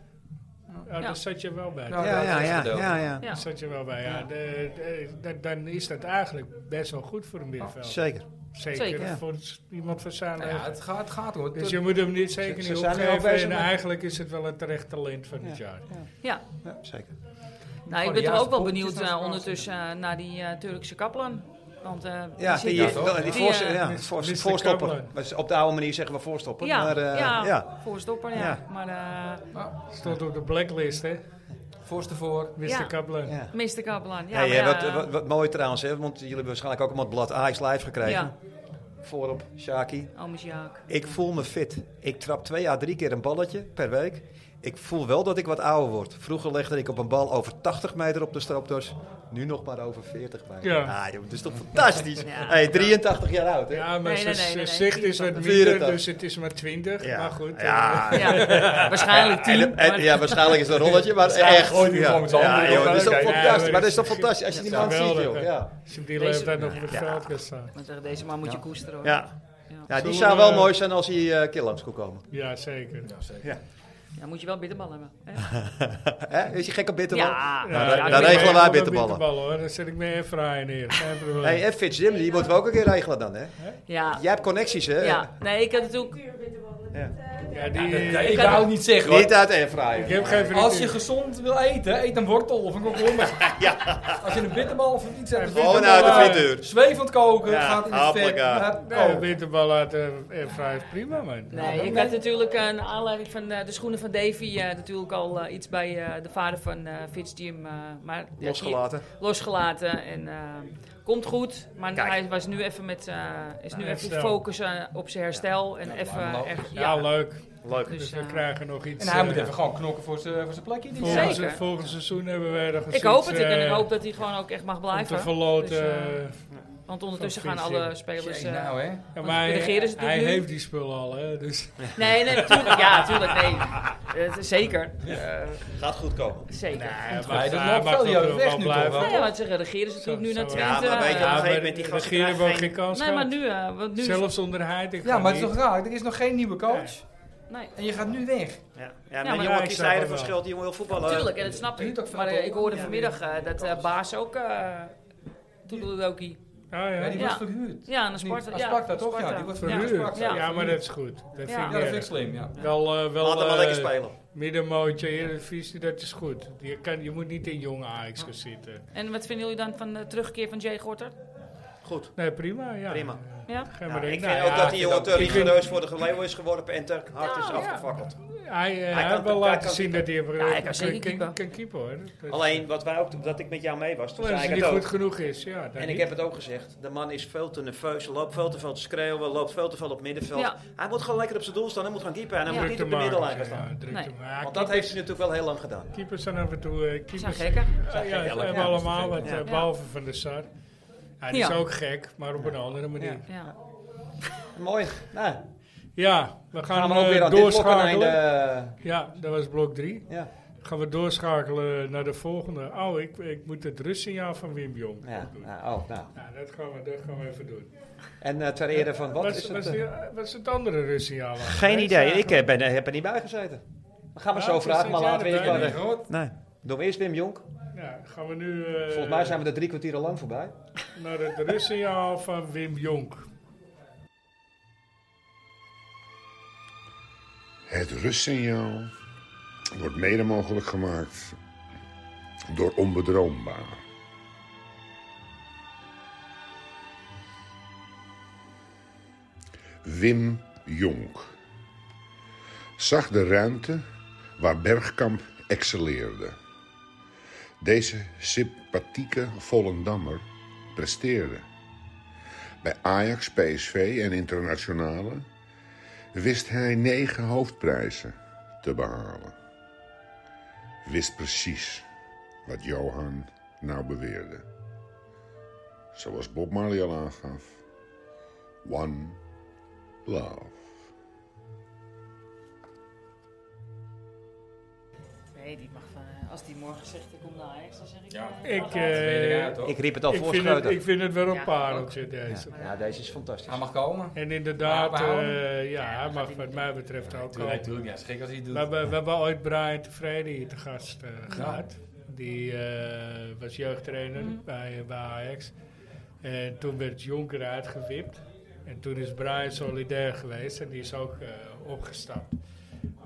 [SPEAKER 2] ja,
[SPEAKER 9] Ja.
[SPEAKER 2] dan zat je wel bij.
[SPEAKER 5] Nou, dat is gedeeld.
[SPEAKER 9] Ja.
[SPEAKER 2] Dan zat je wel bij. Ja. De- de- de- dan is dat eigenlijk best wel goed voor een middenveld.
[SPEAKER 4] Zeker.
[SPEAKER 2] zeker
[SPEAKER 9] Zeker.
[SPEAKER 2] voor s- iemand van zijn
[SPEAKER 5] Nou ja,
[SPEAKER 2] leeftijd.
[SPEAKER 5] het gaat, het gaat om.
[SPEAKER 2] Dus je moet hem niet zeker
[SPEAKER 4] ze
[SPEAKER 2] niet
[SPEAKER 4] zijn er al
[SPEAKER 2] opgeven.
[SPEAKER 4] bezig
[SPEAKER 2] En
[SPEAKER 4] met-
[SPEAKER 2] eigenlijk is het wel een terecht talent van het
[SPEAKER 4] Ja.
[SPEAKER 2] jaar.
[SPEAKER 9] Ja,
[SPEAKER 4] Ja, zeker.
[SPEAKER 9] nou, ik
[SPEAKER 11] Oh,
[SPEAKER 5] de
[SPEAKER 9] ben toch
[SPEAKER 5] juiste
[SPEAKER 9] ook wel
[SPEAKER 5] poppetjes
[SPEAKER 9] benieuwd
[SPEAKER 5] naar
[SPEAKER 9] eh,
[SPEAKER 5] elkaar
[SPEAKER 9] ondertussen eh, naar die eh, Turkse kaplan. Want, eh,
[SPEAKER 4] Ja,
[SPEAKER 9] zit
[SPEAKER 4] die,
[SPEAKER 9] daar-
[SPEAKER 4] die, die,
[SPEAKER 9] Die,
[SPEAKER 4] voorst-
[SPEAKER 9] eh,
[SPEAKER 4] ja,
[SPEAKER 2] Mr.
[SPEAKER 4] voor-
[SPEAKER 2] Kaplan.
[SPEAKER 4] voorstopper. Dus Op de oude manier zeggen we voorstopper.
[SPEAKER 9] ja,
[SPEAKER 4] maar, eh,
[SPEAKER 9] ja,
[SPEAKER 4] ja.
[SPEAKER 9] voorstopper, ja.
[SPEAKER 4] Ja.
[SPEAKER 9] Maar eh
[SPEAKER 2] Stond op de blacklist, hè?
[SPEAKER 5] Voorste voor.
[SPEAKER 2] Mr.
[SPEAKER 9] Ja.
[SPEAKER 2] Kaplan.
[SPEAKER 4] Ja.
[SPEAKER 9] Mr. Kaplan. Ja,
[SPEAKER 4] Hey,
[SPEAKER 9] maar
[SPEAKER 4] eh,
[SPEAKER 9] ja,
[SPEAKER 4] wat, wat, wat mooi trouwens, hè, want jullie hebben waarschijnlijk ook allemaal het blad Ajax Live gekregen.
[SPEAKER 9] Ja,
[SPEAKER 4] Voorop, Shaki.
[SPEAKER 9] Omis eh, Jaak.
[SPEAKER 4] Ik voel me fit. Ik trap twee à drie keer een balletje per week.
[SPEAKER 11] ik voel wel dat ik wat ouder word. Vroeger legde ik op een bal over 80 meter op de stropdos. Nu nog maar over 40 meter.
[SPEAKER 2] Ja.
[SPEAKER 11] Ah, joh, dat is toch fantastisch. Hey, 83 jaar oud, hè?
[SPEAKER 2] Ja, maar
[SPEAKER 11] Nee, nee,
[SPEAKER 2] zijn
[SPEAKER 11] nee, nee, nee.
[SPEAKER 2] zicht is wat
[SPEAKER 11] 84.
[SPEAKER 2] minder, dus het is maar 20.
[SPEAKER 11] Ja.
[SPEAKER 2] Maar goed.
[SPEAKER 11] Ja.
[SPEAKER 2] eh.
[SPEAKER 11] Ja, waarschijnlijk Ja, en- tien, en- maar- ja, waarschijnlijk is het een rolletje, maar Waarschijnlijk echt, gooit hij ja. gewoon iets anders Ja, op, joh, hè. dat is toch Kijk, fantastisch, ja, maar dat is toch fantastisch als je die man ziet,
[SPEAKER 2] Geweldig,
[SPEAKER 11] joh,
[SPEAKER 2] hè.
[SPEAKER 11] ja.
[SPEAKER 2] Als je op die leeftijd nog op het
[SPEAKER 11] Ja.
[SPEAKER 2] veld kan staan.
[SPEAKER 9] Want tegen deze man moet je koesteren hoor.
[SPEAKER 11] Ja. Ja, die
[SPEAKER 2] Zullen
[SPEAKER 11] zou
[SPEAKER 2] we-
[SPEAKER 11] wel mooi zijn als hij eh keer langs kon komen.
[SPEAKER 2] Ja, zeker.
[SPEAKER 11] Ja.
[SPEAKER 9] Dan moet je wel bitterbal hebben. hè?
[SPEAKER 11] Hè? Is je gek op bitterballen?
[SPEAKER 9] Ja.
[SPEAKER 11] Nou,
[SPEAKER 9] Ja,
[SPEAKER 11] dan-
[SPEAKER 9] ja,
[SPEAKER 11] dan
[SPEAKER 9] ik
[SPEAKER 11] regelen
[SPEAKER 9] ben
[SPEAKER 11] wij
[SPEAKER 9] wel
[SPEAKER 11] bitterballen.
[SPEAKER 2] hoor. Dan zet ik me even aan neer. Geen probleem.
[SPEAKER 11] Hey, en Fitzjim, die moeten we ook een keer regelen dan, hè?
[SPEAKER 9] Ja.
[SPEAKER 11] Jij hebt connecties, hè?
[SPEAKER 9] Ja, nee, ik had natuurlijk...
[SPEAKER 2] Ja, die,
[SPEAKER 12] ik wou het niet zeggen.
[SPEAKER 11] Niet uit airfryer.
[SPEAKER 2] Ik heb geen
[SPEAKER 12] Als je gezond wil eten, eet een wortel of een komkommer. Als je een bitterbal of iets hebt.
[SPEAKER 2] Oh,
[SPEAKER 11] Gewoon uit
[SPEAKER 2] nou,
[SPEAKER 11] de frituur.
[SPEAKER 12] eh, Zwevend koken,
[SPEAKER 2] Ja,
[SPEAKER 12] gaat in het vet.
[SPEAKER 2] Ja,
[SPEAKER 12] maar-
[SPEAKER 2] nee,
[SPEAKER 12] oh.
[SPEAKER 2] bitterbal uit de airfryer is prima, man. Nou,
[SPEAKER 9] Nee, ik had natuurlijk een aanleiding van eh, de schoenen van Davy eh, natuurlijk al eh, iets bij eh, de vader van eh Fitz Jim. eh, maar, ja,
[SPEAKER 11] Losgelaten.
[SPEAKER 9] die- losgelaten en eh, komt goed. Maar hij was nu even met, eh, is nu
[SPEAKER 2] Nou,
[SPEAKER 9] even
[SPEAKER 2] herstel.
[SPEAKER 9] focussen op zijn herstel. En even, echt,
[SPEAKER 2] ja. leuk.
[SPEAKER 11] Leuk.
[SPEAKER 2] Dus, we
[SPEAKER 9] eh,
[SPEAKER 2] krijgen nog iets.
[SPEAKER 12] En hij moet
[SPEAKER 2] eh,
[SPEAKER 12] even gewoon knokken voor zijn voor zijn plekje. denk ik.
[SPEAKER 2] Volgend,
[SPEAKER 9] Zeker.
[SPEAKER 2] volgend seizoen hebben wij nog eens
[SPEAKER 9] Ik hoop
[SPEAKER 2] iets,
[SPEAKER 9] het. Ik, en ik
[SPEAKER 2] eh,
[SPEAKER 9] hoop dat hij gewoon ook echt mag blijven.
[SPEAKER 2] Om te verloten.
[SPEAKER 9] Dus, eh,
[SPEAKER 2] eh,
[SPEAKER 9] want ondertussen
[SPEAKER 12] Oh,
[SPEAKER 2] van
[SPEAKER 9] gaan alle
[SPEAKER 2] Vincent.
[SPEAKER 9] spelers...
[SPEAKER 12] Jee,
[SPEAKER 9] eh,
[SPEAKER 12] nou, hè. Ja,
[SPEAKER 2] Ja,
[SPEAKER 9] want
[SPEAKER 2] maar
[SPEAKER 9] de
[SPEAKER 2] hij,
[SPEAKER 9] regeren ze dus
[SPEAKER 2] hij
[SPEAKER 9] natuurlijk nu.
[SPEAKER 2] heeft die spullen al, hè? Dus.
[SPEAKER 9] Nee, nee, natuurlijk. Ja, natuurlijk. Nee. Eh, zeker. Eh,
[SPEAKER 11] Gaat goed komen.
[SPEAKER 9] Zeker.
[SPEAKER 2] Komt goed. Ja, Nou, maar goed, we wel blijven.
[SPEAKER 9] Nou ja, want ze regeren ze natuurlijk nu naar Twente.
[SPEAKER 2] Ja, maar weet je, op een gegeven moment die gasten Regeren krijgen we ook geen- geen kans
[SPEAKER 9] Nee, maar
[SPEAKER 2] gehad.
[SPEAKER 9] nu... eh, want nu
[SPEAKER 2] Zelfs onder Heiting.
[SPEAKER 12] Ja, maar het is toch raar. Er is nog geen nieuwe coach.
[SPEAKER 9] Nee.
[SPEAKER 12] En je gaat nu weg.
[SPEAKER 4] Ja,
[SPEAKER 9] Ja,
[SPEAKER 4] maar die
[SPEAKER 9] maar-
[SPEAKER 4] jongen
[SPEAKER 9] Ja,
[SPEAKER 4] kiest
[SPEAKER 9] ik snap
[SPEAKER 4] hij
[SPEAKER 9] het
[SPEAKER 4] ervoor
[SPEAKER 9] wel.
[SPEAKER 4] schuld, die jongen wil voetballen.
[SPEAKER 9] Natuurlijk, en dat snap ik. Maar eh, ik hoorde vanmiddag eh, dat eh, Baas ook... eh Toedeloki.
[SPEAKER 2] ja. Ja, die wordt
[SPEAKER 12] verhuurd.
[SPEAKER 9] Ja, naar
[SPEAKER 12] Nu,
[SPEAKER 9] Sparta.
[SPEAKER 12] aan
[SPEAKER 9] ja,
[SPEAKER 12] Sparta, toch? Ja,
[SPEAKER 9] Sparta.
[SPEAKER 12] die wordt
[SPEAKER 2] Ja,
[SPEAKER 12] verhuurd.
[SPEAKER 2] ja,
[SPEAKER 12] Ja.
[SPEAKER 2] maar dat is goed. Dat vind ik
[SPEAKER 12] Ja, dat
[SPEAKER 2] erg.
[SPEAKER 12] vind ik slim, ja.
[SPEAKER 2] Wel, eh, wel,
[SPEAKER 4] Laat hem maar
[SPEAKER 2] eh,
[SPEAKER 4] lekker spelen.
[SPEAKER 2] Middenmootje, Eredivisie, dat is goed. Je, kan, je moet niet in jonge Ajax gaan zitten.
[SPEAKER 9] En wat vinden jullie dan van de terugkeer van Jay Gorter?
[SPEAKER 4] Goed.
[SPEAKER 2] Nee, prima, ja.
[SPEAKER 4] Prima.
[SPEAKER 9] Ja?
[SPEAKER 2] Geen
[SPEAKER 4] Nou,
[SPEAKER 2] maar
[SPEAKER 4] ik vind ook dat die jongen te rigoureus voor de geleeuw is geworpen en te hard is afgefakkeld.
[SPEAKER 2] Hij, eh, hij
[SPEAKER 4] kan-
[SPEAKER 2] heeft wel
[SPEAKER 4] hij
[SPEAKER 2] laten
[SPEAKER 4] kan-
[SPEAKER 2] zien dat hij... eh,
[SPEAKER 4] Ja, hij kan zeker
[SPEAKER 2] kan,
[SPEAKER 4] keeper.
[SPEAKER 2] kan keeper, hoor. Dat-
[SPEAKER 4] Alleen wat wij ook, dat ik met jou mee was, toen
[SPEAKER 2] Als
[SPEAKER 4] zei
[SPEAKER 2] hij
[SPEAKER 4] ik het
[SPEAKER 2] niet
[SPEAKER 4] ook.
[SPEAKER 2] goed genoeg is, ja, dan
[SPEAKER 4] En ik
[SPEAKER 2] niet.
[SPEAKER 4] heb het ook gezegd. De man is veel te nerveus, loopt veel te veel te schreeuwen, loopt veel te veel op middenveld.
[SPEAKER 9] Ja.
[SPEAKER 4] Hij moet gewoon lekker op zijn doel staan, hij moet gaan keeper en hij
[SPEAKER 2] Ja.
[SPEAKER 4] moet niet op de
[SPEAKER 2] Drukte
[SPEAKER 4] middellijn gaan
[SPEAKER 2] maken, ja,
[SPEAKER 4] staan.
[SPEAKER 2] drukte Nee. maken.
[SPEAKER 4] Want dat heeft ze natuurlijk wel heel lang gedaan.
[SPEAKER 2] Keepers zijn af en toe... eh, keepers
[SPEAKER 9] Zijn gekken.
[SPEAKER 2] Ja,
[SPEAKER 9] Zijn
[SPEAKER 2] ja,
[SPEAKER 9] gekken,
[SPEAKER 2] ze hebben
[SPEAKER 9] ja.
[SPEAKER 2] allemaal wat,
[SPEAKER 9] Ja.
[SPEAKER 2] eh, behalve Van de Sar. Hij is
[SPEAKER 9] Ja.
[SPEAKER 2] ook gek, maar op een andere manier.
[SPEAKER 9] Ja.
[SPEAKER 4] Mooi. Nou,
[SPEAKER 2] Ja, we gaan,
[SPEAKER 4] Gaan we ook
[SPEAKER 2] eh,
[SPEAKER 4] weer aan dit blok aan
[SPEAKER 2] doorschakelen.
[SPEAKER 4] einde.
[SPEAKER 2] Ja, dat was blok 3.
[SPEAKER 4] Ja.
[SPEAKER 2] Gaan we doorschakelen naar de volgende. Oh, ik, ik moet het rustsignaal van Wim Jong
[SPEAKER 11] Ja,
[SPEAKER 2] doen.
[SPEAKER 11] nou, oh, nou.
[SPEAKER 2] Ja, dat gaan we, dat gaan we even doen.
[SPEAKER 11] En eh, ter ere van wat
[SPEAKER 2] was,
[SPEAKER 11] is
[SPEAKER 2] was
[SPEAKER 11] het? eh?
[SPEAKER 2] die- was het andere rustsignaal?
[SPEAKER 11] Geen idee, ik eh, ben, heb er niet bij gezeten. Dan gaan we
[SPEAKER 2] Ja,
[SPEAKER 11] zo
[SPEAKER 2] dus
[SPEAKER 11] vragen,
[SPEAKER 2] zit
[SPEAKER 11] maar
[SPEAKER 2] jij
[SPEAKER 11] laten we
[SPEAKER 2] erbij?
[SPEAKER 11] eerst
[SPEAKER 2] Nee,
[SPEAKER 11] maar...
[SPEAKER 2] hoor.
[SPEAKER 11] de- Nee. Doen we eerst Wim Jonk.
[SPEAKER 2] Ja, gaan we nu eh,
[SPEAKER 11] Volgens mij zijn we er drie kwartier al lang voorbij.
[SPEAKER 2] naar het rustsignaal van Wim Jong.
[SPEAKER 13] Het rustsignaal wordt mede mogelijk gemaakt door onbedroombaar. Wim Jonk zag de ruimte waar Bergkamp excelleerde. Deze sympathieke Volendammer presteerde. Bij Ajax, PSV en internationale wist hij negen hoofdprijzen te behalen. Wist precies wat Johan nou beweerde. Zoals Bob Marley al aangaf. One love.
[SPEAKER 9] Nee, die mag van... eh, als die morgen zegt ik kom naar Ajax, dan zeg ik... Ja,
[SPEAKER 2] Ik, eh,
[SPEAKER 11] Ik riep het al voor
[SPEAKER 2] vind
[SPEAKER 11] Schreuder.
[SPEAKER 2] Ik vind het wel een
[SPEAKER 9] Ja,
[SPEAKER 2] pareltje, deze.
[SPEAKER 11] Ja, ja, deze is fantastisch.
[SPEAKER 12] Hij mag komen.
[SPEAKER 2] En inderdaad,
[SPEAKER 12] Maar we houden
[SPEAKER 2] eh,
[SPEAKER 12] hem.
[SPEAKER 2] ja, hij mag wat mij betreft ook
[SPEAKER 12] tuurlijk,
[SPEAKER 2] komen.
[SPEAKER 12] tuurlijk. Ja, het is gek als hij het doet.
[SPEAKER 2] We hebben, we hebben ooit Brian Tevreden hier te gast eh, gehad. Die eh, was jeugdtrainer
[SPEAKER 9] Mhm.
[SPEAKER 2] bij, eh, bij Ajax. En toen werd Jonker uitgewipt. En toen is Brian solidair geweest en die is ook eh, opgestapt.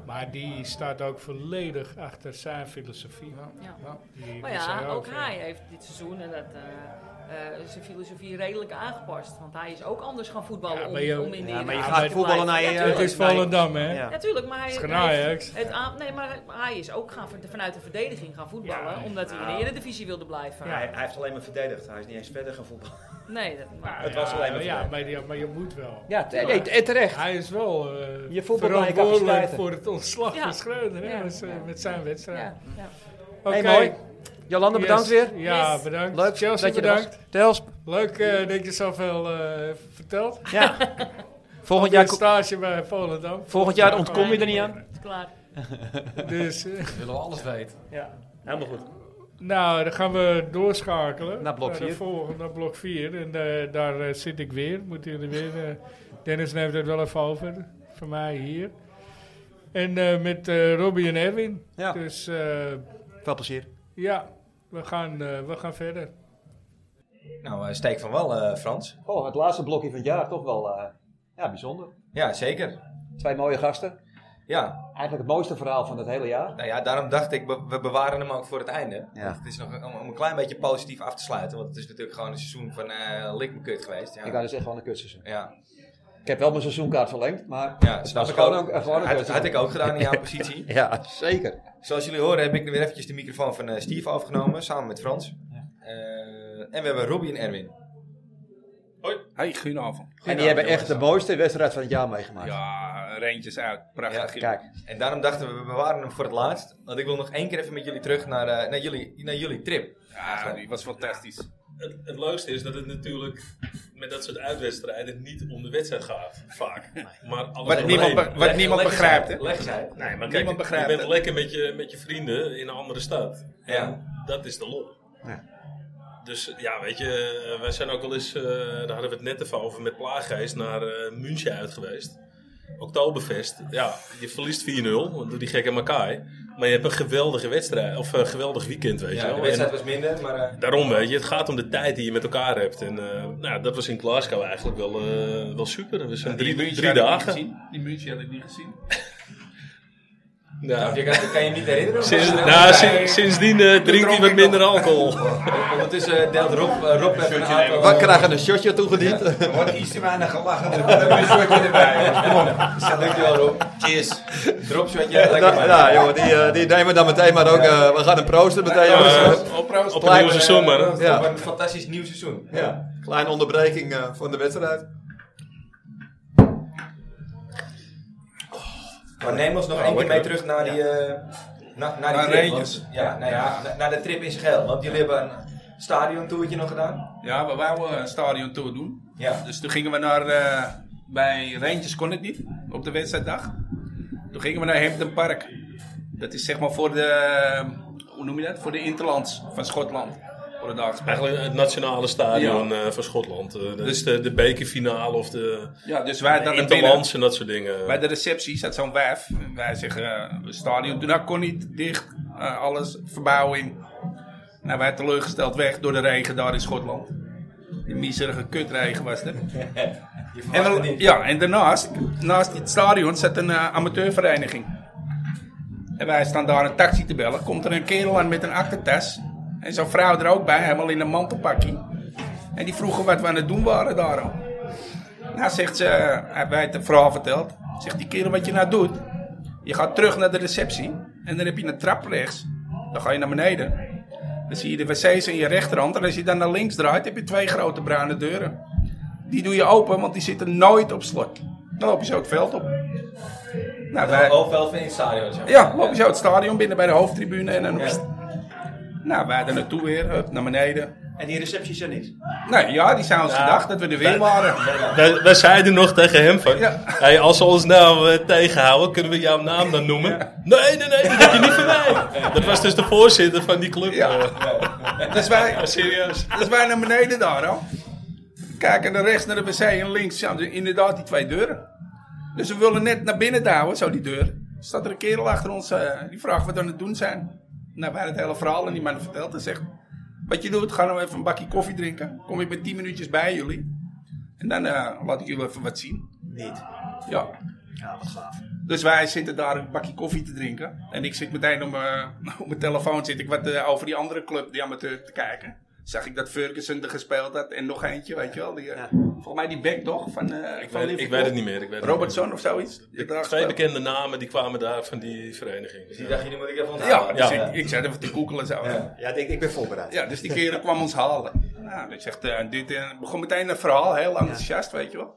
[SPEAKER 2] Maar die staat ook volledig achter zijn filosofie.
[SPEAKER 9] Ja.
[SPEAKER 2] Die-
[SPEAKER 9] Maar
[SPEAKER 2] die zei
[SPEAKER 9] ja, ook
[SPEAKER 2] eh,
[SPEAKER 9] hij heeft dit seizoen en dat eh, eh, zijn filosofie redelijk aangepast. Want hij is ook anders gaan voetballen
[SPEAKER 2] Ja,
[SPEAKER 9] om,
[SPEAKER 2] maar je-
[SPEAKER 9] om in de
[SPEAKER 2] Ja, maar je
[SPEAKER 9] Eredivisie
[SPEAKER 2] gaat
[SPEAKER 9] te blijven.
[SPEAKER 2] voetballen naar je-
[SPEAKER 9] Ja, tuurlijk.
[SPEAKER 2] Het is Volendam, hè? Ja.
[SPEAKER 9] Natuurlijk, maar hij,
[SPEAKER 2] Het is geen
[SPEAKER 9] hij heeft
[SPEAKER 2] Ajax.
[SPEAKER 9] het aan- nee, maar hij- hij is ook gaan, ver- vanuit de verdediging gaan voetballen,
[SPEAKER 4] Ja.
[SPEAKER 9] omdat hij in de
[SPEAKER 4] Nou.
[SPEAKER 9] Eredivisie wilde blijven.
[SPEAKER 4] Ja, hij, hij heeft alleen maar verdedigd. Hij is niet eens verder gaan voetballen.
[SPEAKER 9] Nee, dat, maar,
[SPEAKER 4] het was alleen maar
[SPEAKER 2] ja,
[SPEAKER 4] verdedigd.
[SPEAKER 2] maar, je- maar je moet wel.
[SPEAKER 4] Ja, te-
[SPEAKER 2] nee,
[SPEAKER 4] nee,
[SPEAKER 2] terecht. Hij is wel eh,
[SPEAKER 4] Je voetbalt naar je
[SPEAKER 2] verantwoordelijk
[SPEAKER 4] capaciteiten.
[SPEAKER 2] voor het ontslag
[SPEAKER 9] Ja.
[SPEAKER 2] van Schreuder hè,
[SPEAKER 9] Ja,
[SPEAKER 2] met, zijn-
[SPEAKER 9] ja.
[SPEAKER 2] met zijn wedstrijd.
[SPEAKER 9] ja.
[SPEAKER 2] Oké.
[SPEAKER 5] Hey, mooi. Jolande,
[SPEAKER 2] Yes.
[SPEAKER 5] bedankt weer.
[SPEAKER 2] Ja,
[SPEAKER 5] Yes.
[SPEAKER 2] bedankt.
[SPEAKER 5] Leuk
[SPEAKER 2] Chelsea,
[SPEAKER 5] dat je er
[SPEAKER 2] bedankt.
[SPEAKER 5] was. Tels.
[SPEAKER 2] Leuk eh, dat je zoveel eh vertelt.
[SPEAKER 5] Ja.
[SPEAKER 2] Volgend
[SPEAKER 5] Volgend
[SPEAKER 2] jaar
[SPEAKER 5] jaar-
[SPEAKER 2] stage bij Volendam.
[SPEAKER 5] Volgend jaar ontkom je er niet aan.
[SPEAKER 9] Klaar.
[SPEAKER 2] Dus, eh,
[SPEAKER 12] Willen we alles weten.
[SPEAKER 5] Ja.
[SPEAKER 4] Helemaal goed.
[SPEAKER 2] Nou, dan gaan we doorschakelen.
[SPEAKER 5] Naar blok
[SPEAKER 2] de
[SPEAKER 5] vier.
[SPEAKER 2] volgende, naar blok 4. En eh, daar eh, zit ik weer. Moeten jullie weer. eh, Dennis neemt het wel even over. Voor mij hier. En eh, met eh Robbie en Erwin.
[SPEAKER 5] Ja.
[SPEAKER 2] Dus eh,
[SPEAKER 5] Veel plezier.
[SPEAKER 2] ja, we gaan, eh, we gaan verder.
[SPEAKER 1] Nou, eh, steek van wel, eh, Frans.
[SPEAKER 14] Oh, het laatste blokje van het jaar toch wel eh, ja, bijzonder.
[SPEAKER 1] Ja, zeker.
[SPEAKER 14] Twee mooie gasten.
[SPEAKER 1] Ja.
[SPEAKER 14] Eigenlijk het mooiste verhaal van het hele jaar.
[SPEAKER 1] Nou ja, daarom dacht ik, we- we bewaren hem ook voor het einde.
[SPEAKER 14] Ja.
[SPEAKER 1] Want Het is nog een- om, om een klein beetje positief af te sluiten. Want het is natuurlijk gewoon een seizoen van eh lik me kut geweest. Ja.
[SPEAKER 14] Ik had dus echt gewoon een kutseizoen.
[SPEAKER 1] Ja.
[SPEAKER 14] Ik heb wel mijn seizoenkaart verlengd, maar
[SPEAKER 1] Ja,
[SPEAKER 14] het
[SPEAKER 1] snap
[SPEAKER 14] was
[SPEAKER 1] ik
[SPEAKER 14] gewoon
[SPEAKER 1] ook.
[SPEAKER 14] ook, gewoon een
[SPEAKER 1] Had-
[SPEAKER 14] kutseizoen.
[SPEAKER 1] had ik ook gedaan in jouw positie.
[SPEAKER 14] ja, zeker.
[SPEAKER 1] Zoals jullie horen heb ik nu weer eventjes de microfoon van eh, Steve afgenomen. Samen met Frans. Eh, en we hebben Robbie en Erwin.
[SPEAKER 15] Hoi. Hey, goedenavond.
[SPEAKER 14] En die hebben echt de mooiste wedstrijd van het jaar meegemaakt.
[SPEAKER 15] Ja, Reentjes uit. Prachtig.
[SPEAKER 14] Kijk.
[SPEAKER 1] En daarom dachten we, we bewaren hem voor het laatst. Want ik wil nog één keer even met jullie terug naar, eh, naar, jullie, naar jullie trip.
[SPEAKER 15] Ja, die was fantastisch.
[SPEAKER 16] Het, het leukste is dat het natuurlijk met dat soort uitwedstrijden niet om de wedstrijd gaat, vaak. Maar alles
[SPEAKER 15] Wat
[SPEAKER 16] eromheen.
[SPEAKER 15] niemand be- wat
[SPEAKER 16] Leg-
[SPEAKER 15] niemand
[SPEAKER 16] leg eens
[SPEAKER 15] begrijpt,
[SPEAKER 16] uit,
[SPEAKER 15] hè?
[SPEAKER 16] Leg eens uit.
[SPEAKER 15] Nee, maar
[SPEAKER 16] Kijk,
[SPEAKER 15] niemand
[SPEAKER 16] je-
[SPEAKER 15] begrijpt
[SPEAKER 16] Je bent
[SPEAKER 15] het.
[SPEAKER 16] lekker met je, met je vrienden in een andere stad.
[SPEAKER 1] Ja.
[SPEAKER 16] En dat is de lol. Dus ja, weet je, eh, wij zijn ook wel eens, eh, daar hadden we het net even over, met Plaaggeest naar eh, München uit geweest. Oktoberfest, ja, je verliest 4-0 door die gekke Makai. Maar je hebt een geweldige wedstrijd, of een geweldig weekend, weet
[SPEAKER 1] Ja,
[SPEAKER 16] je wel.
[SPEAKER 1] de wedstrijd
[SPEAKER 16] En-
[SPEAKER 1] was minder, maar... eh,
[SPEAKER 16] Daarom, weet je, het gaat om de tijd die je met elkaar hebt. En eh, nou, dat was in Glasgow eigenlijk wel, eh, wel super. We zijn
[SPEAKER 15] Die
[SPEAKER 16] drie,
[SPEAKER 15] muntje
[SPEAKER 16] drie
[SPEAKER 15] had ik niet
[SPEAKER 16] dagen.
[SPEAKER 15] gezien. Die muntje had ik niet gezien.
[SPEAKER 16] Nou,
[SPEAKER 1] je kan- kan je niet herinneren?
[SPEAKER 16] Sinds,
[SPEAKER 1] Nee.
[SPEAKER 16] nou, sin- sindsdien eh, drinkt hij wat minder alcohol.
[SPEAKER 1] Ondertussen eh, deelt Rob, eh, Rob even een aantal...
[SPEAKER 16] We krijgen een shotje toegediend.
[SPEAKER 11] Er wordt iets te weinig gelachen. Er komt een shotje erbij. Kom op.
[SPEAKER 1] Dankjewel, Rob. Cheers. Drop shotje. lekker
[SPEAKER 11] Nou,
[SPEAKER 1] man.
[SPEAKER 11] nou, jongen, die, eh, die nemen we dan meteen, maar ook eh, we gaan hem proosten meteen.
[SPEAKER 1] Ja,
[SPEAKER 11] jongens.
[SPEAKER 1] proost. Op proost. Op een nieuw seizoen, man. Op
[SPEAKER 11] eh, Ja.
[SPEAKER 1] een fantastisch nieuw seizoen.
[SPEAKER 11] Ja. Kleine onderbreking eh, van de wedstrijd.
[SPEAKER 1] Maar neem ons nog
[SPEAKER 11] Oh,
[SPEAKER 1] één keer
[SPEAKER 11] lekker.
[SPEAKER 1] mee terug naar die, eh, na- naar die
[SPEAKER 15] Naar
[SPEAKER 1] trip.
[SPEAKER 15] Reentjes.
[SPEAKER 1] want- ja, nou ja, na- naar de trip in zijn geheel. Want jullie hebben een stadiontoertje nog gedaan.
[SPEAKER 15] Ja, we wouden een stadion tour doen.
[SPEAKER 1] Ja.
[SPEAKER 15] Dus toen gingen we naar... eh, bij Reentjes kon het niet, op de wedstrijddag. Toen gingen we naar Hampton Park. Dat is zeg maar voor de... Hoe noem je dat? Voor de Interlands van Schotland. Voor de dagelijks.
[SPEAKER 16] Eigenlijk het nationale stadion eh, van Schotland. Eh, dat is de, de bekerfinale of de
[SPEAKER 15] Dus- Ja, dus wij
[SPEAKER 16] de
[SPEAKER 15] dan naar
[SPEAKER 16] Interlands
[SPEAKER 15] binnen.
[SPEAKER 16] en dat soort dingen.
[SPEAKER 15] Bij de receptie zat zo'n wijf. En Wij zeggen, eh, stadion toen dat kon niet, dicht, eh, alles, verbouwing. Nou, wij teleurgesteld weg door de regen daar in Schotland. Die miserige kutregen was het. en,
[SPEAKER 1] verwacht het
[SPEAKER 15] dan-
[SPEAKER 1] niet.
[SPEAKER 15] ja, en daarnaast, naast het stadion, zat een eh, amateurvereniging. En wij staan daar een taxi te bellen. Komt er een kerel aan met een aktentas. En zo'n vrouw er ook bij, helemaal in een mantelpakje. En die vroegen wat we aan het doen waren daar al. Nou, zegt ze, hebben wij het een verhaal verteld. Zegt die kerel wat je nou doet. Je gaat terug naar de receptie. En dan heb je een trap rechts. Dan ga je naar beneden. Dan zie je de wc's in je rechterhand. En als je dan naar links draait, heb je twee grote bruine deuren. Die doe je open, want die zitten nooit op slot. Dan loop je zo het veld op. Nou, wij,
[SPEAKER 1] Overveld in het stadion. zeg maar.
[SPEAKER 15] ja, loop je zo het stadion binnen bij de hoofdtribune. En dan... Nou, wij er naartoe weer, hup, naar beneden.
[SPEAKER 4] En die recepties zijn niet.
[SPEAKER 15] Nee, ja, die zijn ons gedacht dat we er weer waren.
[SPEAKER 16] Wij, wij zeiden nog tegen hem van, hey, als ze ons nou eh, tegenhouden, kunnen we jouw naam dan noemen? Nee, nee, nee, dat heb je niet van mij. Dat was dus de voorzitter van die club.
[SPEAKER 15] Dus wij,
[SPEAKER 16] serieus.
[SPEAKER 15] Dus wij naar beneden daar al. Kijken naar rechts naar de wc en links zijn er inderdaad die twee deuren. Dus we willen net naar binnen duwen, zo die deur. Staat er een kerel achter ons, eh, die vraagt wat we aan het doen zijn. Nou, wij het hele verhaal en die man vertelt en zegt... Wat je doet, ga nou even een bakje koffie drinken. Kom ik met 10 minuutjes bij jullie. En dan eh, laat ik jullie even wat zien. Niet. Ja. Ja, wat gaaf. Dus wij zitten daar een bakje koffie te eh, drinken. En ik zit meteen op mijn, op mijn telefoon zit ik wat eh, over die andere club, die amateur, te kijken. Zag ik dat Ferguson er gespeeld had en nog eentje, weet je wel. Die, eh, Volgens mij die back toch? Van, eh,
[SPEAKER 16] Ik
[SPEAKER 15] van
[SPEAKER 16] weet, ik
[SPEAKER 15] Liverpool?
[SPEAKER 16] weet het niet meer. Ik weet het
[SPEAKER 15] Robertson
[SPEAKER 16] niet meer.
[SPEAKER 15] of zoiets?
[SPEAKER 16] De twee bekende namen die kwamen daar van die vereniging. Dus
[SPEAKER 15] die dacht je, die moet ik even
[SPEAKER 16] Ja,
[SPEAKER 15] onthalen.
[SPEAKER 16] ja.
[SPEAKER 15] Dus ik, ik zat even te googelen zo. Ja, ik, ben voorbereid. Ja, dus die kerel kwam ons halen. Nou, ik zeg, eh, dit eh, begon meteen een verhaal, heel enthousiast, weet je wel.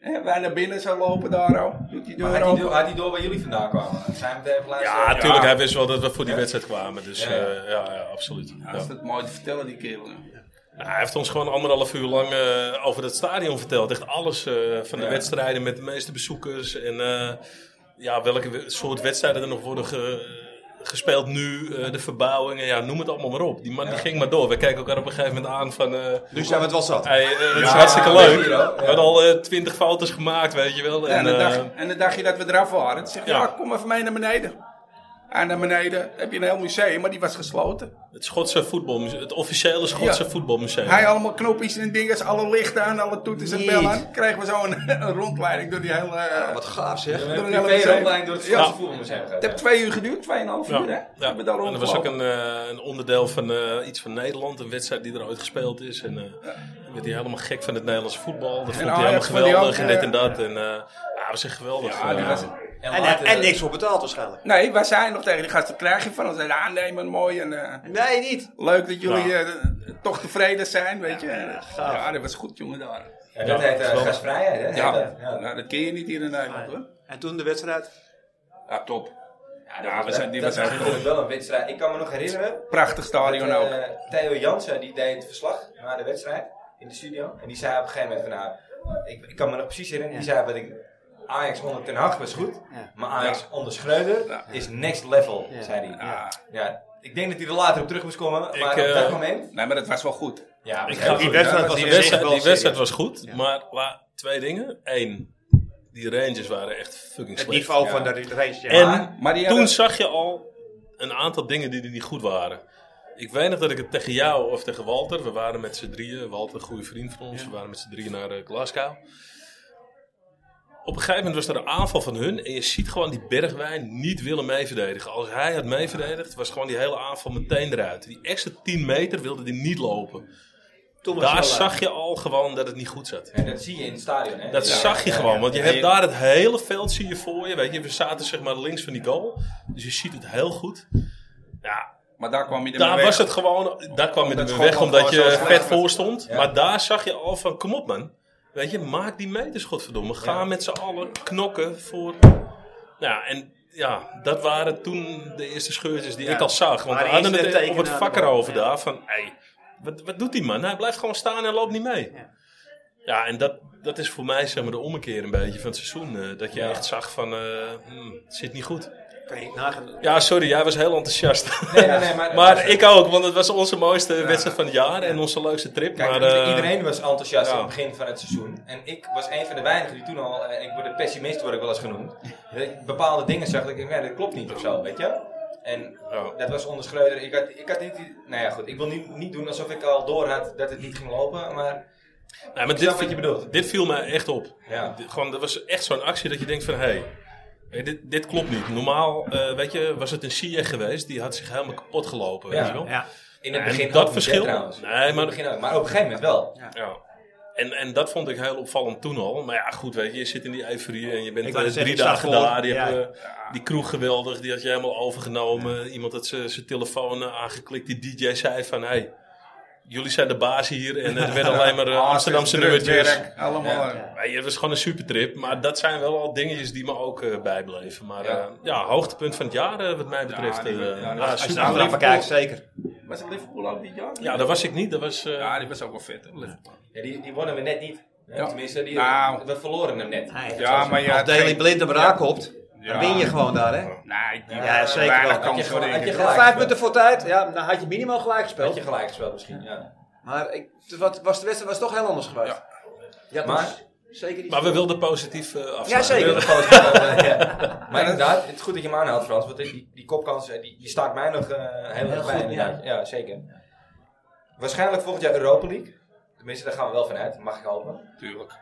[SPEAKER 15] En wij naar binnen zo lopen daar al. Doet die deur
[SPEAKER 1] Maar had hij
[SPEAKER 15] open.
[SPEAKER 1] door- had hij door waar jullie vandaan kwamen? Zijn we even luisteren?
[SPEAKER 16] Ja, natuurlijk. Hij wist
[SPEAKER 1] wel.
[SPEAKER 16] wel dat we voor die
[SPEAKER 1] Ja.
[SPEAKER 16] wedstrijd kwamen. Dus
[SPEAKER 1] Ja.
[SPEAKER 16] ja, ja, ja absoluut.
[SPEAKER 15] Hij is dat mooi te vertellen, die kerel.
[SPEAKER 16] Nou, hij heeft ons gewoon anderhalf uur lang eh, over dat stadion verteld. Echt alles eh, van de
[SPEAKER 15] Ja.
[SPEAKER 16] wedstrijden met de meeste bezoekers. En eh, ja, welke we- soort wedstrijden er nog worden ge- gespeeld nu. eh, de verbouwingen, ja, noem het allemaal maar op. Die man die ging maar door. We kijken elkaar op een gegeven moment aan van... eh,
[SPEAKER 11] Nu zijn we het wel zat.
[SPEAKER 16] Hey, eh, het is
[SPEAKER 11] Ja,
[SPEAKER 16] hartstikke
[SPEAKER 11] dat
[SPEAKER 16] leuk.
[SPEAKER 11] is hier ook, ja.
[SPEAKER 16] We hadden al eh, twintig foto's gemaakt, weet je wel.
[SPEAKER 15] Ja, en, dan
[SPEAKER 16] eh,
[SPEAKER 15] dacht, en dan dacht je dat we eraf waren. Dan zeg je,
[SPEAKER 16] Ja.
[SPEAKER 15] ja, kom even mee naar beneden. En naar beneden heb je een heel museum, maar die was gesloten.
[SPEAKER 16] het Schotse voetbalmuseum, het officiële Schotse
[SPEAKER 15] Ja.
[SPEAKER 16] voetbalmuseum.
[SPEAKER 15] Hij allemaal knopjes en dinges, alle lichten aan, alle toeters en
[SPEAKER 16] Niet.
[SPEAKER 15] bellen aan. Kregen we zo een, een rondleiding door die hele... wat
[SPEAKER 11] gaaf zeg.
[SPEAKER 15] Door
[SPEAKER 11] Een
[SPEAKER 15] die
[SPEAKER 11] privé
[SPEAKER 15] hele museum.
[SPEAKER 11] rondleiding door het
[SPEAKER 15] Ja.
[SPEAKER 11] Schotse voetbalmuseum.
[SPEAKER 15] Het heeft twee uur geduurd, tweeënhalf uur hè.
[SPEAKER 16] Ja.
[SPEAKER 15] Hebben we daar
[SPEAKER 16] en er was ook
[SPEAKER 15] rondgelopen.
[SPEAKER 16] een, eh, een onderdeel van eh, iets van Nederland, een wedstrijd die er ooit gespeeld is. En eh werd hij helemaal gek van het Nederlandse voetbal. Dat
[SPEAKER 15] nou,
[SPEAKER 16] vond hij helemaal
[SPEAKER 15] Ajax vond hij
[SPEAKER 16] geweldig
[SPEAKER 15] ook,
[SPEAKER 16] en dit
[SPEAKER 15] eh,
[SPEAKER 16] en dat. En eh ja, was echt geweldig.
[SPEAKER 15] Ja, die
[SPEAKER 16] Eh,
[SPEAKER 15] was-
[SPEAKER 11] En, eh, en, en niks voor betaald waarschijnlijk.
[SPEAKER 15] Nee, wij zijn nog tegen die gasten. Krijg je van ons een aannemen, mooi. En, eh,
[SPEAKER 11] nee, niet.
[SPEAKER 15] Leuk dat jullie
[SPEAKER 11] Nou.
[SPEAKER 15] eh, toch tevreden zijn, weet je. Ja, dat was goed, jongen, daar.
[SPEAKER 1] Ja, dat heet, eh,
[SPEAKER 15] geweldig.
[SPEAKER 1] gastvrijheid, hè, heet
[SPEAKER 15] Ja,
[SPEAKER 1] dat. Ja.
[SPEAKER 15] Nou, dat ken je niet hier in Nederland, hoor.
[SPEAKER 11] En toen de wedstrijd?
[SPEAKER 15] Ja, top. Ja,
[SPEAKER 1] dat
[SPEAKER 15] we
[SPEAKER 1] was,
[SPEAKER 15] zijn, die
[SPEAKER 1] dat
[SPEAKER 15] was
[SPEAKER 1] was
[SPEAKER 15] echt
[SPEAKER 1] natuurlijk wel een wedstrijd. Ik kan me nog herinneren.
[SPEAKER 15] Prachtig stadion
[SPEAKER 1] dat,
[SPEAKER 15] ook.
[SPEAKER 1] eh, Theo Jansen die deed het verslag na de wedstrijd in de studio. En die zei op een gegeven moment van nou, ik, ik kan me nog precies herinneren. Die zei wat ik, Ajax onder Ten Hag was goed.
[SPEAKER 11] Ja.
[SPEAKER 1] Maar Ajax onder Schreuder is next level,
[SPEAKER 15] Ja.
[SPEAKER 1] zei hij.
[SPEAKER 15] Ja.
[SPEAKER 1] Ja. Ik denk dat hij er later op terug moest komen. Maar
[SPEAKER 16] Ik,
[SPEAKER 1] op dat
[SPEAKER 16] eh,
[SPEAKER 1] moment...
[SPEAKER 15] Nee, maar dat was wel goed.
[SPEAKER 1] Ja,
[SPEAKER 16] Ik
[SPEAKER 1] was
[SPEAKER 16] ga-
[SPEAKER 1] heel goed.
[SPEAKER 16] wedstrijd was- die wedstrijd, die wedstrijd was
[SPEAKER 1] serieus.
[SPEAKER 16] goed, maar la- twee dingen. Eén, die Rangers waren echt fucking
[SPEAKER 11] Het
[SPEAKER 16] slecht.
[SPEAKER 11] niveau van de Rangers, ja.
[SPEAKER 16] En
[SPEAKER 11] Maar- maar die
[SPEAKER 16] toen
[SPEAKER 11] hadden-
[SPEAKER 16] zag je al een aantal dingen die er niet goed waren. Ik weet nog dat ik het tegen jou of tegen Walter, we waren met z'n drieën, Walter, een goede vriend van ons, we waren met z'n drieën naar eh, Glasgow. Op een gegeven moment was er een aanval van hun en je ziet gewoon die Bergwijn niet willen meeverdedigen. Als hij had meeverdedigd, was gewoon die hele aanval meteen eruit. Die extra 10 meter wilde hij niet lopen.
[SPEAKER 11] Toen was
[SPEAKER 16] Daar
[SPEAKER 11] het wel
[SPEAKER 16] zag
[SPEAKER 11] uit.
[SPEAKER 16] je al gewoon dat het niet goed zat.
[SPEAKER 1] En dat zie je in het stadion. Hè?
[SPEAKER 16] Dat
[SPEAKER 1] Ja,
[SPEAKER 16] zag je
[SPEAKER 1] ja,
[SPEAKER 16] gewoon,
[SPEAKER 1] ja.
[SPEAKER 16] want je
[SPEAKER 1] Ja,
[SPEAKER 16] hebt daar het hele veld zie je voor je. Weet je, we zaten zeg maar links van die goal, dus je ziet het heel goed. Ja,
[SPEAKER 15] maar daar kwam je er
[SPEAKER 16] daar
[SPEAKER 15] mee
[SPEAKER 16] was
[SPEAKER 15] weg.
[SPEAKER 16] het gewoon, daar kwam je
[SPEAKER 15] Omdat
[SPEAKER 16] er
[SPEAKER 15] het
[SPEAKER 16] mee weg
[SPEAKER 15] gewoon
[SPEAKER 16] omdat
[SPEAKER 15] gewoon
[SPEAKER 16] je
[SPEAKER 15] zo slecht
[SPEAKER 16] vet
[SPEAKER 15] was.
[SPEAKER 16] voor stond.
[SPEAKER 15] Ja.
[SPEAKER 16] Maar daar zag je al van, kom op man, weet je, maak die meters, godverdomme. Ga
[SPEAKER 15] Ja.
[SPEAKER 16] met z'n allen knokken voor... Ja, en ja, dat waren toen de eerste scheurtjes die
[SPEAKER 11] Ja.
[SPEAKER 16] ik al zag. Want
[SPEAKER 11] Maar
[SPEAKER 16] we
[SPEAKER 11] eerst
[SPEAKER 16] hadden
[SPEAKER 11] de
[SPEAKER 16] het eh, op
[SPEAKER 11] tekenen
[SPEAKER 16] het
[SPEAKER 11] aan de
[SPEAKER 16] vakker
[SPEAKER 11] bal,
[SPEAKER 16] over
[SPEAKER 11] ja.
[SPEAKER 16] daar van, hey, wat, wat doet die man? Hij blijft gewoon staan en loopt niet mee. Ja, en dat, dat is voor mij zeg maar de ommekeer een beetje van het seizoen. eh, dat je
[SPEAKER 11] Ja.
[SPEAKER 16] echt zag van, eh, hmm, het zit niet goed.
[SPEAKER 11] Kan je nagaan.
[SPEAKER 16] Ja, sorry, jij was heel enthousiast.
[SPEAKER 1] Nee, nee, nee, maar-
[SPEAKER 16] ik ook, want het was onze mooiste wedstrijd van het jaar en onze leukste trip.
[SPEAKER 1] Kijk,
[SPEAKER 16] maar,
[SPEAKER 1] ieder-
[SPEAKER 16] eh,
[SPEAKER 1] iedereen was enthousiast
[SPEAKER 16] ja.
[SPEAKER 1] aan het begin van het seizoen. En ik was een van de weinigen die toen al, eh, ik word een pessimist word ik wel eens genoemd. Dat ik bepaalde dingen zag dat ik dacht, nee, dat klopt niet of zo, weet je. En dat was onder Schreuder. Ik had, ik had niet, die- nou ja goed, ik wil niet, niet doen alsof ik al door had dat het niet ging lopen, maar...
[SPEAKER 16] Nee,
[SPEAKER 1] ik
[SPEAKER 16] maar dit,
[SPEAKER 1] snap wat je bedoelt.
[SPEAKER 16] dit viel mij echt op.
[SPEAKER 1] Ja.
[SPEAKER 16] Dit- gewoon, dat was echt zo'n actie dat je denkt van, hé, hey, dit, dit klopt niet. Normaal, eh, weet je, was het een Sierg geweest, die had zich helemaal kapot gelopen,
[SPEAKER 1] Ja.
[SPEAKER 16] weet je wel.
[SPEAKER 1] Ja. In het
[SPEAKER 16] En
[SPEAKER 1] begin ook
[SPEAKER 16] dat
[SPEAKER 1] niet,
[SPEAKER 16] verschil,
[SPEAKER 1] hè, trouwens.
[SPEAKER 16] Nee,
[SPEAKER 1] In
[SPEAKER 16] maar,
[SPEAKER 1] het begin ook, maar op een gegeven moment wel.
[SPEAKER 16] Ja. En, en dat vond ik heel opvallend toen al. Maar ja, goed, weet je, je zit in die euforie en je bent
[SPEAKER 11] Ik
[SPEAKER 16] eh,
[SPEAKER 11] wou zeggen,
[SPEAKER 16] drie
[SPEAKER 11] ik sta
[SPEAKER 16] dagen
[SPEAKER 11] vol.
[SPEAKER 16] daar. Je
[SPEAKER 11] Ja.
[SPEAKER 16] hebt, eh, die kroeg geweldig, die had je helemaal overgenomen. Iemand had zijn telefoon eh, aangeklikt, die DJ zei van... Hey, Jullie zijn de baas hier en er werden alleen maar eh,
[SPEAKER 15] Ah, het is
[SPEAKER 16] Amsterdamse
[SPEAKER 15] druk
[SPEAKER 16] nummertjes.
[SPEAKER 15] werk, allemaal.
[SPEAKER 16] Ja. Ja, Het was gewoon een supertrip, maar dat zijn wel al dingetjes die me ook eh, bijbleven. Maar
[SPEAKER 15] Ja.
[SPEAKER 16] ja. ja, hoogtepunt van het jaar eh, wat mij betreft.
[SPEAKER 15] die-
[SPEAKER 16] eh,
[SPEAKER 15] ja, die-
[SPEAKER 16] ja,
[SPEAKER 15] als je
[SPEAKER 16] super.
[SPEAKER 15] naar Liverpool-
[SPEAKER 1] Was het Liverpool ook dit jaar?
[SPEAKER 16] Ja, dat was ik niet. Dat was, eh,
[SPEAKER 15] Ja, die was ook wel vet. hè, Liverpool.
[SPEAKER 1] Ja, die, die wonnen we net niet. hè.
[SPEAKER 15] Ja.
[SPEAKER 1] Tenminste, die,
[SPEAKER 15] Nou.
[SPEAKER 1] we verloren hem net.
[SPEAKER 15] Ja, maar ja,
[SPEAKER 11] Als Daley
[SPEAKER 15] geen-
[SPEAKER 11] Blind hem
[SPEAKER 15] ja.
[SPEAKER 11] raakopt, dan
[SPEAKER 15] Ja.
[SPEAKER 11] win je gewoon daar, hè?
[SPEAKER 1] Nou,
[SPEAKER 15] Nee, die-
[SPEAKER 11] Ja, zeker
[SPEAKER 15] weinig
[SPEAKER 11] wel.
[SPEAKER 15] kans voor de Ingrid.
[SPEAKER 11] Vijf punten voor tijd, ja, dan had je minimaal gelijk gespeeld.
[SPEAKER 1] Had je gelijk gespeeld misschien, ja.
[SPEAKER 11] Maar ik, het was, was de wedstrijd was toch heel anders geweest. Ja,
[SPEAKER 1] Maar-
[SPEAKER 11] maar... Zeker niet
[SPEAKER 16] Maar we wilden positief eh, afsluiten.
[SPEAKER 11] Ja, zeker.
[SPEAKER 1] We willen gewoon zeggen, ja. Maar inderdaad, het is goed dat je hem aanhaalt, Frans. Want die, die kopkans eh, die, die staat mij nog eh, heel
[SPEAKER 11] Heel
[SPEAKER 1] erg bij.
[SPEAKER 11] goed,
[SPEAKER 1] inderdaad. Ja. zeker. Waarschijnlijk volgend jaar Europa League. Tenminste, daar gaan we wel van uit. Mag ik hopen.
[SPEAKER 15] Tuurlijk.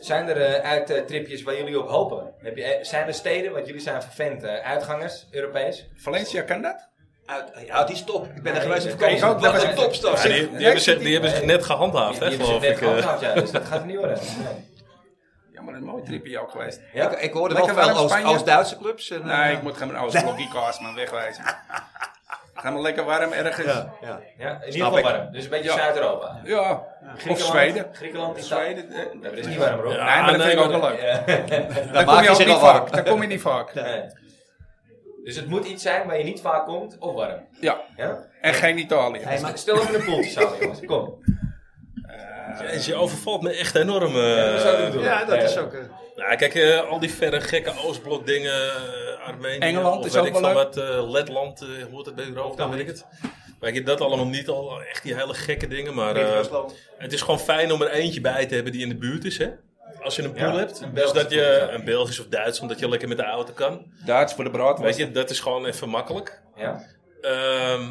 [SPEAKER 1] Zijn er eh uittripjes waar jullie op hopen? Heb je, eh, zijn er steden, want jullie zijn vervent eh, uitgangers, Europees?
[SPEAKER 15] Valencia kan dat?
[SPEAKER 11] Uit, ja, die is top. Ik ben er
[SPEAKER 16] Nee,
[SPEAKER 11] geweest op
[SPEAKER 16] dat kan
[SPEAKER 11] vakantie.
[SPEAKER 16] je
[SPEAKER 11] Wat
[SPEAKER 16] ook. Dat
[SPEAKER 11] een
[SPEAKER 16] was-
[SPEAKER 11] topstap.
[SPEAKER 16] Ja, die- die hebben ze- die hebben ze net gehandhaafd, hè,
[SPEAKER 11] Die hebben ze
[SPEAKER 16] geloof
[SPEAKER 11] net
[SPEAKER 16] ik, eh.
[SPEAKER 11] gehandhaafd, ja. Dus dat gaat hem niet worden.
[SPEAKER 15] Ja, maar dat is een mooi tripje ook geweest.
[SPEAKER 11] Ja, ik- ik hoorde
[SPEAKER 15] Lekker
[SPEAKER 11] wel
[SPEAKER 15] warm
[SPEAKER 11] veel Oost-
[SPEAKER 15] Spanje.
[SPEAKER 11] Oost-Duitse clubs en,
[SPEAKER 15] nee,
[SPEAKER 11] eh,
[SPEAKER 15] ik moet gaan mijn Oost-blokkie kaas maar wegwijzen. Ga maar lekker warm ergens.
[SPEAKER 11] Ja, ja. Ja, in ieder geval warm. Dus een beetje Zuid-Europa.
[SPEAKER 15] Ja. Of
[SPEAKER 11] Griekenland-
[SPEAKER 15] Zweden.
[SPEAKER 11] Griekenland,
[SPEAKER 15] Of
[SPEAKER 11] Italië.
[SPEAKER 15] Zweden. eh,
[SPEAKER 11] Nee, dat is niet warm, hoor.
[SPEAKER 15] Nee,
[SPEAKER 11] Ja,
[SPEAKER 15] maar dat
[SPEAKER 11] nee,
[SPEAKER 15] vind ik
[SPEAKER 11] maar-
[SPEAKER 15] ook wel leuk.
[SPEAKER 11] Ja.
[SPEAKER 15] Daar
[SPEAKER 11] Dan
[SPEAKER 15] kom
[SPEAKER 11] maak
[SPEAKER 15] je
[SPEAKER 11] je
[SPEAKER 15] ook
[SPEAKER 11] zich
[SPEAKER 15] niet
[SPEAKER 11] al warm.
[SPEAKER 15] vaak. Daar kom je niet vaak.
[SPEAKER 1] Dus het moet iets zijn waar je niet vaak komt of warm.
[SPEAKER 15] Ja.
[SPEAKER 1] Ja?
[SPEAKER 15] En geen Italië.
[SPEAKER 1] Hey, maar stel even een poeltje samen, jongens. Kom.
[SPEAKER 16] Jezus, je overvalt me echt enorm. eh.
[SPEAKER 1] Ja, dat zou ik ook doen. Ja, dat is ook, eh.
[SPEAKER 16] Nou, kijk, eh, al die verre gekke Oostblok dingen, eh, Armenië,
[SPEAKER 15] Engeland
[SPEAKER 16] of
[SPEAKER 15] is
[SPEAKER 16] weet
[SPEAKER 15] ook
[SPEAKER 16] ik
[SPEAKER 15] wel
[SPEAKER 16] van
[SPEAKER 15] leuk.
[SPEAKER 16] wat, eh, Letland, eh, hoort het bij Europa, dan weet ik het. Weet je, dat allemaal niet, al echt die hele gekke dingen, maar eh,
[SPEAKER 11] Wit-Rusland.
[SPEAKER 16] het is gewoon fijn om er eentje bij te hebben die in de buurt is, hè. Als je een pool
[SPEAKER 15] Ja,
[SPEAKER 16] hebt,
[SPEAKER 15] een
[SPEAKER 16] dus
[SPEAKER 15] Belgisch
[SPEAKER 16] dat je een Belgisch of Duits, omdat je lekker met de auto kan.
[SPEAKER 15] Duits voor de brood.
[SPEAKER 16] Weet je, dat is gewoon even makkelijk.
[SPEAKER 1] Ja.
[SPEAKER 16] Ehm,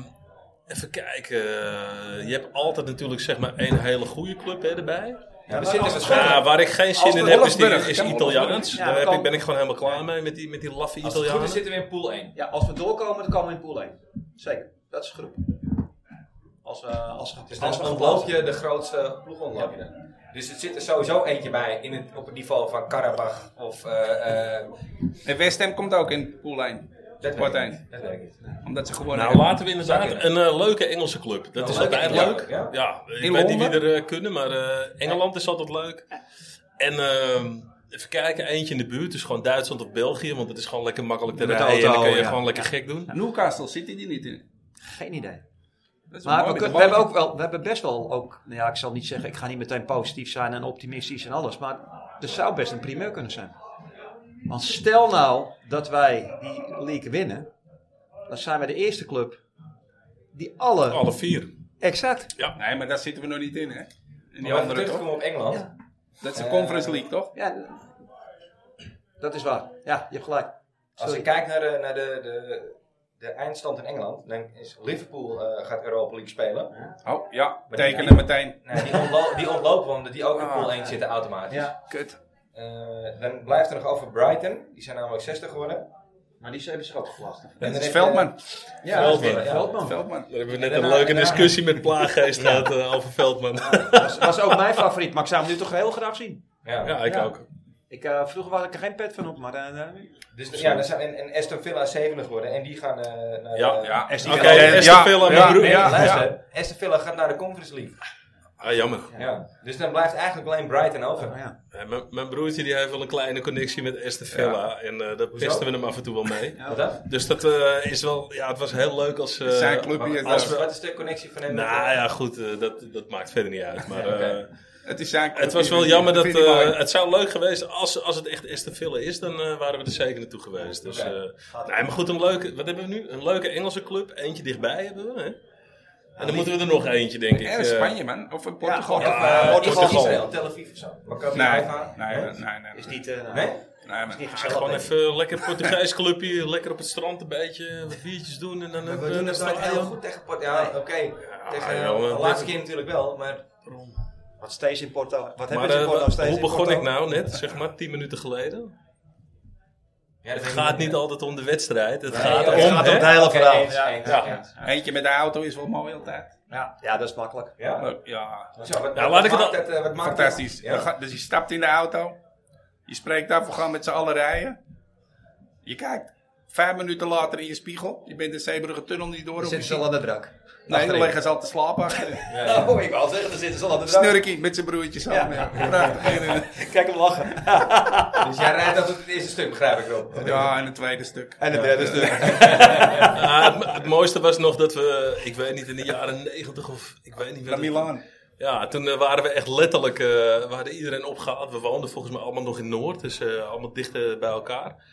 [SPEAKER 16] even kijken. eh, je hebt altijd natuurlijk zeg maar één hele goede club hè, erbij.
[SPEAKER 1] Ja, er zitten
[SPEAKER 16] Als-
[SPEAKER 1] wat
[SPEAKER 16] Ja,
[SPEAKER 1] scholen.
[SPEAKER 16] waar ik geen zin
[SPEAKER 1] Als
[SPEAKER 16] in
[SPEAKER 1] de
[SPEAKER 16] heb is, die,
[SPEAKER 1] Wolfsburg.
[SPEAKER 16] is
[SPEAKER 1] Ja,
[SPEAKER 16] Italiaans.
[SPEAKER 1] Wolfsburg. Ja,
[SPEAKER 16] Daar
[SPEAKER 1] dat
[SPEAKER 16] heb
[SPEAKER 1] kan.
[SPEAKER 16] ik, ben ik gewoon helemaal klaar mee met die, met die laffe
[SPEAKER 11] Als het
[SPEAKER 16] Italianen.
[SPEAKER 11] goed is zitten we in pool 1. Ja, als we doorkomen, dan komen we in pool 1. Zeker. Dat is groep. Als we, als,
[SPEAKER 1] Dus
[SPEAKER 11] als
[SPEAKER 1] dan
[SPEAKER 11] we
[SPEAKER 1] ontloop je de grootste ploeg ontloop je dan. Dus het zit er sowieso eentje bij in het, op het niveau van Karabach of... eh, eh,
[SPEAKER 15] En West Ham komt ook in pool 1.
[SPEAKER 1] Dat
[SPEAKER 15] Wordt
[SPEAKER 1] weet ik
[SPEAKER 15] 1.
[SPEAKER 1] niet, dat weet ik niet.
[SPEAKER 15] Omdat ze gewoon...
[SPEAKER 16] Nou, laten we inderdaad een eh, leuke Engelse club. Dat
[SPEAKER 15] Een
[SPEAKER 16] is
[SPEAKER 15] leuke
[SPEAKER 16] altijd
[SPEAKER 15] Engelse
[SPEAKER 16] leuk.
[SPEAKER 15] club,
[SPEAKER 16] Ja,
[SPEAKER 15] ja.
[SPEAKER 16] ik
[SPEAKER 15] In
[SPEAKER 16] weet niet wie
[SPEAKER 15] Londen?
[SPEAKER 16] er eh, kunnen, maar eh, Engeland is altijd leuk. En ehm, even kijken, eentje in de buurt is gewoon Duitsland of België, want het is gewoon lekker makkelijk te
[SPEAKER 15] Met de
[SPEAKER 16] rijden. En dan
[SPEAKER 15] auto,
[SPEAKER 16] kun je
[SPEAKER 15] ja.
[SPEAKER 16] gewoon lekker gek doen.
[SPEAKER 15] Newcastle zit die niet in.
[SPEAKER 11] Geen idee.
[SPEAKER 15] Dat is
[SPEAKER 11] Maar
[SPEAKER 15] mooi
[SPEAKER 11] we,
[SPEAKER 15] met
[SPEAKER 11] kunnen-
[SPEAKER 15] een
[SPEAKER 11] we hebben
[SPEAKER 15] balletje.
[SPEAKER 11] ook wel, we hebben best wel ook, nou ja, ik zal niet zeggen, ik ga niet meteen positief zijn en optimistisch en alles, maar er zou best een primeur kunnen zijn. Want stel nou dat wij die league winnen, dan zijn wij de eerste club die alle...
[SPEAKER 16] Alle vier.
[SPEAKER 11] Exact.
[SPEAKER 16] Ja.
[SPEAKER 15] Nee, maar daar zitten we nog niet in, hè? In
[SPEAKER 11] Maar
[SPEAKER 15] die
[SPEAKER 11] we
[SPEAKER 15] andere toch?
[SPEAKER 1] terugkomen op Engeland.
[SPEAKER 11] Ja.
[SPEAKER 15] Dat is de
[SPEAKER 1] Eh,
[SPEAKER 15] Conference League, toch?
[SPEAKER 11] Ja, dat is waar. Ja, je hebt gelijk.
[SPEAKER 1] Als
[SPEAKER 11] Sorry.
[SPEAKER 1] ik kijk naar, de, naar de, de, de eindstand in Engeland, dan is Liverpool eh, gaat Europa League spelen.
[SPEAKER 15] Oh, ja,
[SPEAKER 1] Maar
[SPEAKER 15] tekenen
[SPEAKER 1] die-
[SPEAKER 15] meteen.
[SPEAKER 1] Nee, die, ontlo die ontlopen, want die ook in
[SPEAKER 15] Ah.
[SPEAKER 1] pool 1 zitten automatisch.
[SPEAKER 15] Ja. Kut.
[SPEAKER 1] Eh, dan blijft er nog over Brighton, die zijn namelijk 60 geworden.
[SPEAKER 11] Maar die hebben zich ook gevlacht.
[SPEAKER 1] En
[SPEAKER 15] Dat
[SPEAKER 1] dan
[SPEAKER 15] is
[SPEAKER 1] heeft,
[SPEAKER 15] Veldman.
[SPEAKER 1] eh, ja,
[SPEAKER 16] Veldman.
[SPEAKER 1] ja.
[SPEAKER 11] Veldman.
[SPEAKER 15] Veldman.
[SPEAKER 16] Daar hebben we net
[SPEAKER 1] En
[SPEAKER 16] een
[SPEAKER 1] daarna-
[SPEAKER 16] leuke
[SPEAKER 1] daarna-
[SPEAKER 16] discussie met Plaaggeest gehad eh, over Veldman.
[SPEAKER 11] Dat was ook mijn favoriet, maar ik zou hem nu toch heel graag zien.
[SPEAKER 1] Ja.
[SPEAKER 16] Ja, ik ook.
[SPEAKER 11] Ik, eh, vroeger was ik er geen pet van op, maar... eh, eh,
[SPEAKER 1] Dus de- ja, dan zijn, en, en Aston Villa is 7 geworden en die gaan eh, naar
[SPEAKER 16] Ja,
[SPEAKER 1] de...
[SPEAKER 16] ja.
[SPEAKER 1] Aston
[SPEAKER 16] Oké,
[SPEAKER 1] Villa-
[SPEAKER 16] Aston Villa, mijn broer.
[SPEAKER 1] nee,
[SPEAKER 16] Ja,
[SPEAKER 1] luister, Aston Villa gaat naar de Conference League.
[SPEAKER 16] Ah, jammer.
[SPEAKER 1] Ja. Dus dan blijft eigenlijk alleen Brighton
[SPEAKER 11] Oh,
[SPEAKER 1] over.
[SPEAKER 16] Eh, mijn- Mijn broertje die heeft wel een kleine connectie met Aston Villa. En eh daar
[SPEAKER 1] Hoezo?
[SPEAKER 16] pesten we hem af en toe wel mee.
[SPEAKER 1] Wat dan?
[SPEAKER 16] Dus dat eh, is wel... Ja, het was heel leuk als... eh,
[SPEAKER 15] Zijn clubje is
[SPEAKER 16] als
[SPEAKER 15] dat.
[SPEAKER 16] we-
[SPEAKER 1] Wat is de connectie van hem? met,
[SPEAKER 16] Nou
[SPEAKER 1] eh,
[SPEAKER 16] ja, goed. eh, dat, dat maakt verder niet uit. Maar
[SPEAKER 1] Ja, oké.
[SPEAKER 16] eh,
[SPEAKER 15] Het is zijn club,
[SPEAKER 16] het was wel
[SPEAKER 15] die-
[SPEAKER 16] jammer dat...
[SPEAKER 15] vind ik mooi.
[SPEAKER 16] eh, het zou leuk geweest... Als, als het echt Aston Villa is, dan eh, waren we er zeker naartoe geweest. Dus,
[SPEAKER 1] Oké.
[SPEAKER 16] eh, nee, maar goed, een leuke... Wat hebben we nu? Een leuke Engelse club. Eentje dichtbij hebben we, hè? En dan moeten we er nog eentje, denk ik.
[SPEAKER 15] En
[SPEAKER 16] eh.
[SPEAKER 15] Spanje, man. Of in Portugal.
[SPEAKER 1] Ja,
[SPEAKER 16] Ja,
[SPEAKER 1] of, eh,
[SPEAKER 16] Portugal.
[SPEAKER 1] Portugal. Israël, Tel Aviv of zo. Maccabi
[SPEAKER 15] Nee,
[SPEAKER 1] Haifa.
[SPEAKER 15] nee, nee, nee, nee.
[SPEAKER 11] nou Is niet... eh,
[SPEAKER 15] Nee,
[SPEAKER 1] Nee?
[SPEAKER 11] is
[SPEAKER 15] man.
[SPEAKER 11] niet
[SPEAKER 16] Ja,
[SPEAKER 11] gezellig.
[SPEAKER 16] gewoon
[SPEAKER 11] denk ik.
[SPEAKER 16] even lekker Portugees clubje, lekker op het strand een beetje, wat biertjes doen en dan...
[SPEAKER 1] We
[SPEAKER 16] eh,
[SPEAKER 1] doen het
[SPEAKER 16] stadion.
[SPEAKER 1] nooit heel goed tegen Port. Ja, oké. tegen,
[SPEAKER 16] ja, maar-
[SPEAKER 1] de laatste keer natuurlijk wel, maar...
[SPEAKER 11] Wat steeds in Porto. Wat hebben
[SPEAKER 16] Maar
[SPEAKER 11] ze in
[SPEAKER 16] eh,
[SPEAKER 11] Porto steeds
[SPEAKER 16] hoe
[SPEAKER 11] in
[SPEAKER 16] begon
[SPEAKER 11] Porto?
[SPEAKER 16] ik nou net, zeg maar, tien minuten geleden?
[SPEAKER 1] Ja, dat
[SPEAKER 16] Het gaat niet altijd om de wedstrijd, het
[SPEAKER 11] Nee,
[SPEAKER 16] gaat
[SPEAKER 11] het
[SPEAKER 16] om...
[SPEAKER 11] gaat om
[SPEAKER 16] hè?
[SPEAKER 11] het hele
[SPEAKER 1] Oké,
[SPEAKER 11] verhaal.
[SPEAKER 1] eens, eens,
[SPEAKER 11] Ja.
[SPEAKER 1] eens.
[SPEAKER 15] Eentje met de auto is wel mooi altijd.
[SPEAKER 11] Ja. ja, dat is makkelijk.
[SPEAKER 1] Ja.
[SPEAKER 15] Leuk, Ja.
[SPEAKER 1] Zo, wat,
[SPEAKER 16] Nou,
[SPEAKER 1] wat
[SPEAKER 16] laat ik het
[SPEAKER 1] maakt
[SPEAKER 16] al-
[SPEAKER 1] het, eh, wat maakt het-
[SPEAKER 15] Fantastisch.
[SPEAKER 1] Ja.
[SPEAKER 15] Dan ga- Dus je stapt in de auto. Je spreekt af, we gaan met z'n allen rijden. Je kijkt. Vijf minuten later in je spiegel. Je bent de Zeebrugge tunnel niet door.
[SPEAKER 11] Dan
[SPEAKER 15] of
[SPEAKER 11] zitten
[SPEAKER 15] je
[SPEAKER 11] ze
[SPEAKER 15] ziet-
[SPEAKER 11] al aan de drank.
[SPEAKER 15] Nee, dan
[SPEAKER 11] Achterin.
[SPEAKER 15] liggen ze al te slapen achterin.
[SPEAKER 1] Ja, ja.
[SPEAKER 11] Oh, ik wou zeggen, dan zitten ze al aan de drank.
[SPEAKER 15] Snurkie met zijn broertje samen. Ja. Prachtig.
[SPEAKER 11] Kijk hem lachen.
[SPEAKER 1] Dus jij rijdt altijd het eerste stuk, begrijp ik wel.
[SPEAKER 15] Ja, en het tweede stuk.
[SPEAKER 11] En het derde stuk.
[SPEAKER 16] Ah, het, het mooiste was nog dat we, ik weet niet, in de jaren negentig of... Ik weet niet
[SPEAKER 15] Naar
[SPEAKER 16] welke-
[SPEAKER 15] Milaan.
[SPEAKER 16] Ja, toen eh, waren we echt letterlijk, eh, we hadden iedereen opgehaald. We woonden volgens mij allemaal nog in Noord, dus eh, allemaal dicht eh, bij elkaar.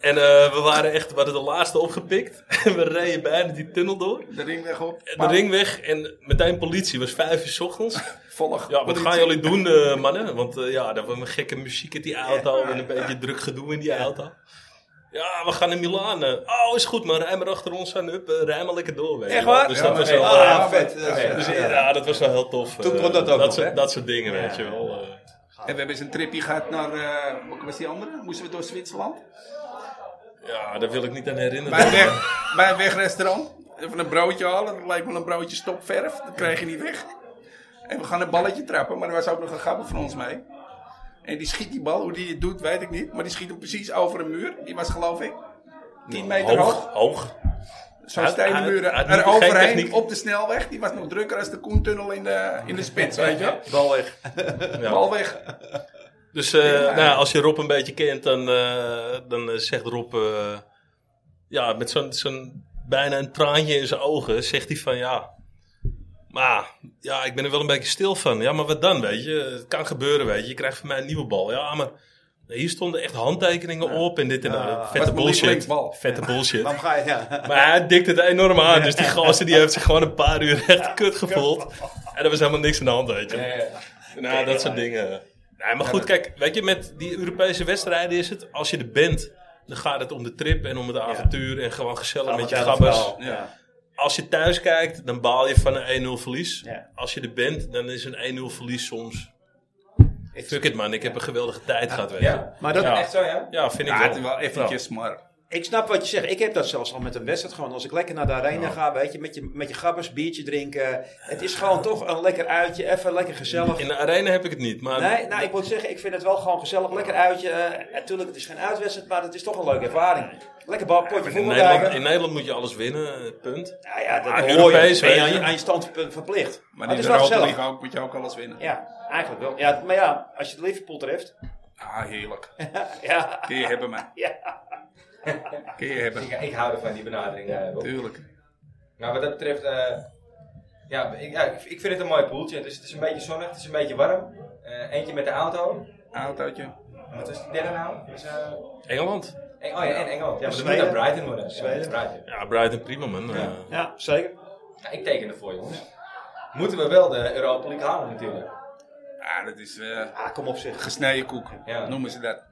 [SPEAKER 16] En eh, we waren echt, we hadden de laatste opgepikt. En we reden bijna die tunnel door.
[SPEAKER 15] De ringweg op.
[SPEAKER 16] En de ringweg en meteen politie, was vijf uur 's ochtends.
[SPEAKER 15] Volg.
[SPEAKER 16] Ja, wat
[SPEAKER 15] politie.
[SPEAKER 16] gaan jullie doen, eh, mannen? Want eh, ja, daar was een gekke muziek in die auto en een beetje druk gedoe in die auto. Ja, we gaan naar Milaan. eh. Oh, is goed, maar rij maar achter ons aan up. eh, Rij maar lekker door. Weet je
[SPEAKER 15] Echt
[SPEAKER 16] wel.
[SPEAKER 15] waar?
[SPEAKER 16] Dus
[SPEAKER 15] Ja,
[SPEAKER 16] dat was
[SPEAKER 15] oké.
[SPEAKER 16] wel...
[SPEAKER 15] Ah,
[SPEAKER 16] eh,
[SPEAKER 15] ja,
[SPEAKER 11] vet.
[SPEAKER 16] ja,
[SPEAKER 11] Ja,
[SPEAKER 16] dus,
[SPEAKER 11] ja.
[SPEAKER 16] ja, dat was wel heel tof.
[SPEAKER 11] Toen
[SPEAKER 16] eh,
[SPEAKER 11] kon dat ook nog,
[SPEAKER 16] soort,
[SPEAKER 11] hè?
[SPEAKER 16] dat soort dingen, weet je wel. eh.
[SPEAKER 15] En we hebben eens een tripje gehad naar, eh wat was die andere? Moesten we door Zwitserland?
[SPEAKER 16] Ja, daar wil ik niet aan herinneren.
[SPEAKER 15] Bij een, weg, bij een wegrestaurant. Even een broodje halen. Dat lijkt wel een broodje stopverf. Dat krijg je niet weg. En we gaan een balletje trappen. Maar er was ook nog een gabbel van ons mee. En die schiet die bal. Hoe die het doet, weet ik niet. Maar die schiet hem precies over een muur. Die was geloof ik 10 meter
[SPEAKER 16] hoog,
[SPEAKER 15] hoog.
[SPEAKER 16] hoog.
[SPEAKER 15] Zo'n
[SPEAKER 16] Uit-
[SPEAKER 15] stenen
[SPEAKER 16] uit-
[SPEAKER 15] muren
[SPEAKER 16] uit-
[SPEAKER 15] er
[SPEAKER 16] geen
[SPEAKER 15] overheen
[SPEAKER 16] techniek.
[SPEAKER 15] op de snelweg. Die was nog drukker als de Koentunnel in de, in de spits, weet je wel.
[SPEAKER 16] Bal weg.
[SPEAKER 15] Bal weg.
[SPEAKER 16] Dus eh,
[SPEAKER 15] Ja.
[SPEAKER 16] nou ja, als je Rob een beetje kent, dan, eh, dan eh, zegt Rob... eh, ja, met zo'n zo'n bijna een traantje in zijn ogen zegt hij van... Ja, maar ja, ik ben er wel een beetje stil van. Ja, maar wat dan, weet je? Het kan gebeuren, weet je. Je krijgt van mij een nieuwe bal. Ja, maar hier stonden echt handtekeningen op en dit en dat.
[SPEAKER 4] Ja. Was
[SPEAKER 16] Vette
[SPEAKER 4] mijn
[SPEAKER 16] bullshit.
[SPEAKER 4] lievelingsbal.
[SPEAKER 16] Vette bullshit.
[SPEAKER 4] Waarom ga je? Ja.
[SPEAKER 16] Maar hij dikt het enorm aan. Dus die gozer die heeft zich gewoon een paar uur echt kut gevoeld. En er was helemaal niks aan de hand, weet je. Nou, dat soort dingen. Nee, maar goed, kijk, weet je, met die Europese wedstrijden is het, als je er bent, dan gaat het om de trip en om het avontuur en gewoon gezellig
[SPEAKER 4] Gaan
[SPEAKER 16] met je
[SPEAKER 4] we tijdens het
[SPEAKER 16] gabbers.
[SPEAKER 4] verhaal, ja.
[SPEAKER 16] Als je thuis kijkt, dan baal je van een 1-0 verlies. Als je er bent, dan is een 1-0 verlies soms. Fuck it man, ik heb een geweldige tijd gehad, weet je.
[SPEAKER 4] Maar dat
[SPEAKER 16] ja. Ja, vind ik wel. Ja.
[SPEAKER 4] Ik snap wat je zegt. Ik heb dat zelfs al met een wedstrijd gewoon. Als ik lekker naar de arena ga, weet je, met je, met je gabbers, biertje drinken. Het is gewoon toch een lekker uitje, even lekker gezellig.
[SPEAKER 16] In de arena heb ik het niet, maar...
[SPEAKER 4] Nee, nou, ik moet zeggen, ik vind het wel gewoon gezellig. Lekker uitje. Eh, natuurlijk, het is geen uitwedstrijd, maar het is toch een leuke ervaring. Lekker bal, potje
[SPEAKER 16] In
[SPEAKER 4] voetbal
[SPEAKER 16] Nederland,
[SPEAKER 4] kijken.
[SPEAKER 16] in Nederland moet je alles winnen, punt.
[SPEAKER 4] Nou ja, dat
[SPEAKER 16] Ah,
[SPEAKER 4] hoor je.
[SPEAKER 16] Europees,
[SPEAKER 4] Ben je
[SPEAKER 16] weet
[SPEAKER 4] aan
[SPEAKER 16] je.
[SPEAKER 4] je, aan je standpunt verplicht. Maar, het
[SPEAKER 15] Maar in
[SPEAKER 4] is
[SPEAKER 15] de
[SPEAKER 4] wel
[SPEAKER 15] Europa
[SPEAKER 4] gezellig.
[SPEAKER 15] League ook, moet je ook alles winnen.
[SPEAKER 4] Ja, eigenlijk wel. Ja, maar ja, als je het Liverpool treft.
[SPEAKER 15] Ah, heerlijk.
[SPEAKER 4] ja.
[SPEAKER 15] Kun je hebben, man.
[SPEAKER 4] Ja.
[SPEAKER 15] Kun je hebben.
[SPEAKER 1] Ik, ik hou ervan, die benadering. eh, Rob.
[SPEAKER 15] Tuurlijk.
[SPEAKER 1] Nou, wat dat betreft, eh, ja, ik, ja, ik ik vind het een mooi poeltje. Dus het is een beetje zonnig, het is een beetje warm. Eh, eentje met de auto.
[SPEAKER 15] Autootje.
[SPEAKER 1] Wat is de derde nou? Dus, eh,
[SPEAKER 16] Engeland.
[SPEAKER 1] Eng- oh ja, en Engeland. Ja, maar dat moet
[SPEAKER 16] Zweden.
[SPEAKER 1] dan Brighton worden.
[SPEAKER 16] Zweden.
[SPEAKER 1] Ja, Brighton.
[SPEAKER 16] Ja, Brighton prima, man. Eh,
[SPEAKER 4] Ja, zeker.
[SPEAKER 1] Ja, ik teken ervoor, jongens. Moeten we wel de Europa League halen, natuurlijk.
[SPEAKER 15] Ah, dat is eh,
[SPEAKER 4] kom op, zeg.
[SPEAKER 15] gesneden koek. Noemen ze dat.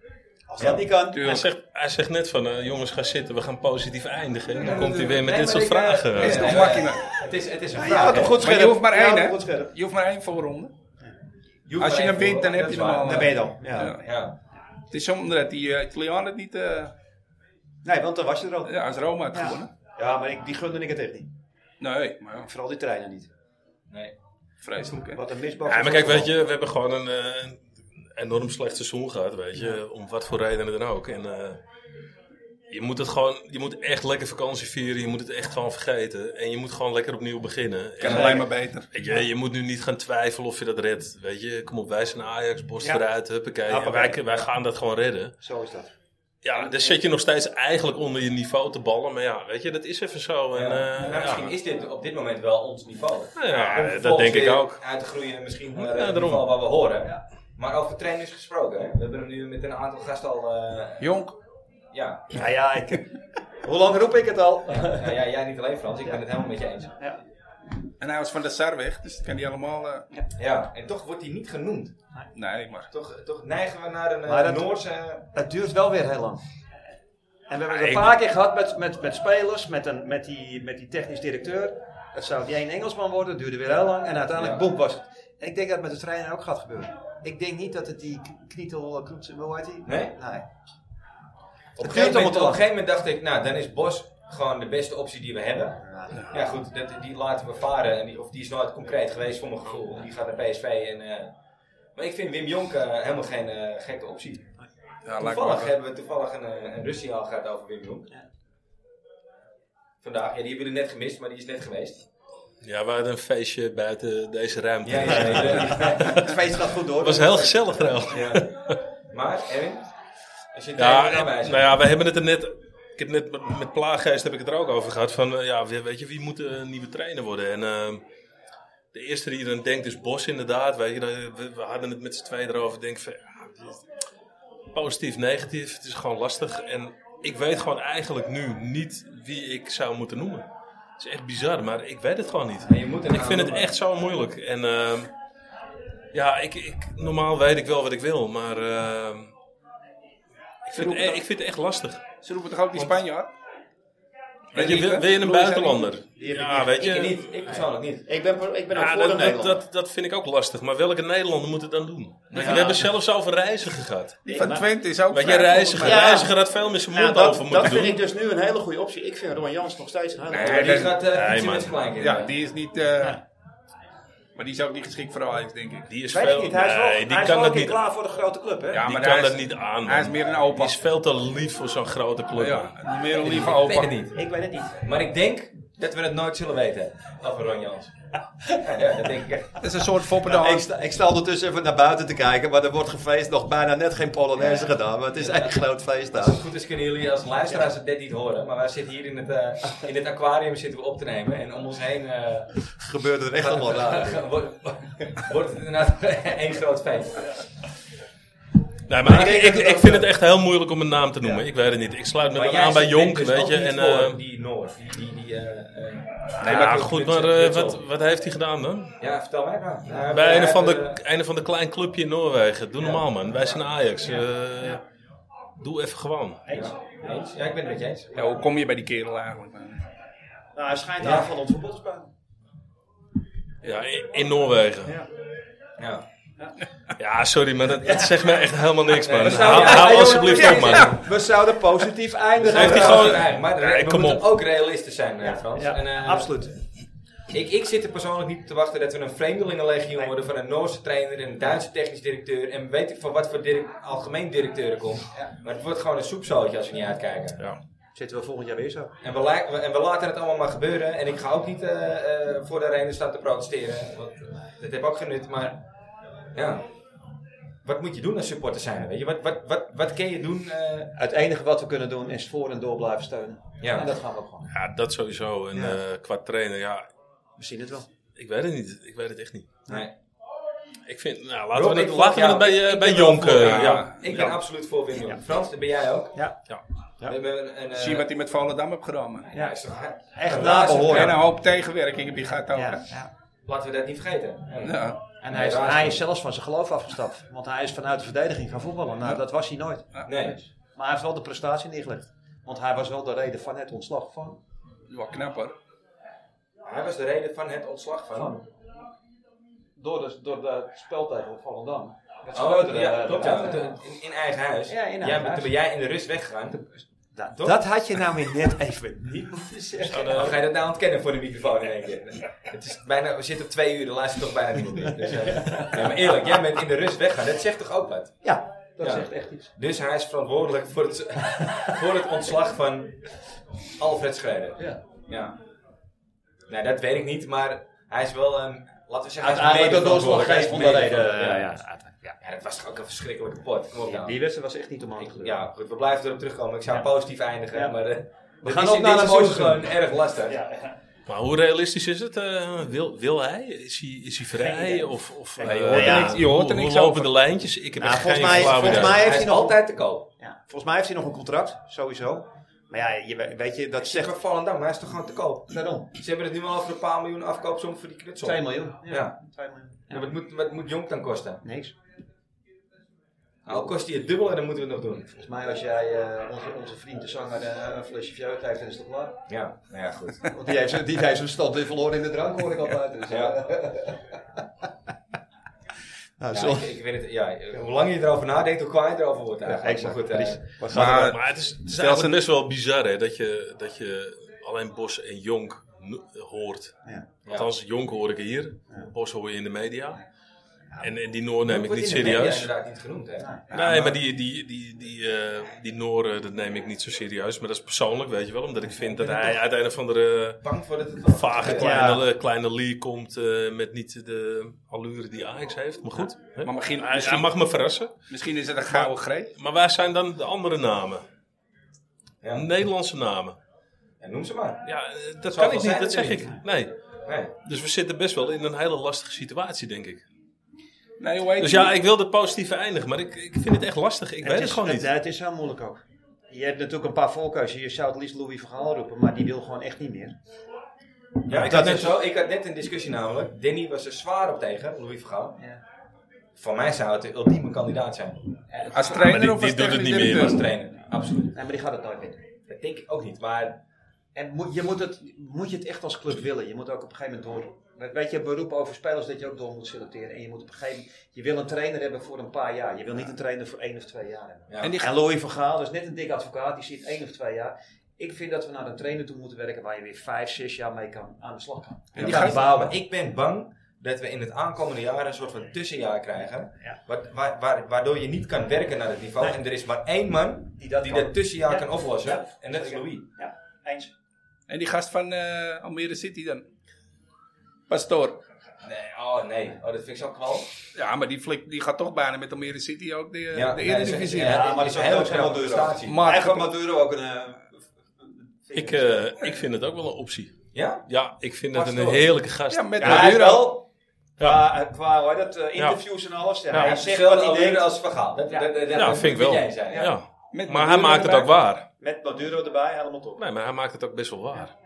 [SPEAKER 4] Als dat niet kan.
[SPEAKER 16] Hij zegt, hij zegt net van, eh, jongens, ga zitten, we gaan positief eindigen. En dan
[SPEAKER 15] Ja,
[SPEAKER 16] komt hij weer met
[SPEAKER 15] nee,
[SPEAKER 16] dit
[SPEAKER 15] maar
[SPEAKER 16] soort
[SPEAKER 15] ik, eh,
[SPEAKER 16] vragen.
[SPEAKER 15] het is toch makkie, man.
[SPEAKER 1] Het is, het is een
[SPEAKER 15] Ja,
[SPEAKER 1] vraag.
[SPEAKER 15] je houdt hem
[SPEAKER 1] hè.
[SPEAKER 15] goed scherp. Maar je hoeft maar één, hè?
[SPEAKER 4] scherp.
[SPEAKER 15] Je hoeft maar één voorronde.
[SPEAKER 1] hoeft
[SPEAKER 15] Als
[SPEAKER 1] maar
[SPEAKER 15] je
[SPEAKER 1] één
[SPEAKER 15] hem wint, dan
[SPEAKER 1] voorronde,
[SPEAKER 15] heb je hem
[SPEAKER 1] dat is
[SPEAKER 15] al.
[SPEAKER 1] waar.
[SPEAKER 15] eh,
[SPEAKER 1] Dan ben je dan, ja.
[SPEAKER 15] Het is zonde dat die eh, Italianen het niet... eh,
[SPEAKER 4] Nee, want dan was je er al.
[SPEAKER 15] Ja, als Roma had
[SPEAKER 4] Ja.
[SPEAKER 15] gewonnen.
[SPEAKER 4] Ja, maar ik, die gunde ik het echt niet.
[SPEAKER 15] Nee, maar...
[SPEAKER 4] Vooral die treinen niet.
[SPEAKER 1] Nee.
[SPEAKER 15] Vreselijk, hè?
[SPEAKER 4] Wat een misbouw.
[SPEAKER 16] Ja, maar kijk, weet je, we hebben gewoon een, eh, een enorm slecht seizoen gehad, weet je. Om wat voor redenen dan ook. En eh, je moet het gewoon, je moet echt lekker vakantie vieren. Je moet het echt gewoon vergeten. En je moet gewoon lekker opnieuw beginnen.
[SPEAKER 15] Kan
[SPEAKER 16] En,
[SPEAKER 15] alleen
[SPEAKER 16] eh,
[SPEAKER 15] maar beter.
[SPEAKER 16] Weet je, je moet nu niet gaan twijfelen of je dat redt. Weet je, kom op, wij zijn Ajax, borst
[SPEAKER 4] Ja.
[SPEAKER 16] eruit, huppakee.
[SPEAKER 4] Huppakee.
[SPEAKER 16] En wij, wij gaan dat gewoon redden.
[SPEAKER 4] Zo is dat.
[SPEAKER 16] Ja, dan zit je nog steeds eigenlijk onder je niveau te ballen. Maar ja, weet je, dat is even zo. En, eh,
[SPEAKER 1] Nou, misschien
[SPEAKER 16] ja.
[SPEAKER 1] is dit op dit moment wel ons niveau.
[SPEAKER 16] Nou ja,
[SPEAKER 1] Om
[SPEAKER 16] dat
[SPEAKER 1] vervolgens
[SPEAKER 16] denk ik
[SPEAKER 1] weer
[SPEAKER 16] ook.
[SPEAKER 1] Uit te groeien misschien eh,
[SPEAKER 16] Ja,
[SPEAKER 1] naar het
[SPEAKER 16] daarom.
[SPEAKER 1] niveau waar we horen. Maar over trainers gesproken, hè? we hebben hem nu met een aantal gasten al... eh,
[SPEAKER 15] Jonk.
[SPEAKER 1] Ja.
[SPEAKER 4] Ja, ja, ik... Hoe lang roep ik het al?
[SPEAKER 1] Ja, ja, jij niet alleen Frans, ik ben het helemaal met je eens.
[SPEAKER 4] Ja.
[SPEAKER 15] En hij was van de Sar weg, dus dat kan die allemaal... eh,
[SPEAKER 1] Ja, en toch wordt hij niet genoemd.
[SPEAKER 15] Nee, maar...
[SPEAKER 1] Toch, toch neigen we naar een eh,
[SPEAKER 4] Maar dat-
[SPEAKER 1] Noorse...
[SPEAKER 4] Het duurt wel weer heel lang. En we hebben het
[SPEAKER 1] Ja,
[SPEAKER 4] een
[SPEAKER 1] ik-
[SPEAKER 4] paar keer gehad met, met, met spelers, met, een, met, die, met die technisch directeur. Het zou die één Engelsman worden, het duurde weer heel lang. En uiteindelijk,
[SPEAKER 1] Ja.
[SPEAKER 4] boem, was het. En ik denk dat het met de trainer ook gaat gebeuren. Ik denk niet dat het die knietel, knoet, hoe heet Nou, die?
[SPEAKER 1] Nee?
[SPEAKER 4] Nee.
[SPEAKER 1] Op een,
[SPEAKER 4] Het
[SPEAKER 1] gegeven
[SPEAKER 4] duurt allemaal
[SPEAKER 1] moment,
[SPEAKER 4] te
[SPEAKER 1] op een
[SPEAKER 4] lang.
[SPEAKER 1] gegeven moment dacht ik, nou dan is Bos gewoon de beste optie die we hebben. Ja goed, dat, die laten we varen. En die, of die is nooit concreet geweest voor mijn gevoel. Die gaat naar PSV en... eh, maar ik vind Wim Jonk eh, helemaal geen eh, gekke optie.
[SPEAKER 15] Ja, lijkt me
[SPEAKER 1] toevallig
[SPEAKER 15] wel.
[SPEAKER 1] hebben we toevallig een, eh, een Russiaal gehad over Wim Jonk. Vandaag, ja, die hebben jullie net gemist, maar die is net geweest.
[SPEAKER 16] Ja, we hadden een feestje buiten deze ruimte.
[SPEAKER 1] Ja, ja, ja, ja. Het feest gaat goed door.
[SPEAKER 16] Het was heel gezellig trouwens.
[SPEAKER 1] Ja. Maar, Erwin, als je het
[SPEAKER 16] Ja,
[SPEAKER 1] tegen
[SPEAKER 16] en-
[SPEAKER 1] kan wijzen.
[SPEAKER 16] nou ja, we hebben het er net... Ik heb net met, met Plaaggeest heb ik het er ook over gehad. Van, eh, ja, wie- weet je, wie moet eh, een nieuwe trainer worden? En ehm, de eerste die dan denkt is Bos inderdaad. Weet je, dan- we, we hadden het met z'n tweeën erover. Denk van, ja, positief, negatief. Het is gewoon lastig. En ik weet gewoon eigenlijk nu niet wie ik zou moeten noemen. Het is echt bizar, maar ik weet het gewoon niet.
[SPEAKER 1] moet er
[SPEAKER 16] ik
[SPEAKER 1] nou
[SPEAKER 16] vind het
[SPEAKER 1] noemen.
[SPEAKER 16] echt zo moeilijk. En ehm, ja, ik, ik, normaal weet ik wel wat ik wil, maar ehm, ik, vind, het e- ik vind het echt lastig.
[SPEAKER 15] Ze roepen toch ook die Spanjaard?
[SPEAKER 16] Weet je, wil, wil je een buitenlander? Ja, weet je.
[SPEAKER 1] Ik niet, ik persoonlijk niet.
[SPEAKER 5] Ik ben,
[SPEAKER 4] Oh,
[SPEAKER 5] per- ik ben ook
[SPEAKER 16] Ja,
[SPEAKER 5] voor
[SPEAKER 16] dat,
[SPEAKER 5] een
[SPEAKER 16] dat,
[SPEAKER 5] Nederlander.
[SPEAKER 16] dat, dat vind ik ook lastig. Maar welke Nederlander moet het dan doen? Weet je,
[SPEAKER 5] Ja.
[SPEAKER 16] we hebben zelfs over reiziger gehad.
[SPEAKER 5] Die van
[SPEAKER 15] Twente is ook
[SPEAKER 16] Weet je,
[SPEAKER 15] vrij
[SPEAKER 16] reiziger,
[SPEAKER 5] Ja.
[SPEAKER 16] reiziger had veel meer zijn mond
[SPEAKER 5] Ja, dat,
[SPEAKER 16] over moeten
[SPEAKER 5] dat
[SPEAKER 16] doen.
[SPEAKER 5] vind ik dus nu een hele goede optie. Ik vind Ron Jans nog steeds een hele goede
[SPEAKER 15] Nee,
[SPEAKER 5] optie.
[SPEAKER 15] dat-
[SPEAKER 1] eh,
[SPEAKER 15] Nee, man. Ja, die is niet... eh, Maar die is ook niet geschikt voor Ajax, denk ik.
[SPEAKER 16] Die is
[SPEAKER 5] Weet ik
[SPEAKER 16] veel,
[SPEAKER 5] niet, hij is wel-
[SPEAKER 16] nee,
[SPEAKER 5] hij
[SPEAKER 16] die
[SPEAKER 5] is
[SPEAKER 16] kan
[SPEAKER 5] wel
[SPEAKER 16] dat
[SPEAKER 5] een
[SPEAKER 16] niet
[SPEAKER 5] keer klaar voor de grote club, hè?
[SPEAKER 16] Ja,
[SPEAKER 5] Die
[SPEAKER 16] maar
[SPEAKER 5] kan
[SPEAKER 16] hij
[SPEAKER 5] dat
[SPEAKER 16] is, niet
[SPEAKER 5] niet
[SPEAKER 16] aan.
[SPEAKER 5] Hij is meer
[SPEAKER 16] een opa. Die is veel te lief voor zo'n grote club.
[SPEAKER 1] Ja,
[SPEAKER 16] man.
[SPEAKER 15] meer een lieve
[SPEAKER 1] Ik weet het niet.
[SPEAKER 5] Ik weet het niet.
[SPEAKER 1] Maar ik denk dat we het nooit zullen weten. Over Ron Jans. ja, dat denk ik. echt.
[SPEAKER 15] Dat is een soort
[SPEAKER 4] Nou, ik, sta, ik sta ondertussen even naar buiten te kijken, maar er wordt gefeest. Nog bijna net geen Polonaise gedaan, maar het is echt een groot feest daar.
[SPEAKER 1] Als het goed is kunnen jullie als luisteraars het net niet horen, maar wij zitten hier in het, eh, in het aquarium zitten we op te nemen en om ons heen eh,
[SPEAKER 4] Gebeurt er echt allemaal raar.
[SPEAKER 1] wordt, wordt het inderdaad één groot feest.
[SPEAKER 16] Nee, maar ik, ik, ik vind het echt heel moeilijk om een naam te noemen. Ik weet het niet. Ik sluit me
[SPEAKER 1] Maar
[SPEAKER 16] wel
[SPEAKER 1] jij
[SPEAKER 16] aan bij
[SPEAKER 1] zit
[SPEAKER 16] Jonk,
[SPEAKER 1] dus
[SPEAKER 16] weet
[SPEAKER 1] ook
[SPEAKER 16] je.
[SPEAKER 1] niet
[SPEAKER 16] En,
[SPEAKER 1] voor
[SPEAKER 16] eh,
[SPEAKER 1] die Noord, die... die, die eh, eh,
[SPEAKER 16] ja,
[SPEAKER 1] Michael
[SPEAKER 16] goed, maar
[SPEAKER 1] Knutsen,
[SPEAKER 16] eh,
[SPEAKER 1] Knutsen.
[SPEAKER 16] wat, wat heeft hij gedaan dan?
[SPEAKER 1] Ja, vertel mij maar. Nou,
[SPEAKER 16] Bij
[SPEAKER 1] hij
[SPEAKER 16] een van,
[SPEAKER 1] heeft,
[SPEAKER 16] de,
[SPEAKER 1] eh,
[SPEAKER 16] een van de klein clubje in Noorwegen. Doe normaal, man. Wij zijn Ajax. Eh, Doe even gewoon.
[SPEAKER 1] Eens? Ja, ik ben het met je eens.
[SPEAKER 15] Ja, hoe kom je bij die kerel eigenlijk?
[SPEAKER 5] Nou, hij schijnt
[SPEAKER 1] Ja.
[SPEAKER 5] aan van ons verbod te spelen.
[SPEAKER 16] Ja, in, in Noorwegen.
[SPEAKER 5] Ja.
[SPEAKER 1] Ja.
[SPEAKER 16] Ja, sorry, maar dat, dat zegt me echt helemaal niks, man.
[SPEAKER 1] we
[SPEAKER 16] Hou
[SPEAKER 1] zouden-
[SPEAKER 16] hou
[SPEAKER 1] Ja,
[SPEAKER 16] alsjeblieft
[SPEAKER 1] jongen,
[SPEAKER 16] op, man.
[SPEAKER 1] ja.
[SPEAKER 4] We zouden positief eindigen.
[SPEAKER 16] Heeft hij gewoon-
[SPEAKER 1] Maar
[SPEAKER 16] Nee,
[SPEAKER 1] we
[SPEAKER 16] kom
[SPEAKER 1] moeten
[SPEAKER 16] op.
[SPEAKER 1] ook realistisch zijn, eh, Frans.
[SPEAKER 5] ja,
[SPEAKER 1] absoluut. Ik, ik zit er persoonlijk niet op te wachten dat we een vreemdelingenlegioen worden van een Noorse trainer en een Duitse technisch directeur en weet ik van wat voor direct, algemeen directeur er komt. Maar het wordt gewoon een soepzootje als we niet uitkijken.
[SPEAKER 4] Zitten we volgend jaar weer zo?
[SPEAKER 1] En we, lijken- we- en we laten het allemaal maar gebeuren. En ik ga ook niet eh, eh, voor de arena staan te protesteren. Want eh, dat heb ook genut. Maar ja, wat moet je doen als supporter zijn? Weet je? Wat, wat, wat, wat kun je doen? eh,
[SPEAKER 4] Het enige wat we kunnen doen is voor en door blijven steunen.
[SPEAKER 1] Ja.
[SPEAKER 4] En dat gaan we ook gewoon.
[SPEAKER 16] Ja, dat sowieso. En
[SPEAKER 4] Ja.
[SPEAKER 16] eh, qua trainer, ja.
[SPEAKER 4] We zien het wel.
[SPEAKER 16] Ik weet het niet. Ik weet het echt niet.
[SPEAKER 1] Nee.
[SPEAKER 16] Ik vind, nou, laten
[SPEAKER 1] Rob,
[SPEAKER 16] we
[SPEAKER 1] ik
[SPEAKER 16] het,
[SPEAKER 1] wil-
[SPEAKER 16] laten we
[SPEAKER 1] ja,
[SPEAKER 16] het bij, eh,
[SPEAKER 1] ik
[SPEAKER 16] bij
[SPEAKER 1] ben wel
[SPEAKER 16] Jonk.
[SPEAKER 1] voor,
[SPEAKER 16] eh,
[SPEAKER 1] ja.
[SPEAKER 16] ja.
[SPEAKER 1] Ik ben
[SPEAKER 16] Ja.
[SPEAKER 1] absoluut voor Wim Jonk. Frans, dat ben jij ook.
[SPEAKER 4] Ja.
[SPEAKER 16] ja.
[SPEAKER 1] We hebben een, eh,
[SPEAKER 15] Zie je wat hij met Volendam heeft gedaan? man.
[SPEAKER 1] Ja, is toch
[SPEAKER 15] En
[SPEAKER 4] nabehoren.
[SPEAKER 15] En een hoop tegenwerking heb je gehad ook. Oh, hè.
[SPEAKER 1] Laten we dat niet vergeten.
[SPEAKER 15] Ja.
[SPEAKER 4] En hij is, hij is zelfs van zijn geloof afgestapt. Want hij is vanuit de verdediging gaan voetballen. Nou, dat was hij nooit.
[SPEAKER 1] Nee.
[SPEAKER 4] Maar hij heeft wel de prestatie neergelegd. Want hij was wel de reden van het ontslag van.
[SPEAKER 15] Wat knap hoor.
[SPEAKER 1] Hij was de reden van het ontslag van.
[SPEAKER 4] Door, de, door de spel tegen Volendam. Dat
[SPEAKER 1] Oh,
[SPEAKER 4] scheurde,
[SPEAKER 1] ja,
[SPEAKER 4] eh,
[SPEAKER 1] klopt,
[SPEAKER 4] de-
[SPEAKER 1] ja. In, in eigen huis.
[SPEAKER 4] Ja, in eigen
[SPEAKER 1] Jij bent-
[SPEAKER 4] huis.
[SPEAKER 1] Toen ben jij in de rust weggegaan.
[SPEAKER 4] Dat,
[SPEAKER 1] Toch?
[SPEAKER 4] dat had je nou weer net even niet moeten zeggen.
[SPEAKER 1] Hoe ga je dat nou ontkennen voor de microfoon in één keer? Het is bijna, we zitten op twee uur, de laatste toch bijna niemand meer. Dus, eh, nee, maar eerlijk, jij bent in de rust weggaan. Dat zegt toch ook wat?
[SPEAKER 4] Ja, dat
[SPEAKER 1] Ja.
[SPEAKER 4] zegt echt iets.
[SPEAKER 1] Dus hij is verantwoordelijk voor het, voor het ontslag van Alfred Schreuder.
[SPEAKER 4] Ja.
[SPEAKER 1] ja. Nou, dat weet ik niet, maar hij is wel, ehm, laten we zeggen, hij is
[SPEAKER 4] Uiteindelijk de
[SPEAKER 1] medeverantwoordelijk. Hij is
[SPEAKER 4] doorslaggevende reden.
[SPEAKER 1] medeverantwoordelijk,
[SPEAKER 4] Ja, ja, uiteindelijk,
[SPEAKER 1] ja. Ja, dat was toch ook een verschrikkelijke pot. Kom op nou.
[SPEAKER 4] Die wedstrijd was echt niet om aan te doen.
[SPEAKER 1] Ja, goed, we blijven erop terugkomen. Ik zou positief eindigen,
[SPEAKER 4] Ja.
[SPEAKER 1] maar eh, dit
[SPEAKER 4] gaan
[SPEAKER 1] is
[SPEAKER 4] op
[SPEAKER 1] in
[SPEAKER 4] naar
[SPEAKER 1] dit
[SPEAKER 4] een
[SPEAKER 1] seizoen
[SPEAKER 4] seizoen.
[SPEAKER 1] gewoon erg lastig.
[SPEAKER 16] Maar hoe realistisch is het? eh, wil, wil hij? Is hij, is hij vrij? Of, of,
[SPEAKER 15] Ja, je
[SPEAKER 16] eh,
[SPEAKER 15] hoort er
[SPEAKER 16] ja,
[SPEAKER 15] niks- je hoort er
[SPEAKER 16] hoe-
[SPEAKER 15] niks
[SPEAKER 16] hoe lopen
[SPEAKER 15] over.
[SPEAKER 16] de lijntjes? Ik heb
[SPEAKER 4] Nou,
[SPEAKER 16] echt geen
[SPEAKER 4] volgens mij,
[SPEAKER 16] flauw
[SPEAKER 4] volgens
[SPEAKER 16] idee.
[SPEAKER 4] mij heeft
[SPEAKER 1] Hij
[SPEAKER 4] hij,
[SPEAKER 1] is
[SPEAKER 4] nog
[SPEAKER 1] altijd te koop.
[SPEAKER 4] Ja, volgens mij heeft hij nog een contract, sowieso. Maar ja, je, we- weet je, dat
[SPEAKER 1] Zeg
[SPEAKER 4] zegt
[SPEAKER 1] maar Volendam, maar hij is toch gewoon te koop?
[SPEAKER 4] Daarom.
[SPEAKER 1] Ze hebben het nu al over een paar miljoen afkoopsom voor die knutsel.
[SPEAKER 4] 2 miljoen.
[SPEAKER 1] Ja.
[SPEAKER 4] Twee miljoen.
[SPEAKER 1] En wat moet, wat moet Jonk dan kosten?
[SPEAKER 4] Niks.
[SPEAKER 1] Nou, al kost hij het dubbel en dan moeten we het nog doen.
[SPEAKER 4] Volgens mij als jij eh, onze, onze vriend de zanger eh, een flesje violet heeft, dan is het klaar.
[SPEAKER 1] Ja, nou ja, goed.
[SPEAKER 4] Want die heeft, zijn- die heeft zijn stand weer verloren in de drank, hoor ik altijd. Dus, eh,
[SPEAKER 1] Ja.
[SPEAKER 4] nou,
[SPEAKER 1] ja,
[SPEAKER 4] zo.
[SPEAKER 1] ik, ik weet het, ja, hoe langer je erover nadenkt, hoe kwaad je erover wordt eigenlijk.
[SPEAKER 4] exact,
[SPEAKER 1] Maar goed, eh,
[SPEAKER 4] precies. Wat
[SPEAKER 16] Maar,
[SPEAKER 4] gaat er-
[SPEAKER 16] maar het is, het is
[SPEAKER 4] Stel
[SPEAKER 16] eigenlijk
[SPEAKER 4] ze-
[SPEAKER 16] best wel bizar hè, dat, je, dat je alleen Bos en Jonk no- hoort.
[SPEAKER 4] Ja.
[SPEAKER 16] Althans, Jonk hoor ik hier, Bos hoor je in de media. En, en die Noor
[SPEAKER 1] Jonk
[SPEAKER 16] neem ik
[SPEAKER 1] wordt
[SPEAKER 16] niet
[SPEAKER 1] in de media
[SPEAKER 16] serieus.
[SPEAKER 1] inderdaad niet genoemd, hè?
[SPEAKER 16] Nee, maar die, die, die, die, eh, die Noor eh, dat neem ik niet zo serieus. Maar dat is persoonlijk, weet je wel. Omdat ik vind dat
[SPEAKER 1] ben
[SPEAKER 16] hij
[SPEAKER 1] toch
[SPEAKER 16] uit een of andere
[SPEAKER 1] Bang voor dat het
[SPEAKER 16] vage
[SPEAKER 1] Ja.
[SPEAKER 16] kleine, kleine league komt eh, met niet de allure die Ajax heeft. Maar goed, hè.
[SPEAKER 15] Maar misschien-
[SPEAKER 16] hij,
[SPEAKER 15] misschien-
[SPEAKER 16] hij mag me verrassen.
[SPEAKER 15] Misschien is het een gouden greep.
[SPEAKER 16] Maar waar zijn dan de andere namen?
[SPEAKER 1] Ja.
[SPEAKER 16] Nederlandse namen.
[SPEAKER 1] Ja, noem ze maar.
[SPEAKER 16] Ja, eh, dat
[SPEAKER 1] Zoveel
[SPEAKER 16] kan ik
[SPEAKER 1] zijn
[SPEAKER 16] niet,
[SPEAKER 1] er
[SPEAKER 16] dat zeg
[SPEAKER 1] niet.
[SPEAKER 16] ik. Nee.
[SPEAKER 1] Nee.
[SPEAKER 16] Dus we zitten best wel in een hele lastige situatie, denk ik.
[SPEAKER 15] Nee, hoe heet
[SPEAKER 16] Dus
[SPEAKER 15] die?
[SPEAKER 16] ja, ik wil de positieve eindigen, maar ik, ik vind het echt lastig. Ik weet
[SPEAKER 4] is,
[SPEAKER 16] het gewoon niet.
[SPEAKER 4] Het, het is heel moeilijk ook. Je hebt natuurlijk een paar voorkeuzen. Je zou het liefst Louis van Gaal roepen, maar die wil gewoon echt niet meer.
[SPEAKER 1] Ja, ik
[SPEAKER 4] Dat
[SPEAKER 1] had, net
[SPEAKER 4] is-
[SPEAKER 1] zo, ik had net een discussie namelijk. Danny was er zwaar op tegen, Louis van Gaal. Voor mij zou het de ultieme kandidaat zijn.
[SPEAKER 15] Als trainer
[SPEAKER 16] Maar die-
[SPEAKER 15] of als
[SPEAKER 16] die doet het
[SPEAKER 15] technisch
[SPEAKER 16] niet meer,
[SPEAKER 15] directeur?
[SPEAKER 1] Als trainer, absoluut.
[SPEAKER 4] Nee, maar die gaat het nooit meer.
[SPEAKER 1] Dat denk ik ook niet, maar
[SPEAKER 11] En moet, je moet, het, moet je het echt als club willen. Je moet ook op een gegeven moment door. Weet- Weet je, beroepen over spelers dat je ook door moet selecteren. En je moet op een gegeven moment. Je wil een trainer hebben voor een paar jaar. Je wil niet een trainer voor één of twee jaar hebben.
[SPEAKER 5] Ja.
[SPEAKER 11] En,
[SPEAKER 5] En die-
[SPEAKER 11] die... en Louis van Gaal, dat is net een dik advocaat, die zit één of twee jaar. Ik vind dat we naar een trainer toe moeten werken waar je weer vijf, zes jaar mee kan, aan de slag kan.
[SPEAKER 1] En die gaat bouwen. Ik ben bang dat we in het aankomende jaar een soort van tussenjaar krijgen. Wa- wa- wa- waardoor je niet kan werken naar het niveau. En er is maar één man die dat,
[SPEAKER 15] kan.
[SPEAKER 1] tussenjaar
[SPEAKER 15] Ja.
[SPEAKER 1] kan oplossen.
[SPEAKER 15] Ja.
[SPEAKER 1] En dat is Louis.
[SPEAKER 11] Ja, eens.
[SPEAKER 15] En die gast van eh, Almere City dan? Pastoor.
[SPEAKER 1] Nee, oh nee. Oh, dat vind ik zo knal.
[SPEAKER 15] Ja, maar die, flik, die gaat toch bijna met Almere City ook de,
[SPEAKER 1] Ja,
[SPEAKER 15] de
[SPEAKER 1] nee,
[SPEAKER 15] Eredivisie.
[SPEAKER 1] dat is- ja, Ja, maar dat is dat is ook heel ook snel snel Maduro. prestatie.
[SPEAKER 15] Maar-
[SPEAKER 4] Eigenlijk Maduro ook een... eh,
[SPEAKER 16] Ik, eh, ik vind het ook wel een optie.
[SPEAKER 1] Ja?
[SPEAKER 16] Ja, ik vind het een
[SPEAKER 4] Pastoor.
[SPEAKER 16] heerlijke gast.
[SPEAKER 4] Ja, met
[SPEAKER 16] hij
[SPEAKER 4] Maduro.
[SPEAKER 16] is wel-
[SPEAKER 4] Qua, eh, qua hoor, dat, eh,
[SPEAKER 16] Ja.
[SPEAKER 4] interviews en alles. Ja.
[SPEAKER 16] Ja.
[SPEAKER 4] Hij zegt
[SPEAKER 1] Hetzelfde
[SPEAKER 4] wat hij
[SPEAKER 1] allure
[SPEAKER 4] denkt.
[SPEAKER 1] als Van Gaal. Dat- dat- dat-
[SPEAKER 16] Ja, dat vind ik wel.
[SPEAKER 1] jij zei.
[SPEAKER 16] Ja. Maar hij maakt het ook waar.
[SPEAKER 4] Met Maduro erbij, helemaal top.
[SPEAKER 16] Nee, maar hij maakt het ook best wel waar.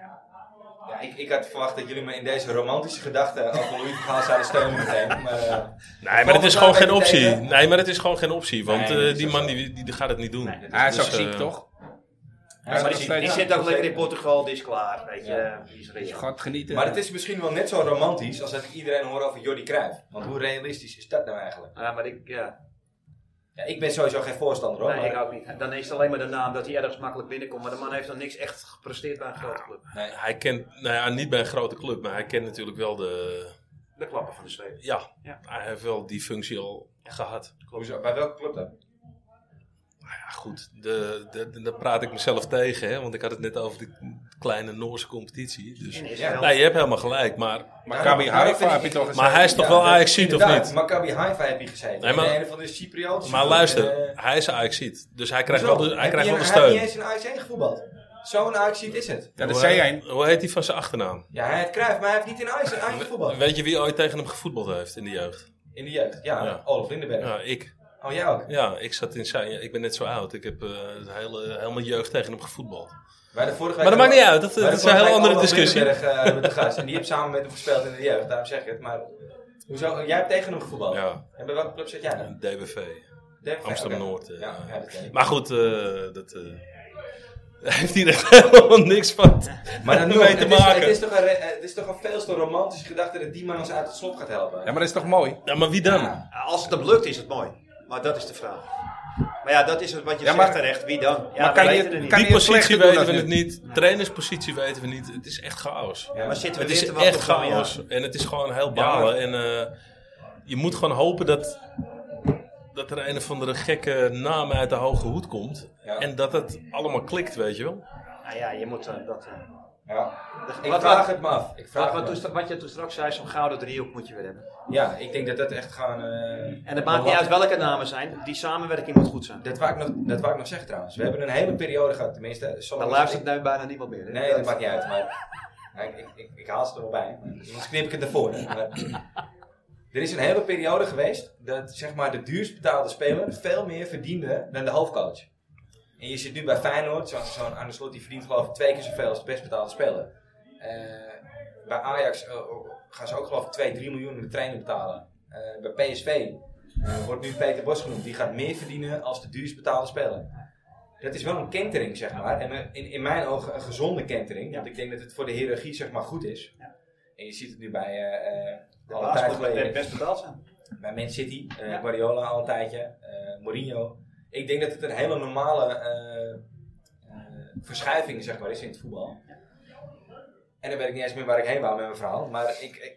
[SPEAKER 1] Ja, ik, ik had verwacht dat jullie me in deze romantische gedachten over Louis van Gaal zouden steunen meteen. Maar, eh,
[SPEAKER 16] Nee, maar het is gewoon geen
[SPEAKER 1] volgende
[SPEAKER 16] optie.
[SPEAKER 1] tegen-
[SPEAKER 16] Nee, maar het is gewoon geen optie. Want
[SPEAKER 1] Nee, dat
[SPEAKER 16] eh,
[SPEAKER 1] is
[SPEAKER 16] die
[SPEAKER 1] ook
[SPEAKER 16] man
[SPEAKER 1] zo.
[SPEAKER 16] die, die, die gaat het niet doen.
[SPEAKER 1] Hij is dus, ook
[SPEAKER 16] eh,
[SPEAKER 1] ziek, toch?
[SPEAKER 4] Ja, maar die, die zit ook lekker in Portugal, die is klaar. Weet je,
[SPEAKER 1] Ja.
[SPEAKER 4] eh, die is real.
[SPEAKER 1] Maar het is misschien wel net zo romantisch als dat ik iedereen hoor over Jordi Cruijff. Want hoe realistisch is dat nou eigenlijk?
[SPEAKER 4] Ja, maar ik, ja.
[SPEAKER 1] Ja, ik ben sowieso geen voorstander hoor.
[SPEAKER 4] Nee,
[SPEAKER 1] maar-
[SPEAKER 4] ik ook niet. Dan is het alleen maar de naam dat hij ergens makkelijk binnenkomt. Maar de man heeft nog niks echt gepresteerd bij een grote club.
[SPEAKER 16] Hij kent, nou ja, niet bij een grote club, maar hij kent natuurlijk wel de...
[SPEAKER 4] De klappen van de zweep.
[SPEAKER 16] Ja,
[SPEAKER 4] Ja.
[SPEAKER 16] hij heeft wel die functie al gehad. Nou
[SPEAKER 1] Hoezo? Bij welke club dan?
[SPEAKER 16] Ja, goed, de, de, de- daar praat ik mezelf tegen, hè, want ik had het net over de kleine Noorse competitie. Dus,
[SPEAKER 1] In Israël.
[SPEAKER 16] nee, je hebt helemaal gelijk, maar...
[SPEAKER 1] Nou, nou, vind ik-
[SPEAKER 16] Maar hij is toch
[SPEAKER 1] Ja,
[SPEAKER 16] wel
[SPEAKER 1] dat-
[SPEAKER 16] ajax of
[SPEAKER 1] inderdaad,
[SPEAKER 16] niet?
[SPEAKER 1] Maccabi Haifa heb je gezeten.
[SPEAKER 16] Nee,
[SPEAKER 1] Nee,
[SPEAKER 16] maar-
[SPEAKER 1] maar, en een van de Cypriotische.
[SPEAKER 16] Maar
[SPEAKER 1] club,
[SPEAKER 16] luister,
[SPEAKER 1] eh,
[SPEAKER 16] hij is ajax dus hij krijgt
[SPEAKER 1] hoezo?
[SPEAKER 16] wel de, hij
[SPEAKER 1] Heb
[SPEAKER 16] krijgt
[SPEAKER 1] je-
[SPEAKER 16] wel de
[SPEAKER 1] Hij
[SPEAKER 16] steun.
[SPEAKER 1] heeft niet eens in Ajax voetbald. Zo'n ajax is het.
[SPEAKER 16] Hoe heet- Hoe heet hij van zijn achternaam?
[SPEAKER 1] Ja, hij heeft Cruijff, maar hij heeft niet in Ajax Ajax voetbald.
[SPEAKER 16] Weet je wie ooit tegen hem gevoetbald heeft in de jeugd?
[SPEAKER 1] In de jeugd, ja. Olaf Lindenberg.
[SPEAKER 16] Ja, ik.
[SPEAKER 1] Oh, jij ook?
[SPEAKER 16] Ja, ik zat in zijn... ja, Ik ben net zo oud. Ik heb eh, de hele, helemaal jeugd tegen hem gevoetbald.
[SPEAKER 1] Wij de vorige
[SPEAKER 16] maar dat
[SPEAKER 1] week-
[SPEAKER 16] maakt niet uit. Dat,
[SPEAKER 1] wij
[SPEAKER 16] dat
[SPEAKER 1] de
[SPEAKER 16] is een
[SPEAKER 1] vorige
[SPEAKER 16] heel
[SPEAKER 1] week
[SPEAKER 16] andere
[SPEAKER 1] Olaf
[SPEAKER 16] discussie.
[SPEAKER 1] Lindenberg, eh, met de gast. En die heb samen met hem gespeeld in de jeugd, daarom zeg ik het. Maar eh, hoezo? Jij hebt tegen hem gevoetbald.
[SPEAKER 16] Ja.
[SPEAKER 1] En bij welke club zit jij dan?
[SPEAKER 16] DBV.
[SPEAKER 1] DBV,
[SPEAKER 16] Amsterdam-Noord.
[SPEAKER 1] oké.
[SPEAKER 16] eh.
[SPEAKER 1] Ja, ja, dat ken ik.
[SPEAKER 16] maar goed, eh, dat... eh, daar heeft hij er helemaal niks van
[SPEAKER 1] Maar dan nu
[SPEAKER 16] mee
[SPEAKER 1] ook,
[SPEAKER 16] te
[SPEAKER 1] het, is,
[SPEAKER 16] maken.
[SPEAKER 1] het, is toch een, re- eh, het is toch een veel te romantische gedachte dat die man ons uit het slop gaat helpen.
[SPEAKER 15] Ja, maar dat is toch mooi?
[SPEAKER 16] Ja, maar wie dan?
[SPEAKER 4] Als het hem lukt, is het mooi. Maar dat is de vraag. Maar ja, dat is het wat je
[SPEAKER 16] Ja, maar-
[SPEAKER 4] zegt terecht. Wie dan? Ja,
[SPEAKER 16] maar
[SPEAKER 4] we
[SPEAKER 16] kan je,
[SPEAKER 4] weten het niet.
[SPEAKER 16] die positie weten we het niet. Trainerspositie weten we niet. Het is echt chaos.
[SPEAKER 4] Ja, maar zitten we
[SPEAKER 16] het
[SPEAKER 4] weer
[SPEAKER 16] is
[SPEAKER 4] te wachten op
[SPEAKER 16] echt
[SPEAKER 4] een
[SPEAKER 16] chaos. En het is gewoon heel
[SPEAKER 4] Ja,
[SPEAKER 16] balen.
[SPEAKER 4] maar-
[SPEAKER 16] en eh, je moet gewoon hopen dat, dat er een of andere gekke naam uit de hoge hoed komt. En dat het allemaal klikt, weet je wel.
[SPEAKER 4] Nou ja, je moet eh, dat... eh,
[SPEAKER 1] Ja.
[SPEAKER 4] de-
[SPEAKER 1] Dus Ik vraag het me af. Ik
[SPEAKER 4] wat,
[SPEAKER 1] vraag het
[SPEAKER 4] wat,
[SPEAKER 1] me
[SPEAKER 4] toen- wat je toen straks zei, zo'n gouden driehoek moet je weer hebben.
[SPEAKER 1] Ja, ik denk dat dat echt gaan... eh,
[SPEAKER 4] En het maakt niet uit welke namen zijn, die samenwerking moet goed zijn.
[SPEAKER 1] Dat wou ik nog, dat wou ik nog zeggen trouwens. We hebben een hele periode gehad, tenminste. sommige-
[SPEAKER 4] Dan luistert nu bijna niemand meer. hè?
[SPEAKER 1] Nee, dat maakt niet uit, maar nou, ik, ik, ik, ik haal ze er wel bij. maar Anders knip ik het ervoor. hè. Maar, er is een hele periode geweest dat zeg maar, de duurst betaalde speler veel meer verdiende dan de hoofdcoach. En je zit nu bij Feyenoord, zo- zo'n Arne Slot die verdient geloof ik twee keer zoveel als de best betaalde speler. Eh, bij Ajax eh, gaan ze ook geloof ik 2, 3 miljoen aan de trainer betalen. Eh, bij PSV eh, wordt nu Peter Bos genoemd. Die gaat meer verdienen als de duurst betaalde speler. Dat is wel een kentering, zeg maar. En een- in, in mijn ogen een gezonde kentering. Want ik denk dat het voor de hiërarchie, zeg maar, goed is. En je ziet het nu bij... eh, eh,
[SPEAKER 4] De
[SPEAKER 1] al een
[SPEAKER 4] baas
[SPEAKER 1] tijd
[SPEAKER 4] moet
[SPEAKER 1] geleden.
[SPEAKER 4] het best betaald zijn.
[SPEAKER 1] Bij Man City, eh, Guardiola al een tijdje, eh, Mourinho. Ik denk dat het een hele normale eh, eh, verschuiving, zeg maar, is in het voetbal. En dan weet ik niet eens meer waar ik heen wou met mijn verhaal. Maar ik, ik,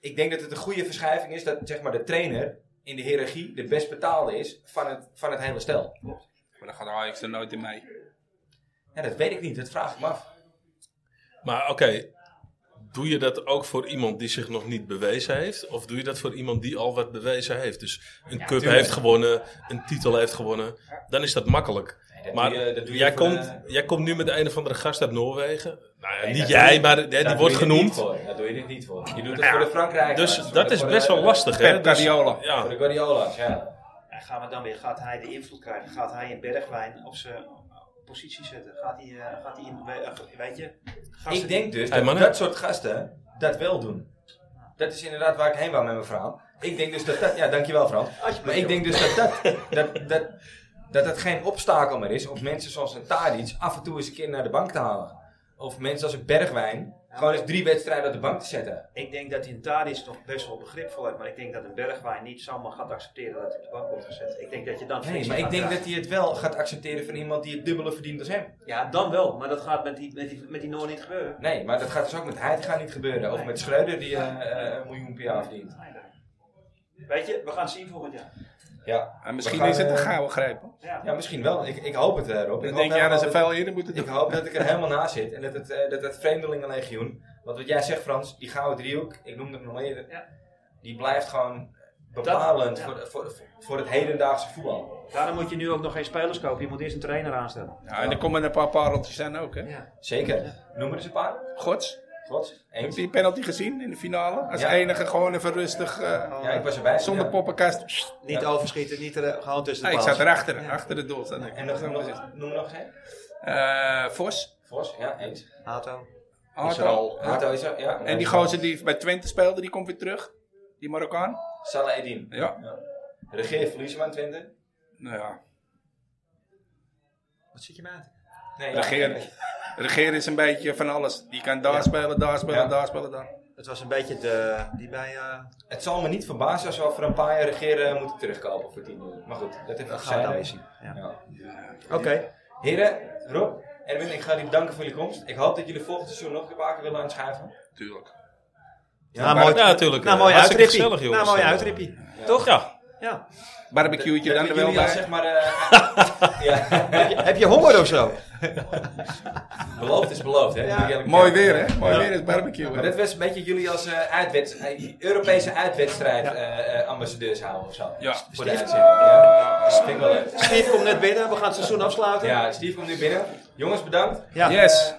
[SPEAKER 1] ik denk dat het een goede verschuiving is dat, zeg maar, de trainer in de hiërarchie de best betaalde is van het, van het hele stel.
[SPEAKER 15] Maar dan gaat Ajax er nooit in mee.
[SPEAKER 1] Ja, dat weet ik niet, dat vraag ik me af.
[SPEAKER 16] Maar oké, doe je dat ook voor iemand die zich nog niet bewezen heeft? Of doe je dat voor iemand die al wat bewezen heeft? Dus een cup
[SPEAKER 1] tuurlijk.
[SPEAKER 16] heeft gewonnen, een titel heeft gewonnen. Dan is dat makkelijk.
[SPEAKER 1] dat
[SPEAKER 16] maar
[SPEAKER 1] doe je- dat doe je
[SPEAKER 16] jij,
[SPEAKER 1] voor
[SPEAKER 16] komt, jij komt nu met een of andere gast uit Noorwegen. Nou ja,
[SPEAKER 1] Nee,
[SPEAKER 16] niet
[SPEAKER 1] daar
[SPEAKER 16] jij,
[SPEAKER 1] doe je-
[SPEAKER 16] maar
[SPEAKER 1] daar
[SPEAKER 16] hè,
[SPEAKER 1] doe
[SPEAKER 16] die
[SPEAKER 1] je
[SPEAKER 16] wordt
[SPEAKER 1] dit
[SPEAKER 16] genoemd.
[SPEAKER 1] niet voor. Daar doe je dit niet voor. Je doet het
[SPEAKER 16] Nou ja,
[SPEAKER 1] voor de Frankrijk.
[SPEAKER 16] Dus
[SPEAKER 1] voor
[SPEAKER 16] dat
[SPEAKER 1] de-
[SPEAKER 16] is
[SPEAKER 1] voor
[SPEAKER 16] best
[SPEAKER 1] de-
[SPEAKER 16] wel lastig. hè?
[SPEAKER 1] Pep
[SPEAKER 16] Dus-
[SPEAKER 1] Guardiola.
[SPEAKER 16] Ja.
[SPEAKER 1] Voor de Guardiola's, ja.
[SPEAKER 4] En gaan we dan weer, gaat hij de invloed krijgen? Gaat hij in Bergwijn op zijn positie zetten? Gaat hij, eh, gaat hij in, we- eh, weet je? gasten
[SPEAKER 1] Ik denk
[SPEAKER 4] die-
[SPEAKER 1] dus dat dat soort gasten dat wel doen. Dat is inderdaad waar ik heen wou met mijn verhaal. Ik denk dus dat dat... Ja, dankjewel Frans.
[SPEAKER 4] Alsjeblieft,
[SPEAKER 1] Maar ik denk dus dat dat, dat, dat, dat dat geen obstakel meer is om mensen zoals een Tadic af en toe eens een keer naar de bank te halen. Of mensen als een Bergwijn. Gewoon eens drie wedstrijden op de bank te zetten.
[SPEAKER 4] Ik denk dat hij in Tadic nog best wel begrip voor heeft. Maar ik denk dat een Bergwijn niet zomaar gaat accepteren dat hij op de bank wordt gezet. Ik denk dat je dan...
[SPEAKER 1] Nee, maar ik denk dat hij het wel gaat accepteren van iemand die het dubbele verdient als hem.
[SPEAKER 4] Ja, dan wel. Maar dat gaat met die, met die, met die Noor niet gebeuren.
[SPEAKER 1] Nee, maar dat gaat dus ook met Heitinga niet gebeuren. Of met Schreuder die eh, eh, een miljoen per jaar verdient.
[SPEAKER 4] Weet je, we gaan het zien volgend jaar.
[SPEAKER 1] Ja.
[SPEAKER 4] En
[SPEAKER 15] Ah, misschien
[SPEAKER 1] We gaan,
[SPEAKER 15] is het een
[SPEAKER 1] eh,
[SPEAKER 15] gouden greep.
[SPEAKER 1] Ja, misschien wel. Ik, ik hoop het, eh, Rob.
[SPEAKER 15] Dan
[SPEAKER 1] Ik
[SPEAKER 15] denk
[SPEAKER 1] hoop
[SPEAKER 15] jij dat ze
[SPEAKER 1] helemaal
[SPEAKER 15] veel eerder moeten doen.
[SPEAKER 1] Ik hoop dat ik er helemaal na zit. En dat het, eh, dat het vreemdelingenlegioen... Want wat jij zegt, Frans, die gouden driehoek... Ik noemde hem nog eerder. Die blijft gewoon bepalend
[SPEAKER 4] ja.
[SPEAKER 1] voor, voor, voor, voor het hedendaagse voetbal.
[SPEAKER 4] Daarom moet je nu ook nog geen spelers kopen. Je moet eerst een trainer aanstellen.
[SPEAKER 15] Ja, en er komen een paar pareltjes aan ook, hè?
[SPEAKER 1] Zeker. Noem er eens een paar.
[SPEAKER 15] Gods.
[SPEAKER 1] Gods.
[SPEAKER 15] Heb je die penalty gezien in de finale? Als
[SPEAKER 4] Ja.
[SPEAKER 15] enige gewoon even rustig. eh,
[SPEAKER 4] Ja, ik was erbij,
[SPEAKER 15] Zonder
[SPEAKER 4] ja.
[SPEAKER 15] poppenkast.
[SPEAKER 4] Niet
[SPEAKER 15] Ja.
[SPEAKER 4] overschieten, niet er, gewoon tussen de
[SPEAKER 15] Ah, ik
[SPEAKER 4] paaltjes.
[SPEAKER 15] zat erachter, achter het doel. Zat ik.
[SPEAKER 1] En nog, nog, noem nog eens
[SPEAKER 15] Eh, Vos.
[SPEAKER 1] Vos, ja, eens.
[SPEAKER 4] Hato.
[SPEAKER 15] Hato.
[SPEAKER 1] Hato is er, ja.
[SPEAKER 15] En die gozer die bij Twente speelde, die komt weer terug. Die Marokkaan.
[SPEAKER 1] Salah Eddin.
[SPEAKER 15] Ja.
[SPEAKER 1] Regeer verliezen we aan Twente?
[SPEAKER 15] Nou ja.
[SPEAKER 4] Wat zit je me aan te-
[SPEAKER 1] Nee, ja.
[SPEAKER 15] Regeer. Regeer is een beetje van alles. Die kan daar spelen, daar spelen,
[SPEAKER 1] Ja.
[SPEAKER 15] daar spelen, daar.
[SPEAKER 4] Het was een beetje de, die bij... eh,
[SPEAKER 1] Het zal me niet verbazen als we over een paar jaar regeren moeten terugkopen voor 10 miljoen. Maar goed, dat heeft
[SPEAKER 4] Dat
[SPEAKER 1] een
[SPEAKER 4] gaan we dan
[SPEAKER 1] gezegd.
[SPEAKER 4] weer zien.
[SPEAKER 1] Oké. Heren, Rob, Erwin, ik ga jullie bedanken voor jullie komst. Ik hoop dat jullie volgend seizoen nog een paar keer willen aanschuiven.
[SPEAKER 15] Tuurlijk.
[SPEAKER 1] Ja,
[SPEAKER 16] Nou, mooi- Ja, tuurlijk, nou, eh, mooi hartstikke uitrippie. gezellig, jongens. Nou, mooi
[SPEAKER 1] mooie
[SPEAKER 16] uitrippie.
[SPEAKER 1] eh,
[SPEAKER 16] Toch? Ja.
[SPEAKER 4] Ja.
[SPEAKER 15] Barbecue'tje dan er wel bij.
[SPEAKER 1] Zeg maar, eh, ja.
[SPEAKER 4] Heb je- heb je honger of zo?
[SPEAKER 1] beloofd is beloofd, hè?
[SPEAKER 15] Ja.
[SPEAKER 1] Moet ik eerlijk
[SPEAKER 15] Mooi
[SPEAKER 1] zeggen.
[SPEAKER 15] weer, hè? Mooi weer is barbecue, hè?
[SPEAKER 1] Maar dat was een beetje jullie als eh, uitwed- eh, Europese uitwedstrijd eh, eh, ambassadeurs houden of zo.
[SPEAKER 15] Ja.
[SPEAKER 1] Voor de uitzending. Ja. Dat vind ik wel leuk.
[SPEAKER 4] Steve komt net binnen, we gaan het seizoen afsluiten.
[SPEAKER 1] Ja, Steve komt nu binnen. Jongens, bedankt.
[SPEAKER 4] Ja.
[SPEAKER 15] Yes.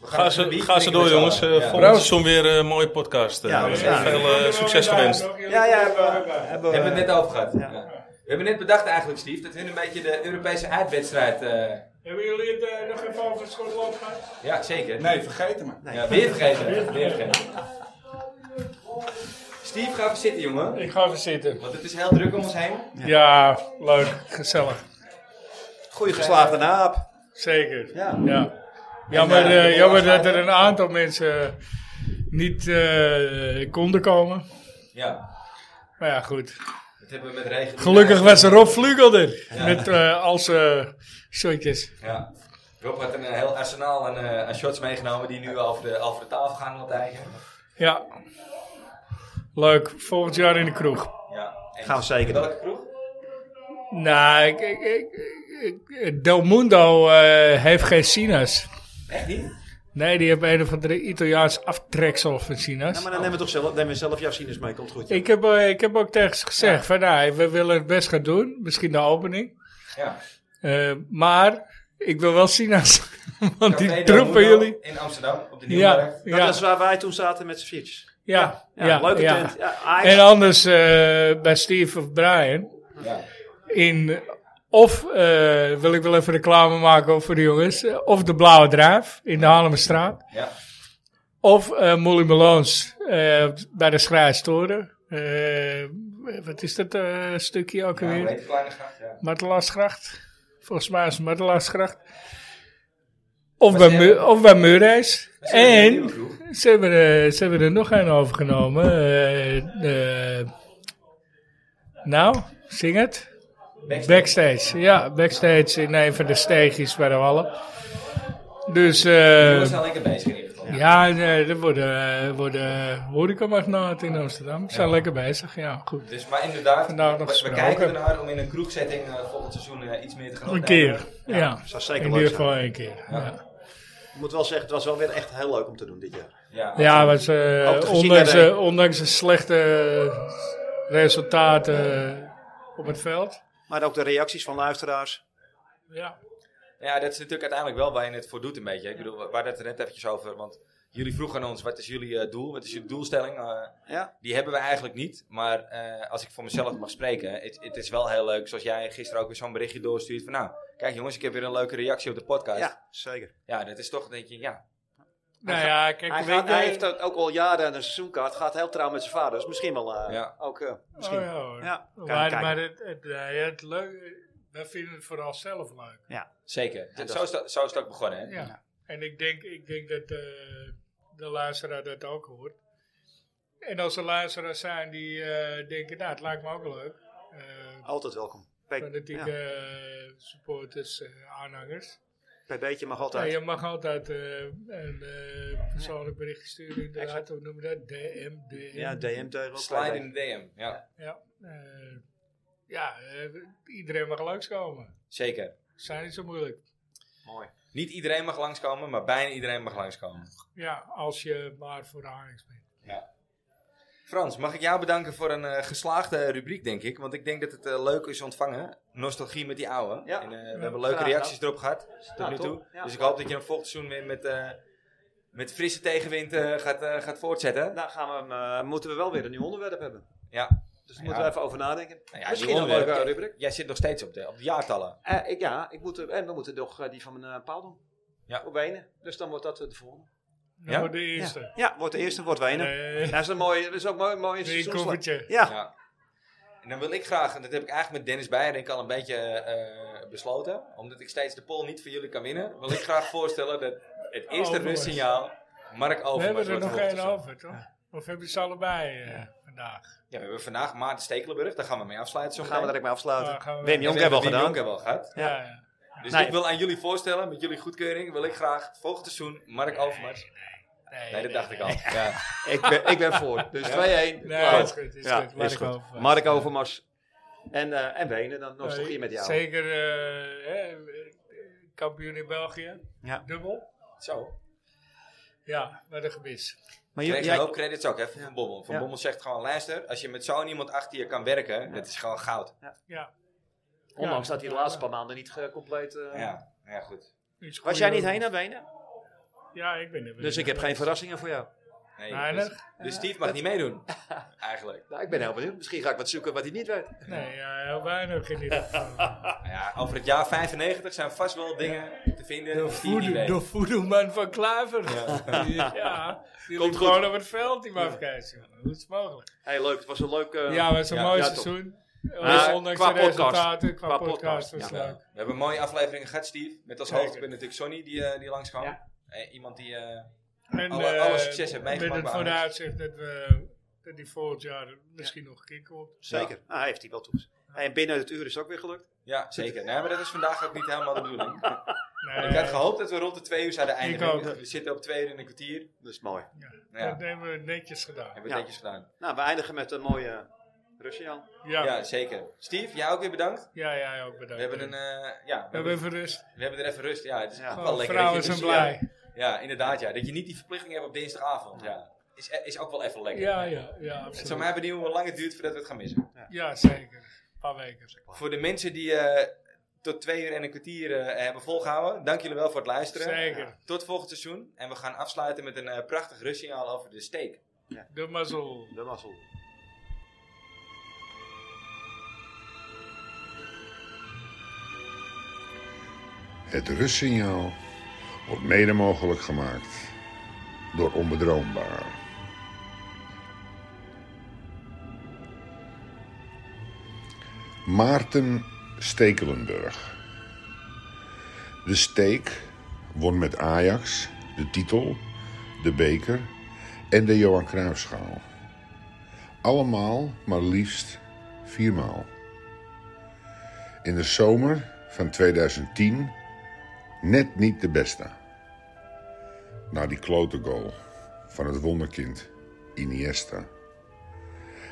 [SPEAKER 1] We gaan
[SPEAKER 16] Ga
[SPEAKER 1] het
[SPEAKER 16] ze,
[SPEAKER 1] publiek
[SPEAKER 16] ga ze door,
[SPEAKER 1] knikken met z'n
[SPEAKER 16] jongens.
[SPEAKER 1] allen.
[SPEAKER 16] Eh
[SPEAKER 1] Ja.
[SPEAKER 16] volgend seizoen weer eh, een mooie podcast. eh.
[SPEAKER 1] Ja,
[SPEAKER 16] Eh,
[SPEAKER 1] ja.
[SPEAKER 16] Veel eh, succes gewenst.
[SPEAKER 4] Ja, ja, hebben we.
[SPEAKER 1] We hebben het net over gehad. Ja. We hebben net bedacht eigenlijk, Steve, dat hun een beetje de Europese uitwedstrijd... eh,
[SPEAKER 2] Hebben jullie het eh, nog even over Schotland gehad?
[SPEAKER 1] ja, zeker.
[SPEAKER 15] Nee, vergeten me.
[SPEAKER 1] Ja, weer vergeten. Weer vergeten. Steve, ga even zitten, jongen.
[SPEAKER 2] Ik ga even zitten.
[SPEAKER 1] Want het is heel druk om ons heen.
[SPEAKER 2] Ja, leuk, gezellig.
[SPEAKER 4] Goeie geslaagde naap.
[SPEAKER 2] Zeker.
[SPEAKER 4] Ja.
[SPEAKER 2] ja. Jammer,
[SPEAKER 4] En, eh,
[SPEAKER 2] eh,
[SPEAKER 4] de
[SPEAKER 2] jammer dat
[SPEAKER 4] doorgaan-
[SPEAKER 2] er een aantal mensen niet eh, konden komen.
[SPEAKER 1] Ja,
[SPEAKER 2] Maar ja, goed.
[SPEAKER 1] dat hebben we met regen.
[SPEAKER 2] Gelukkig was Rob Vlugel er.
[SPEAKER 1] Ja.
[SPEAKER 2] Met eh als eh shotjes.
[SPEAKER 1] Ja. Rob had een eh, heel arsenaal aan, eh, aan shots meegenomen die nu over de, over de tafel gaan al tijden.
[SPEAKER 2] Ja. Leuk. Volgend jaar in de kroeg.
[SPEAKER 1] Ja. en-
[SPEAKER 4] Gaan we zeker doen.
[SPEAKER 1] Welke kroeg?
[SPEAKER 2] Nou, ik, ik, ik, ik- Del Mundo eh, heeft geen sinaas.
[SPEAKER 1] Echt niet?
[SPEAKER 2] Nee, die hebben een of andere Italiaans aftreksel van sinaas.
[SPEAKER 15] Oh.
[SPEAKER 4] Nou, maar dan nemen we toch zelf, nemen we zelf jouw sinus mee, komt goed. joh.
[SPEAKER 2] Ik heb, eh, ik heb ook tegen ze gezegd van nou, we willen het best gaan doen. Misschien de opening.
[SPEAKER 1] Ja.
[SPEAKER 2] Eh, maar ik wil wel sinaas. Want
[SPEAKER 1] Café
[SPEAKER 2] die
[SPEAKER 1] Del
[SPEAKER 2] troep van
[SPEAKER 1] Mundo
[SPEAKER 2] jullie.
[SPEAKER 1] In Amsterdam, op de
[SPEAKER 2] Ja,
[SPEAKER 1] Nieuwmarkt.
[SPEAKER 4] Dat
[SPEAKER 2] ja.
[SPEAKER 4] is waar wij toen zaten met z'n viertjes.
[SPEAKER 2] Ja, ja,
[SPEAKER 4] Ja, leuke tent. Ja, Ajax.
[SPEAKER 2] en anders eh, bij Steve of Brian.
[SPEAKER 1] Ja.
[SPEAKER 2] In, of eh, wil ik wel even reclame maken voor de jongens. eh, Of de Blauwe Drijf in de Haarlemmerstraat.
[SPEAKER 1] Ja.
[SPEAKER 2] Of eh Molly Malones eh, bij de Schrijstoren. wat is dat eh, stukje ook
[SPEAKER 1] Ja,
[SPEAKER 2] alweer?
[SPEAKER 1] hoe heet die kleine gracht? Ja.
[SPEAKER 2] Martelaarsgracht. Volgens mij is het Martelaarsgracht. Of
[SPEAKER 1] Maar
[SPEAKER 2] bij,
[SPEAKER 1] ze
[SPEAKER 2] Mu-
[SPEAKER 1] hebben-
[SPEAKER 2] of bij Murrays.
[SPEAKER 1] Maar ze hebben een
[SPEAKER 2] En
[SPEAKER 1] nieuwe kroeg.
[SPEAKER 2] ze hebben, er, ze hebben er nog een overgenomen. Eh, eh, nou, zing het.
[SPEAKER 1] Backstage.
[SPEAKER 2] Ja, backstage in een van de steegjes bij de wallen. Dus...
[SPEAKER 1] De
[SPEAKER 2] eh
[SPEAKER 1] jongens zijn lekker bezig in ieder geval.
[SPEAKER 2] ja, nee, er worden, eh, worden horecamagnaten in Amsterdam. Ze zijn lekker bezig, ja, goed.
[SPEAKER 1] Dus, maar inderdaad,
[SPEAKER 2] Vandaag nog
[SPEAKER 1] we- we,
[SPEAKER 2] gesproken.
[SPEAKER 1] kijken ernaar om in een kroegzetting eh, volgend seizoen eh, iets meer te gaan
[SPEAKER 2] Een
[SPEAKER 1] opnemen.
[SPEAKER 2] keer, ja.
[SPEAKER 4] zou zeker
[SPEAKER 2] in
[SPEAKER 4] leuk
[SPEAKER 2] ieder
[SPEAKER 4] zijn.
[SPEAKER 2] geval één keer, ja.
[SPEAKER 4] Ik moet wel zeggen, het was wel weer echt heel leuk om te doen dit jaar.
[SPEAKER 1] Ja,
[SPEAKER 2] Ja, was, eh,
[SPEAKER 4] Ook gezien
[SPEAKER 2] ondanks,
[SPEAKER 4] dat hij-
[SPEAKER 2] eh, ondanks de slechte resultaten eh, op het veld.
[SPEAKER 4] Maar ook de reacties van luisteraars.
[SPEAKER 2] Ja.
[SPEAKER 1] Ja, dat is natuurlijk uiteindelijk wel waar je het voor doet een beetje. Ik bedoel, waar het er net eventjes over. Want jullie vroegen aan ons, wat is jullie eh, doel? Wat is jullie doelstelling? Eh,
[SPEAKER 4] Ja.
[SPEAKER 1] Die hebben we eigenlijk niet. Maar eh, als ik voor mezelf mag spreken, het, het is wel heel leuk. Zoals jij gisteren ook weer zo'n berichtje doorstuurt van... Nou, kijk jongens, ik heb weer een leuke reactie op de podcast.
[SPEAKER 4] Ja, zeker.
[SPEAKER 1] Ja, dat is toch, denk je, ja.
[SPEAKER 2] Nou ja, kijk,
[SPEAKER 4] Hij,
[SPEAKER 2] weet
[SPEAKER 4] gaat-
[SPEAKER 2] je-
[SPEAKER 4] hij heeft ook al jaren een seizoenkaart. Gaat heel trouw met zijn vader. Dus misschien wel eh,
[SPEAKER 1] Ja.
[SPEAKER 4] ook... eh, misschien.
[SPEAKER 2] Oh, ja, hoor.
[SPEAKER 4] Ja, kan je
[SPEAKER 2] maar
[SPEAKER 4] kijken.
[SPEAKER 2] maar het, het, nee, het leuk, wij vinden het vooral zelf leuk.
[SPEAKER 4] Ja.
[SPEAKER 1] Zeker. Dat, zo, is dat, zo is het ook begonnen, hè?
[SPEAKER 2] Ja. En ik denk, ik denk dat eh, de luisteraar dat ook hoort. En als er luisteraars zijn die eh, denken, nou, het lijkt me ook leuk. eh,
[SPEAKER 4] Altijd welkom. Bij-
[SPEAKER 2] Fanatieke
[SPEAKER 4] ja.
[SPEAKER 2] eh, supporters, eh, aanhangers.
[SPEAKER 4] Bij beetje mag altijd.
[SPEAKER 2] Ja, je mag altijd eh, een eh, persoonlijk berichtje sturen. Inderdaad, hoe noemen we dat? DM, DM.
[SPEAKER 4] Ja, DM tegen
[SPEAKER 1] Slide in de DM, ja.
[SPEAKER 2] Ja, eh, ja eh, iedereen mag langskomen.
[SPEAKER 1] Zeker.
[SPEAKER 2] Zijn niet zo moeilijk.
[SPEAKER 1] Mooi. Niet iedereen mag langskomen, maar bijna iedereen mag langskomen.
[SPEAKER 2] Ja, als je maar voor de Ajax bent.
[SPEAKER 1] Frans, mag ik jou bedanken voor een eh, geslaagde rubriek, denk ik. Want ik denk dat het eh, leuk is ontvangen. Nostalgie met die oude. En, eh, we hebben leuke
[SPEAKER 4] graag
[SPEAKER 1] reacties
[SPEAKER 4] gedaan.
[SPEAKER 1] erop gehad tot
[SPEAKER 4] Nou,
[SPEAKER 1] nu toe.
[SPEAKER 4] top. Ja.
[SPEAKER 1] Dus ik hoop dat je hem volgend seizoen weer met, eh, met frisse tegenwind eh, gaat, eh, gaat voortzetten.
[SPEAKER 4] Dan gaan we hem, eh, moeten we wel weer een nieuw onderwerp hebben.
[SPEAKER 1] Ja.
[SPEAKER 4] Dus daar moeten we even over nadenken.
[SPEAKER 1] Nou ja,
[SPEAKER 4] Misschien
[SPEAKER 1] die
[SPEAKER 4] nog wel een
[SPEAKER 1] onderwerp,
[SPEAKER 4] leuke
[SPEAKER 1] jij-
[SPEAKER 4] rubriek.
[SPEAKER 1] Jij zit nog steeds op de, op de jaartallen.
[SPEAKER 4] Eh, ik, ja, ik moet, en we moeten toch eh, die van mijn eh, paal doen.
[SPEAKER 1] Ja.
[SPEAKER 4] Op Wenen. Dus dan wordt dat eh, de volgende.
[SPEAKER 2] Ja? wordt de eerste.
[SPEAKER 4] Ja, Ja, wordt de eerste, wordt Wenen. Nou, Dat is een mooie, dat is ook een mooie, mooie seizoensla- Ja.
[SPEAKER 1] En dan wil ik graag, en dat heb ik eigenlijk met Dennis Beierink al een beetje eh, besloten, omdat ik steeds de poll niet voor jullie kan winnen, wil ik graag voorstellen dat het eerste
[SPEAKER 2] Overmars.
[SPEAKER 1] rustsignaal Mark
[SPEAKER 2] Oh, We
[SPEAKER 1] Overmars
[SPEAKER 2] hebben er
[SPEAKER 1] wordt
[SPEAKER 2] nog
[SPEAKER 1] volgend
[SPEAKER 2] één
[SPEAKER 1] seizoen.
[SPEAKER 2] over, toch? Of hebben ze allebei eh, vandaag?
[SPEAKER 1] Ja, we hebben vandaag Maarten Stekelenburg, daar gaan we mee afsluiten. Zo
[SPEAKER 4] Gaan we direct mee afsluiten.
[SPEAKER 1] Ja, gaan we-
[SPEAKER 4] Wim Jonk
[SPEAKER 1] En
[SPEAKER 4] hebben we
[SPEAKER 1] Wim
[SPEAKER 4] al
[SPEAKER 1] Jonk
[SPEAKER 4] gedaan.
[SPEAKER 1] hebben we al gehad.
[SPEAKER 4] Ja, Nou, ja.
[SPEAKER 1] Dus
[SPEAKER 4] Nee.
[SPEAKER 1] ik wil aan jullie voorstellen, met jullie goedkeuring, wil ik graag volgend seizoen Mark Overmars. Nee, dat dacht ik al. Ja.
[SPEAKER 4] ik, ben, ik ben voor. Dus 2-1.
[SPEAKER 1] Klaar.
[SPEAKER 4] Klaar. Ja, is goed. Mark Overmars. En, eh, en Wenen, dan nog
[SPEAKER 2] Nee,
[SPEAKER 4] hier met jou.
[SPEAKER 2] Zeker eh, hè, eh, kampioen in België.
[SPEAKER 4] Ja.
[SPEAKER 2] Dubbel.
[SPEAKER 1] Zo.
[SPEAKER 2] Ja, wat een gemis.
[SPEAKER 1] Maar je krijgt een hoop credits ook, hè, van Van Bommel. Van Bommel zegt gewoon, luister, als je met zo'n iemand achter je kan werken, dat is gewoon goud.
[SPEAKER 2] Ja.
[SPEAKER 4] Ondanks
[SPEAKER 2] Ja.
[SPEAKER 4] dat hij de laatste paar maanden niet eh, compleet... eh,
[SPEAKER 1] Ja, ja goed.
[SPEAKER 2] Iets
[SPEAKER 4] Was
[SPEAKER 2] goeie-
[SPEAKER 4] jij niet heen naar Wenen?
[SPEAKER 2] Ja, ik ben er weer.
[SPEAKER 4] Dus ik heb geen verrassingen voor jou.
[SPEAKER 1] Nee,
[SPEAKER 2] Nee,
[SPEAKER 1] dus,
[SPEAKER 2] dat-
[SPEAKER 1] dus Steve mag niet meedoen, eigenlijk.
[SPEAKER 4] Nou, ik ben heel benieuwd. Misschien ga ik wat zoeken wat hij niet weet.
[SPEAKER 2] Nee, ja, heel weinig in ieder geval.
[SPEAKER 1] Nou ja, over het jaar 95 zijn vast wel dingen te vinden. die je niet
[SPEAKER 2] Voodoo-
[SPEAKER 1] weet.
[SPEAKER 2] De voedoeman van Klaver.
[SPEAKER 1] Ja.
[SPEAKER 2] Ja, ja die
[SPEAKER 4] Komt
[SPEAKER 2] liep
[SPEAKER 4] goed.
[SPEAKER 2] gewoon op het veld, die mafkees. jongen. Hoe is het mogelijk?
[SPEAKER 4] Hey, leuk. Het was een leuk... eh,
[SPEAKER 2] Ja, maar het is een mooi
[SPEAKER 4] ja,
[SPEAKER 2] seizoen.
[SPEAKER 4] top.
[SPEAKER 2] Eh,
[SPEAKER 4] Maar
[SPEAKER 2] ondanks
[SPEAKER 4] qua
[SPEAKER 2] de
[SPEAKER 4] podcast.
[SPEAKER 2] resultaten, qua,
[SPEAKER 4] Qua
[SPEAKER 2] podcast,
[SPEAKER 4] podcast,
[SPEAKER 2] was leuk.
[SPEAKER 1] We hebben mooie afleveringen gehad, Steve. Met als
[SPEAKER 2] Zeker.
[SPEAKER 1] hoogtepunt natuurlijk Sonny, die, eh, die langskwam. Eh, iemand die eh,
[SPEAKER 2] En,
[SPEAKER 1] alle,
[SPEAKER 2] eh,
[SPEAKER 1] alle succes heeft meegemaakt.
[SPEAKER 2] Met het
[SPEAKER 1] bij Ajax.
[SPEAKER 2] vooruitzicht dat, we, dat die volgend jaar misschien nog een keer komt.
[SPEAKER 4] Zeker. Ah, hij heeft die wel toegezegd. Hey, en binnen het uur is het ook weer gelukt.
[SPEAKER 1] Ja, zeker. Nee, maar dat is vandaag ook niet helemaal de bedoeling.
[SPEAKER 2] Nee. eh,
[SPEAKER 1] Ik had gehoopt dat we rond de twee uur zouden eindigen.
[SPEAKER 2] ook.
[SPEAKER 1] We zitten op twee uur en een kwartier.
[SPEAKER 4] Dat is mooi.
[SPEAKER 1] Ja.
[SPEAKER 2] Dat hebben we netjes gedaan.
[SPEAKER 1] Hebben we
[SPEAKER 4] Ja.
[SPEAKER 1] netjes gedaan.
[SPEAKER 4] Nou, we eindigen met een mooie eh, Russiaan.
[SPEAKER 1] Ja. zeker. Steve, jij ook weer bedankt.
[SPEAKER 2] Ja, jij ook bedankt.
[SPEAKER 1] We hebben een... eh, ja, we,
[SPEAKER 2] hebben even rust.
[SPEAKER 1] We hebben er even rust. Ja, het is echt wel
[SPEAKER 2] Oh,
[SPEAKER 1] lekker.
[SPEAKER 2] vrouwen
[SPEAKER 1] dat je-
[SPEAKER 2] zijn blij.
[SPEAKER 1] Ja, ja, inderdaad. Ja. Dat je niet die verplichting hebt op dinsdagavond. Ja. Is, is ook wel even lekker.
[SPEAKER 2] Ja, ja, ja, absoluut.
[SPEAKER 1] Het zou mij benieuwen hoe lang het duurt voordat we het gaan missen.
[SPEAKER 2] Ja, zeker. Een paar weken.
[SPEAKER 1] Voor de mensen die eh, tot twee uur en een kwartier eh, hebben volgehouden, dank jullie wel voor het luisteren.
[SPEAKER 2] Zeker.
[SPEAKER 1] Tot volgend seizoen. En we gaan afsluiten met een eh, prachtig rustsignaal over de steek.
[SPEAKER 2] De mazzel.
[SPEAKER 4] De mazzel.
[SPEAKER 2] Nou,
[SPEAKER 13] Het rustsignaal wordt mede mogelijk gemaakt door onbedroombaar. Maarten Stekelenburg. De Steek won met Ajax de titel, de beker en de Johan Cruijffschaal. Allemaal maar liefst viermaal. In de zomer van 2010 net niet de beste. Na die klote goal van het wonderkind Iniesta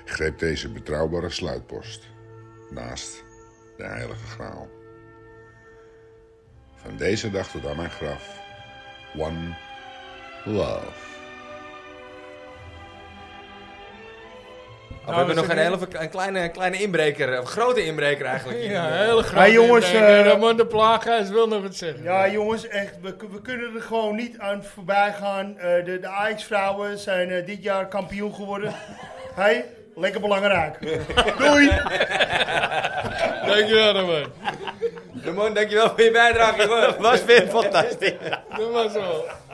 [SPEAKER 13] greep deze betrouwbare sluitpost naast de heilige graal. Van deze dag tot aan mijn graf, one love.
[SPEAKER 1] Oh, we hebben nog een, hele, een kleine, kleine inbreker, of grote inbreker eigenlijk.
[SPEAKER 2] Ja, een hele grote.
[SPEAKER 6] Maar jongens,
[SPEAKER 2] inbreng.
[SPEAKER 6] eh,
[SPEAKER 2] Ramon de Plaaghuis wil nog wat zeggen.
[SPEAKER 6] Ja, jongens, echt, we, we kunnen er gewoon niet aan voorbij gaan. Eh, de de Ajax-vrouwen zijn eh, dit jaar kampioen geworden. hey, lekker belangrijk. Doei!
[SPEAKER 2] Dankjewel, Ramon.
[SPEAKER 1] Ramon, dankjewel voor je bijdrage. jongen.
[SPEAKER 4] was weer fantastisch.
[SPEAKER 2] De mazzel.